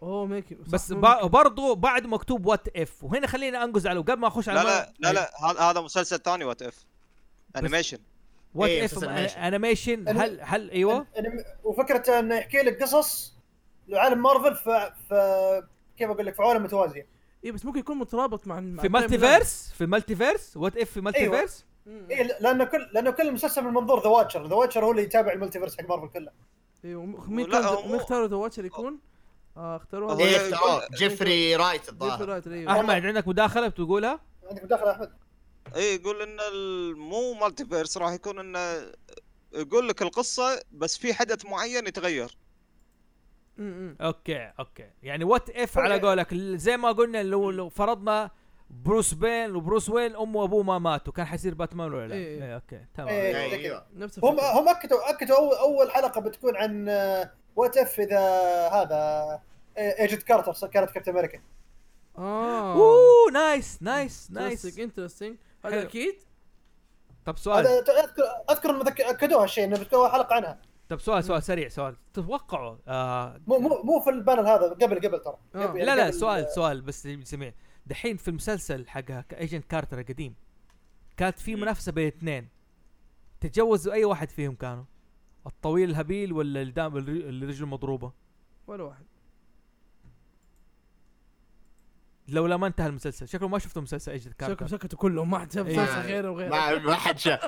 [SPEAKER 5] اوه ميكي
[SPEAKER 4] بس ب- برضو بعد مكتوب وات اف وهنا خلينا انقز على قبل ما اخش على
[SPEAKER 6] لا لا لا لا هذا- هذا مسلسل ثاني وات اف انيميشن
[SPEAKER 4] وات
[SPEAKER 1] إيه،
[SPEAKER 4] اف
[SPEAKER 1] مسلسل animation.
[SPEAKER 4] انيميشن
[SPEAKER 7] أنا-
[SPEAKER 4] هل هل ايوه
[SPEAKER 7] أنا- وفكره انه يحكي لك قصص لعالم مارفل ف... ف... كيف اقول لك في عوالم متوازيه
[SPEAKER 5] اي إيه، بس ممكن يكون مترابط مع مع
[SPEAKER 4] في
[SPEAKER 5] التايم
[SPEAKER 4] مالتي
[SPEAKER 5] لاين.
[SPEAKER 4] فيرس في مالتي فيرس وات اف في مالتي
[SPEAKER 7] أيوة.
[SPEAKER 4] فيرس
[SPEAKER 5] م- م.
[SPEAKER 7] اي لانه كل لانه كل مسلسل من منظور ذا واتشر ذا واتشر هو اللي يتابع الملتيفيرس حق مارفل كله
[SPEAKER 5] ايوه وم- مين
[SPEAKER 6] لا،
[SPEAKER 5] كان
[SPEAKER 6] هو-
[SPEAKER 5] مين اختاروا ذا واتشر يكون؟ آه اختاروها
[SPEAKER 6] هو
[SPEAKER 4] إيه،
[SPEAKER 1] ايه
[SPEAKER 6] يقول-
[SPEAKER 1] اختاروه جيفري رايت
[SPEAKER 5] ديفي
[SPEAKER 1] الظاهر
[SPEAKER 5] رايتر ايوه
[SPEAKER 4] احمد عندك مداخله بتقولها
[SPEAKER 7] عندك مداخله احمد
[SPEAKER 6] اي إيه، يقول ان ال- مو مالتي فيرس راح يكون انه يقول لك القصه بس في حدث معين يتغير
[SPEAKER 5] م- م.
[SPEAKER 4] اوكي اوكي يعني وات اف على قولك ال- زي ما قلنا لو لو فرضنا بروس بين وبروس وين امه وابوه ما ماتوا كان حيصير باتمان ولا لا؟
[SPEAKER 5] إيه.
[SPEAKER 4] إيه، اوكي تمام
[SPEAKER 7] إيه.
[SPEAKER 1] ايوه
[SPEAKER 5] نفس
[SPEAKER 7] هم
[SPEAKER 5] الفكرة.
[SPEAKER 7] هم اكدوا اكدوا اول, أول حلقه بتكون عن آه، وات اف اذا هذا ايجنت كارتر صار- كانت كابتن امريكا
[SPEAKER 5] اه
[SPEAKER 4] اوه نايس نايس
[SPEAKER 5] نايس
[SPEAKER 4] نايس
[SPEAKER 5] انترستنج
[SPEAKER 4] حلو.
[SPEAKER 5] هذا اكيد
[SPEAKER 4] طب سؤال
[SPEAKER 7] هذا ت- اذكر اذكر إنهم ذك- اكدوها الشيء انه بتكون أول حلقه عنها
[SPEAKER 4] طب سؤال سؤال سريع سؤال تتوقعوا آه
[SPEAKER 7] مو مو مو في البانل هذا قبل قبل ترى
[SPEAKER 5] آه.
[SPEAKER 7] قبل-
[SPEAKER 4] لا لا
[SPEAKER 7] قبل-
[SPEAKER 4] سؤال سؤال بس للجميع دحين في المسلسل حق ايجنت كارتر القديم كانت في منافسه بين اثنين تجوزوا اي واحد فيهم كانوا الطويل الهبيل ولا الدام اللي رجله مضروبه
[SPEAKER 5] ولا واحد
[SPEAKER 4] لولا ما انتهى المسلسل شكله ما شفتوا مسلسل ايجنت
[SPEAKER 5] شكلهم
[SPEAKER 4] كارتر
[SPEAKER 5] سكتوا كلهم ما حد شاف
[SPEAKER 4] إيه.
[SPEAKER 5] مسلسل غيره وغيره
[SPEAKER 1] ما ما حد شاف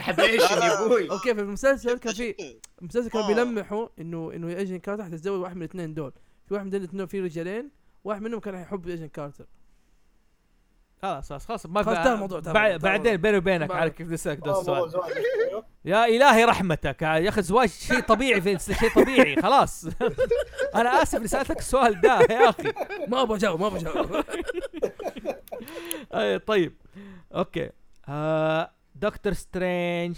[SPEAKER 1] حبيشن يا ابوي
[SPEAKER 5] اوكي في المسلسل كان في المسلسل كانوا
[SPEAKER 6] آه.
[SPEAKER 5] بيلمحوا انه انه ايجن كارتر حتتزوج واحد من الاثنين دول في واحد من الاثنين في رجالين واحد منهم كان حيحب ايجن كارتر
[SPEAKER 4] خلاص خلاص خلاص ما في
[SPEAKER 5] خلاص، انتهى الموضوع، انتهى
[SPEAKER 4] بع-
[SPEAKER 5] الموضوع، انتهى
[SPEAKER 4] بعدين بيني وبينك
[SPEAKER 5] بعد.
[SPEAKER 4] عارف كيف نسالك ده
[SPEAKER 7] آه، موضوع
[SPEAKER 4] السؤال
[SPEAKER 7] زواج. أيوه.
[SPEAKER 4] يا الهي رحمتك آه، يا اخي الزواج شيء طبيعي في شيء طبيعي خلاص انا اسف اني سالتك السؤال ده يا اخي
[SPEAKER 5] ما ابغى اجاوب ما ابغى اجاوب
[SPEAKER 4] اي طيب اوكي آه دكتور سترينج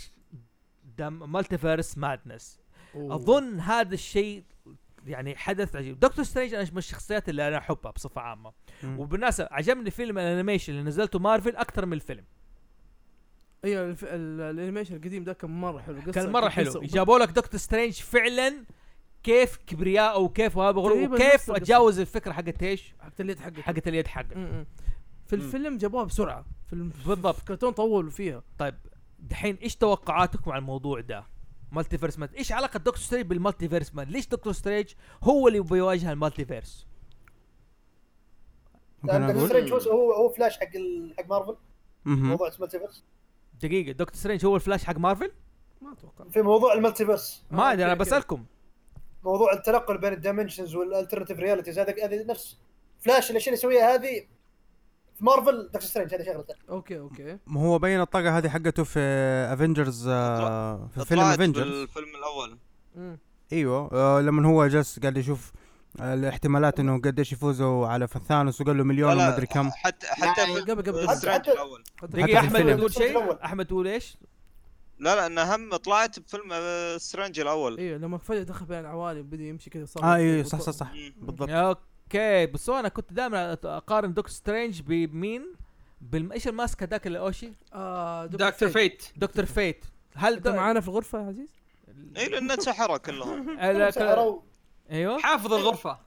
[SPEAKER 4] دم مالتيفيرس مادنس اظن هذا الشيء يعني حدث عجيب دكتور سترينج انا من الشخصيات اللي انا احبها بصفه عامه
[SPEAKER 3] مم.
[SPEAKER 4] وبالمناسبه عجبني فيلم الانيميشن اللي نزلته مارفل اكثر من الفيلم
[SPEAKER 5] ايوه الف- ال- الانيميشن القديم ده كان مره حلو قصة-
[SPEAKER 4] كان مره
[SPEAKER 5] قصة-
[SPEAKER 4] حلو جابوا لك دكتور سترينج فعلا كيف كبرياء وكيف وهذا غرور
[SPEAKER 5] تقريباً نفس
[SPEAKER 4] وكيف
[SPEAKER 5] القصة.
[SPEAKER 4] اتجاوز الفكره حقت ايش؟
[SPEAKER 5] حقت اليد حقت
[SPEAKER 4] حقت اليد حقت
[SPEAKER 5] م- م. في الفيلم جابوها بسرعه في الم-
[SPEAKER 4] بالضبط
[SPEAKER 5] في الكرتون طولوا فيها
[SPEAKER 4] طيب دحين ايش توقعاتكم على الموضوع ده؟ مالتي فيرس ما ايش علاقه دكتور ستريج بالمالتي فيرس مان ليش دكتور ستريج هو اللي بيواجه المالتي فيرس
[SPEAKER 3] ممكن
[SPEAKER 7] دكتور
[SPEAKER 3] اقول
[SPEAKER 7] سترينج هو- هو هو فلاش حق ال- حق مارفل
[SPEAKER 3] مهم.
[SPEAKER 7] موضوع المالتيفيرس
[SPEAKER 4] دقيقه دكتور ستريج هو الفلاش حق مارفل
[SPEAKER 5] ما اتوقع
[SPEAKER 7] في موضوع المالتيفيرس
[SPEAKER 4] ما ادري انا
[SPEAKER 5] أوكي، أوكي.
[SPEAKER 4] بسالكم
[SPEAKER 7] موضوع التنقل بين الدايمنشنز والالترناتيف رياليتيز هذا هذه نفس فلاش الاشياء اللي يسويها هذه في مارفل دكتور سترينج هذه شغلته
[SPEAKER 5] اوكي اوكي
[SPEAKER 3] ما هو بين الطاقه هذه حقته في افنجرز في فيلم
[SPEAKER 6] طلعت
[SPEAKER 3] افنجرز
[SPEAKER 6] بالفيلم الاول
[SPEAKER 5] مم.
[SPEAKER 3] ايوه آه، لما هو جالس قاعد يشوف آه، الاحتمالات انه قديش يفوزوا على ثانوس وقال له مليون
[SPEAKER 6] لا،
[SPEAKER 3] وما ادري كم
[SPEAKER 6] حتى حتى في
[SPEAKER 5] يعني قبل قبل قبل
[SPEAKER 7] حتى-
[SPEAKER 6] سترينج
[SPEAKER 7] حتى-
[SPEAKER 6] الاول
[SPEAKER 4] دقيقه
[SPEAKER 3] في
[SPEAKER 4] احمد
[SPEAKER 3] الفيلم.
[SPEAKER 4] تقول
[SPEAKER 7] الأول.
[SPEAKER 4] شيء احمد تقول ايش
[SPEAKER 6] لا لا انا هم طلعت بفيلم آه، سترينج الاول
[SPEAKER 5] ايوه لما فجاه دخل بين العوالم بدا يمشي كذا صار
[SPEAKER 3] اه ايوه صح صح صح
[SPEAKER 5] إيه.
[SPEAKER 3] بالضبط
[SPEAKER 4] اوكي بس هو انا كنت دائما أت- اقارن دكتور سترينج بمين بالم... ايش الماسك هذاك اللي اوشي
[SPEAKER 5] آه
[SPEAKER 2] دكتور فيت
[SPEAKER 4] دكتور فيت هل
[SPEAKER 5] انت معانا في الغرفه يا عزيز؟
[SPEAKER 6] اي لان سحره إيه، كلهم
[SPEAKER 4] ال-
[SPEAKER 7] سحروا-
[SPEAKER 4] ايوه
[SPEAKER 2] حافظ الغرفه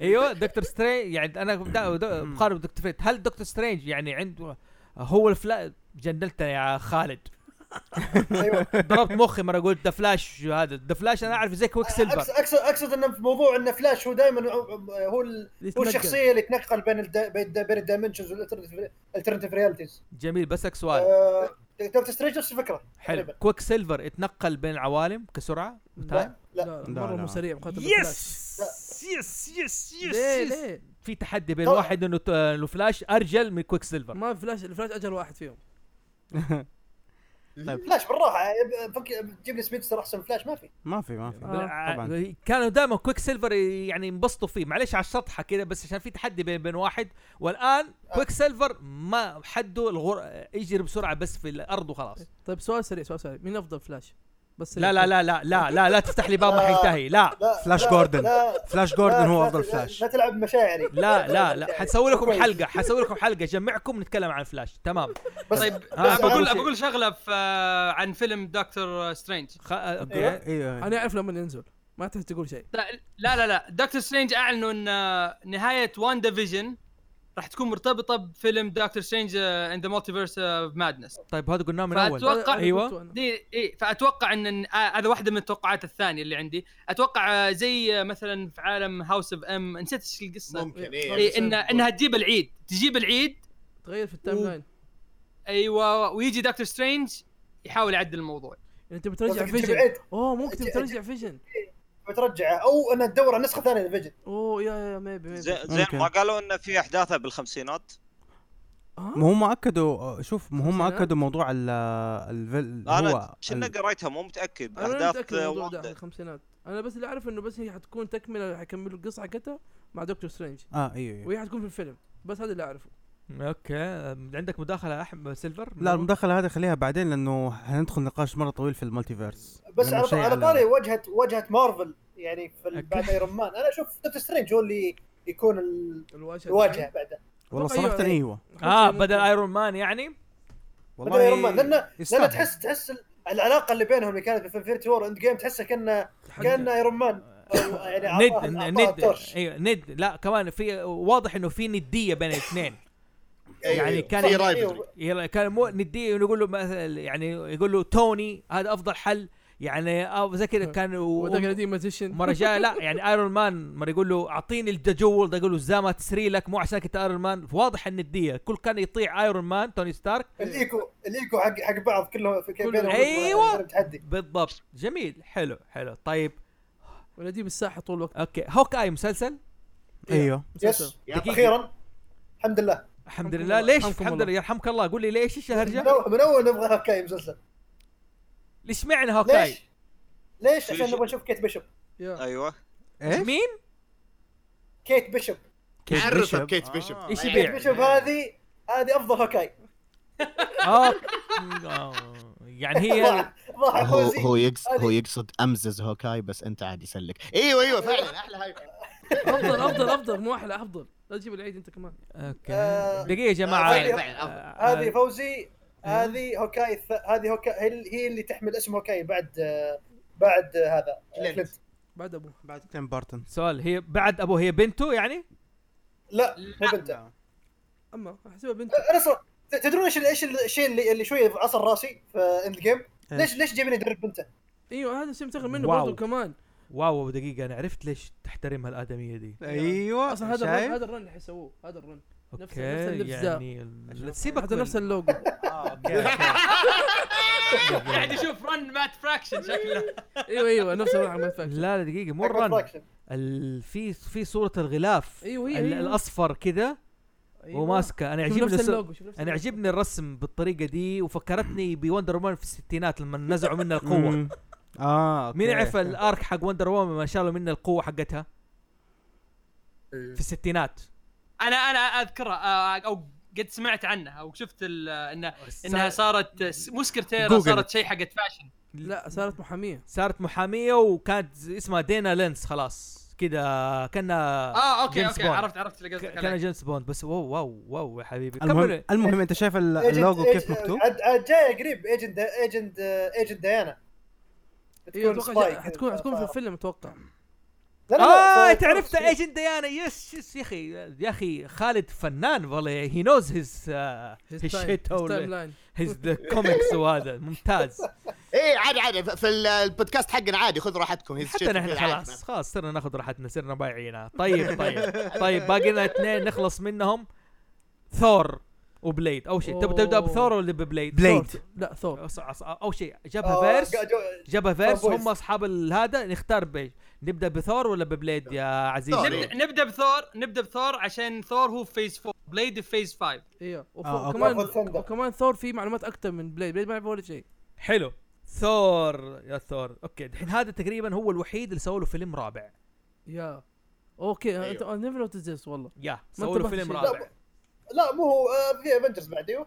[SPEAKER 4] ايوه دكتور سترينج يعني انا دا- دا- بقارن دكتور فيت هل دكتور سترينج يعني عنده هو الفلا جندلتنا يا خالد
[SPEAKER 7] ايوه
[SPEAKER 4] ضربت مخي مره قلت ذا فلاش هذا ذا فلاش انا اعرف زي كويك سيلفر
[SPEAKER 7] أقصد- اقصد اقصد انه في موضوع ان فلاش هو دائما هو ال-
[SPEAKER 5] اللي
[SPEAKER 7] هو
[SPEAKER 5] يتنقل.
[SPEAKER 7] الشخصيه اللي يتنقل بين الدا- بين الدا- بين الدايمنشنز والالترناتيف رياليتيز
[SPEAKER 4] جميل بسك سؤال
[SPEAKER 5] أه،
[SPEAKER 7] دكتور سترينج نفس الفكره
[SPEAKER 4] حلو
[SPEAKER 7] تقريباً.
[SPEAKER 4] كويك سيلفر يتنقل بين العوالم كسرعه وتايم
[SPEAKER 5] لا
[SPEAKER 7] لا
[SPEAKER 5] لا،
[SPEAKER 3] لا،
[SPEAKER 5] مره
[SPEAKER 3] لا.
[SPEAKER 5] مو سريع مقارنه
[SPEAKER 4] يس يس يس
[SPEAKER 5] بالفلاش.
[SPEAKER 4] يس
[SPEAKER 5] ليه
[SPEAKER 4] يس
[SPEAKER 5] ليه؟
[SPEAKER 4] في تحدي بين
[SPEAKER 7] طبعاً.
[SPEAKER 4] واحد انه ت- انه فلاش ارجل من كويك سيلفر
[SPEAKER 5] ما في فلاش الفلاش اجل واحد فيهم
[SPEAKER 7] فلاش بالراحه يعني فك- جيب لي سبيدستر احسن من فلاش ما في
[SPEAKER 3] ما في ما في
[SPEAKER 4] آه،
[SPEAKER 3] طبعاً.
[SPEAKER 4] كانوا دائما كويك سيلفر يعني ينبسطوا فيه معلش على الشطحه كده بس عشان في تحدي بين بين واحد والان كويك سيلفر ما حده الغر يجري بسرعه بس في الارض وخلاص
[SPEAKER 5] طيب سؤال سريع سؤال سريع مين افضل فلاش؟ بس
[SPEAKER 4] لا لا لا لا لا لا لا تفتح لي باب ما حينتهي لا
[SPEAKER 7] لا
[SPEAKER 3] فلاش
[SPEAKER 7] لا-
[SPEAKER 3] جوردن.
[SPEAKER 7] لا-
[SPEAKER 3] فلاش جوردن
[SPEAKER 7] لا-
[SPEAKER 3] هو
[SPEAKER 7] لا-
[SPEAKER 3] افضل
[SPEAKER 7] لا-
[SPEAKER 3] فلاش
[SPEAKER 7] لا تلعب مشاعري
[SPEAKER 4] لا لا لا حنسوي لكم
[SPEAKER 7] كويس.
[SPEAKER 4] حلقه حنسوي لكم حلقه جمعكم نتكلم عن فلاش تمام
[SPEAKER 7] بس
[SPEAKER 2] طيب
[SPEAKER 4] آه،
[SPEAKER 2] أنا بقول
[SPEAKER 4] أهم شيء.
[SPEAKER 2] بقول شغله في آه، عن فيلم دكتور سترينج
[SPEAKER 4] خ... اوكي
[SPEAKER 7] أيوة.
[SPEAKER 3] ايوه
[SPEAKER 5] انا اعرف لما ينزل ما تحتاج تقول شيء
[SPEAKER 2] لا لا لا, لا. دكتور سترينج اعلنوا ان آه، نهايه وان ديفيجن راح تكون مرتبطه بفيلم آه، دكتور سترينج اند ذا مالتيفيرس اوف مادنس
[SPEAKER 4] طيب هذا قلناه من اول
[SPEAKER 2] فأتوقع-
[SPEAKER 5] أنا- أنا
[SPEAKER 4] أيوة.
[SPEAKER 5] قلت أنا.
[SPEAKER 2] دي اي فاتوقع ان إن- آه، هذا واحده من التوقعات الثانيه اللي عندي اتوقع آه، زي آه، مثلا في عالم هاوس اوف ام نسيت ايش القصه
[SPEAKER 1] ممكن
[SPEAKER 5] إيه.
[SPEAKER 1] ايه
[SPEAKER 2] اي إن انها تجيب العيد تجيب العيد
[SPEAKER 5] تغير في التايم لاين
[SPEAKER 2] ايوه ويجي دكتور سترينج يحاول يعدل الموضوع
[SPEAKER 5] يعني انت بترجع
[SPEAKER 7] قصدك تجيب
[SPEAKER 5] فيجن
[SPEAKER 7] عيد
[SPEAKER 5] اوه ممكن
[SPEAKER 7] أجل-
[SPEAKER 5] ترجع فيجن
[SPEAKER 7] بترجعه او انها تدور على نسخه ثانيه للفيجن
[SPEAKER 5] اوه يا يا ميبي ميبي
[SPEAKER 6] زي- زين
[SPEAKER 3] ممكن.
[SPEAKER 6] ما قالوا انه في احداثه بالخمسينات
[SPEAKER 3] ما هم اكدوا شوف ما هم
[SPEAKER 5] سلام.
[SPEAKER 3] اكدوا موضوع ال الفيل
[SPEAKER 6] انا
[SPEAKER 3] هو
[SPEAKER 6] كنا
[SPEAKER 3] ال-
[SPEAKER 6] قريتها مو متاكد
[SPEAKER 5] انا لا
[SPEAKER 6] احداث
[SPEAKER 5] متاكد من الموضوع ده
[SPEAKER 6] واحده
[SPEAKER 5] الخمسينات انا بس اللي اعرف انه بس هي حتكون تكمله حيكملوا القصه حقتها مع دكتور سترينج
[SPEAKER 3] اه ايوه أيوة.
[SPEAKER 5] وهي حتكون في الفيلم بس هذا اللي اعرفه
[SPEAKER 4] اوكي عندك مداخله احمد سيلفر
[SPEAKER 3] لا المداخله هذه خليها بعدين لانه حندخل نقاش مره طويل في المالتيفيرس
[SPEAKER 7] بس
[SPEAKER 3] لأنه شيء
[SPEAKER 7] على على بالي واجهه واجهه مارفل يعني في ال-
[SPEAKER 4] أوكي.
[SPEAKER 7] بعد ايرون مان انا اشوف دكتور سترينج هو اللي يكون ال-
[SPEAKER 5] الواجهه
[SPEAKER 7] الواجهه بعده
[SPEAKER 3] والله
[SPEAKER 5] أيوة،
[SPEAKER 3] صراحه
[SPEAKER 5] أيوة.
[SPEAKER 3] ايوه
[SPEAKER 4] اه بدل ايرون مان يعني
[SPEAKER 7] بدل ايرون مان لان لان
[SPEAKER 3] يستاهل.
[SPEAKER 7] تحس تحس ال- العلاقه اللي بينهم اللي كانت في انفيرتي وور اند جيم تحسها كانه كان ايرون مان أو يعني
[SPEAKER 4] ند
[SPEAKER 7] أعطاه- أعطاه
[SPEAKER 4] ند
[SPEAKER 7] التورش.
[SPEAKER 4] ايوه ند لا كمان في واضح انه في نديه بين الاثنين
[SPEAKER 1] أيوه،
[SPEAKER 4] يعني
[SPEAKER 1] أيوه.
[SPEAKER 4] كان-
[SPEAKER 1] في
[SPEAKER 7] صح،
[SPEAKER 1] رايفلري
[SPEAKER 5] أيوة.
[SPEAKER 7] أيوه.
[SPEAKER 4] يلا كان مو نديه يقول له مثلا يعني يقول له توني هذا افضل حل يعني او زي كذا كان و-
[SPEAKER 5] وذاك القديم مازيشن
[SPEAKER 4] مرة جاية لا يعني ايرون مان مرة يقول له اعطيني الجول ده يقول له زي ما تسري لك مو عشان كنت ايرون مان واضح الندية كل كان يطيع ايرون مان توني ستارك
[SPEAKER 7] الايكو الايكو حق حق بعض كلهم في
[SPEAKER 4] كلهم-
[SPEAKER 7] بينهم
[SPEAKER 4] أيوة.
[SPEAKER 7] تحدي
[SPEAKER 4] بالضبط جميل حلو حلو طيب
[SPEAKER 5] والقديم الساحه طول الوقت
[SPEAKER 4] اوكي هوك اي مسلسل
[SPEAKER 3] ايوه
[SPEAKER 7] يس
[SPEAKER 5] مسلسل.
[SPEAKER 1] يا أخي،
[SPEAKER 7] اخيرا الحمد لله
[SPEAKER 4] الحمد
[SPEAKER 5] حمكم
[SPEAKER 4] لله
[SPEAKER 5] الله،
[SPEAKER 4] ليش
[SPEAKER 5] حمكم
[SPEAKER 4] الحمد
[SPEAKER 5] الله.
[SPEAKER 4] لله يرحمك الله قول لي ليش ايش
[SPEAKER 7] من
[SPEAKER 4] الهرجة
[SPEAKER 7] أول- من اول نبغى هوكاي مسلسل
[SPEAKER 4] ليش معنى هوك اي
[SPEAKER 7] ليش؟ ليش؟
[SPEAKER 6] في
[SPEAKER 7] عشان
[SPEAKER 6] شيء.
[SPEAKER 7] نبغى نشوف كيت بيشوب
[SPEAKER 5] يا
[SPEAKER 6] ايوه
[SPEAKER 3] ايش؟
[SPEAKER 4] مين
[SPEAKER 7] كيت بيشوب
[SPEAKER 3] بيشوب.
[SPEAKER 1] عرفه كيت بيشوب
[SPEAKER 6] آه.
[SPEAKER 4] ايش
[SPEAKER 7] كيت
[SPEAKER 4] يبيع
[SPEAKER 7] بيشوب هذه هذه افضل هوكاي
[SPEAKER 4] آه. آه. يعني هي
[SPEAKER 7] ضاع ضاع
[SPEAKER 1] هو
[SPEAKER 7] فوزي
[SPEAKER 1] هو يقصد
[SPEAKER 7] إيه، هذه.
[SPEAKER 1] هو يقصد امزز هوكاي بس انت عاد يسلك ايوه ايوه فعلا احلى هاي
[SPEAKER 5] افضل افضل افضل مو احلى افضل لا تجيب العيد انت كمان
[SPEAKER 4] اوكي
[SPEAKER 7] آه.
[SPEAKER 4] دقيقة يا جماعة
[SPEAKER 1] فعلا، فعلا، أفضل.
[SPEAKER 4] آه،
[SPEAKER 7] هذه فوزي هذه هوكاي الث- هذه هوكاي هي ال- هي اللي تحمل اسم هوكاي بعد آه، بعد آه، هذا آه،
[SPEAKER 1] كلينت.
[SPEAKER 7] كلينت
[SPEAKER 5] بعد ابوه
[SPEAKER 3] بعد تيم بارتن
[SPEAKER 4] سؤال هي بعد ابوه هي بنته يعني
[SPEAKER 7] لا مو بنته
[SPEAKER 5] اما احسبها بنت
[SPEAKER 7] انا صار- ت- تدرون ايش ال- ايش الشيء اللي اللي شويه عصر راسي في اند جيم ليش ليش جايبين يدرب بنته؟
[SPEAKER 5] ايوه هذا الشيء متاخر منه
[SPEAKER 4] واو.
[SPEAKER 5] برضه كمان
[SPEAKER 4] واو دقيقه انا عرفت ليش تحترم هالادميه دي
[SPEAKER 7] أيوة.
[SPEAKER 3] ايوه
[SPEAKER 5] اصلا هذا الرن
[SPEAKER 3] شايف؟
[SPEAKER 5] هذا الرن اللي حيسووه هذا الرن
[SPEAKER 4] اوكي
[SPEAKER 5] نفس- نفس اللبس ذا.
[SPEAKER 4] يعني ال- سيبك
[SPEAKER 5] هذا
[SPEAKER 4] من-
[SPEAKER 5] نفس اللوجو
[SPEAKER 4] آه، أوكي، أوكي.
[SPEAKER 2] قاعد يشوف رن مات فراكشن شكله
[SPEAKER 5] ايوه ايوه نفس الرن حق مات فاكشن
[SPEAKER 4] لا لا دقيقه مو الرن ال- في في صوره الغلاف
[SPEAKER 5] ايوه هي
[SPEAKER 4] ال-
[SPEAKER 5] هي.
[SPEAKER 4] الاصفر كذا
[SPEAKER 5] أيوه.
[SPEAKER 4] وماسكه انا
[SPEAKER 5] شوف
[SPEAKER 4] يعجبني
[SPEAKER 5] نفس
[SPEAKER 4] الس-
[SPEAKER 5] اللوجو شوف نفس
[SPEAKER 4] انا
[SPEAKER 5] اللوجو.
[SPEAKER 4] عجبني الرسم بالطريقه دي وفكرتني بوندر وومن في الستينات لما نزعوا منها القوه
[SPEAKER 3] مم. اه أوكي.
[SPEAKER 4] مين يعرف الارك حق وندر وومن لما شالوا منها القوه حقتها في الستينات
[SPEAKER 2] انا انا اذكرها آه، او قد سمعت عنها او شفت ال- انها انها
[SPEAKER 4] صار-
[SPEAKER 2] صارت س- مو سكرتيره
[SPEAKER 3] جوجل.
[SPEAKER 2] صارت شيء حقت فاشن
[SPEAKER 5] لا صارت محاميه
[SPEAKER 4] صارت محاميه وكانت ز- اسمها دينا لينس خلاص كذا كانها
[SPEAKER 2] اه اوكي
[SPEAKER 4] جيمس
[SPEAKER 2] اوكي
[SPEAKER 4] بوند.
[SPEAKER 2] عرفت عرفت اللي قصدك
[SPEAKER 4] كان
[SPEAKER 2] عليه
[SPEAKER 4] جيمس بوند بس واو واو واو يا حبيبي
[SPEAKER 3] المهم
[SPEAKER 4] كمل
[SPEAKER 3] المهم انت شايف ال- اللوجو كيف
[SPEAKER 7] يعني؟
[SPEAKER 3] مكتوب؟
[SPEAKER 7] جاي قريب ايجنت ايجنت ايجنت ديانا
[SPEAKER 5] ايوه
[SPEAKER 7] بتكون
[SPEAKER 5] اتوقع
[SPEAKER 7] spy
[SPEAKER 5] جا- حتكون
[SPEAKER 7] كذا.
[SPEAKER 5] حتكون في الفيلم اتوقع
[SPEAKER 7] لا لا
[SPEAKER 2] آه،
[SPEAKER 7] لا،
[SPEAKER 4] اه
[SPEAKER 7] صار-
[SPEAKER 4] انت عرفت
[SPEAKER 7] صار-
[SPEAKER 4] ايجنت ديانا يس يس يا اخي يا اخي خالد فنان والله هي نوز هيز هيز شيت
[SPEAKER 5] تايم لاين
[SPEAKER 4] هيز كوميكس وهذا ممتاز
[SPEAKER 1] ايه عادي عادي في ال- البودكاست حقنا عادي خذ راحتكم هي
[SPEAKER 4] حتى
[SPEAKER 1] شيت
[SPEAKER 4] نحن
[SPEAKER 1] كذا عادي.
[SPEAKER 4] خلاص خلاص صرنا ناخذ راحتنا صرنا بايعينها طيب طيب طيب باقي لنا اثنين نخلص منهم ثور وبليد اول شيء تبدا تبدا
[SPEAKER 5] أوه.
[SPEAKER 4] بثور ولا ببليد؟
[SPEAKER 3] بليد.
[SPEAKER 5] ثور. لا ثور
[SPEAKER 4] أص- أص- اول شيء
[SPEAKER 7] آه،
[SPEAKER 4] جابها فيرس
[SPEAKER 7] قاعد جو-
[SPEAKER 4] جابها فيرس
[SPEAKER 7] Fanboys.
[SPEAKER 4] هم اصحاب ال- هذا نختار بيش نبدا بثور ولا ببليد يا عزيز
[SPEAKER 1] ثور.
[SPEAKER 2] نبدا نبدا بثور نبدا بثور عشان ثور هو في فيز 4 بليد في فيز 5
[SPEAKER 5] ايوه
[SPEAKER 3] آه، أوكي.
[SPEAKER 5] وكمان
[SPEAKER 7] Marvel Thunder.
[SPEAKER 5] وكمان ثور فيه معلومات اكثر من بليد بليد ما يعرف ولا شيء
[SPEAKER 4] حلو ثور يا ثور اوكي الحين هذا تقريبا هو الوحيد اللي سووا له فيلم رابع
[SPEAKER 5] يا اوكي انت
[SPEAKER 1] أيوه.
[SPEAKER 5] نيفر نوتس والله
[SPEAKER 4] يا سووا له
[SPEAKER 5] انتبهت
[SPEAKER 4] فيلم
[SPEAKER 5] شيء.
[SPEAKER 4] رابع
[SPEAKER 7] لا مو هو آه، في افنجرز بعد ايوه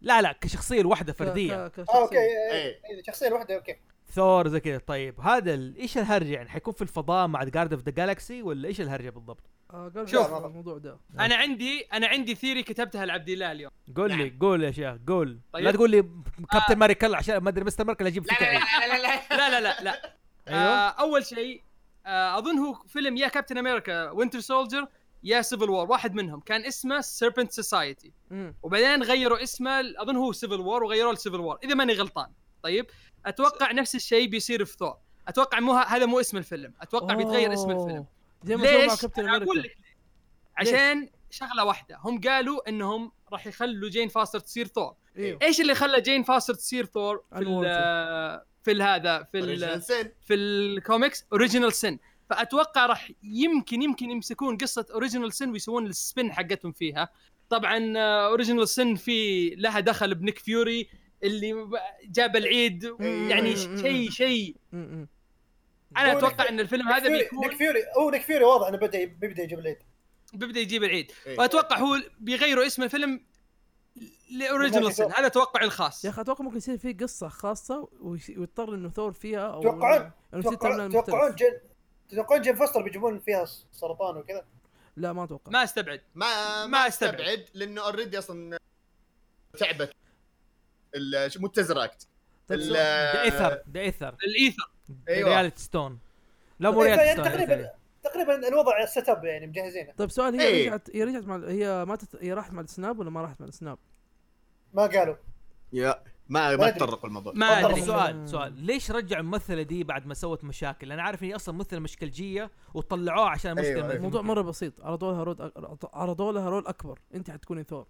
[SPEAKER 4] لا لا كشخصيه الواحده
[SPEAKER 5] ك-
[SPEAKER 4] فرديه
[SPEAKER 5] ك-
[SPEAKER 7] اه
[SPEAKER 5] كشخصية.
[SPEAKER 7] اوكي إيه،
[SPEAKER 1] ايه
[SPEAKER 7] إيه، شخصيه واحده اوكي
[SPEAKER 4] ثور زي كذا طيب هذا ال- ايش الهرجه يعني حيكون في الفضاء مع جارد اوف ذا جالكسي ولا ايش الهرجه بالضبط؟
[SPEAKER 5] آه، قبل
[SPEAKER 7] شوف.
[SPEAKER 5] ما أعرف الموضوع ده
[SPEAKER 2] انا عندي انا عندي ثيري كتبتها لعبد الله اليوم
[SPEAKER 4] قول لي قول يا شيخ قول
[SPEAKER 2] نعم. طيب. آه.
[SPEAKER 4] لا تقول لي كابتن ماريكل عشان ما ادري مستر ماركل اجيب فكره
[SPEAKER 2] لا لا لا لا
[SPEAKER 4] ايوه
[SPEAKER 2] آه اول شيء آه اظن هو فيلم يا كابتن امريكا وينتر سولجر يا سيفل وور واحد منهم كان اسمه سيربنت سوسايتي
[SPEAKER 5] مم.
[SPEAKER 2] وبعدين غيروا اسمه ل- اظن هو سيفل وور وغيروه لسيفل وور اذا ماني غلطان طيب اتوقع نفس الشيء بيصير في ثور اتوقع مو ه- هذا مو اسم الفيلم اتوقع بيتغير اسم
[SPEAKER 5] أوه.
[SPEAKER 2] الفيلم
[SPEAKER 5] زي ما سووا مع
[SPEAKER 2] ليش؟
[SPEAKER 5] كابتن
[SPEAKER 2] أنا اقول
[SPEAKER 5] امريكا
[SPEAKER 2] لك ليه. عشان شغله واحده هم قالوا انهم راح يخلوا جين فاستر تصير ثور
[SPEAKER 5] ايوه
[SPEAKER 2] ايش اللي خلى جين فاستر تصير ثور في ال-
[SPEAKER 5] Unwanted.
[SPEAKER 2] في ال- هذا في ال-
[SPEAKER 1] إنسان.
[SPEAKER 2] في الكوميكس اوريجينال سن فاتوقع راح يمكن يمكن يمسكون قصه اوريجينال سن ويسوون السبن حقتهم فيها طبعا اوريجينال سن في لها دخل بنيك فيوري اللي ب- جاب العيد يعني
[SPEAKER 5] مم.
[SPEAKER 2] شيء شيء
[SPEAKER 5] مم، مم.
[SPEAKER 2] انا
[SPEAKER 7] هو
[SPEAKER 2] اتوقع
[SPEAKER 7] نيك-
[SPEAKER 2] ان الفيلم هذا
[SPEAKER 7] نيك فيوري-
[SPEAKER 2] بيكون
[SPEAKER 7] نيك فيوري هو نيك فيوري واضح انه بدا بيبدا يجيب العيد
[SPEAKER 2] بيبدا يجيب العيد
[SPEAKER 1] إيه.
[SPEAKER 2] واتوقع هو بيغيروا اسم الفيلم لاوريجينال سن هذا توقعي الخاص
[SPEAKER 5] يا اخي اتوقع ممكن يصير فيه قصه خاصه ويش- ويضطر انه ثور فيها او
[SPEAKER 7] توقعون
[SPEAKER 5] أو يصير timeline
[SPEAKER 7] توقعون
[SPEAKER 5] مختلف.
[SPEAKER 7] توقعون جن تتوقعون جين فاستر بيجيبون فيها سرطان وكذا
[SPEAKER 5] لا ما اتوقع
[SPEAKER 2] ما استبعد
[SPEAKER 1] ما
[SPEAKER 2] ما
[SPEAKER 1] ما
[SPEAKER 2] أستبعد.
[SPEAKER 1] استبعد لانه اوريدي اصلا تعبت ال- شو- مو التزراكت
[SPEAKER 5] طيب
[SPEAKER 1] ال-
[SPEAKER 5] سو-
[SPEAKER 4] ده اثر ده اثر
[SPEAKER 2] الايثر
[SPEAKER 4] يعني
[SPEAKER 1] أيوة. طيب، يعني
[SPEAKER 4] ريالتي ستون لا مو
[SPEAKER 7] إيه،
[SPEAKER 4] ريالتي
[SPEAKER 7] فيعني
[SPEAKER 4] ستون
[SPEAKER 7] تقريبا تقريبا الوضع سيت اب يعني مجهزينه
[SPEAKER 5] طيب سؤال هي
[SPEAKER 1] إيه.
[SPEAKER 5] رجعت هي رجعت مع هي ماتت هي راحت مع السناب ولا ما راحت مع السناب؟
[SPEAKER 7] ما قالوا
[SPEAKER 1] يا ما
[SPEAKER 7] ما
[SPEAKER 1] ما
[SPEAKER 7] أدري.
[SPEAKER 1] تطرقوا الموضوع
[SPEAKER 2] ما
[SPEAKER 4] طب
[SPEAKER 2] ادري
[SPEAKER 4] سؤال سؤال ليش رجعوا الممثله دي بعد ما سوت مشاكل؟ انا عارف ان هي اصلا ممثله مشكلجيه وطلعوها عشان مشكله
[SPEAKER 1] أيوة،
[SPEAKER 4] من
[SPEAKER 1] أيوة.
[SPEAKER 5] الموضوع
[SPEAKER 4] الفيلم.
[SPEAKER 5] مره بسيط عرضوا لها رول أك- عرضوا لها رول اكبر انت حتكوني ثور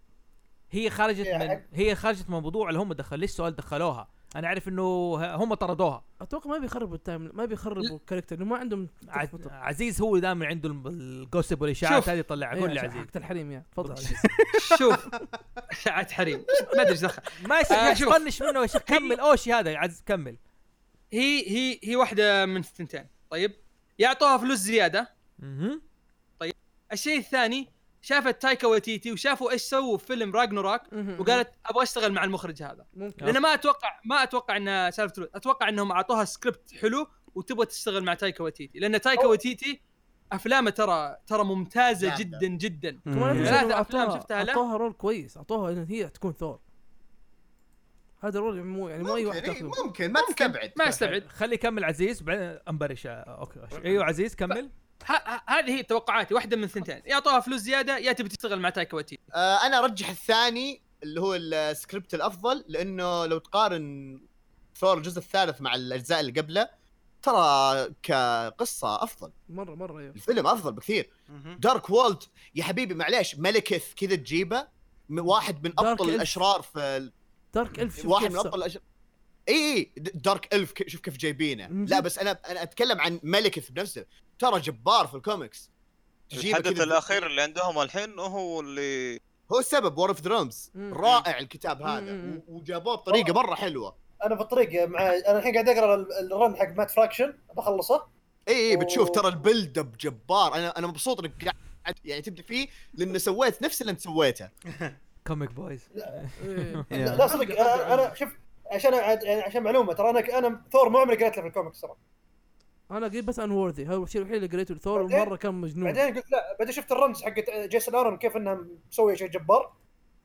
[SPEAKER 4] هي خرجت
[SPEAKER 7] يا
[SPEAKER 4] من
[SPEAKER 7] حق.
[SPEAKER 4] هي خرجت من موضوع اللي هم دخل ليش سؤال دخلوها؟ انا عارف انه ه- هم طردوها
[SPEAKER 5] اتوقع ما بيخربوا التايم ما بيخربوا الكاركتر لانه ما عندهم
[SPEAKER 4] عز... عزيز هو دائما عنده الم- الجوسب والاشاعات
[SPEAKER 2] شوف.
[SPEAKER 4] هذه يطلعها
[SPEAKER 5] إيه،
[SPEAKER 4] قول لي عزيز
[SPEAKER 5] حقت الحريم يا يعني، تفضل
[SPEAKER 2] شوف شعات حريم ما ادري ايش دخل
[SPEAKER 4] ماشي
[SPEAKER 2] آه،
[SPEAKER 4] يا شيخ
[SPEAKER 2] شوف.
[SPEAKER 4] طنش منه يا شيخ كمل اوشي هذا يا عز كمل
[SPEAKER 2] هي هي هي واحده من الثنتين طيب يعطوها فلوس زياده
[SPEAKER 4] مهم.
[SPEAKER 2] الشيء الثاني شافت تايكا وتيتي وشافوا ايش سووا في فيلم راجنوراك وقالت ابغى اشتغل مع المخرج هذا
[SPEAKER 5] ممكن
[SPEAKER 2] لان ما اتوقع ما اتوقع انها سالفه فلوس اتوقع انهم اعطوها سكريبت حلو وتبغى تشتغل مع تايكا وتيتي لان تايكا
[SPEAKER 7] أوه.
[SPEAKER 2] وتيتي افلامه ترى ترى ممتازه
[SPEAKER 1] جامدة.
[SPEAKER 2] جدا جدا
[SPEAKER 5] كمان
[SPEAKER 3] مم.
[SPEAKER 5] أنت
[SPEAKER 2] لا،
[SPEAKER 5] شوف
[SPEAKER 2] لا،
[SPEAKER 5] أعطوها-
[SPEAKER 2] أفلام شفتها لا.
[SPEAKER 5] اعطوها رول كويس اعطوها ان هي تكون ثور هذا رول مو يعني مو اي واحد
[SPEAKER 1] ممكن إيه،
[SPEAKER 5] ياخذه
[SPEAKER 1] ممكن ما تستبعد
[SPEAKER 2] ما استبعد
[SPEAKER 4] خلي يكمل عزيز بعدين انبرش آه، اوكي أوشي. ايوه عزيز كمل
[SPEAKER 2] ه- ه- هذه هي توقعاتي واحده من الثنتين يا اعطوها فلوس زياده يا تبي تشتغل مع تايكا وتيتي
[SPEAKER 1] آه، انا ارجح الثاني اللي هو السكريبت الافضل لانه لو تقارن ثور الجزء الثالث مع الاجزاء اللي قبله ترى كقصه افضل
[SPEAKER 5] مره مره ايوه
[SPEAKER 1] الفيلم افضل بكثير دارك وولد يا حبيبي معليش ملكث كذا تجيبه م- واحد من
[SPEAKER 5] دارك
[SPEAKER 1] ابطل
[SPEAKER 5] إلف.
[SPEAKER 1] الاشرار في ال-
[SPEAKER 5] دارك الف شوف
[SPEAKER 1] واحد
[SPEAKER 5] كيف
[SPEAKER 1] من
[SPEAKER 5] صار.
[SPEAKER 1] ابطل الاشرار اي اي د- دارك الف ك- شوف كيف جايبينه
[SPEAKER 5] مم.
[SPEAKER 1] لا بس انا انا اتكلم عن ملكث بنفسه ترى جبار في الكوميكس تجيبه
[SPEAKER 6] الحدث
[SPEAKER 1] كذا-
[SPEAKER 6] الاخير اللي عندهم الحين هو اللي
[SPEAKER 1] هو السبب وور اوف درامز
[SPEAKER 5] مم.
[SPEAKER 1] رائع الكتاب هذا
[SPEAKER 5] مم.
[SPEAKER 1] و- وجابوه بطريقه مره حلوه
[SPEAKER 7] انا في الطريق مع انا الحين قاعد اقرا ال- الرن حق مات فراكشن بخلصه
[SPEAKER 1] اي اي بتشوف
[SPEAKER 7] أوه.
[SPEAKER 1] ترى البيلد اب جبار انا انا مبسوط انك قاعد يعني تبدا فيه لانه سويت نفس اللي انت سويته
[SPEAKER 5] يعني
[SPEAKER 4] كوميك بويز
[SPEAKER 5] إيه.
[SPEAKER 7] لا لا، صدق انا انا شوف عشان أعد- يعني عشان معلومه ترى انا انا ثور ما عمري قريت له في الكوميكس ترى
[SPEAKER 5] انا قريت بس انورثي هذا الشيء الوحيد اللي قريته لثور مره كان مجنون
[SPEAKER 7] بعدين قلت لا بعدين شفت الرمز حقت جيسون ارون كيف انها مسويه شيء جبار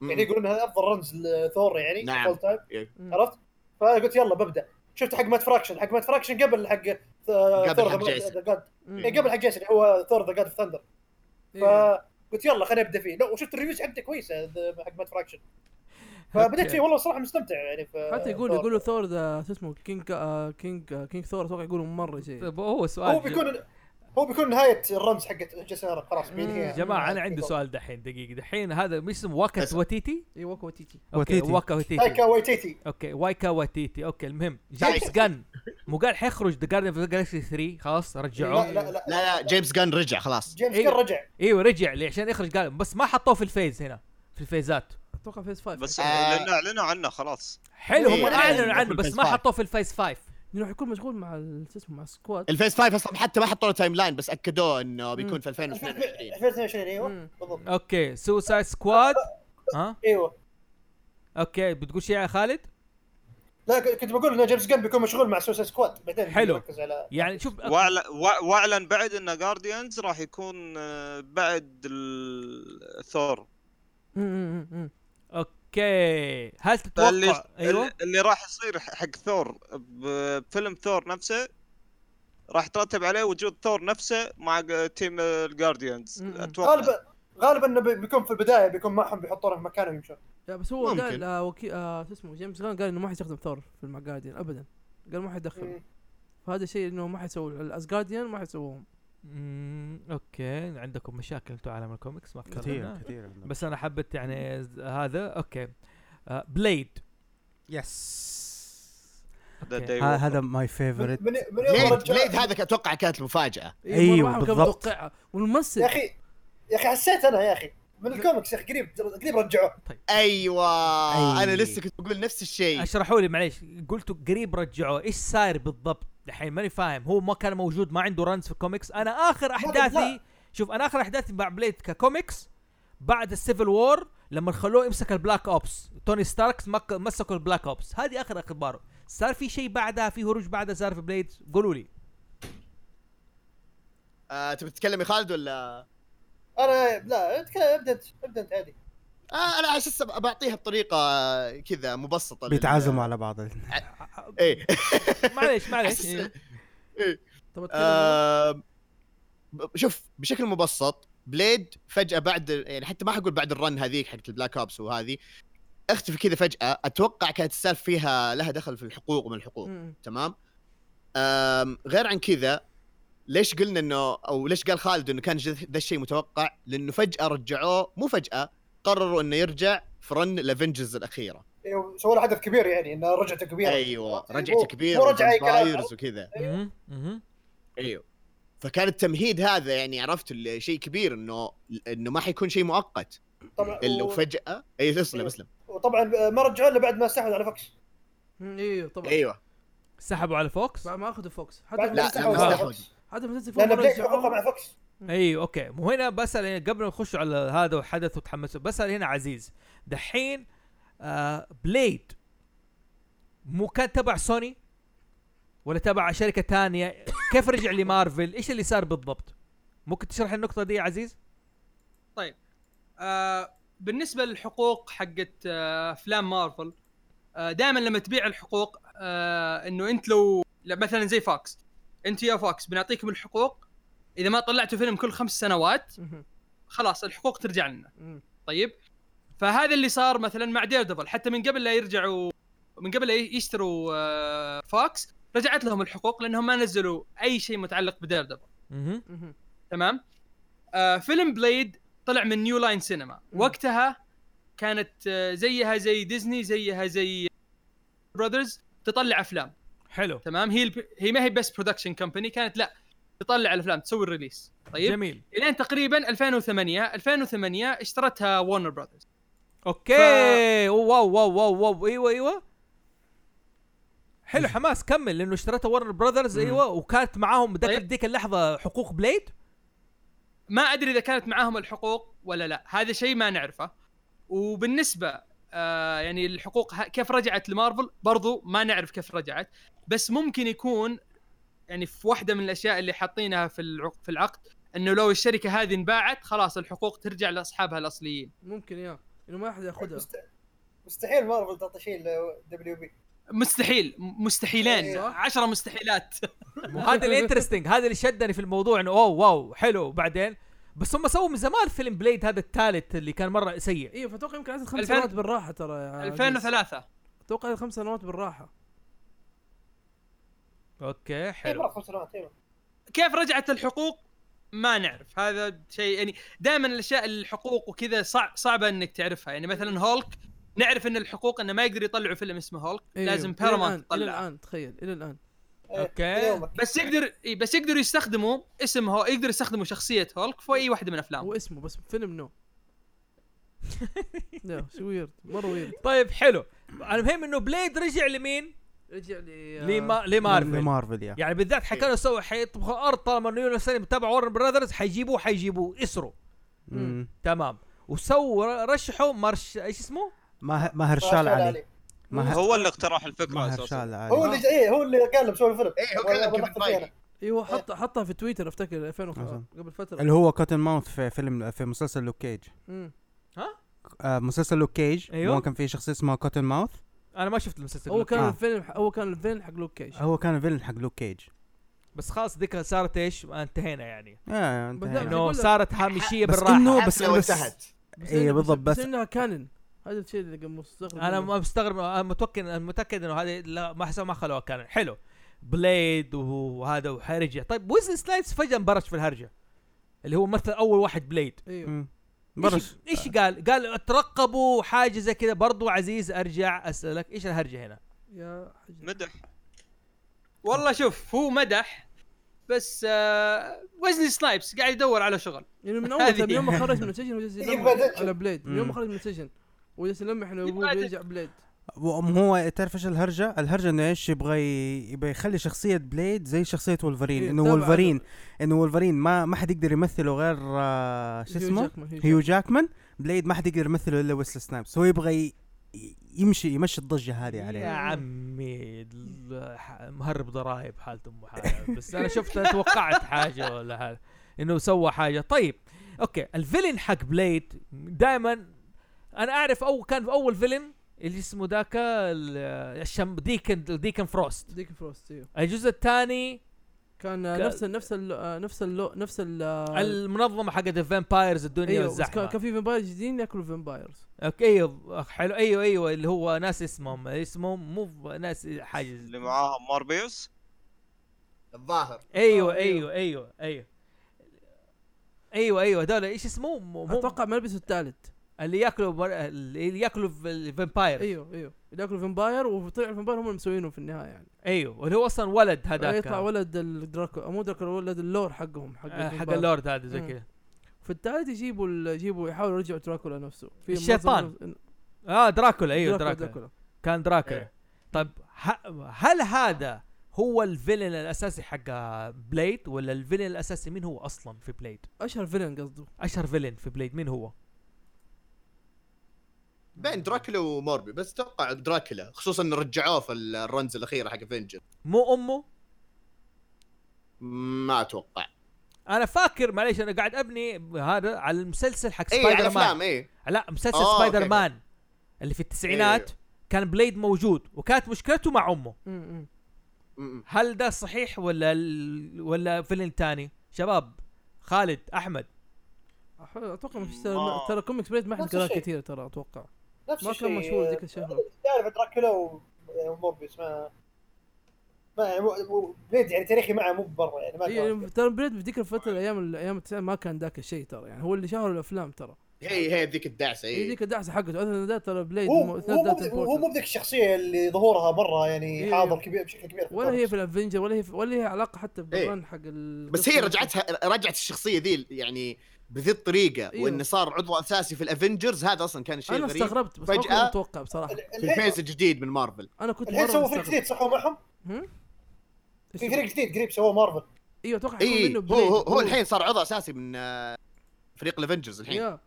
[SPEAKER 7] يعني يقولون هذا افضل رمز لثور يعني
[SPEAKER 1] نعم.
[SPEAKER 7] full time.
[SPEAKER 1] إيه.
[SPEAKER 5] مم.
[SPEAKER 7] عرفت؟ فقلت يلا ببدا شفت حق مات فراكشن حق مات فراكشن قبل حق آه،
[SPEAKER 1] قبل
[SPEAKER 7] ثور
[SPEAKER 1] حق
[SPEAKER 7] ذا
[SPEAKER 1] جيسون.
[SPEAKER 7] ذا جاد
[SPEAKER 5] مم.
[SPEAKER 7] إيه، قبل حق جيسون اللي هو ثور ذا جاد اوف ثندر
[SPEAKER 5] إيه.
[SPEAKER 7] فقلت يلا خليني ابدا فيه لا وشفت الريفيوز حقته كويسه ذا- حق مات فراكشن فبديت
[SPEAKER 4] أوكي.
[SPEAKER 7] فيه والله صراحه مستمتع يعني في
[SPEAKER 5] حتى يقول
[SPEAKER 7] ثور.
[SPEAKER 5] يقولوا ثور ذا شو اسمه كينج آه، كينج آه، كينج ثور اتوقع يقولوا مره شيء
[SPEAKER 4] طيب هو سؤال
[SPEAKER 7] هو بيكون هو بيكون نهايه الرمز حقت جيسون ارون خلاص
[SPEAKER 4] يا
[SPEAKER 7] بينهيها
[SPEAKER 4] جماعه انا عندي سؤال دحين دقيقه دحين هذا مش اسمه واكا
[SPEAKER 1] أسأل.
[SPEAKER 4] واتيتي
[SPEAKER 5] اي وكا وتيتي
[SPEAKER 4] اوكي
[SPEAKER 3] واتيتي.
[SPEAKER 4] واكا واتيتي
[SPEAKER 7] تايكا وايتيتي
[SPEAKER 4] اوكي وايكا واتيتي اوكي المهم جيمس جن مو قال حيخرج ذا جاردن اوف جالكسي 3 خلاص
[SPEAKER 7] لا
[SPEAKER 4] رجعوه
[SPEAKER 7] لا لا
[SPEAKER 1] لا لا جيمس جان رجع خلاص
[SPEAKER 7] جيمس
[SPEAKER 4] إيه.
[SPEAKER 7] كان رجع
[SPEAKER 4] ايوه رجع ليه عشان يخرج قال بس ما حطوه في الفيز هنا في الفيزات
[SPEAKER 5] اتوقع فيس 5
[SPEAKER 6] بس
[SPEAKER 5] بس
[SPEAKER 1] آه.
[SPEAKER 6] لان اعلنوا عنه خلاص
[SPEAKER 4] حلو هم
[SPEAKER 1] إيه،
[SPEAKER 4] اعلنوا
[SPEAKER 1] إيه،
[SPEAKER 4] عنه
[SPEAKER 1] في
[SPEAKER 4] بس
[SPEAKER 1] الفيز
[SPEAKER 4] ما
[SPEAKER 1] فايف.
[SPEAKER 4] حطوه في الفيز 5
[SPEAKER 5] راح يكون مشغول مع ال- شو اسمه مع السكواد
[SPEAKER 1] الفيس 5 اصلا حتى ما حطوا له تايم لاين بس اكدوه انه بيكون
[SPEAKER 5] مم.
[SPEAKER 1] في 2022
[SPEAKER 7] 2022 ايوه
[SPEAKER 5] مم.
[SPEAKER 7] بالضبط
[SPEAKER 4] اوكي سوسايد سكواد ها
[SPEAKER 7] ايوه
[SPEAKER 4] اوكي بتقول شيء يا خالد
[SPEAKER 7] لا ك- كنت بقول ان جيمس جن بيكون مشغول مع سوسا سكواد بعدين
[SPEAKER 4] حلو.
[SPEAKER 7] يركز على
[SPEAKER 4] يعني شوف
[SPEAKER 6] واعلن وا- واعلن بعد ان جارديانز راح يكون آه، بعد ال- ثور
[SPEAKER 5] مم، مم، مم.
[SPEAKER 4] اوكي هل
[SPEAKER 6] اللي
[SPEAKER 4] تتوقع
[SPEAKER 5] أيوة.
[SPEAKER 4] ايوه
[SPEAKER 6] اللي راح يصير ح- حق ثور ب- بفيلم ثور نفسه راح ترتب عليه وجود ثور نفسه مع ج- تيم الجارديانز
[SPEAKER 5] مم.
[SPEAKER 6] اتوقع
[SPEAKER 7] غالبا غالبا انه بي- بيكون في البدايه بيكون معهم بيحطونه في مكانهم يمشون
[SPEAKER 5] لا بس هو
[SPEAKER 1] ممكن.
[SPEAKER 5] قال آه، وكي- آه، شو اسمه جيمس جان قال انه ما حيستخدم ثور في المقادين ابدا قال ما حيدخله
[SPEAKER 7] مم.
[SPEAKER 5] فهذا الشيء انه ما حيسوي الاسجارديان ما حيسووهم
[SPEAKER 4] مم، اوكي عندكم مشاكل انتم عالم الكوميكس ما
[SPEAKER 3] كثير
[SPEAKER 4] فكرنا
[SPEAKER 3] كثير
[SPEAKER 4] بس انا حبيت يعني ز- هذا اوكي آه، بليد
[SPEAKER 3] يس
[SPEAKER 6] ذا
[SPEAKER 4] أوكي.
[SPEAKER 6] day
[SPEAKER 3] ه-
[SPEAKER 6] one.
[SPEAKER 3] هذا ماي
[SPEAKER 7] من
[SPEAKER 3] فيفورت
[SPEAKER 7] من من يوم
[SPEAKER 1] بليد بليد
[SPEAKER 7] رجع
[SPEAKER 1] هذا ك- اتوقع كانت المفاجاه
[SPEAKER 5] إيه، مرة
[SPEAKER 3] أيوه،
[SPEAKER 5] واحد كان
[SPEAKER 3] بالضبط.
[SPEAKER 5] متوقعها. والممثل
[SPEAKER 7] يا اخي يا اخي حسيت انا يا اخي من الكوميكس يا اخي قريب قريب رجعوه
[SPEAKER 1] ايوه
[SPEAKER 3] أي.
[SPEAKER 1] انا لسه كنت بقول نفس الشيء
[SPEAKER 4] اشرحوا لي معليش قلتوا قريب رجعوه ايش صاير بالضبط الحين ماني فاهم هو ما كان موجود ما عنده رنز في الكوميكس انا اخر احداثي شوف انا اخر احداثي مع بليد ككوميكس بعد السيفل وور لما خلوه يمسك البلاك اوبس توني ستاركس مك... مسكوا البلاك اوبس هذه اخر اخباره صار في شيء بعدها في هروج بعدها صار في بليد قولوا لي
[SPEAKER 1] آه، تبي تتكلم يا خالد ولا
[SPEAKER 7] انا لا أتك- ابدا أنت- ابدا انت عادي
[SPEAKER 1] آه انا على اساس أب- بعطيها بطريقه آه، كذا مبسطه لل-
[SPEAKER 3] بيتعازموا على بعض
[SPEAKER 1] ايه
[SPEAKER 4] معليش معليش
[SPEAKER 1] أساس-
[SPEAKER 4] إيه.
[SPEAKER 5] طب أتكلم أنا؟
[SPEAKER 1] آه، ب- شوف بشكل مبسط بليد فجاه بعد يعني حتى ما حقول بعد الرن هذيك حقت البلاك اوبس وهذه اختفى كذا فجاه اتوقع كانت السالفه فيها لها دخل في الحقوق ومن الحقوق
[SPEAKER 5] مم.
[SPEAKER 1] تمام أم غير عن كذا ليش قلنا انه او ليش قال خالد انه كان جذ- ذا الشيء متوقع لانه فجاه رجعوه مو فجاه قرروا انه يرجع في رن الافنجرز الاخيره
[SPEAKER 7] إيه، سووا له حدث كبير يعني انه رجعته كبيره
[SPEAKER 1] ايوه
[SPEAKER 7] يعني
[SPEAKER 1] رجعته
[SPEAKER 7] مو-
[SPEAKER 1] كبيره
[SPEAKER 7] مو رجع اي كلام
[SPEAKER 1] وفامبايرز وكذا
[SPEAKER 4] مهم، مهم.
[SPEAKER 1] ايوه فكان التمهيد هذا يعني عرفت اللي شيء كبير انه انه ما حيكون شيء مؤقت
[SPEAKER 7] طبعا
[SPEAKER 1] الا
[SPEAKER 7] و-
[SPEAKER 1] وفجاه اي تسلم
[SPEAKER 7] أيوة.
[SPEAKER 1] اسلم
[SPEAKER 7] وطبعا آه، ما رجعوه الا بعد ما استحوذ على فوكس
[SPEAKER 5] مم، ايوه طبعا
[SPEAKER 1] ايوه
[SPEAKER 4] سحبوا على فوكس
[SPEAKER 5] بعد ما اخذوا فوكس حتى
[SPEAKER 7] إيه. بعد
[SPEAKER 1] لا،
[SPEAKER 7] ما
[SPEAKER 1] لما
[SPEAKER 7] استحوذ على
[SPEAKER 1] استحوذ.
[SPEAKER 7] فوكس
[SPEAKER 5] حتى مسلسل فوكس
[SPEAKER 7] لان بليك حقوقه مع فوكس
[SPEAKER 4] ايوه اوكي مو هنا بسال يعني قبل ما نخش على هذا وحدث وتحمسوا بسال هنا عزيز دحين آه بليد مو كان تبع سوني ولا تبع شركه تانية كيف رجع لمارفل ايش اللي صار بالضبط ممكن تشرح النقطه دي يا عزيز
[SPEAKER 2] آه بالنسبه للحقوق حقت آه، افلام مارفل آه دائما لما تبيع الحقوق آه انه انت لو لا، مثلا زي فوكس انت يا فوكس بنعطيكم الحقوق اذا ما طلعتوا فيلم كل خمس سنوات خلاص الحقوق ترجع لنا طيب فهذا اللي صار مثلا مع ديردبل حتى من قبل لا يرجعوا من قبل ي- يشتروا آه، فوكس رجعت لهم الحقوق لانهم ما نزلوا اي شيء متعلق بدير دبل
[SPEAKER 4] مهم.
[SPEAKER 5] مهم.
[SPEAKER 2] تمام آه فيلم بليد طلع من نيو لاين سينما
[SPEAKER 5] مم.
[SPEAKER 2] وقتها كانت آه، زيها زي ديزني زيها زي براذرز تطلع افلام
[SPEAKER 4] حلو
[SPEAKER 2] تمام هي الب... هي ما هي بس برودكشن كمباني كانت لا تطلع الافلام تسوي الريليس طيب
[SPEAKER 4] جميل
[SPEAKER 2] الين تقريبا 2008 2008 اشترتها ورنر براذرز
[SPEAKER 4] اوكي واو واو واو واو ايوه ايوه حلو حماس كمل لانه اشتريتها ورنر براذرز ايوه وكانت معاهم ذاك
[SPEAKER 2] طيب.
[SPEAKER 4] ذيك اللحظه حقوق بليد
[SPEAKER 2] ما ادري اذا كانت معاهم الحقوق ولا لا هذا شيء ما نعرفه وبالنسبه آه يعني الحقوق ه- كيف رجعت لمارفل برضو ما نعرف كيف رجعت بس ممكن يكون يعني في واحده من الاشياء اللي حاطينها في العق- في العقد انه لو الشركه هذه انباعت خلاص الحقوق ترجع لاصحابها الاصليين
[SPEAKER 5] ممكن يا انه ما احد ياخذها
[SPEAKER 7] مست- مستحيل مارفل تعطي شيء لدبليو بي
[SPEAKER 2] مستحيل م- مستحيلين
[SPEAKER 5] إيه.
[SPEAKER 2] عشرة مستحيلات
[SPEAKER 4] وهذا الانترستنج هذا اللي شدني في الموضوع انه اوه واو حلو بعدين بس هم سووا من زمان فيلم بليد هذا الثالث اللي كان مره سيء
[SPEAKER 5] ايوه فاتوقع يمكن عدد خمس
[SPEAKER 2] 2000
[SPEAKER 5] سنوات بالراحه ترى يا عزيز.
[SPEAKER 2] 2003
[SPEAKER 5] اتوقع عدد خمس سنوات بالراحه
[SPEAKER 4] اوكي
[SPEAKER 7] إيه،
[SPEAKER 4] حلو
[SPEAKER 7] مرة خمس سنوات إيه.
[SPEAKER 2] كيف رجعت الحقوق ما نعرف هذا شيء يعني دائما الاشياء الحقوق وكذا صعب صعبه انك تعرفها يعني مثلا هولك نعرف ان الحقوق انه ما يقدر يطلعوا فيلم اسمه هولك
[SPEAKER 5] أيوه.
[SPEAKER 2] لازم
[SPEAKER 5] إلى الآن-
[SPEAKER 2] بارامونت
[SPEAKER 5] الى
[SPEAKER 2] تطلع
[SPEAKER 5] الان تخيل الى الان
[SPEAKER 7] إيه، إلى
[SPEAKER 4] اوكي
[SPEAKER 7] يومك.
[SPEAKER 2] بس يقدر إي، بس يقدروا يستخدموا اسم هو يقدر يستخدموا شخصيه هولك في اي واحده من
[SPEAKER 5] هو
[SPEAKER 2] افلامه
[SPEAKER 5] اسمه بس فيلم نو لا شو ويرد مره ويرد
[SPEAKER 4] طيب حلو المهم انه بليد رجع لمين؟
[SPEAKER 5] رجع لي آه،
[SPEAKER 4] لما لمارفل
[SPEAKER 3] مارفل يا
[SPEAKER 4] يعني بالذات حكى له سووا حيطبخوا ارض طالما انه يونس متابع ورن براذرز حيجيبوه حيجيبوه اسروا
[SPEAKER 3] مم.
[SPEAKER 5] Mm.
[SPEAKER 4] تمام وسووا رشحوا مرش ايش اسمه؟
[SPEAKER 3] ماهر ماهر شال علي ماهر
[SPEAKER 6] هو اللي اقترح الفكره
[SPEAKER 3] ماهر
[SPEAKER 6] اساسا
[SPEAKER 3] شال
[SPEAKER 7] هو
[SPEAKER 3] علي
[SPEAKER 7] اللي إيه هو اللي قال له مسوي الفيلم
[SPEAKER 1] إيه، هو
[SPEAKER 7] وأنا
[SPEAKER 1] كلم كيفن
[SPEAKER 7] بحثت فيه
[SPEAKER 1] فايجي.
[SPEAKER 7] أنا.
[SPEAKER 5] ايوه حط حطها في تويتر افتكر 2005 قبل فتره
[SPEAKER 3] اللي هو كوتن ماوث في فيلم في مسلسل لوك كيج
[SPEAKER 5] مم.
[SPEAKER 3] آه مسلسل لوك كيج
[SPEAKER 4] أيوه.
[SPEAKER 3] هو كان في شخصيه اسمها كوتن ماوث
[SPEAKER 4] انا ما شفت المسلسل
[SPEAKER 5] هو كان
[SPEAKER 3] آه.
[SPEAKER 5] الفيلم هو كان الفيلم حق لوك كيج
[SPEAKER 3] هو كان فيلن حق لوك كيج
[SPEAKER 4] بس خلاص ذيك صارت ايش؟ انتهينا يعني
[SPEAKER 3] آه، انتهينا.
[SPEAKER 5] بدأنا.
[SPEAKER 4] انه
[SPEAKER 5] أقول لك-
[SPEAKER 4] صارت هامشيه
[SPEAKER 3] بس
[SPEAKER 4] بالراحه
[SPEAKER 3] إنه-
[SPEAKER 1] بس
[SPEAKER 3] بس- بس-
[SPEAKER 1] انتهت
[SPEAKER 5] بس
[SPEAKER 3] إيه
[SPEAKER 5] إنها-
[SPEAKER 3] بالضبط،
[SPEAKER 5] بس
[SPEAKER 3] بس-
[SPEAKER 5] انها كانن هذا الشيء اللي كان مستغرب
[SPEAKER 4] انا
[SPEAKER 5] منه.
[SPEAKER 4] م- مستغرب انا متاكد انا متاكد انه هذا لا ما حسوا ما خلوها كان حلو بليد وهذا وحرجه طيب ويزلي سلايدز فجاه انبرش في الهرجه اللي هو مثل اول واحد بليد
[SPEAKER 5] ايوه
[SPEAKER 3] مم.
[SPEAKER 4] ايش
[SPEAKER 3] برش
[SPEAKER 4] ايش قال؟ قال ترقبوا حاجه زي كذا برضو عزيز ارجع اسالك ايش الهرجه هنا؟
[SPEAKER 5] يا حاج
[SPEAKER 6] مدح
[SPEAKER 2] والله شوف هو مدح بس آه وزني سنايبس قاعد يدور على شغل
[SPEAKER 5] يعني من
[SPEAKER 2] هذه-
[SPEAKER 5] اول من يوم ما خرج من السجن وجالس
[SPEAKER 7] يبغى
[SPEAKER 5] يلمح
[SPEAKER 7] دجل.
[SPEAKER 5] على بليد من يوم ما
[SPEAKER 3] مم.
[SPEAKER 5] خرج من السجن وجالس يلمح انه ابوه
[SPEAKER 2] يبغى دجل.
[SPEAKER 5] بيرجع بليد
[SPEAKER 3] وأم هو تعرف ايش الهرجه؟ الهرجه انه ايش يبغى ي- يبغى يخلي شخصيه بليد زي شخصيه ولفرين
[SPEAKER 5] إيه،
[SPEAKER 3] انه
[SPEAKER 5] طبعاً.
[SPEAKER 3] ولفرين انه ولفرين ما ما حد يقدر يمثله غير آه، شو
[SPEAKER 5] هيو
[SPEAKER 3] اسمه؟
[SPEAKER 5] جاكمان،
[SPEAKER 3] هيو
[SPEAKER 5] هيو
[SPEAKER 3] جاكمان بليد ما حد يقدر يمثله الا ويسل سنايبس هو يبغى ي- ي- يمشي يمشي الضجه هذه
[SPEAKER 4] يا
[SPEAKER 3] عليه
[SPEAKER 5] إيه.
[SPEAKER 4] عمي ال- ح- مهرب ضرائب حالة ام حالة بس انا شفت توقعت حاجه ولا حاجه انه سوى حاجه طيب اوكي الفيلن حق بليد دائما انا اعرف اول كان في اول فيلن اللي اسمه ذاك ال- الشم ديكن ديكن فروست
[SPEAKER 5] جاكمان. ديك فروست ايوه
[SPEAKER 4] الجزء الثاني
[SPEAKER 5] كان آه،
[SPEAKER 4] كان-
[SPEAKER 5] نفس ال- نفس ال آه، نفس ال نفس ال آه،
[SPEAKER 4] المنظمه حقت الفامبايرز الدنيا
[SPEAKER 5] ايوه بس كان
[SPEAKER 4] والزحمه
[SPEAKER 5] كان في فامبايرز جديدين ياكلوا فامبايرز
[SPEAKER 4] اوكي ايوه حلو ايوه ايوه اللي هو ناس اسمهم اسمهم مو ناس حاجه
[SPEAKER 6] اللي معاهم موربيوس
[SPEAKER 1] الظاهر
[SPEAKER 4] ايوه
[SPEAKER 5] آه،
[SPEAKER 4] ايوه ايوه ايوه ايوه ايوه هذول ايش اسمه مو مو-
[SPEAKER 5] اتوقع ملبسه الثالث
[SPEAKER 4] اللي ياكلوا بر... اللي ياكلوا فامباير
[SPEAKER 5] ايوه ايوه اللي ياكلوا فامباير وطلع الفامباير هم اللي مسوينه في النهايه يعني
[SPEAKER 4] ايوه واللو اصلا ولد هذاك
[SPEAKER 5] آه، يطلع ولد الدراكو آه، مو دراكو ولد اللور حقهم حق
[SPEAKER 4] آه، حق
[SPEAKER 5] الفامباير.
[SPEAKER 4] اللورد هذا زي
[SPEAKER 5] مم.
[SPEAKER 4] كذا
[SPEAKER 5] في الثالث يجيبوا ال- يجيبوا يحاولوا يرجعوا دراكولا نفسه في
[SPEAKER 4] الشيطان.
[SPEAKER 5] منظمة-
[SPEAKER 4] اه دراكولا ايوه دراكولا, كان دراكولا
[SPEAKER 2] إيه.
[SPEAKER 4] طيب ه... هل هذا هو الفيلن الاساسي حق بليد ولا الفيلن الاساسي مين هو اصلا في بليد؟
[SPEAKER 5] اشهر فيلن قصده
[SPEAKER 4] اشهر فيلن في بليد مين هو؟
[SPEAKER 1] بين دراكولا وموربي بس اتوقع دراكولا خصوصا انه رجعوه في الرنز الاخيره حق افنجر
[SPEAKER 4] مو امه؟
[SPEAKER 1] ما اتوقع
[SPEAKER 4] انا فاكر معليش انا قاعد ابني هذا على المسلسل حق
[SPEAKER 1] اي إيه، على
[SPEAKER 4] سبايدر مان
[SPEAKER 1] افلام اي
[SPEAKER 4] لا مسلسل
[SPEAKER 1] آه،
[SPEAKER 4] سبايدر
[SPEAKER 1] أوكي.
[SPEAKER 4] مان اللي في التسعينات
[SPEAKER 1] أيوه.
[SPEAKER 4] كان بليد موجود وكانت مشكلته مع امه
[SPEAKER 5] م- م.
[SPEAKER 4] هل ده صحيح ولا ال... ولا فيلم تاني شباب خالد احمد
[SPEAKER 5] أح- اتوقع ما فيش
[SPEAKER 6] ما-
[SPEAKER 5] ترى كوميكس بريد ما حد
[SPEAKER 7] نفس
[SPEAKER 5] قراه
[SPEAKER 7] الشيء.
[SPEAKER 5] كثير ترى اتوقع
[SPEAKER 7] نفس
[SPEAKER 5] ما كان
[SPEAKER 7] الشيء
[SPEAKER 5] مشهور ذيك الشهرة.
[SPEAKER 7] تعرف دراكولا و موبيس ما ما و- و- بليد يعني تاريخي معه مو برا يعني ما أقدر.
[SPEAKER 5] يعني ترى بريد في ذيك الفتره الايام ايام التسعينات ما كان ذاك الشيء ترى يعني هو اللي شهر الافلام ترى
[SPEAKER 1] هي هي ذيك الدعسه
[SPEAKER 5] إيه
[SPEAKER 1] هي
[SPEAKER 5] ذيك الدعسه حقته اثنى ده ترى بليد
[SPEAKER 7] هو
[SPEAKER 5] مو-
[SPEAKER 7] هو
[SPEAKER 5] أثناء
[SPEAKER 7] مو
[SPEAKER 5] ذات
[SPEAKER 7] بذ- هو مو
[SPEAKER 5] important.
[SPEAKER 7] بذيك الشخصيه اللي ظهورها برا يعني
[SPEAKER 5] إيه.
[SPEAKER 7] حاضر كبير بشكل كبير في
[SPEAKER 5] ولا
[SPEAKER 7] الكوميكس.
[SPEAKER 5] هي في الافنجر ولا هي في ولا هي علاقه حتى بالرن حق ال
[SPEAKER 1] بس هي رجعتها رجعت الشخصيه ذي يعني بذي الطريقه
[SPEAKER 5] أيوه.
[SPEAKER 1] وانه صار عضو اساسي في الافنجرز هذا اصلا كان شيء
[SPEAKER 5] انا
[SPEAKER 1] غريب
[SPEAKER 5] استغربت بس ما كنت
[SPEAKER 1] فجأة-
[SPEAKER 5] متوقع بصراحه
[SPEAKER 1] في فيز جديد من مارفل
[SPEAKER 5] انا كنت
[SPEAKER 7] الحين
[SPEAKER 5] مره
[SPEAKER 7] سووا فريق
[SPEAKER 5] مستغرب
[SPEAKER 7] جديد صحوا معهم
[SPEAKER 5] إيش
[SPEAKER 7] في
[SPEAKER 5] هو؟
[SPEAKER 7] فريق جديد قريب سووه مارفل
[SPEAKER 5] ايوه اتوقع حيكون
[SPEAKER 1] اي
[SPEAKER 5] منه
[SPEAKER 1] إيه، هو
[SPEAKER 5] بليد.
[SPEAKER 1] هو, هو الحين صار عضو اساسي من آه، فريق الافنجرز الحين
[SPEAKER 5] يا.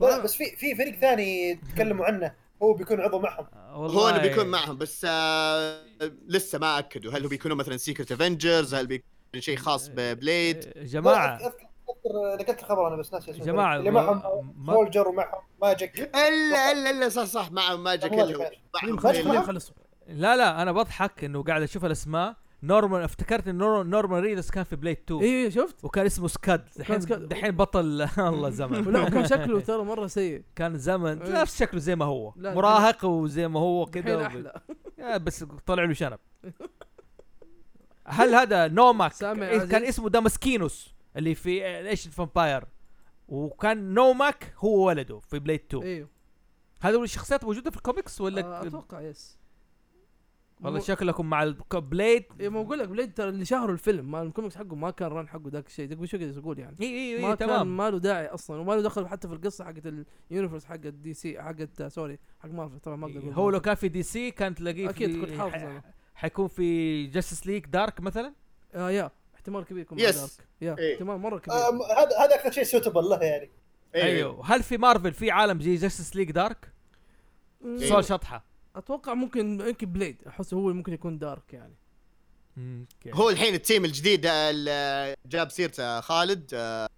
[SPEAKER 7] لا بس في في فريق ثاني تكلموا عنه هو بيكون عضو معهم
[SPEAKER 4] آه، والله
[SPEAKER 1] هو انه بيكون معهم بس آه لسه ما اكدوا هل هو بيكونوا مثلا سيكرت افنجرز هل بيكون شيء
[SPEAKER 5] آه،
[SPEAKER 1] خاص ببليد
[SPEAKER 4] آه، جماعه
[SPEAKER 7] لا، أذكر أذكر- ذكرت الخبر انا بس ناسي اسمه
[SPEAKER 4] جماعة،
[SPEAKER 7] اللي
[SPEAKER 4] ما-
[SPEAKER 7] معهم
[SPEAKER 4] ما-
[SPEAKER 7] فولجر ومعهم ماجيك
[SPEAKER 1] الا الا الا صح صح مع ماجيك
[SPEAKER 7] والله
[SPEAKER 1] اللي هو
[SPEAKER 7] خير.
[SPEAKER 1] معهم
[SPEAKER 7] خلاص،
[SPEAKER 1] اللي-
[SPEAKER 5] خليهم يخلصوا
[SPEAKER 4] لا لا انا بضحك انه قاعد اشوف الاسماء نورمان افتكرت ان نور- نورمان ريدس كان في بليد 2
[SPEAKER 5] ايوه شفت
[SPEAKER 4] وكان اسمه سكاد دحين
[SPEAKER 5] سكاد.
[SPEAKER 4] دحين بطل الله زمن
[SPEAKER 5] ولا كان شكله ترى مره سيء
[SPEAKER 4] كان زمن
[SPEAKER 5] إيه.
[SPEAKER 4] نفس شكله زي ما هو
[SPEAKER 5] لا،
[SPEAKER 4] مراهق وزي ما هو
[SPEAKER 5] الحين
[SPEAKER 4] كذا
[SPEAKER 5] احلى
[SPEAKER 4] يا آه، بس طلع له شنب هل هذا نوماك
[SPEAKER 5] سامع
[SPEAKER 4] إيه، كان
[SPEAKER 5] عزيز؟
[SPEAKER 4] اسمه دامسكينوس اللي في آه، ايش الفامباير وكان نوماك هو ولده في بليد 2
[SPEAKER 5] ايوه
[SPEAKER 4] هذول الشخصيات موجوده في الكوميكس ولا
[SPEAKER 5] آه، اتوقع يس
[SPEAKER 4] والله
[SPEAKER 5] مو-
[SPEAKER 4] شكلكم مع الك- بليد
[SPEAKER 5] إيه، ما بقول لك بليد ترى اللي شهروا الفيلم ما الكوميكس حقه ما كان ران حقه ذاك الشيء قبل شو قاعد اقول يعني
[SPEAKER 4] اي اي
[SPEAKER 5] ما
[SPEAKER 4] اي
[SPEAKER 5] كان
[SPEAKER 4] إيه، تمام
[SPEAKER 5] ما له داعي اصلا وما له دخل حتى في القصه حقت اليونيفرس حقت دي سي حقت آه، سوري حق مارفل طبعا ما اقدر أقول
[SPEAKER 4] إيه، هو لو
[SPEAKER 5] مارفل.
[SPEAKER 4] كان في دي سي كان تلاقيه
[SPEAKER 5] اكيد
[SPEAKER 4] في-
[SPEAKER 5] كنت حافظ
[SPEAKER 4] ح-
[SPEAKER 5] انا
[SPEAKER 4] حيكون في جاستس ليج دارك مثلا
[SPEAKER 5] آه يا احتمال كبير يكون
[SPEAKER 1] Yes.
[SPEAKER 5] دارك. يا
[SPEAKER 1] إيه.
[SPEAKER 5] احتمال مره كبير
[SPEAKER 7] آه، م- هذا هذا اكثر شيء سوتبل له يعني
[SPEAKER 1] إيه.
[SPEAKER 4] ايوه هل في مارفل في عالم زي جاستس ليج دارك؟
[SPEAKER 5] مم،
[SPEAKER 1] إيه.
[SPEAKER 4] سؤال شطحه
[SPEAKER 5] اتوقع ممكن يمكن بليد احس هو ممكن يكون دارك يعني
[SPEAKER 1] هو الحين التيم الجديد آه، اللي جاب سيرته خالد آه،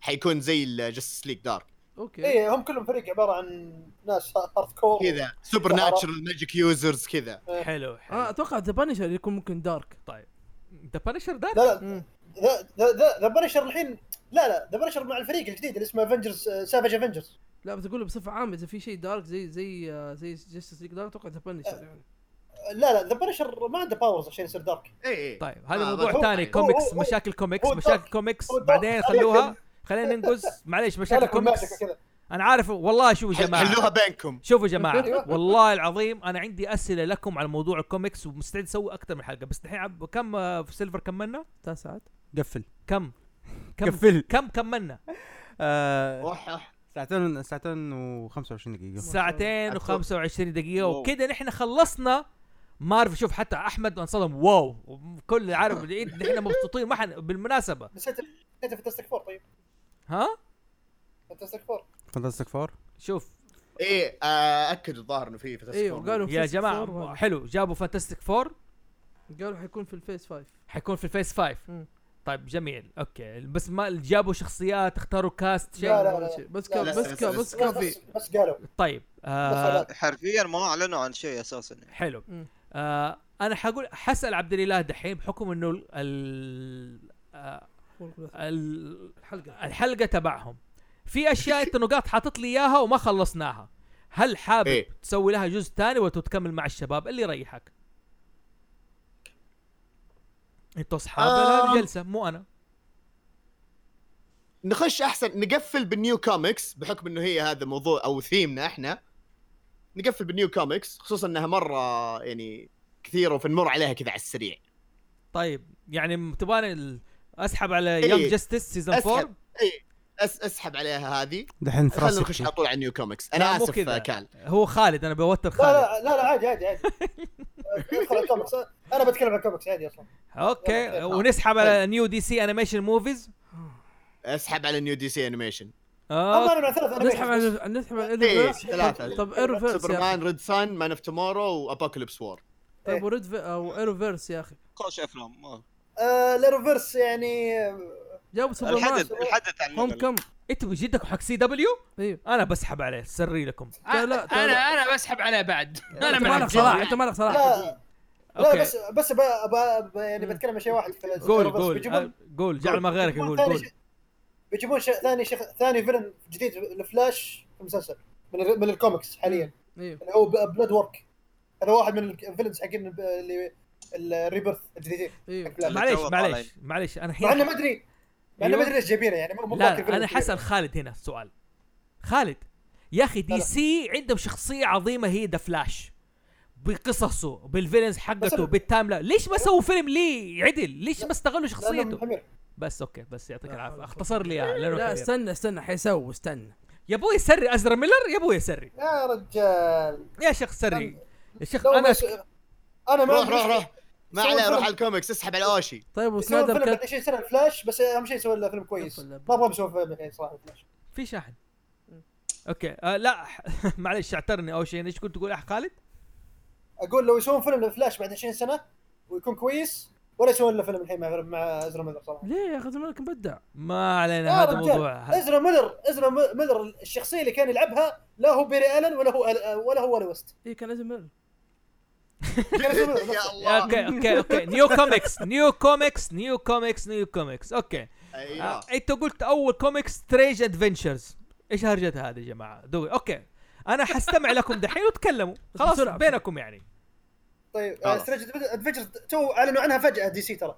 [SPEAKER 1] حيكون زي آه، الجاستس ليج دارك إيه.
[SPEAKER 5] اوكي
[SPEAKER 7] اي إيه، هم كلهم فريق عباره عن ناس هارد كور
[SPEAKER 1] كذا سوبر ناتشرال ماجيك يوزرز كذا
[SPEAKER 4] حلو حلو
[SPEAKER 5] اه اتوقع ذا بانشر يكون ممكن دارك
[SPEAKER 4] ذا بانشر دارك
[SPEAKER 7] لا لا
[SPEAKER 5] مم.
[SPEAKER 7] ذا- ذا- ذا ذا بنشر الحين لا لا ذا بنشر مع الفريق الجديد اللي اسمه آه، افنجرز سافج افنجرز
[SPEAKER 5] لا بس اقول بصفه عامه اذا في شيء دارك زي زي آه، زي جستس ليج دارك اتوقع ذا
[SPEAKER 1] آه.
[SPEAKER 5] بانشر يعني
[SPEAKER 7] لا لا ذا بنشر ما عنده باورز عشان يصير دارك
[SPEAKER 1] اي اي
[SPEAKER 4] طيب هذا
[SPEAKER 1] آه،
[SPEAKER 4] موضوع
[SPEAKER 1] هو-
[SPEAKER 4] ثاني
[SPEAKER 1] هو-
[SPEAKER 4] كوميكس
[SPEAKER 7] هو-
[SPEAKER 4] مشاكل كوميكس
[SPEAKER 7] هو
[SPEAKER 4] مشاكل
[SPEAKER 7] دارك.
[SPEAKER 4] كوميكس
[SPEAKER 7] هو دارك.
[SPEAKER 4] بعدين خلوها خلينا ننقز معليش مشاكل
[SPEAKER 7] مالك والماجيك
[SPEAKER 4] كوميكس
[SPEAKER 7] وكذا.
[SPEAKER 4] انا عارف والله شوفوا يا جماعه
[SPEAKER 1] حلوها بينكم
[SPEAKER 4] شوفوا يا جماعه
[SPEAKER 7] أيوة.
[SPEAKER 4] والله العظيم انا عندي اسئله لكم على موضوع الكوميكس ومستعد اسوي اكثر من حلقه بس الحين عب- كم آه، في سيلفر كملنا؟
[SPEAKER 5] تسعة ساعات
[SPEAKER 3] قفل
[SPEAKER 4] كم؟ كم
[SPEAKER 3] قفل
[SPEAKER 4] كم كملنا؟
[SPEAKER 3] آه
[SPEAKER 1] أوح، أوح.
[SPEAKER 3] ساعتين ساعتين و25 دقيقة
[SPEAKER 4] ساعتين
[SPEAKER 1] أكثر.
[SPEAKER 4] و25 دقيقة
[SPEAKER 6] واو.
[SPEAKER 4] وكذا نحن خلصنا مارفل شوف حتى احمد انصدم واو كل عارف العيد نحن مبسوطين ما حن بالمناسبة
[SPEAKER 7] نسيت نسيت فانتستيك فور طيب
[SPEAKER 4] ها؟
[SPEAKER 7] فانتستيك فور
[SPEAKER 3] فانتاستيك فور
[SPEAKER 4] شوف
[SPEAKER 1] ايه آه، اكدوا الظاهر انه في في تسكر.
[SPEAKER 5] ايوه قالوا
[SPEAKER 4] يا
[SPEAKER 5] Fantastic Four
[SPEAKER 4] جماعة
[SPEAKER 5] وهذا.
[SPEAKER 4] حلو جابوا فانتستيك فور
[SPEAKER 5] قالوا حيكون في الفيس 5
[SPEAKER 4] حيكون في الفيس فايف
[SPEAKER 5] مم.
[SPEAKER 4] طيب جميل اوكي بس ما جابوا شخصيات اختاروا كاست شيء
[SPEAKER 7] لا، لا، لا.
[SPEAKER 5] بس
[SPEAKER 7] لا،
[SPEAKER 5] كان
[SPEAKER 1] لا،
[SPEAKER 5] بس
[SPEAKER 1] لا،
[SPEAKER 5] كان
[SPEAKER 1] لا،
[SPEAKER 5] بس
[SPEAKER 1] لا،
[SPEAKER 5] كان
[SPEAKER 7] بس,
[SPEAKER 5] في
[SPEAKER 7] بس, بس قالوا
[SPEAKER 4] طيب آه
[SPEAKER 7] بس
[SPEAKER 6] حرفيا ما اعلنوا عن شيء اساسا
[SPEAKER 4] حلو
[SPEAKER 5] مم.
[SPEAKER 4] آه انا حقول حسأل عبد الاله دحين بحكم انه ال- ال آه، ال-
[SPEAKER 5] الحلقه
[SPEAKER 4] الحلقه تبعهم في اشياء انت نقاط حاطط لي اياها وما خلصناها هل حابب
[SPEAKER 1] إيه.
[SPEAKER 4] تسوي لها جزء ثاني ولا تكمل مع الشباب اللي يريحك انتوا اصحاب
[SPEAKER 1] آم.
[SPEAKER 4] الجلسه مو انا
[SPEAKER 1] نخش احسن نقفل بالنيو كوميكس بحكم انه هي هذا موضوع او ثيمنا احنا نقفل بالنيو كوميكس خصوصا انها مره يعني كثيره وبنمر عليها كذا على السريع
[SPEAKER 4] طيب يعني م- تبغاني ال- اسحب على
[SPEAKER 7] إيه.
[SPEAKER 4] يونج جستس سيزون 4
[SPEAKER 1] اسحب اي أس اسحب عليها هذه
[SPEAKER 3] دحين في
[SPEAKER 1] خلينا نخش
[SPEAKER 3] راسك
[SPEAKER 1] على طول على نيو كوميكس انا
[SPEAKER 4] لا، مو
[SPEAKER 1] اسف
[SPEAKER 4] كذا.
[SPEAKER 1] آه، كال
[SPEAKER 4] هو خالد انا بوتر
[SPEAKER 7] لا
[SPEAKER 4] خالد
[SPEAKER 7] لا لا لا عادي عادي آه، عادي ادخل على الكوميكس انا بتكلم عن الكوميكس عادي اصلا
[SPEAKER 4] اوكي
[SPEAKER 7] لا، لا.
[SPEAKER 4] ونسحب
[SPEAKER 7] طيب.
[SPEAKER 4] على نيو دي سي انيميشن موفيز
[SPEAKER 1] اسحب على نيو دي سي انيميشن
[SPEAKER 7] اما
[SPEAKER 4] اوكي
[SPEAKER 7] انا مع ثلاث انا
[SPEAKER 5] نسحب
[SPEAKER 7] بيحس-
[SPEAKER 5] على نسحب على
[SPEAKER 7] إيه.
[SPEAKER 1] ايه
[SPEAKER 5] Arrowverse.
[SPEAKER 1] ثلاثة
[SPEAKER 5] طب ايروفيرس يا اخي
[SPEAKER 1] سوبرمان ريد سان مان اوف تومورو وابوكاليبس وور
[SPEAKER 7] إيه.
[SPEAKER 5] طيب وريد في- او ايروفيرس يا اخي
[SPEAKER 6] خوش افلام ما-
[SPEAKER 7] آه، ليروفيرس يعني
[SPEAKER 5] جابوا سوبرمان
[SPEAKER 6] الحدث الحدث عن
[SPEAKER 5] هوم كم
[SPEAKER 4] انتوا إيه، جدكم حق سي دبليو
[SPEAKER 5] ايوه
[SPEAKER 4] انا بسحب عليه سري لكم
[SPEAKER 5] لا، لا،
[SPEAKER 2] انا انا بسحب عليه بعد انا
[SPEAKER 5] انت مالك
[SPEAKER 2] بعد
[SPEAKER 5] صلاح انت مالك صلاح
[SPEAKER 7] لا
[SPEAKER 4] أوكي.
[SPEAKER 7] لا بس بس ب... ب... ب... يعني بتكلم عن شيء واحد في Arrowverse.
[SPEAKER 4] قول قول
[SPEAKER 7] بيجيبون
[SPEAKER 4] آه، قول جعل ما غيرك
[SPEAKER 7] بيجيبون
[SPEAKER 4] يقول
[SPEAKER 7] ثاني
[SPEAKER 4] قول
[SPEAKER 7] شيء- بيجيبون شيء ثاني شيء ثاني فيلن جديد الفلاش في المسلسل من, ال... من الكوميكس حاليا
[SPEAKER 5] ايوه
[SPEAKER 7] اللي هو بلاد وورك هذا واحد من الفيلنز حقين الب- اللي الريبرث الجديدين
[SPEAKER 4] طيب،
[SPEAKER 5] ايوه
[SPEAKER 7] حق بلاد.
[SPEAKER 4] معليش
[SPEAKER 6] الجو
[SPEAKER 4] معليش
[SPEAKER 6] طالع.
[SPEAKER 4] معليش انا
[SPEAKER 7] مع انه
[SPEAKER 4] الحين
[SPEAKER 7] ما ادري مع انه ما
[SPEAKER 4] أيوه.
[SPEAKER 7] ادري ليش جايبينه يعني مو مو
[SPEAKER 4] لا
[SPEAKER 7] فاكر الفيلم
[SPEAKER 4] لا، انا
[SPEAKER 7] الكبير.
[SPEAKER 4] حسأل خالد هنا سؤال خالد يا اخي
[SPEAKER 7] لا،
[SPEAKER 4] دي
[SPEAKER 7] لا.
[SPEAKER 4] سي عندهم شخصيه عظيمه هي ذا فلاش بقصصه بالفيلنز حقته
[SPEAKER 7] أنا-
[SPEAKER 4] بالتايم لا ليش ما سووا فيلم ليه عدل ليش ما استغلوا
[SPEAKER 7] لا، لا،
[SPEAKER 4] شخصيته
[SPEAKER 7] من حمير.
[SPEAKER 4] بس اوكي بس يعطيك
[SPEAKER 5] لا،
[SPEAKER 4] العافيه
[SPEAKER 5] لا،
[SPEAKER 4] اختصر لي إياها، لأنه
[SPEAKER 5] لا
[SPEAKER 4] كبير.
[SPEAKER 5] استنى استنى حيسووا استنى
[SPEAKER 4] يا ابوي سري ازرا ميلر يا ابوي سري
[SPEAKER 7] يا رجال
[SPEAKER 4] يا شيخ سري يا شيخ
[SPEAKER 7] لو ما
[SPEAKER 4] انا
[SPEAKER 7] س- انا ما
[SPEAKER 1] روح
[SPEAKER 7] أدري
[SPEAKER 1] روح
[SPEAKER 7] إيش-
[SPEAKER 1] روح ما
[SPEAKER 7] سووا
[SPEAKER 1] عليه
[SPEAKER 7] فيلم.
[SPEAKER 1] روح على الكوميكس اسحب على اوشي
[SPEAKER 5] طيب
[SPEAKER 7] يسوون
[SPEAKER 5] وسنايدر
[SPEAKER 7] فيلم
[SPEAKER 5] كات
[SPEAKER 7] بعد 20 سنه فلاش بس اهم شيء يسوون له فيلم كويس
[SPEAKER 5] يقول له-
[SPEAKER 7] ما ابغى اسوي فيلم الحين صراحه فلاش
[SPEAKER 4] في شاحن اوكي آه لا معلش اعترني اول شيء ايش كنت تقول يا خالد؟
[SPEAKER 7] اقول لو يسوون فيلم فلاش بعد 20 سنه ويكون كويس ولا يسوون له فيلم الحين مع مع ازرا ميلر صراحه
[SPEAKER 5] ليه يا اخي زمانك مبدع
[SPEAKER 4] ما
[SPEAKER 7] يا
[SPEAKER 4] علينا هذا
[SPEAKER 7] رجال،
[SPEAKER 4] موضوع
[SPEAKER 7] ازرا ميلر ازرا ميلر الشخصيه اللي كان يلعبها لا هو بيري الن ولا هو ولا هو والي ويست
[SPEAKER 5] اي إيه، كان لازم يعمل.
[SPEAKER 7] كان اسمه ميلر
[SPEAKER 1] يا
[SPEAKER 7] نفسه.
[SPEAKER 1] الله
[SPEAKER 4] اوكي اوكي اوكي نيو كوميكس نيو كوميكس نيو كوميكس نيو كوميكس اوكي آه
[SPEAKER 1] ايوه
[SPEAKER 4] انت قلت اول كوميكس سترينج ادفنتشرز ايش هرجتها هذه يا جماعه دوي اوكي انا حستمع لكم دحين وتكلموا خلاص
[SPEAKER 5] بسرعة.
[SPEAKER 4] بينكم يعني
[SPEAKER 7] طيب
[SPEAKER 1] خلاص.
[SPEAKER 7] ستريج ادفنتشرز تو اعلنوا عنها فجاه دي سي ترى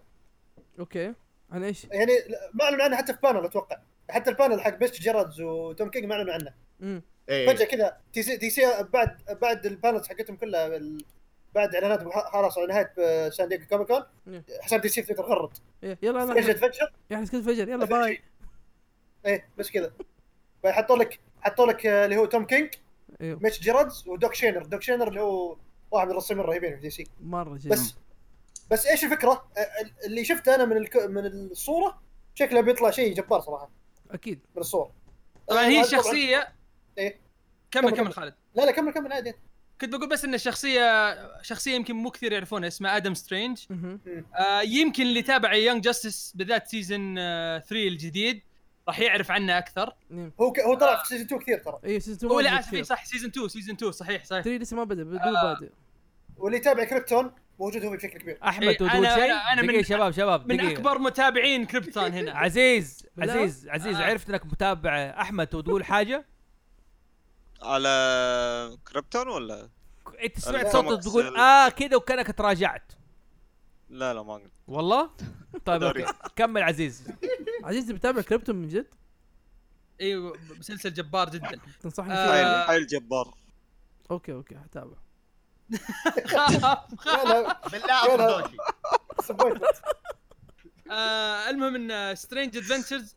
[SPEAKER 5] اوكي انا ايش
[SPEAKER 7] يعني ما اعلنوا عنها حتى في بانل اتوقع حتى البانل حق بيست جيرادز وتوم كينج ما اعلنوا عنه
[SPEAKER 5] امم
[SPEAKER 1] إيه.
[SPEAKER 7] فجاه كذا تي سي دي سي بعد بعد البانلز حقتهم كلها ال- بعد اعلانات بح- خلاص على نهايه آه، سان دييغو كوميك كون
[SPEAKER 5] إيه.
[SPEAKER 7] حساب دي سي في تويتر غرد
[SPEAKER 5] إيه، يلا انا
[SPEAKER 7] ستريج ادفنتشر
[SPEAKER 5] يحرس كذا فجر يلا باي
[SPEAKER 7] ايه بس كذا فيحطوا لك حطوا لك آه، اللي هو توم كينج
[SPEAKER 5] ايوه
[SPEAKER 7] ميتش جيرادز ودوك شينر دوك شينر اللي هو واحد من الرسامين الرهيبين في دي سي
[SPEAKER 5] مره جيد
[SPEAKER 7] بس بس ايش الفكره؟ آه، ال- اللي شفته انا من الك... من الصوره شكله بيطلع شيء جبار صراحه
[SPEAKER 5] اكيد
[SPEAKER 7] من الصور
[SPEAKER 2] طبعا هي
[SPEAKER 7] هذا
[SPEAKER 2] الشخصيه
[SPEAKER 7] إيه.
[SPEAKER 2] كمل
[SPEAKER 7] كمل.
[SPEAKER 2] كمل خالد
[SPEAKER 7] لا لا كمل كمل عادي
[SPEAKER 2] كنت بقول بس ان الشخصيه شخصيه يمكن مو كثير يعرفونها اسمها ادم سترينج
[SPEAKER 5] مهم.
[SPEAKER 2] آه يمكن اللي تابع يونج جاستس بالذات سيزون 3 الجديد راح يعرف عنه اكثر
[SPEAKER 5] نعم
[SPEAKER 7] هو ك... هو طلع في سيزون 2 كثير ترى
[SPEAKER 5] ايوه سيزون
[SPEAKER 2] هو لا اسف إيه، صح سيزون 2 سيزون 2 صحيح صحيح
[SPEAKER 5] 3 لسه ما بدا بدو
[SPEAKER 2] آه.
[SPEAKER 5] بادئ
[SPEAKER 7] واللي يتابع كريبتون موجود هو بشكل كبير
[SPEAKER 4] احمد
[SPEAKER 2] إيه،
[SPEAKER 4] تقول
[SPEAKER 2] أنا-
[SPEAKER 4] شيء
[SPEAKER 2] أنا- أنا من-
[SPEAKER 4] دقيقه شباب شباب
[SPEAKER 2] من
[SPEAKER 4] دقيقة.
[SPEAKER 2] اكبر متابعين كريبتون هنا
[SPEAKER 4] عزيز
[SPEAKER 5] بالله؟
[SPEAKER 4] عزيز عزيز
[SPEAKER 2] آه.
[SPEAKER 4] عرفت انك متابع احمد وتقول حاجه
[SPEAKER 6] على كريبتون ولا
[SPEAKER 4] انت سمعت
[SPEAKER 6] لا،
[SPEAKER 4] صوتك
[SPEAKER 6] مقصد-
[SPEAKER 4] تقول اه كذا وكانك تراجعت
[SPEAKER 6] لا لا ما اقدر
[SPEAKER 4] والله طيب
[SPEAKER 6] دوري.
[SPEAKER 4] اوكي كمل عزيز
[SPEAKER 5] عزيز بتابع كريبتون من جد
[SPEAKER 2] ايوه مسلسل جبار جدا
[SPEAKER 5] تنصحني
[SPEAKER 2] آه.
[SPEAKER 5] فيه
[SPEAKER 6] حيل حيل جبار
[SPEAKER 5] اوكي اوكي هتابع
[SPEAKER 2] خاف
[SPEAKER 7] لا لا
[SPEAKER 1] بالله أخذ
[SPEAKER 7] يلا.
[SPEAKER 1] دوشي.
[SPEAKER 7] سبويت.
[SPEAKER 2] آه المهم ان سترينج ادفنتشرز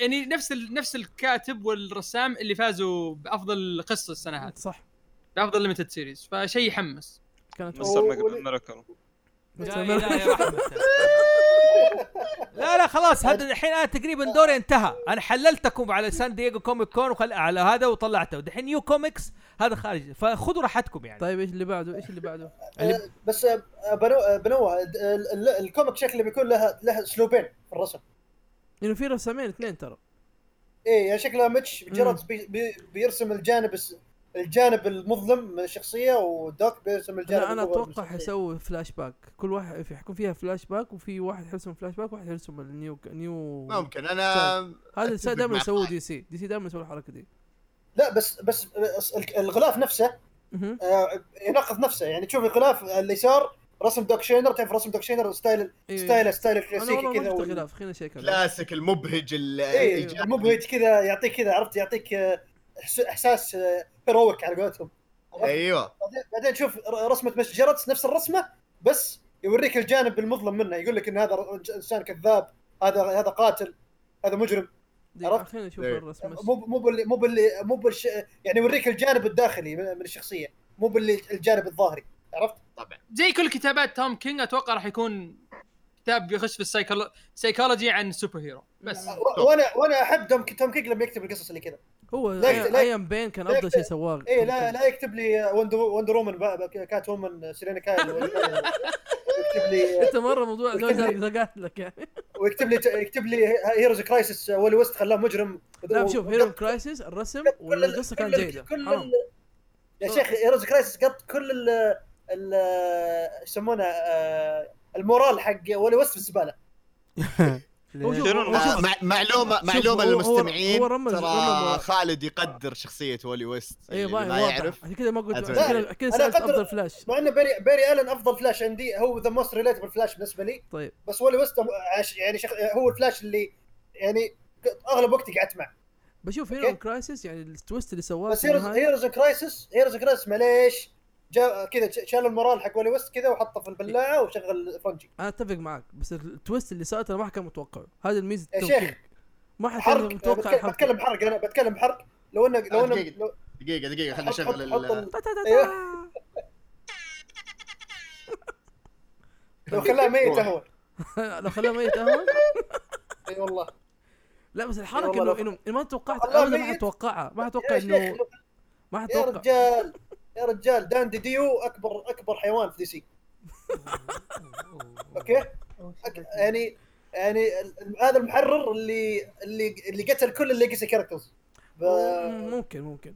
[SPEAKER 2] يعني نفس ال... نفس الكاتب والرسام اللي فازوا بافضل قصه السنه هذه
[SPEAKER 5] صح
[SPEAKER 2] بافضل ليمتد سيريز فشيء يحمس
[SPEAKER 5] كانت
[SPEAKER 7] مس-
[SPEAKER 6] مستر
[SPEAKER 7] أوه،
[SPEAKER 6] ميك-
[SPEAKER 7] ولي-
[SPEAKER 6] ميراكل
[SPEAKER 5] بس
[SPEAKER 4] لا
[SPEAKER 5] أنا-
[SPEAKER 4] إله إلا أحمد. لا لا خلاص هذا الحين انا تقريبا دوري انتهى انا حللتكم على سان دييغو كوميك كون وخل... على هذا وطلعته دحين نيو كوميكس هذا خارج فخذوا راحتكم يعني
[SPEAKER 5] طيب ايش اللي بعده ايش اللي بعده
[SPEAKER 7] آه، بس آه، بنو- آه، بنوه د- ال- ال- الكوميك شكله بيكون لها لها اسلوبين في الرسم
[SPEAKER 5] انه في رسامين اثنين ترى
[SPEAKER 7] ايه يعني شكلها ميتش جيرارد بي بي بيرسم الجانب الس- الجانب المظلم من الشخصيه ودوك بيرسم الجانب
[SPEAKER 5] لا انا
[SPEAKER 7] المظلم
[SPEAKER 5] اتوقع
[SPEAKER 7] من الشخصية.
[SPEAKER 5] حيسوي فلاش باك كل واحد في- حيكون فيها فلاش باك وفي واحد حيرسم فلاش باك وواحد حيرسم النيو نيو
[SPEAKER 1] ممكن انا
[SPEAKER 5] هذا الشيء
[SPEAKER 1] أتفق
[SPEAKER 5] دائما
[SPEAKER 1] مع
[SPEAKER 5] يسووه
[SPEAKER 1] خالد.
[SPEAKER 5] دي سي دي سي دائما يسوي الحركه دي
[SPEAKER 7] لا بس بس بس ال- الغلاف نفسه
[SPEAKER 5] مهم.
[SPEAKER 7] آه، يناقض ننقذ نفسه يعني تشوف الغلاف اليسار رسم دوك شينر تعرف رسم دوك شينر ستايل
[SPEAKER 5] إيه.
[SPEAKER 7] ستايل ستايل
[SPEAKER 5] انا والله
[SPEAKER 7] الكلاسيكي
[SPEAKER 5] ما
[SPEAKER 7] كذا
[SPEAKER 5] شفت
[SPEAKER 7] وال-
[SPEAKER 5] خلاف خلينا شيء كذا
[SPEAKER 1] كلاسيك المبهج ال-
[SPEAKER 7] ايه
[SPEAKER 5] إيه،
[SPEAKER 1] الإيجابي.
[SPEAKER 7] المبهج كذا يعطيك كذا عرفت يعطيك آه، إحس- احساس هيرويك على قولتهم
[SPEAKER 1] ايوه
[SPEAKER 7] بعدين- بعدين تشوف ر- رسمه مش جرتس نفس الرسمه بس يوريك الجانب المظلم منه يقول لك ان هذا ر- انسان كذاب هذا هذا قاتل هذا مجرم عرفت؟
[SPEAKER 5] خلينا نشوف
[SPEAKER 1] إيه.
[SPEAKER 5] الرسم بس.
[SPEAKER 7] مو ب- مو باللي مو باللي مو بالش يعني يوريك الجانب الداخلي من من الشخصيه مو باللي الجانب الظاهري عرفت؟
[SPEAKER 2] زي كل كتابات توم كينج اتوقع راح يكون كتاب بيخش في السايكولوجي سايكولوجي عن سوبر هيرو بس
[SPEAKER 7] و- وانا وانا احب دوم توم كيك لما يكتب القصص اللي كذا
[SPEAKER 5] هو
[SPEAKER 7] لا يكت- لا-
[SPEAKER 5] ايام بين كان افضل شيء سواه
[SPEAKER 7] اي لا لا يكتب لي وندر وندر وومن بقى- بقى- كات وومن سيرينا كايل ولا- يكتب لي
[SPEAKER 5] انت مره موضوع زوجك قالت لك يعني
[SPEAKER 7] ويكتب لي يكتب لي هيروز كرايسس ولي ويست خلاه مجرم
[SPEAKER 5] لا شوف هيرو كرايسيس الرسم
[SPEAKER 7] كل-
[SPEAKER 5] والقصه كانت
[SPEAKER 7] كل-
[SPEAKER 5] جيده
[SPEAKER 7] كل
[SPEAKER 5] حرام
[SPEAKER 7] ال- يا شيخ هيروز كرايسس قط كل ال ال إيش يسمونه آه، المورال حق ولي ويست في الزباله
[SPEAKER 5] هو شوف-
[SPEAKER 6] شنو
[SPEAKER 5] هو شوف-
[SPEAKER 6] المعلومة؟
[SPEAKER 1] مع- معلومه
[SPEAKER 5] شوف،
[SPEAKER 1] معلومه
[SPEAKER 5] هو- هو-
[SPEAKER 1] للمستمعين
[SPEAKER 5] هو رمز-
[SPEAKER 1] ترى
[SPEAKER 5] رمز-
[SPEAKER 1] خالد يقدر شخصيه ولي ويست
[SPEAKER 5] اي
[SPEAKER 1] اللي
[SPEAKER 5] باين
[SPEAKER 1] ما
[SPEAKER 5] إيه، واضح
[SPEAKER 1] يعرف
[SPEAKER 5] عشان كذا ما قلت
[SPEAKER 1] أتوقع.
[SPEAKER 5] عشان كذا- كذا
[SPEAKER 7] أنا
[SPEAKER 5] سالت
[SPEAKER 7] أقدر-
[SPEAKER 5] افضل فلاش
[SPEAKER 7] مع ان باري باري الن افضل فلاش عندي هو ذا موست ريليتبل فلاش بالنسبه لي
[SPEAKER 5] طيب
[SPEAKER 7] بس ولي ويست عش- يعني شخ... هو الفلاش اللي يعني اغلب وقتي قعدت معه
[SPEAKER 5] بشوف هيرو
[SPEAKER 7] أوكي.
[SPEAKER 5] كرايسيس يعني التويست اللي سواه
[SPEAKER 7] بس إيه؟
[SPEAKER 5] في النهاية-
[SPEAKER 7] هيروز كرايسس هيروز كرايسس معليش جاء كذا ش- شال المورال حق ولي ويست كذا وحطه في البلاعه وشغل فرنجي
[SPEAKER 5] انا اتفق معك بس التويست اللي سويته ما حد كان متوقعه هذا الميزه
[SPEAKER 7] يا
[SPEAKER 5] التوقيع.
[SPEAKER 7] شيخ
[SPEAKER 5] ما حد كان
[SPEAKER 7] حرق
[SPEAKER 5] متوقع
[SPEAKER 7] بتك-
[SPEAKER 5] الحركه
[SPEAKER 7] بتكلم حرق انا بتكلم حرق لو انه لو انه
[SPEAKER 1] دقيقة.
[SPEAKER 7] لو-
[SPEAKER 1] دقيقه دقيقه خليني
[SPEAKER 7] حط- حط-
[SPEAKER 1] اشغل
[SPEAKER 7] حط
[SPEAKER 1] ال-
[SPEAKER 7] ال-
[SPEAKER 5] تا- تا- تا-
[SPEAKER 7] أيوه.
[SPEAKER 5] تا.
[SPEAKER 7] لو خلاه ميت اهون
[SPEAKER 5] لو خلاه ميت اهون
[SPEAKER 7] اي والله
[SPEAKER 5] لا بس
[SPEAKER 7] إي
[SPEAKER 5] الحركه
[SPEAKER 7] والله
[SPEAKER 5] انه
[SPEAKER 7] لو-
[SPEAKER 5] انه إنه ما توقعت
[SPEAKER 7] والله
[SPEAKER 5] ابدا ما
[SPEAKER 7] ميت.
[SPEAKER 5] حد توقعها ما حد توقع
[SPEAKER 7] يا شيخ،
[SPEAKER 5] انه ما حد
[SPEAKER 7] يا
[SPEAKER 5] توقع
[SPEAKER 7] رجال يا رجال داندي ديو اكبر اكبر حيوان في دي سي اوكي أك- يعني يعني ال- ال- هذا المحرر اللي اللي اللي قتل كل الليجسي كاركترز
[SPEAKER 5] مم، ممكن ممكن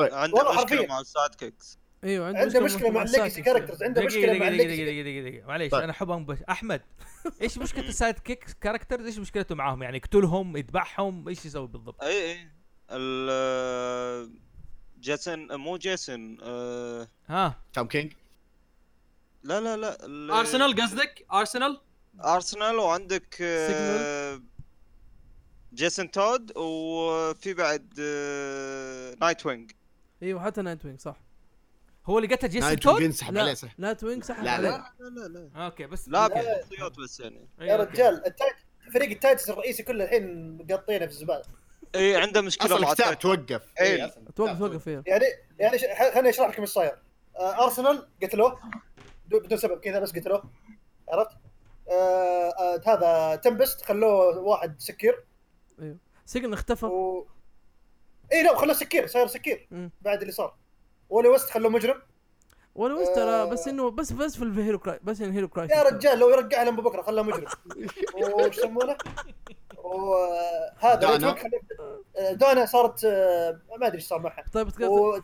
[SPEAKER 6] عنده
[SPEAKER 7] والله
[SPEAKER 6] مشكله
[SPEAKER 7] حرفياً.
[SPEAKER 6] مع السايد كيكس
[SPEAKER 5] ايوه
[SPEAKER 7] عنده مشكله مع الليجسي
[SPEAKER 5] السايكل.
[SPEAKER 7] كاركترز عنده
[SPEAKER 4] دقيقة
[SPEAKER 7] مشكله مع
[SPEAKER 4] دقيقة دقيقة
[SPEAKER 7] الليجسي
[SPEAKER 4] دقيقة دقيقة دقيقة معليش
[SPEAKER 1] طيب.
[SPEAKER 4] أنا حبهم بش... أحمد إيش مشكلة السايد كيك كاركترز إيش مشكلته معاهم يعني يقتلهم يذبحهم إيش يسوي بالضبط؟
[SPEAKER 6] اي اي ال- جيسون مو جيسون آه،
[SPEAKER 4] ها
[SPEAKER 1] توم كينج
[SPEAKER 6] لا لا لا ال-
[SPEAKER 2] ارسنال قصدك ارسنال
[SPEAKER 6] ارسنال وعندك آه، جيسون تود وفي بعد آه، نايت وينج
[SPEAKER 5] ايوه حتى نايت وينج صح
[SPEAKER 4] هو اللي قتل جيسون
[SPEAKER 1] نايت
[SPEAKER 4] تود؟
[SPEAKER 1] ينسحب عليه
[SPEAKER 5] لا
[SPEAKER 1] صح
[SPEAKER 5] نايت وينج سحب
[SPEAKER 1] لا، لا.
[SPEAKER 5] عليه.
[SPEAKER 6] لا لا لا
[SPEAKER 4] أوكي بس
[SPEAKER 6] لا
[SPEAKER 4] أوكي.
[SPEAKER 6] بالشخصيات بس يعني
[SPEAKER 4] أيوة،
[SPEAKER 7] يا
[SPEAKER 4] أوكي.
[SPEAKER 7] رجال التايت فريق التايتس الرئيسي كله الحين مقطينه في الزباله
[SPEAKER 6] اي عنده مشكله
[SPEAKER 1] اصلا
[SPEAKER 6] مع
[SPEAKER 1] الكتاب
[SPEAKER 6] التايتن.
[SPEAKER 1] توقف
[SPEAKER 6] إيه.
[SPEAKER 1] إيه، أصلاً
[SPEAKER 5] توقف
[SPEAKER 1] الكتاب
[SPEAKER 5] توقف فيها
[SPEAKER 7] يعني يعني ش... خ- خليني اشرح لكم ايش صاير آه ارسنال قتلوه بدو- بدون سبب كذا بس قتلوه عرفت؟ آه آه هذا تمبست خلوه واحد سكير
[SPEAKER 5] سجن اختفى
[SPEAKER 7] و اي لا خلوه سكير صاير سكير
[SPEAKER 5] مم.
[SPEAKER 7] بعد اللي صار ولي وست خلوه مجرم
[SPEAKER 5] ولا وش ترى بس انه بس بس في الهيرو كراي بس إن الهيرو كراي
[SPEAKER 7] يا رجال لو يرجع لهم بكره خلاه مجرم وش يسمونه؟ وهذا
[SPEAKER 1] دانا.
[SPEAKER 7] نايت وينج خلاه- آه، دانا صارت آه، ما ادري ايش صار معها
[SPEAKER 5] طيب تقدر-
[SPEAKER 7] و...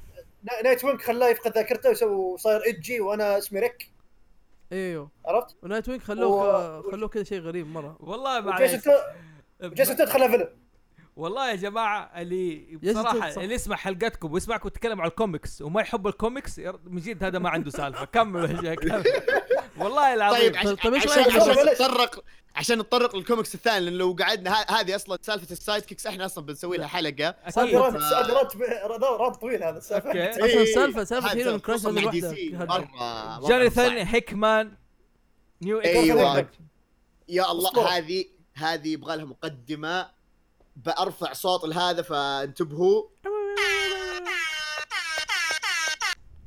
[SPEAKER 7] نا- نايت وينج خلاه يفقد ذاكرته ويسوي- وصاير اجي وانا اسمي ريك
[SPEAKER 5] ايوه
[SPEAKER 7] عرفت؟
[SPEAKER 5] ونايت وينج خلوه
[SPEAKER 7] و-
[SPEAKER 5] خ- خلوه كذا شيء غريب مره
[SPEAKER 4] والله
[SPEAKER 7] جيسون
[SPEAKER 4] معليش
[SPEAKER 7] تود- جيسون تود خلاه فيلن
[SPEAKER 4] والله يا جماعة اللي
[SPEAKER 5] جيسون تود
[SPEAKER 4] بصراحة
[SPEAKER 5] صح.
[SPEAKER 4] اللي يسمع حلقتكم ويسمعكم تتكلم عن الكوميكس وما يحب الكوميكس ير- من جد هذا ما عنده سالفة كمل يا شيخ، كمل. والله العظيم
[SPEAKER 1] طيب عش-
[SPEAKER 5] طيب إيش
[SPEAKER 1] عشان
[SPEAKER 5] رأيك؟
[SPEAKER 1] عشان
[SPEAKER 7] بلاش.
[SPEAKER 1] نتطرق عشان نتطرق للكوميكس الثاني لان لو قعدنا ه- هذه اصلا سالفه السايد كيكس احنا اصلا بنسوي لها حلقه
[SPEAKER 7] هذا
[SPEAKER 4] أكيد
[SPEAKER 7] رات- هذا رات رات طويل هذا السالفه
[SPEAKER 4] أوكي.
[SPEAKER 5] أصلاً
[SPEAKER 1] إيه،
[SPEAKER 5] سالفة- سالفة
[SPEAKER 1] هذا
[SPEAKER 5] هيرو كراش
[SPEAKER 1] خصوصاً
[SPEAKER 5] هذه
[SPEAKER 1] مع دي
[SPEAKER 5] لوحدها.
[SPEAKER 1] سي،
[SPEAKER 5] هذا.
[SPEAKER 1] مرة- مرة
[SPEAKER 4] جوناثان
[SPEAKER 1] صعب.
[SPEAKER 4] هيكمان نيو
[SPEAKER 1] أيوة.
[SPEAKER 4] إكس
[SPEAKER 1] يا الله
[SPEAKER 7] أسطورة.
[SPEAKER 1] هذه هذه يبغى لها مقدمه بارفع صوت لهذا فانتبهوا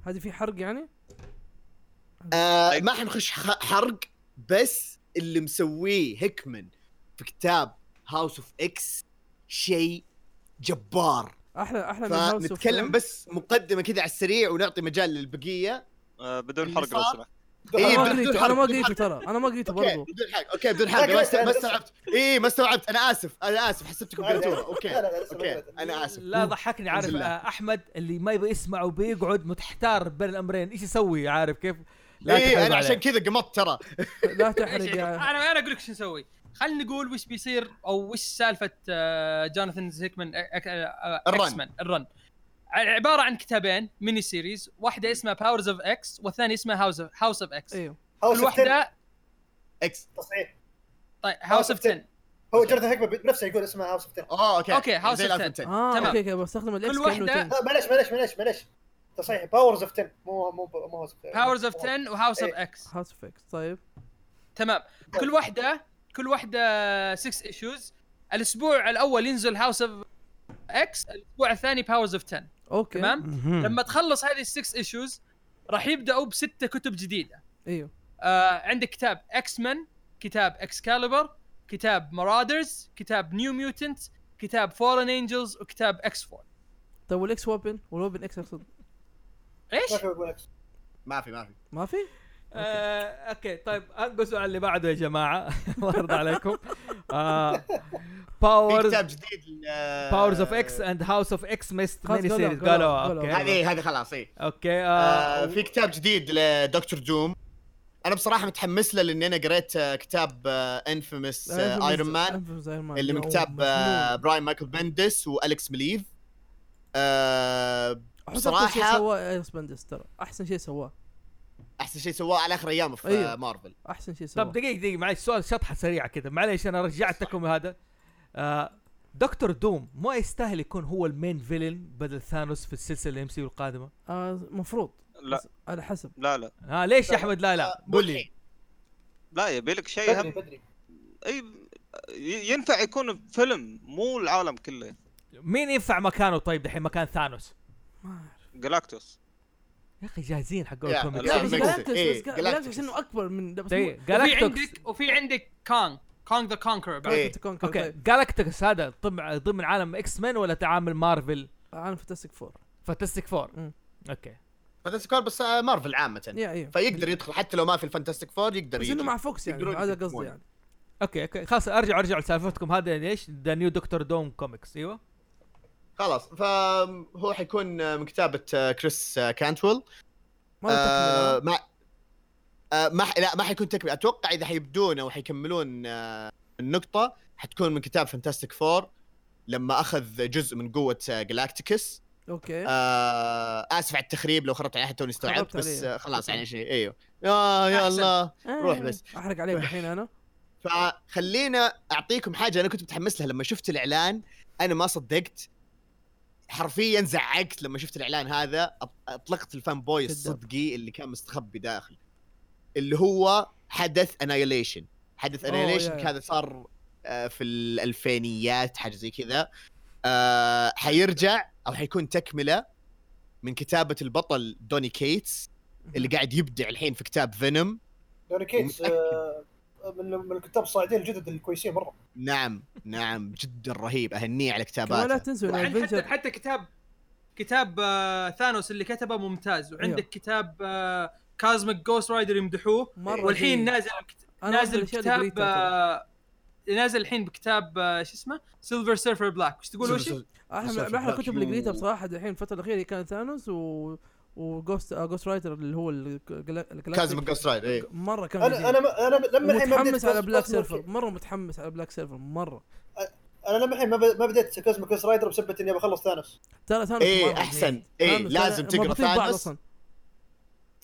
[SPEAKER 5] هذه في حرق يعني
[SPEAKER 1] آه ما حنخش خ- حرق بس اللي مسويه هيكمن في كتاب هاوس اوف اكس شيء جبار
[SPEAKER 5] احلى احلى من هاوس اوف
[SPEAKER 1] فنتكلم بس مقدمه كذا على السريع ونعطي مجال للبقيه
[SPEAKER 6] آه، بدون
[SPEAKER 1] اللي
[SPEAKER 6] حرق لو
[SPEAKER 1] صار.
[SPEAKER 6] سمحت
[SPEAKER 5] انا
[SPEAKER 1] إيه،
[SPEAKER 5] ما
[SPEAKER 1] بدون
[SPEAKER 5] قريته
[SPEAKER 1] حرق،
[SPEAKER 5] انا ما
[SPEAKER 1] بدون
[SPEAKER 5] قريته ترى انا ما قريته
[SPEAKER 1] اوكي
[SPEAKER 5] برضه
[SPEAKER 1] بدون حاجه اوكي بدون حاجه ما است- ما استوعبت اي ما استوعبت انا اسف انا اسف حسبتكم
[SPEAKER 7] عادي،
[SPEAKER 1] قلتوها
[SPEAKER 7] عادي.
[SPEAKER 1] اوكي
[SPEAKER 7] لا، لا، لا، لسه ما
[SPEAKER 1] اوكي
[SPEAKER 7] قريتها.
[SPEAKER 1] انا اسف
[SPEAKER 4] لا ضحكني عارف
[SPEAKER 1] بالله.
[SPEAKER 4] آه، احمد اللي ما يبغى يسمع وبيقعد متحتار بين الامرين ايش يسوي عارف كيف؟
[SPEAKER 1] اي
[SPEAKER 4] تحرق
[SPEAKER 1] انا إيه، عشان
[SPEAKER 4] عليه.
[SPEAKER 1] كذا قمطت ترى
[SPEAKER 5] لا
[SPEAKER 2] إيش- يعني؟
[SPEAKER 5] تحرق يا
[SPEAKER 2] انا انا اقول لك شو نسوي خلينا نقول وش بيصير او وش سالفه آه، جوناثان هيكمان
[SPEAKER 1] الرن.
[SPEAKER 2] الرن الرن عباره عن كتابين ميني سيريز واحده اسمها باورز اوف اكس والثانيه اسمها هاوس اوف هاوس اوف اكس
[SPEAKER 5] ايوه
[SPEAKER 7] هاوس
[SPEAKER 2] كل
[SPEAKER 7] اوف 10
[SPEAKER 2] واحده
[SPEAKER 1] اكس
[SPEAKER 7] تصحيح
[SPEAKER 2] طيب هاوس اوف 10
[SPEAKER 7] هو جوناثان هيكمان بنفسه يقول اسمها هاوس اوف 10
[SPEAKER 1] اوه اوكي
[SPEAKER 2] أوكي، House
[SPEAKER 1] آه، زي
[SPEAKER 2] of
[SPEAKER 1] Love and Ten.
[SPEAKER 5] اه
[SPEAKER 2] تمام.
[SPEAKER 5] اوكي اوكي بستخدم الاكس
[SPEAKER 2] كل
[SPEAKER 5] كأنه
[SPEAKER 2] واحدة-
[SPEAKER 5] تن-
[SPEAKER 7] آه، معليش معليش معليش معليش تصحيح باورز اوف 10 مو مو مو هاوس اوف 10
[SPEAKER 2] باورز اوف 10 وهاوس اوف اكس
[SPEAKER 5] هاوس اوف اكس طيب
[SPEAKER 2] تمام كل واحده كل واحده 6 ايشوز الاسبوع الاول ينزل هاوس اوف اكس الاسبوع الثاني باورز اوف 10
[SPEAKER 5] اوكي
[SPEAKER 2] تمام
[SPEAKER 3] مهم.
[SPEAKER 2] لما تخلص هذه السكس ايشوز راح يبداوا بستة كتب جديده
[SPEAKER 5] ايوه
[SPEAKER 2] آه عندك كتاب اكس مان كتاب اكسكاليبر كتاب مرادرز كتاب نيو ميوتنت كتاب فورن انجلز وكتاب اكس 4
[SPEAKER 5] طيب والاكس وابن والوابن اكس اقصد
[SPEAKER 7] ما
[SPEAKER 2] ايش؟
[SPEAKER 7] في بقول لك
[SPEAKER 1] ما في ما في
[SPEAKER 5] ما في؟
[SPEAKER 4] آه، اوكي طيب انقزوا على اللي بعده يا جماعه الله يرضى عليكم آه،
[SPEAKER 1] في
[SPEAKER 4] باورز
[SPEAKER 1] كتاب جديد
[SPEAKER 4] باورز اوف اكس اند هاوس اوف اكس ميست
[SPEAKER 5] خلاص
[SPEAKER 4] ميني
[SPEAKER 5] قالوا-
[SPEAKER 4] سيريز
[SPEAKER 5] قالوا-
[SPEAKER 4] قالوا اوكي
[SPEAKER 5] قالوا.
[SPEAKER 1] هذه هذه خلاص اي
[SPEAKER 4] اوكي
[SPEAKER 1] إيه. آه،
[SPEAKER 4] آه،
[SPEAKER 1] في كتاب جديد لدكتور دوم انا بصراحه متحمس له لاني انا قريت آه، كتاب انفيمس ايرون
[SPEAKER 5] آه،
[SPEAKER 1] مان اللي من كتاب آه، براين مايكل بندس والكس مليف آه، بصراحة-
[SPEAKER 5] بصراحه سواه ايرس بندس ترى احسن شيء سواه
[SPEAKER 1] احسن شيء سواه على اخر ايامه في
[SPEAKER 5] أيوه.
[SPEAKER 1] آه، مارفل
[SPEAKER 5] احسن شيء سواه
[SPEAKER 4] طب دقيقة دقيقة معلش سؤال شطحة سريعة كذا معليش أنا رجعتكم هذا آه دكتور دوم ما يستاهل يكون هو المين فيلن بدل ثانوس في السلسلة الام سي القادمة
[SPEAKER 5] آه، المفروض
[SPEAKER 6] لا
[SPEAKER 5] بس على حسب
[SPEAKER 6] لا لا
[SPEAKER 4] آه ليش يا أحمد لا لا قول لي
[SPEAKER 6] لا يبي لك شيء
[SPEAKER 7] بدري
[SPEAKER 6] إيه، هم
[SPEAKER 7] بدري
[SPEAKER 6] اي ي- ينفع يكون فيلم مو العالم كله
[SPEAKER 4] مين ينفع مكانه طيب دحين مكان ثانوس
[SPEAKER 5] ما أعرف.
[SPEAKER 6] جلاكتوس
[SPEAKER 4] يا أخي جاهزين حق
[SPEAKER 1] يا،
[SPEAKER 4] الكوميكس
[SPEAKER 6] لا،
[SPEAKER 5] بس
[SPEAKER 6] Galactus،
[SPEAKER 5] جالاكتوس
[SPEAKER 1] إيه،
[SPEAKER 5] بس جالاكتوس
[SPEAKER 1] Galactus.
[SPEAKER 5] عشان إنه اكبر من ده بس
[SPEAKER 4] دقيقة
[SPEAKER 2] وفي
[SPEAKER 4] جالاكتوس
[SPEAKER 2] عندك وفي عندك كانغ كانغ ذا كونكر بعد
[SPEAKER 1] إيه.
[SPEAKER 4] اوكي
[SPEAKER 5] طيب.
[SPEAKER 4] جالاكتوس هذا ضمن ضمن عالم اكس مان ولا تعامل مارفل
[SPEAKER 5] انا فانتستيك فور
[SPEAKER 4] فانتستيك فور
[SPEAKER 5] مم.
[SPEAKER 4] اوكي
[SPEAKER 1] فانتستيك فور بس آه، مارفل عامة
[SPEAKER 5] يا يا
[SPEAKER 1] فيقدر يدخل حتى لو ما في الفانتستيك فور يقدر
[SPEAKER 5] بس انه
[SPEAKER 1] يجي
[SPEAKER 5] مع فوكس يعني
[SPEAKER 1] يقدرون
[SPEAKER 5] هذا
[SPEAKER 1] يتكلمون.
[SPEAKER 5] قصدي يعني
[SPEAKER 4] اوكي اوكي خلاص ارجع ارجع لسالفتكم هذا ليش ذا نيو دكتور دوم كوميكس ايوه
[SPEAKER 1] خلاص فهو حيكون آه، من كتابة آه، كريس آه، كانتويل
[SPEAKER 5] ما له تكملة.
[SPEAKER 1] آه، ما آه، ما ح- لا ما حيكون تكمله اتوقع اذا حيبدون او حيكملون آه، النقطه حتكون من كتاب فانتاستيك فور لما اخذ جزء من قوه آه، جلاكتيكس
[SPEAKER 5] اوكي
[SPEAKER 1] آه اسف على التخريب لو خربت عليها توني استوعبت
[SPEAKER 5] إيه. خربت
[SPEAKER 1] بس
[SPEAKER 5] عليه.
[SPEAKER 1] آه، خلاص يعني شيء ايوه يا يا
[SPEAKER 2] أحسن.
[SPEAKER 1] الله روح
[SPEAKER 5] آه،
[SPEAKER 1] بس.
[SPEAKER 5] احرق عليك الحين انا
[SPEAKER 1] فخلينا اعطيكم حاجه انا كنت متحمس لها لما شفت الاعلان انا ما صدقت حرفيا زعقت لما شفت الاعلان هذا أط- اطلقت الفان بوي
[SPEAKER 5] كذاب.
[SPEAKER 1] الصدقي اللي كان مستخبي داخل اللي هو حدث انايليشن حدث
[SPEAKER 5] أوه،
[SPEAKER 1] انايليشن
[SPEAKER 5] يا- يا.
[SPEAKER 1] كذا صار آه، في الالفينيات حاجه زي كذا آه، حيرجع او حيكون تكمله من كتابه البطل دوني كيتس اللي قاعد يبدع الحين في كتاب فينوم
[SPEAKER 7] دوني كيتس آه، من من الكتاب الصاعدين الجدد الكويسين مره
[SPEAKER 1] نعم نعم جدا رهيب اهنيه على
[SPEAKER 5] كمان لا
[SPEAKER 1] كتاباته
[SPEAKER 5] تنسوا انه
[SPEAKER 2] وعند حتى
[SPEAKER 5] افنجر
[SPEAKER 2] حتى كتاب كتاب آه، ثانوس اللي كتبه ممتاز وعندك
[SPEAKER 5] أيوه.
[SPEAKER 2] كتاب آه، كازميك جوست رايدر يمدحوه
[SPEAKER 5] مره
[SPEAKER 2] والحين
[SPEAKER 5] جيد.
[SPEAKER 2] نازل
[SPEAKER 5] أنا أفضل
[SPEAKER 2] نازل
[SPEAKER 5] الأشياء اللي
[SPEAKER 2] بكتاب
[SPEAKER 5] قريتها ترى.
[SPEAKER 2] آه، نازل الحين بكتاب آه، شو اسمه سيلفر سيرفر بلاك وش تقول وش
[SPEAKER 5] احلى من
[SPEAKER 1] مسلسل
[SPEAKER 5] احلى الكتب اللي
[SPEAKER 1] بلاك.
[SPEAKER 5] قريتها بصراحه الحين الفتره الاخيره كان ثانوس و وجوست آه، جوست رايتر اللي هو ال- الجلا- الجلاكتيك.
[SPEAKER 1] كازم إيه. جوست رايد اي
[SPEAKER 5] مره كان
[SPEAKER 7] انا
[SPEAKER 5] انا
[SPEAKER 7] انا انا لما الحين ما بديت
[SPEAKER 5] متحمس على
[SPEAKER 7] Cosmic
[SPEAKER 5] بلاك
[SPEAKER 7] Ghost
[SPEAKER 5] سيرفر
[SPEAKER 7] Rider-
[SPEAKER 5] مره متحمس على بلاك سيرفر مره
[SPEAKER 7] انا لما الحين ما ب- ما بديت كوزميك جوست رايدر بسبب اني بخلص ثانوس
[SPEAKER 5] ترى ثانوس
[SPEAKER 1] اي
[SPEAKER 5] مرة
[SPEAKER 1] احسن
[SPEAKER 5] جيد.
[SPEAKER 1] اي
[SPEAKER 5] ثانوس-
[SPEAKER 1] إيه، لازم تقرا
[SPEAKER 5] مربوطين ببعض
[SPEAKER 1] ثانوس
[SPEAKER 5] أصلاً.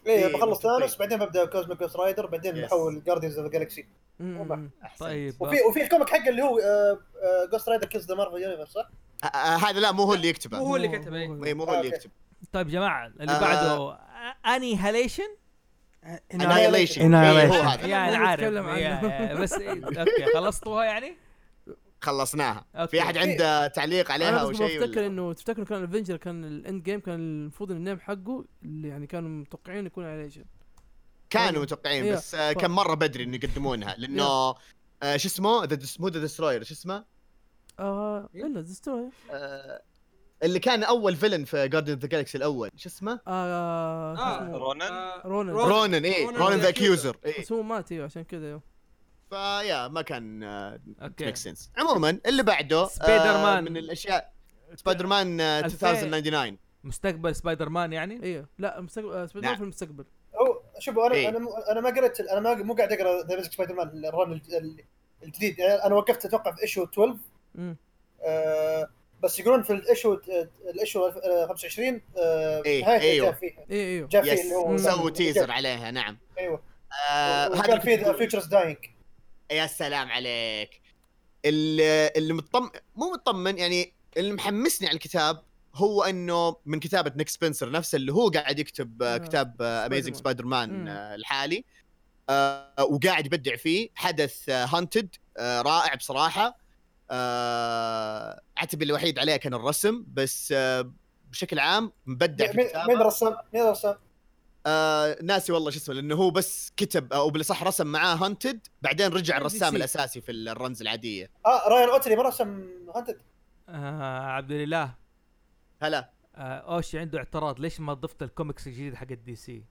[SPEAKER 1] إيه،
[SPEAKER 7] اي بخلص
[SPEAKER 1] منطقي.
[SPEAKER 7] ثانوس بعدين ببدا كوزميك جوست رايدر بعدين
[SPEAKER 1] Yes.
[SPEAKER 7] بحول جاردينز اوف جالكسي
[SPEAKER 5] أمم، أمم.
[SPEAKER 4] طيب
[SPEAKER 1] آه.
[SPEAKER 7] وفي وفي الكوميك حقه اللي هو آه، جوست رايدر كيلز ذا مارفل يونيفرس صح؟
[SPEAKER 1] آه، آه، هذا لا مو هو اللي
[SPEAKER 2] مو
[SPEAKER 1] يكتبه
[SPEAKER 2] هو اللي كتبه إيه.
[SPEAKER 1] إي، مو هو اللي
[SPEAKER 7] أوكي.
[SPEAKER 1] يكتب
[SPEAKER 4] طيب جماعة اللي
[SPEAKER 1] آه.
[SPEAKER 4] بعده اني هاليشن
[SPEAKER 1] انايليشن
[SPEAKER 3] Annihilation.
[SPEAKER 1] إيه، هو هذا
[SPEAKER 4] يا أنا
[SPEAKER 5] أنا
[SPEAKER 4] عارف
[SPEAKER 5] بتكلم
[SPEAKER 4] يا-
[SPEAKER 5] عنه.
[SPEAKER 4] يا- بس اوكي خلصتوها يعني؟
[SPEAKER 1] خلصناها
[SPEAKER 4] أوكي.
[SPEAKER 1] في احد عنده تعليق عليها
[SPEAKER 5] انا
[SPEAKER 1] او
[SPEAKER 5] بس
[SPEAKER 1] شيء
[SPEAKER 5] بفتكر
[SPEAKER 1] ولا؟
[SPEAKER 5] انه تفتكر كان الافنجر كان الاند جيم كان المفروض إن النيم حقه اللي يعني كانوا متوقعين يكون عليه شيء
[SPEAKER 1] كانوا متوقعين
[SPEAKER 5] إيه،
[SPEAKER 1] بس آه،
[SPEAKER 5] ف-
[SPEAKER 1] كان مره بدري انه يقدمونها لانه آه، شو اسمه ذا دس- مو ذا دستروير شو اسمه
[SPEAKER 5] اه
[SPEAKER 2] إيه؟
[SPEAKER 5] الا دستوي
[SPEAKER 1] آه، اللي كان اول فيلن في جاردن ذا جالكسي الاول شو اسمه
[SPEAKER 5] اه شو
[SPEAKER 2] آه،
[SPEAKER 5] اسمه؟
[SPEAKER 6] رونن
[SPEAKER 2] آه،
[SPEAKER 5] رونن
[SPEAKER 2] رونن.
[SPEAKER 1] رونن اي
[SPEAKER 2] رونن
[SPEAKER 1] رونن
[SPEAKER 2] the
[SPEAKER 1] ذا اكيوزر اي
[SPEAKER 5] بس هو مات ايوه عشان كذا ايوه
[SPEAKER 1] إيه. فيا ما كان آه،
[SPEAKER 4] اوكي
[SPEAKER 1] ميك سنس عموما اللي بعده
[SPEAKER 4] سبايدر
[SPEAKER 1] آه،
[SPEAKER 4] مان.
[SPEAKER 1] من الاشياء سبايدر مان آه، 2099
[SPEAKER 4] مستقبل سبايدر مان يعني؟
[SPEAKER 2] إيه؟
[SPEAKER 5] ايوه لا مستقبل آه، سبايدر
[SPEAKER 1] نعم.
[SPEAKER 5] مان في المستقبل
[SPEAKER 7] هو شوفوا انا
[SPEAKER 1] إيه.
[SPEAKER 7] انا مو- انا ما قريت انا ما مو قاعد اقرا ذا ميزك سبايدر مان الرن الج- ال- الجديد يعني انا وقفت اتوقع في ايشو 12
[SPEAKER 5] امم
[SPEAKER 7] آه، بس يقولون في الايشو الايشو 25 آه،
[SPEAKER 1] إيه،
[SPEAKER 7] نهاية
[SPEAKER 1] أيوه.
[SPEAKER 7] جاء فيها
[SPEAKER 5] ايوه ايوه
[SPEAKER 7] جاء فيه اللي هو
[SPEAKER 1] يس سووا تيزر عليها نعم
[SPEAKER 7] ايوه
[SPEAKER 1] آه،
[SPEAKER 7] وكان في
[SPEAKER 1] هذا
[SPEAKER 7] ذا فيوتشرز داينج
[SPEAKER 1] يا سلام عليك اللي اللي مطمن مو مطمن يعني اللي محمسني على الكتاب هو انه من كتابه نيك سبنسر نفسه اللي هو قاعد يكتب آه،
[SPEAKER 5] آه،
[SPEAKER 1] كتاب اميزنج سبايدر مان
[SPEAKER 5] مم.
[SPEAKER 1] الحالي آه، وقاعد يبدع فيه حدث هانتد رائع بصراحه آه، عتبي الوحيد عليه كان الرسم بس آه، بشكل عام مبدع في
[SPEAKER 7] مين
[SPEAKER 1] الكتابه
[SPEAKER 7] مين رسام مين رسام
[SPEAKER 1] آه ناسي والله شو اسمه لانه هو بس كتب او بالاصح رسم معاه هانتد بعدين رجع الرسام
[SPEAKER 5] سي.
[SPEAKER 1] الاساسي في الرنز العاديه
[SPEAKER 7] اه رايان اوتري ما رسم هانتد
[SPEAKER 4] آه عبد الله
[SPEAKER 1] هلا
[SPEAKER 4] آه اوشي عنده اعتراض ليش ما ضفت الكوميكس الجديد حق الدي سي؟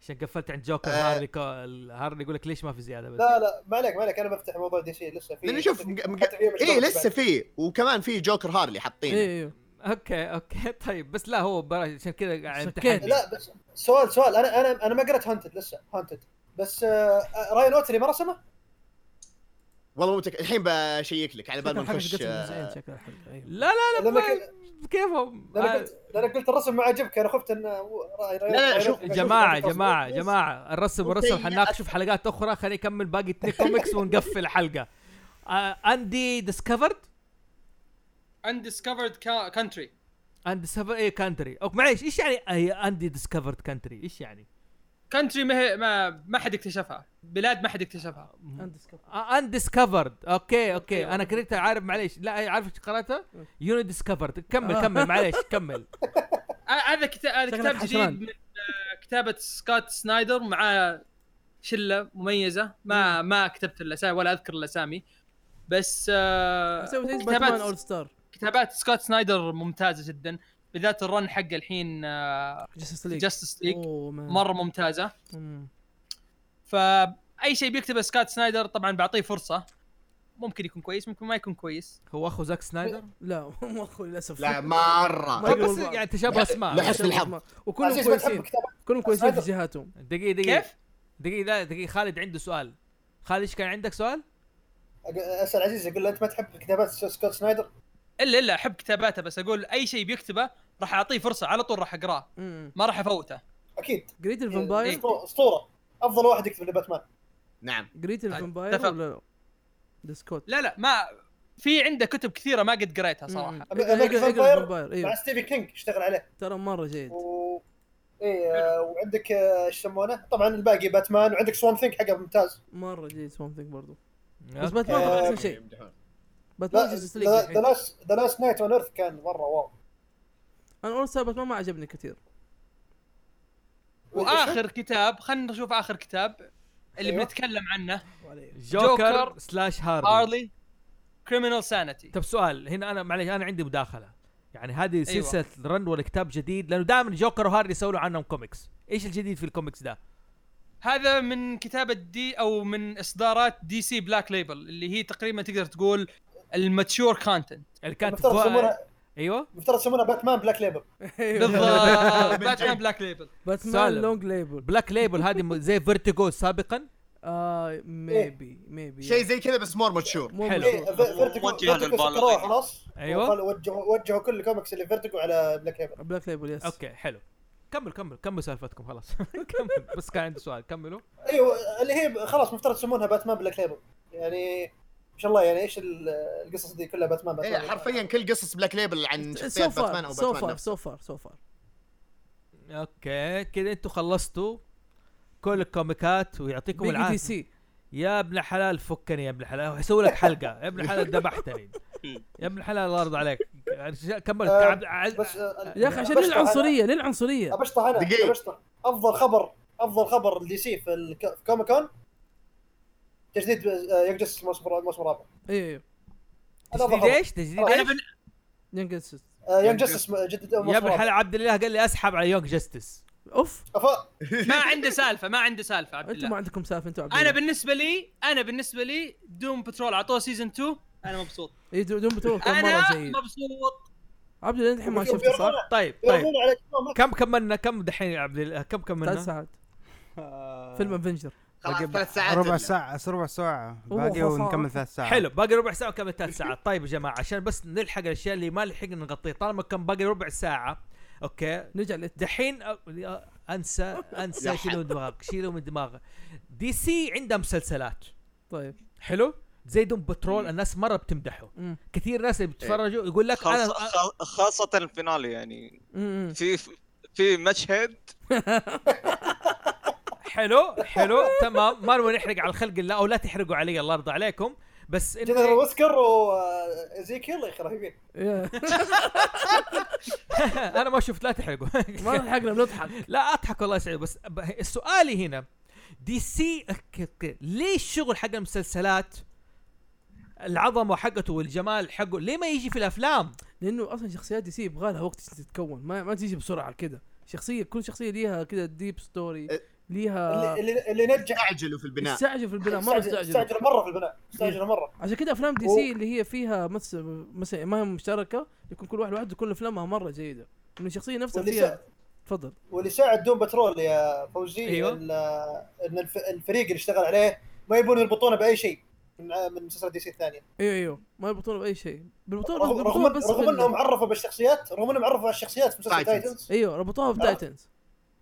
[SPEAKER 4] عشان قفلت عند جوكر
[SPEAKER 1] آه.
[SPEAKER 4] هارلي كو... هارلي يقول لك ليش ما في زياده بس
[SPEAKER 7] لا لا ما عليك ما عليك انا بفتح موضوع دي سي لسه في
[SPEAKER 1] لانه شوف مق- مق- ايه لسه في وكمان في جوكر هارلي حاطين
[SPEAKER 5] ايوه ايوه
[SPEAKER 4] اوكي اوكي طيب بس لا هو برا... عشان كذا قاعد
[SPEAKER 5] شكيت.
[SPEAKER 4] امتحن
[SPEAKER 7] لا بس سؤال سؤال انا انا انا ما قريت هانتد لسه هانتد بس آه، راين اوتري ما رسمه؟
[SPEAKER 1] والله متك... الحين بشيك لك على بال ما
[SPEAKER 5] شكل الحلقة
[SPEAKER 1] نخش
[SPEAKER 5] قتل
[SPEAKER 1] آه،
[SPEAKER 5] جزئين شكل الحلقة، أيوة.
[SPEAKER 4] لا لا لا
[SPEAKER 7] لما
[SPEAKER 4] ما-
[SPEAKER 7] ك-
[SPEAKER 4] كيفهم
[SPEAKER 7] لما
[SPEAKER 4] آه،
[SPEAKER 7] قلت لما قلت الرسم ما عجبك انا خفت ان آه، راين
[SPEAKER 1] لا، لا،
[SPEAKER 7] راين
[SPEAKER 1] شوف،
[SPEAKER 7] أوتري-
[SPEAKER 4] جماعة
[SPEAKER 7] شوف-
[SPEAKER 4] جماعة جماعة الرسم الرسم حناقشه في حلقات أخرى خليني أكمل باقي اثنين كوميكس ونقفل الحلقة آه، أندي ديسكفرد
[SPEAKER 2] اندسكفرد كانتري
[SPEAKER 4] أندي اي كانتري أو إيه، معليش إيش يعني أندي ديسكفرد كانتري إيش يعني
[SPEAKER 2] كانتري ما هي ما, ما حد اكتشفها بلاد ما حد اكتشفها
[SPEAKER 5] Undiscovered.
[SPEAKER 4] آه، اندسكفرد اوكي اوكي انا قريتها عارف معليش لا أي- عارف ايش قراتها يوني ديسكفرد كمل كمل معليش كمل
[SPEAKER 2] آه، هذا كتاب هذا
[SPEAKER 5] شكلك
[SPEAKER 2] كتاب
[SPEAKER 5] حشران.
[SPEAKER 2] جديد من آه، كتابة سكوت سنايدر مع شلة مميزة ما ما كتبت الاسامي ولا اذكر الاسامي بس آه،
[SPEAKER 5] اسوي زي باتمان
[SPEAKER 2] كتابات
[SPEAKER 5] اول ستار
[SPEAKER 2] كتابات سكوت سنايدر ممتازة جدا بالذات الرن حقه الحين آه،
[SPEAKER 5] جاستس ليج
[SPEAKER 2] جاستس ليج مره ممتازه فاي شيء بيكتبه سكات سنايدر طبعا بعطيه فرصه ممكن يكون كويس ممكن ما يكون كويس
[SPEAKER 4] هو أخو زاك سنايدر
[SPEAKER 5] لا مو اخو للاسف
[SPEAKER 1] لا مره
[SPEAKER 4] هو بس يعني تشابه أسماء
[SPEAKER 1] لحسن الحظ
[SPEAKER 5] وكلهم
[SPEAKER 7] عزيز ما تحب
[SPEAKER 5] كويسين
[SPEAKER 7] كتابات
[SPEAKER 5] كلهم كويسين في جهاتهم
[SPEAKER 4] دقيقة دقيقة
[SPEAKER 2] كيف؟
[SPEAKER 4] دقيقة لا دقيقة خالد عنده سؤال خالد ايش كان عندك سؤال؟
[SPEAKER 7] اسال عزيز اقول له انت ما تحب كتابات سكوت سنايدر
[SPEAKER 2] الا الا احب كتاباته بس اقول اي شيء بيكتبه راح اعطيه فرصه على طول راح اقراه
[SPEAKER 5] مم.
[SPEAKER 2] ما راح افوته
[SPEAKER 7] اكيد
[SPEAKER 5] قريت
[SPEAKER 2] إيه.
[SPEAKER 5] الفامباير
[SPEAKER 7] أسطورة- اسطوره افضل واحد يكتب لباتمان
[SPEAKER 1] نعم
[SPEAKER 5] قريت الفامباير
[SPEAKER 2] اتفق.
[SPEAKER 5] ولا لا؟ ديسكوت
[SPEAKER 2] لا لا ما في عنده كتب كثيره ما قد قريتها صراحه
[SPEAKER 5] الفامباير
[SPEAKER 7] مع
[SPEAKER 5] ايوه
[SPEAKER 7] ستيفي كينج اشتغل عليه
[SPEAKER 5] ترى مره جيد
[SPEAKER 7] و... ايه آه، وعندك آه، ايش يسمونه؟ طبعا الباقي باتمان وعندك سوان ثينك حقه ممتاز
[SPEAKER 5] مره جيد سوام ثينك برضو بس باتمان
[SPEAKER 7] آه،
[SPEAKER 5] طبعاً احسن شيء باتمان جاستس ليج
[SPEAKER 7] ذا
[SPEAKER 5] الحين.
[SPEAKER 7] لاست ذا لاست نايت اون ايرث كان مره واو
[SPEAKER 5] انا اول ستار باتمان ما عجبني كثير
[SPEAKER 2] واخر كتاب خلينا نشوف اخر كتاب اللي
[SPEAKER 7] أيوة.
[SPEAKER 2] بنتكلم عنه
[SPEAKER 4] جوكر
[SPEAKER 2] جوكر
[SPEAKER 4] سلاش هارلي
[SPEAKER 2] هارلي كريمنال سانيتي
[SPEAKER 4] طب سؤال هنا انا معلش انا عندي مداخله يعني هذه سلسله رن ولا كتاب جديد لانه دائما جوكر وهارلي يسووا له عنهم كوميكس ايش الجديد في الكوميكس ده
[SPEAKER 2] هذا من كتابة دي او من اصدارات دي سي بلاك ليبل اللي هي تقريبا تقدر تقول الماتشور كونتنت
[SPEAKER 4] اللي يعني كانت
[SPEAKER 7] مفترض يسمونها
[SPEAKER 4] ايوه
[SPEAKER 7] مفترض يسمونها باتمان بلاك ليبل
[SPEAKER 2] بالضبط باتمان بلاك ليبل
[SPEAKER 5] باتمان
[SPEAKER 4] سالم.
[SPEAKER 5] لونج ليبل
[SPEAKER 4] بلاك ليبل هذه م- زي فيرتيجو سابقا
[SPEAKER 5] آه ميبي ميبي
[SPEAKER 1] شيء زي كذا بس مور ماتشور
[SPEAKER 5] مو
[SPEAKER 4] حلو.
[SPEAKER 7] إيه،
[SPEAKER 5] مشهور.
[SPEAKER 6] موجهة للبالغين.
[SPEAKER 7] خلاص
[SPEAKER 4] أيوة.
[SPEAKER 7] وقالوا وجهوا وجهوا كل الكوميكس اللي فيرتيجو على بلاك ليبل
[SPEAKER 5] بلاك ليبل يس
[SPEAKER 4] اوكي حلو كمل كمل كمل سالفتكم خلاص كمل بس كان عندي سؤال كملوا
[SPEAKER 7] ايوه اللي هي خلاص مفترض يسمونها باتمان بلاك ليبل يعني ما شاء الله يعني ايش ال- القصص دي كلها باتمان
[SPEAKER 1] إيه،
[SPEAKER 7] باتمان
[SPEAKER 1] حرفيا كل قصص بلاك ليبل عن
[SPEAKER 5] سو
[SPEAKER 1] شخصيات باتمان
[SPEAKER 5] فار
[SPEAKER 1] او
[SPEAKER 5] سو
[SPEAKER 1] باتمان
[SPEAKER 5] فار
[SPEAKER 1] نفسه.
[SPEAKER 5] سو فار سو فار
[SPEAKER 4] اوكي كذا انتم خلصتوا كل الكوميكات ويعطيكم
[SPEAKER 5] بيجي دي
[SPEAKER 4] العافيه
[SPEAKER 5] سي
[SPEAKER 4] يا ابن الحلال فكني يا ابن الحلال هسوي لك حلقه يا ابن الحلال ذبحتني يا ابن الحلال الله يرضى عليك كمل
[SPEAKER 7] آه،
[SPEAKER 4] عبد- عز-
[SPEAKER 7] بس آه،
[SPEAKER 5] يا اخي عشان
[SPEAKER 7] بشطح
[SPEAKER 5] للعنصريه للعنصريه
[SPEAKER 7] أنا- بشطح انا
[SPEAKER 1] دقيقة.
[SPEAKER 7] بشطح افضل خبر افضل خبر لدي سي في الك- في كوميك كون تجديد آه، ينجز الموسم الموسم الرابع
[SPEAKER 5] ايوه ايوه
[SPEAKER 7] هذا أفضل
[SPEAKER 4] تجديد ايش؟ تجديد
[SPEAKER 7] أنا
[SPEAKER 2] انا
[SPEAKER 4] ايش؟
[SPEAKER 2] بن...
[SPEAKER 5] يانج جاستس
[SPEAKER 7] آه، ينجز جدد
[SPEAKER 4] يا
[SPEAKER 7] الموسم
[SPEAKER 4] ابن
[SPEAKER 7] الرابع
[SPEAKER 4] الحلال عبد الله قال لي اسحب على يونج جاستس
[SPEAKER 5] اوف
[SPEAKER 7] أفا-
[SPEAKER 2] ما عنده سالفه ما عنده سالفه عبد
[SPEAKER 5] انتم ما
[SPEAKER 2] الله
[SPEAKER 5] عندكم سالفه انتم عبد
[SPEAKER 2] انا
[SPEAKER 5] الله.
[SPEAKER 2] بالنسبه لي انا بالنسبه لي دوم بترول اعطوه سيزون 2 انا مبسوط
[SPEAKER 5] اي إيه، دو- دوم بتروح كان
[SPEAKER 2] انا
[SPEAKER 5] مره جيد
[SPEAKER 2] مبسوط
[SPEAKER 5] عبد الله الحين ما شفته صح؟
[SPEAKER 7] يرمونه-
[SPEAKER 4] طيب طيب
[SPEAKER 7] يرمونه على جماعة ما-
[SPEAKER 4] كم كملنا كم دحين يا عبد الله كم
[SPEAKER 5] ثلاث
[SPEAKER 4] كملنا؟
[SPEAKER 5] ساعات
[SPEAKER 4] آه،
[SPEAKER 5] فيلم افنجر
[SPEAKER 1] خلاص
[SPEAKER 3] باقي-
[SPEAKER 1] ثلاث ساعات
[SPEAKER 3] ربع
[SPEAKER 1] إلا.
[SPEAKER 3] ساعة بس ربع ساعة
[SPEAKER 5] أوه،
[SPEAKER 3] باقي
[SPEAKER 5] خلاص.
[SPEAKER 3] ونكمل ثلاث ساعات
[SPEAKER 4] حلو باقي ربع ساعه وكمل ثلاث ساعات طيب يا جماعه عشان بس نلحق الاشياء اللي ما لحقنا نغطيها طالما كان باقي ربع ساعه اوكي
[SPEAKER 5] نرجع للت-
[SPEAKER 4] دحين أ- أ- انسى انسى
[SPEAKER 1] يا
[SPEAKER 4] شيلوا من
[SPEAKER 1] حد.
[SPEAKER 4] دماغك شيلوا من دماغك دي سي عندها مسلسلات
[SPEAKER 5] طيب
[SPEAKER 4] حلو زي دوم بترول الناس مره بتمدحه
[SPEAKER 5] مم.
[SPEAKER 4] كثير ناس اللي بيتفرجوا يقول لك انا
[SPEAKER 6] خاصة- خا- خاصة الفينالي يعني
[SPEAKER 5] مم.
[SPEAKER 6] في في مشهد
[SPEAKER 4] حلو حلو تمام ما نبغى نحرق على الخلق الله او لا تحرقوا علي الله يرضى عليكم بس إن-
[SPEAKER 7] جنرال ويسكر وازيكيل آه، يا اخي رهيبين
[SPEAKER 5] يا.
[SPEAKER 4] انا ما شفت لا تحرقوا
[SPEAKER 5] ما لحقنا بنضحك
[SPEAKER 4] لا اضحك والله يسعدك بس ب- سؤالي هنا دي سي أوكي، أوكي. ليه الشغل حق المسلسلات العظمه حقته والجمال حقه ليه ما يجي في الافلام
[SPEAKER 5] لانه اصلا شخصيات دي سي يبغى لها وقت عشان تتكون ما, ما تيجي بسرعه كده شخصيه كل شخصيه ليها كده ديب ستوري
[SPEAKER 7] أه،
[SPEAKER 5] ليها
[SPEAKER 4] آه.
[SPEAKER 7] اللي- اللي اللي نجح
[SPEAKER 1] تعجلوا في البناء
[SPEAKER 5] استعجلوا في البناء مره
[SPEAKER 7] استعجل
[SPEAKER 5] استعجلوا
[SPEAKER 7] استعجل مره في البناء استعجل مره
[SPEAKER 5] عشان كده افلام دي سي اللي هي فيها مثلا مثلا ما هي مشتركه يكون كل واحد لوحده كل افلامها مره جيده من الشخصيه نفسها
[SPEAKER 7] واللي
[SPEAKER 5] فيها تفضل
[SPEAKER 7] واللي ساعد دوم بترول يا فوزي
[SPEAKER 5] أيوه.
[SPEAKER 2] أيوة.
[SPEAKER 7] ال- ان الف- الفريق اللي اشتغل عليه ما يبون البطوله باي شيء من من مسلسل دي سي الثانيه
[SPEAKER 5] ايوه ايوه ما يربطون باي شيء بالبطوله
[SPEAKER 7] رغم
[SPEAKER 5] ربطوها
[SPEAKER 7] رغم,
[SPEAKER 5] بس
[SPEAKER 7] رغم
[SPEAKER 5] بال-
[SPEAKER 7] انهم عرفوا بالشخصيات رغم انهم عرفوا الشخصيات في مسلسل
[SPEAKER 1] Titans.
[SPEAKER 7] تايتنز
[SPEAKER 5] ايوه ربطوها
[SPEAKER 7] آه.
[SPEAKER 5] بتايتنز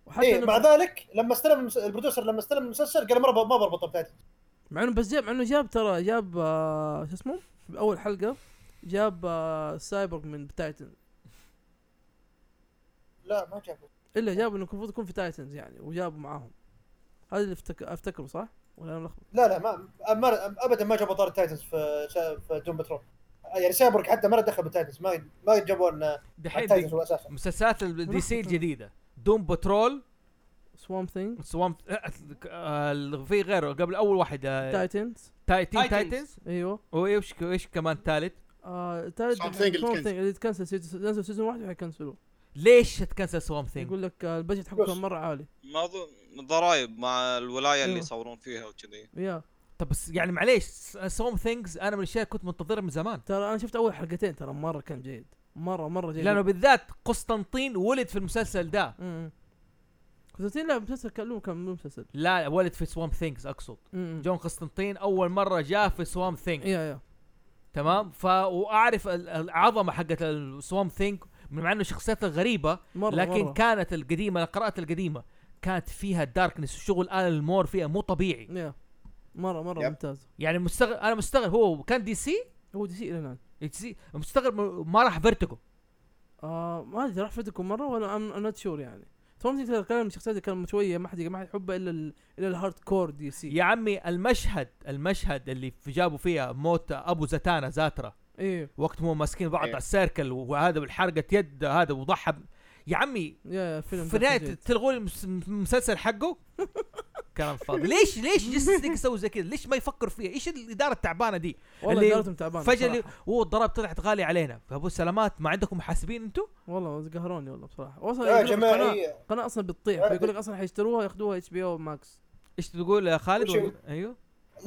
[SPEAKER 5] وحتى
[SPEAKER 7] اي
[SPEAKER 5] إنه-
[SPEAKER 7] مع ذلك لما استلم المس- البروديوسر لما استلم المسلسل قال ما بربط- ما بربطه بتايتنز
[SPEAKER 5] مع انه بس جاب مع انه جاب ترى جاب آه، شو اسمه باول حلقه جاب آه، سايبورغ من تايتن
[SPEAKER 7] لا ما جابوا
[SPEAKER 5] الا جابوا انه المفروض يكون في تايتنز يعني وجابوا معاهم هذا اللي افتك... افتكره صح؟ ولا انا ملخبط؟
[SPEAKER 7] لا لا ما ما ابدا ما جابوا طار التايتنز في شا- في دوم بترول يعني سايبورغ حتى ما له دخل بالتايتنز ما ما جابوا انه
[SPEAKER 4] دحين
[SPEAKER 7] التايتنز
[SPEAKER 4] دي-
[SPEAKER 7] هو اساسا
[SPEAKER 4] مسلسلات الدي سي الجديده دوم بترول
[SPEAKER 5] سوام ثينج
[SPEAKER 4] سوامب آه، في غيره قبل اول واحد آه،
[SPEAKER 5] تايتنز
[SPEAKER 4] تايتين
[SPEAKER 2] تايتنز.
[SPEAKER 4] تايتنز
[SPEAKER 5] ايوه
[SPEAKER 4] وايش ايش كمان ثالث
[SPEAKER 5] آه تايتنز
[SPEAKER 9] Swamp Thing اللي
[SPEAKER 5] Swamp Thing
[SPEAKER 9] تكنسل.
[SPEAKER 5] اللي تكنسل سيزون نزل سيزون واحد وحيكنسلوه
[SPEAKER 4] ليش تكنسل سوام ثينج؟
[SPEAKER 5] يقول لك آه، البجت حقه كان
[SPEAKER 7] بس.
[SPEAKER 5] مره عالي
[SPEAKER 6] ما اظن ضرايب مع الولايه اللي
[SPEAKER 5] أيوة.
[SPEAKER 6] يصورون فيها وكذي
[SPEAKER 5] يا
[SPEAKER 4] طب بس يعني معليش سوام ثينجز انا من الاشياء كنت منتظرها من زمان
[SPEAKER 5] ترى انا شفت اول حلقتين ترى مره كان جيد مره مره جيد
[SPEAKER 4] لانه بالذات قسطنطين ولد في المسلسل ده
[SPEAKER 5] امم كوستين لا مسلسل كان له كان مو مسلسل
[SPEAKER 4] لا ولد في سوام ثينجز اقصد
[SPEAKER 5] أمم.
[SPEAKER 4] جون قسطنطين اول مره جاء في سوام ثينج
[SPEAKER 5] يا يا
[SPEAKER 4] تمام ف واعرف ال- العظمه حقت السوام ثينج مع انه شخصيتها غريبه
[SPEAKER 5] مره
[SPEAKER 4] لكن
[SPEAKER 5] مرة.
[SPEAKER 4] كانت القديمه انا قرات القديمه كانت فيها داركنس وشغل ال المور فيها مو طبيعي
[SPEAKER 5] يا مره مره
[SPEAKER 9] يب.
[SPEAKER 5] ممتاز
[SPEAKER 4] يعني مستغرب انا مستغرب هو كان دي سي
[SPEAKER 5] هو دي سي الى الان
[SPEAKER 4] دي سي مستغرب م- ما راح فيرتيجو
[SPEAKER 5] آه ما ادري راح فاتكم مره ولا ام نوت شور يعني توم سينك ترى كان من الشخصيات اللي كان شويه ما حد ما حد يحبها الا ال- الا الهارد كور دي سي
[SPEAKER 4] يا عمي المشهد المشهد اللي في- جابوا فيها موت ابو زتانا زاترا
[SPEAKER 5] ايه
[SPEAKER 4] وقت مو ماسكين بعض
[SPEAKER 9] إيه.
[SPEAKER 4] على السيركل وهذا بالحرقه يد هذا وضحى ب- يا عمي
[SPEAKER 5] يا يا فيلم
[SPEAKER 4] في نهايه تلغوا لي المس- المسلسل حقه كلام فاضي ليش ليش جسدك يسوي زي كذا ليش ما يفكر فيها ايش الاداره التعبانه دي
[SPEAKER 5] والله
[SPEAKER 4] اللي
[SPEAKER 5] ادارتهم تعبانه
[SPEAKER 4] فجاه اللي
[SPEAKER 5] بصراحة.
[SPEAKER 4] هو الضرائب طلعت غاليه علينا فابو سلامات ما عندكم محاسبين انتم
[SPEAKER 5] والله قهروني والله بصراحه اصلا
[SPEAKER 7] يا
[SPEAKER 5] يقول لك
[SPEAKER 7] جماعه
[SPEAKER 5] القناة-
[SPEAKER 7] إيه.
[SPEAKER 5] القناه اصلا بتطيح فيقول لك اصلا حيشتروها ياخذوها اتش بي او ماكس
[SPEAKER 4] ايش تقول يا خالد
[SPEAKER 7] وشو؟
[SPEAKER 4] ايوه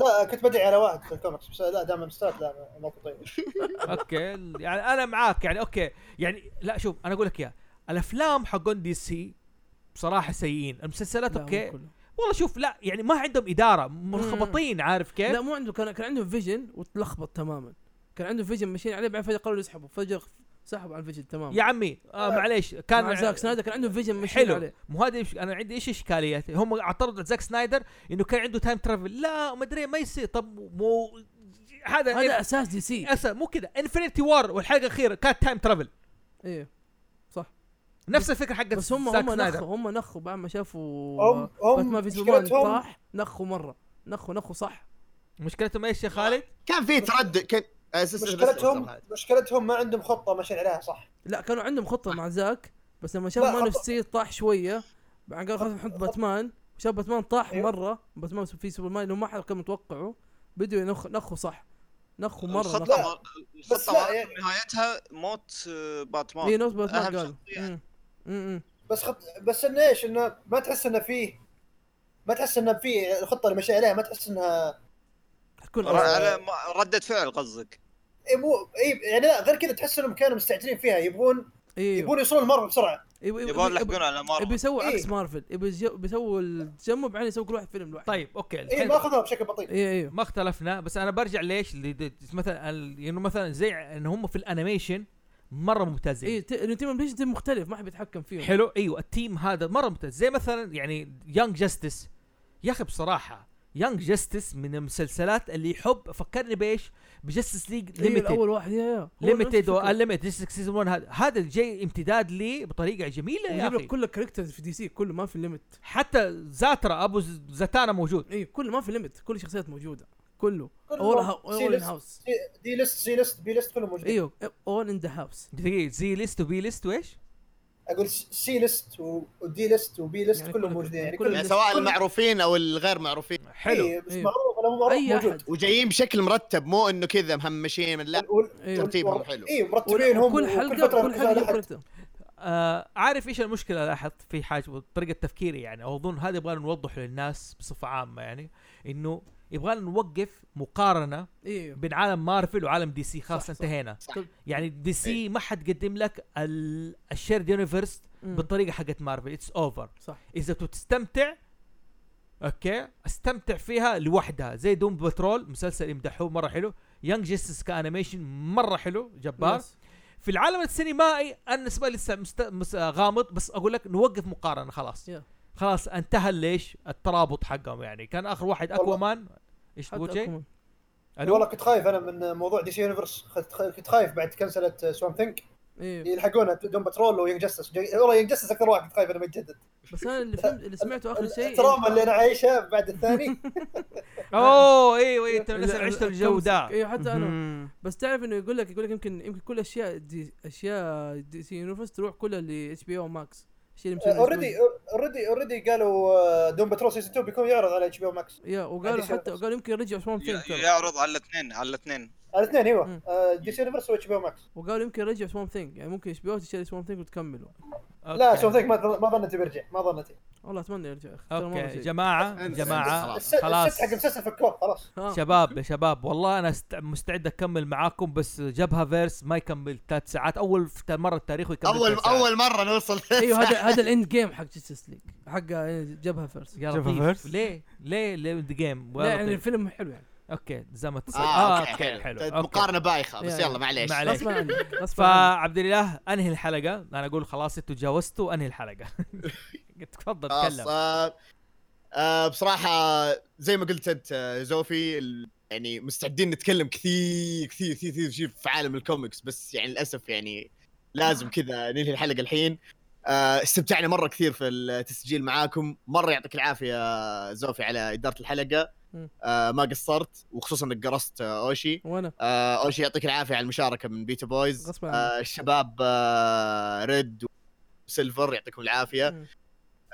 [SPEAKER 7] لا كنت بدعي على واحد في الكوميكس بس لا دائما مستات لا ما طيب. تطير
[SPEAKER 4] اوكي يعني انا معاك يعني اوكي يعني لا شوف انا اقول لك يا الافلام حقون دي سي بصراحه سيئين المسلسلات
[SPEAKER 5] لا، مو
[SPEAKER 4] اوكي
[SPEAKER 5] كله.
[SPEAKER 4] والله شوف لا يعني ما عندهم اداره مرخبطين عارف
[SPEAKER 5] لا
[SPEAKER 4] كيف
[SPEAKER 5] مو عنده كان كان عنده فيجن وتلخبط تماما كان عنده فيجن ماشيين عليه بعدين فجاه قرروا يسحبوا فجاه سحبوا على الفيجن تماما
[SPEAKER 4] يا عمي آه معليش
[SPEAKER 5] كان
[SPEAKER 4] كان
[SPEAKER 5] مع زاك سنايدر كان عنده فيجن ماشيين
[SPEAKER 4] حلو
[SPEAKER 5] عليه
[SPEAKER 4] مو هذا إيش- انا عندي ايش اشكاليات هم اعترضوا على زاك سنايدر انه كان عنده تايم ترافل لا ما ادري ما يصير طب مو هذا
[SPEAKER 5] هذا اساس دي سي
[SPEAKER 4] أسا مو كذا انفنتي وار والحلقه الاخيره كانت تايم ترافل
[SPEAKER 5] ايه
[SPEAKER 4] نفس الفكره حقت
[SPEAKER 5] بس هم
[SPEAKER 4] زاك
[SPEAKER 5] هم
[SPEAKER 4] سنايدر.
[SPEAKER 5] نخوا هم نخوا بعد ما شافوا
[SPEAKER 7] هم هم
[SPEAKER 5] باتمان في سوبرمان
[SPEAKER 7] مشكلتهم
[SPEAKER 5] طاح نخوا مره نخوا نخوا صح
[SPEAKER 4] مشكلتهم ايش يا خالد؟
[SPEAKER 1] كان في تردد كان آه، أساس- بس- بس-
[SPEAKER 7] مشكلتهم
[SPEAKER 1] بس-
[SPEAKER 7] مشكلتهم ما عندهم خطه ماشيين عليها صح
[SPEAKER 5] لا كانوا عندهم خطه مع زاك بس لما شاف
[SPEAKER 7] لا،
[SPEAKER 5] مان اوف
[SPEAKER 7] خطة.
[SPEAKER 5] ستيل طاح شويه بعدين قال خلاص نحط باتمان وشاف باتمان طاح
[SPEAKER 7] أيوه.
[SPEAKER 5] مره باتمان في سوبرمان اللي هو ما حد كان متوقعه بدوا ينخ نخوا صح نخوا مره
[SPEAKER 6] الخطه
[SPEAKER 5] نخوا
[SPEAKER 7] لا.
[SPEAKER 6] مر-
[SPEAKER 7] بس لا،
[SPEAKER 6] الخطه مر-
[SPEAKER 7] يعني-
[SPEAKER 6] نهايتها موت آه، باتمان
[SPEAKER 5] اي إيه، نفس باتمان
[SPEAKER 6] أهم
[SPEAKER 5] قال
[SPEAKER 6] شخصية.
[SPEAKER 5] مم. مم، مم.
[SPEAKER 7] بس خط... بس انه ايش انه ما تحس انه فيه ما تحس انه فيه الخطه اللي ماشي عليها ما تحس انها
[SPEAKER 5] حتكون
[SPEAKER 6] ر-
[SPEAKER 5] أسوأ.
[SPEAKER 6] على ما- ردة فعل قصدك
[SPEAKER 7] إيه مو إيه يعني لا غير كذا تحس انهم كانوا مستعجلين فيها يبغون
[SPEAKER 5] ايوه
[SPEAKER 7] يبغون يوصلون المره بسرعه
[SPEAKER 5] يبغوا
[SPEAKER 6] يبغون يلحقون على
[SPEAKER 5] يبغوا
[SPEAKER 6] مارفل
[SPEAKER 5] يسووا
[SPEAKER 7] إيه.
[SPEAKER 5] إيه، عكس مارفل يبغوا يسو- بيسووا التجمع بعدين يسووا كل واحد فيلم لوحده
[SPEAKER 4] طيب اوكي
[SPEAKER 7] اي
[SPEAKER 4] الحين
[SPEAKER 7] إيه، ما اخذوها بشكل بطيء
[SPEAKER 5] ايوه ايوه
[SPEAKER 4] ما اختلفنا بس انا برجع ليش لد- مثلا ال- انه مثلا زي ان هم في الانيميشن مره ممتازين
[SPEAKER 5] اي إيه، تيم امبليشن تيم مختلف ما حد بيتحكم فيهم
[SPEAKER 4] حلو ايوه التيم هذا مره ممتاز زي مثلا يعني يانج جاستس يا اخي بصراحه يانج جاستس من المسلسلات اللي يحب فكرني بايش؟ بجستس ليج
[SPEAKER 5] أيوة،
[SPEAKER 4] ليمتد
[SPEAKER 5] الاول واحد إيه، يا يا هو نفس
[SPEAKER 4] ليمتد
[SPEAKER 5] الفكرة.
[SPEAKER 4] والليمتد سيزون 1 هذا هذا جاي امتداد لي بطريقه جميله يا
[SPEAKER 5] ويجيب
[SPEAKER 4] اخي
[SPEAKER 5] لك كل الكاركترز في دي سي كله ما في ليمت
[SPEAKER 4] حتى زاترا ابو ز- زتانا موجود
[SPEAKER 5] اي كله ما في ليمت إيه، كل الشخصيات موجوده كله
[SPEAKER 7] كلهم
[SPEAKER 5] اول ها- اول ان
[SPEAKER 7] سيريس.
[SPEAKER 5] هاوس
[SPEAKER 7] سي- دي ليست سي ليست بي ليست كلهم موجودين
[SPEAKER 5] ايوه اول ان ذا هاوس
[SPEAKER 4] دقيقه زي ليست وبي ليست وايش؟
[SPEAKER 7] اقول س- سي ليست و- ودي ليست وبي ليست
[SPEAKER 5] يعني
[SPEAKER 7] كلهم
[SPEAKER 5] كل-
[SPEAKER 7] موجودين يعني
[SPEAKER 5] كل-
[SPEAKER 7] كل
[SPEAKER 1] يعني سواء المعروفين او الغير معروفين
[SPEAKER 4] حلو
[SPEAKER 7] إيه، بس
[SPEAKER 5] أيوة.
[SPEAKER 7] معروف ولا مو معروف
[SPEAKER 5] أي
[SPEAKER 7] موجود
[SPEAKER 5] أحد.
[SPEAKER 1] وجايين بشكل مرتب مو انه كذا مهمشين من لا
[SPEAKER 4] إيه.
[SPEAKER 5] ايوه.
[SPEAKER 1] ترتيبهم حلو.
[SPEAKER 7] اي إيه، مرتبين هم
[SPEAKER 5] كل حلقه كل حلقه يجيب كاركتر
[SPEAKER 4] آه عارف ايش المشكله لاحظت في حاجه طريقه تفكيري يعني او اظن هذا يبغى نوضحه للناس بصفه عامه يعني انه يبغالنا نوقف مقارنه
[SPEAKER 5] ايوه
[SPEAKER 4] بين عالم مارفل وعالم دي سي خلاص
[SPEAKER 5] صح، صح. إيه.
[SPEAKER 4] انتهينا
[SPEAKER 1] صح.
[SPEAKER 4] يعني دي سي ما حد قدم لك الشيرد يونيفرس
[SPEAKER 5] مم.
[SPEAKER 4] بالطريقه حقت مارفل اتس اوفر
[SPEAKER 5] صح.
[SPEAKER 4] اذا تستمتع اوكي استمتع فيها لوحدها زي دوم بترول مسلسل يمدحوه مره حلو يانج جيستس كانيميشن مره حلو جبار
[SPEAKER 5] يس.
[SPEAKER 4] في العالم السينمائي انا بالنسبه لي لسه مست... مس... آه، غامض بس اقول لك نوقف مقارنه خلاص
[SPEAKER 5] Yeah.
[SPEAKER 4] خلاص انتهى ليش الترابط حقهم يعني كان اخر واحد
[SPEAKER 7] والله.
[SPEAKER 4] اكوامان ايش
[SPEAKER 5] حتى
[SPEAKER 4] تقول شيء
[SPEAKER 5] أكمل.
[SPEAKER 4] الو
[SPEAKER 7] والله كنت خايف انا من موضوع دي سي يونيفرس كنت خايف بعد كنسلت سوام ثينك
[SPEAKER 5] ايوه
[SPEAKER 7] يلحقونا دوم بترول وينج جاستس والله ينج جاستس اكثر واحد كنت خايف انه بيتجدد
[SPEAKER 5] بس انا اللي فهمت اللي سمعته اخر شيء
[SPEAKER 4] إيه.
[SPEAKER 7] التراما اللي انا عايشه بعد الثاني
[SPEAKER 4] اوه ايوه ايوه انت من
[SPEAKER 5] ال-
[SPEAKER 4] الناس اللي
[SPEAKER 5] ال-
[SPEAKER 4] عشت الجو ده
[SPEAKER 5] ايوه حتى انا
[SPEAKER 3] مهم.
[SPEAKER 5] بس تعرف انه يقول لك يقول لك يمكن يمكن كل اشياء دي اشياء دي سي يونيفرس تروح كلها ل اتش بي او ماكس الشيء اللي مسويه
[SPEAKER 7] اوريدي اوريدي اوريدي قالوا آه، دوم بترول سيزون 2 بيكون يعرض على اتش بي او ماكس
[SPEAKER 5] يا وقالوا
[SPEAKER 7] عندي
[SPEAKER 5] حتى
[SPEAKER 7] شغف.
[SPEAKER 5] قالوا يمكن يرجعوا سوام ثينك
[SPEAKER 6] ي-
[SPEAKER 5] ترى.
[SPEAKER 6] يعرض على الاثنين على الاثنين
[SPEAKER 7] الاثنين
[SPEAKER 5] مم.
[SPEAKER 7] ايوه دي سي يونيفرس واتش بي او ماكس
[SPEAKER 5] وقالوا يمكن يرجعوا سوام ثينك يعني ممكن اتش بي او تشتري سوام ثينك وتكمله
[SPEAKER 7] لا
[SPEAKER 4] أوكي.
[SPEAKER 7] سو ثينك ما ما ظنيت بيرجع ما ظنيت
[SPEAKER 5] والله اتمنى يرجع يا اخي ترى مرة
[SPEAKER 4] اوكي
[SPEAKER 5] سيء.
[SPEAKER 4] جماعه جماعه
[SPEAKER 1] خلاص.
[SPEAKER 7] الس- الست
[SPEAKER 4] خلاص
[SPEAKER 7] حق المسلسل فكوه خلاص
[SPEAKER 5] آه.
[SPEAKER 4] شباب يا شباب والله انا است... مستعد اكمل معاكم بس جبهه فيرس ما يكمل ثلاث ساعات اول في- مره التاريخ يكمل
[SPEAKER 1] اول
[SPEAKER 4] ثلاث ساعات.
[SPEAKER 1] اول مره نوصل
[SPEAKER 5] ايوه هذا هذا الاند جيم حق جستس ليج حق آه، جبهه فيرس
[SPEAKER 4] يا طيب.
[SPEAKER 3] جبهة
[SPEAKER 4] لطيف
[SPEAKER 3] فيرس.
[SPEAKER 4] ليه ليه ليه ذا جيم
[SPEAKER 5] لا يعني الفيلم حلو يعني
[SPEAKER 4] اوكي زي ما تصير
[SPEAKER 1] اه اوكي حلو,
[SPEAKER 4] آه، أوكي.
[SPEAKER 1] مقارنه بايخه بس
[SPEAKER 5] يا-
[SPEAKER 1] يلا معليش
[SPEAKER 4] معليش. عليك.
[SPEAKER 5] غصبا عني غصبا عني
[SPEAKER 4] فعبد الله انهي الحلقه انا اقول خلاص انتوا تجاوزتوا انهي الحلقه تفضل
[SPEAKER 1] خلاص
[SPEAKER 4] تكلم
[SPEAKER 1] آه آه بصراحه زي ما قلت انت آه، زوفي ال- يعني مستعدين نتكلم كثير كثير كثير كثير شيء في عالم الكوميكس بس يعني للاسف يعني لازم كذا ننهي الحلقه الحين آه استمتعنا مره كثير في التسجيل معاكم مره يعطيك العافيه زوفي على اداره الحلقه
[SPEAKER 5] مم.
[SPEAKER 1] آه ما قصرت وخصوصا انك قرصت آه، اوشي
[SPEAKER 5] وانا
[SPEAKER 1] آه اول شيء يعطيك العافيه على المشاركه من بيتا بويز
[SPEAKER 5] غصباً عنك.
[SPEAKER 1] آه الشباب آه ريد وسيلفر يعطيكم العافيه
[SPEAKER 5] مم.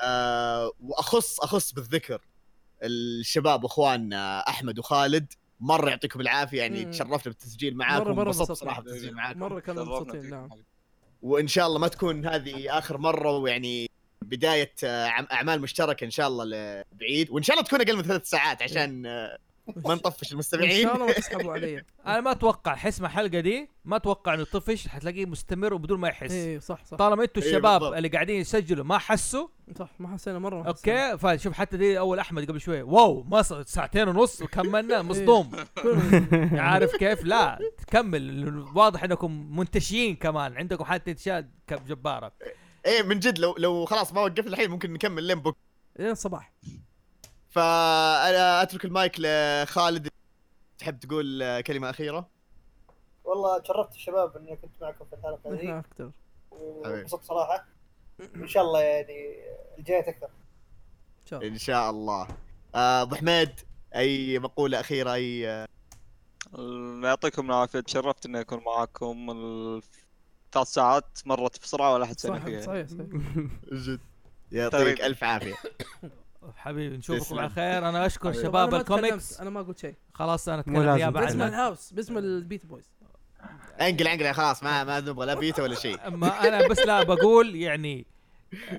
[SPEAKER 1] آه واخص اخص بالذكر الشباب اخواننا احمد وخالد مره يعطيكم العافيه يعني
[SPEAKER 5] مم.
[SPEAKER 1] تشرفنا بالتسجيل معاكم
[SPEAKER 5] مرة- مرة
[SPEAKER 1] انبسطت
[SPEAKER 5] انبسطنا.
[SPEAKER 1] صراحه بالتسجيل معاكم
[SPEAKER 5] مره كانوا
[SPEAKER 6] شرفنا
[SPEAKER 5] مبسوطين
[SPEAKER 6] فيك.
[SPEAKER 5] نعم
[SPEAKER 1] وان شاء الله ما تكون هذه اخر مره ويعني بدايه آه، عم- اعمال مشتركه ان شاء الله بعيد وان شاء الله تكون اقل من ثلاث ساعات عشان آه، ما نطفش
[SPEAKER 5] ان
[SPEAKER 1] المستمعين
[SPEAKER 5] إيه. شاء الله ما تسحبوا علي
[SPEAKER 4] انا ما اتوقع حسم الحلقه دي ما اتوقع انه طفش حتلاقيه مستمر وبدون ما يحس
[SPEAKER 5] اي صح صح
[SPEAKER 4] طالما انتوا
[SPEAKER 1] إيه،
[SPEAKER 4] الشباب
[SPEAKER 1] بالضبط.
[SPEAKER 4] اللي قاعدين يسجلوا ما حسوا
[SPEAKER 5] صح ما حسينا مره ما حسينا.
[SPEAKER 4] اوكي فشوف حتى دي اول احمد قبل شوي واو ما ص- ساعتين ونص وكملنا مصدوم
[SPEAKER 5] كلهم-
[SPEAKER 4] عارف كيف لا تكمل واضح انكم منتشيين كمان عندكم حاله انتشاد ك- جباره
[SPEAKER 1] ايه من جد لو لو خلاص ما وقفنا الحين ممكن نكمل لين بكره
[SPEAKER 5] لين الصباح
[SPEAKER 1] فانا اترك المايك لخالد تحب تقول كلمه اخيره
[SPEAKER 7] والله تشرفت الشباب اني كنت معكم في الحلقه
[SPEAKER 5] نحن
[SPEAKER 7] هذه
[SPEAKER 5] اكثر
[SPEAKER 7] وانبسطت صراحه ان شاء الله يعني الجايه اكثر
[SPEAKER 5] ان شاء الله
[SPEAKER 1] ان شاء الله آه، ابو حميد اي مقوله اخيره اي آه،
[SPEAKER 6] يعطيكم العافيه تشرفت اني اكون معاكم ال- ثلاث ساعات مرت بسرعه ولا حسينا
[SPEAKER 5] صح
[SPEAKER 6] فيها
[SPEAKER 5] صحيح صحيح
[SPEAKER 1] جد يعطيك
[SPEAKER 6] تقريباً.
[SPEAKER 1] الف عافيه
[SPEAKER 4] حبيبي نشوفكم
[SPEAKER 1] تسلم.
[SPEAKER 4] على خير انا اشكر
[SPEAKER 6] حبيبي.
[SPEAKER 5] طب أنا
[SPEAKER 4] شباب
[SPEAKER 5] ما
[SPEAKER 4] الكوميكس
[SPEAKER 5] تكلمت، انا ما قلت شيء
[SPEAKER 4] خلاص انا
[SPEAKER 3] مو
[SPEAKER 4] اتكلم
[SPEAKER 3] لازم.
[SPEAKER 4] يا
[SPEAKER 5] باسم
[SPEAKER 4] بعد
[SPEAKER 5] الهاوس باسم البيت بويز
[SPEAKER 1] انقل انقل خلاص ما ما نبغى لا بيتا ولا شيء
[SPEAKER 4] ما انا بس لا بقول يعني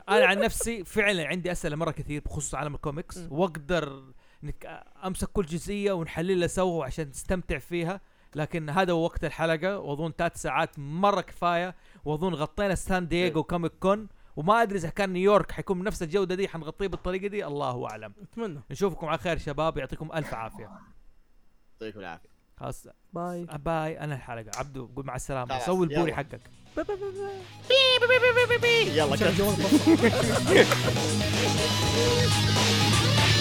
[SPEAKER 4] انا عن نفسي فعلا عندي اسئله مره كثير بخصوص عالم الكوميكس
[SPEAKER 5] مم.
[SPEAKER 4] واقدر نك... امسك كل جزئيه ونحللها سوا عشان نستمتع فيها لكن هذا هو وقت الحلقه واظن ثلاث ساعات مره كفايه واظن غطينا سان دييغو
[SPEAKER 1] إيه.
[SPEAKER 4] كوميك كون وما ادري اذا كان نيويورك حيكون بنفس الجوده دي حنغطيه بالطريقه دي الله اعلم
[SPEAKER 5] اتمنى
[SPEAKER 4] نشوفكم على خير شباب يعطيكم الف عافيه
[SPEAKER 1] يعطيكم العافيه
[SPEAKER 4] خلاص
[SPEAKER 5] باي
[SPEAKER 4] باي انا الحلقه عبدو قول مع السلامه
[SPEAKER 1] خلاص،
[SPEAKER 4] سوي البوري
[SPEAKER 1] يلا.
[SPEAKER 4] حقك
[SPEAKER 5] باي باي باي باي.
[SPEAKER 1] يلا كمل.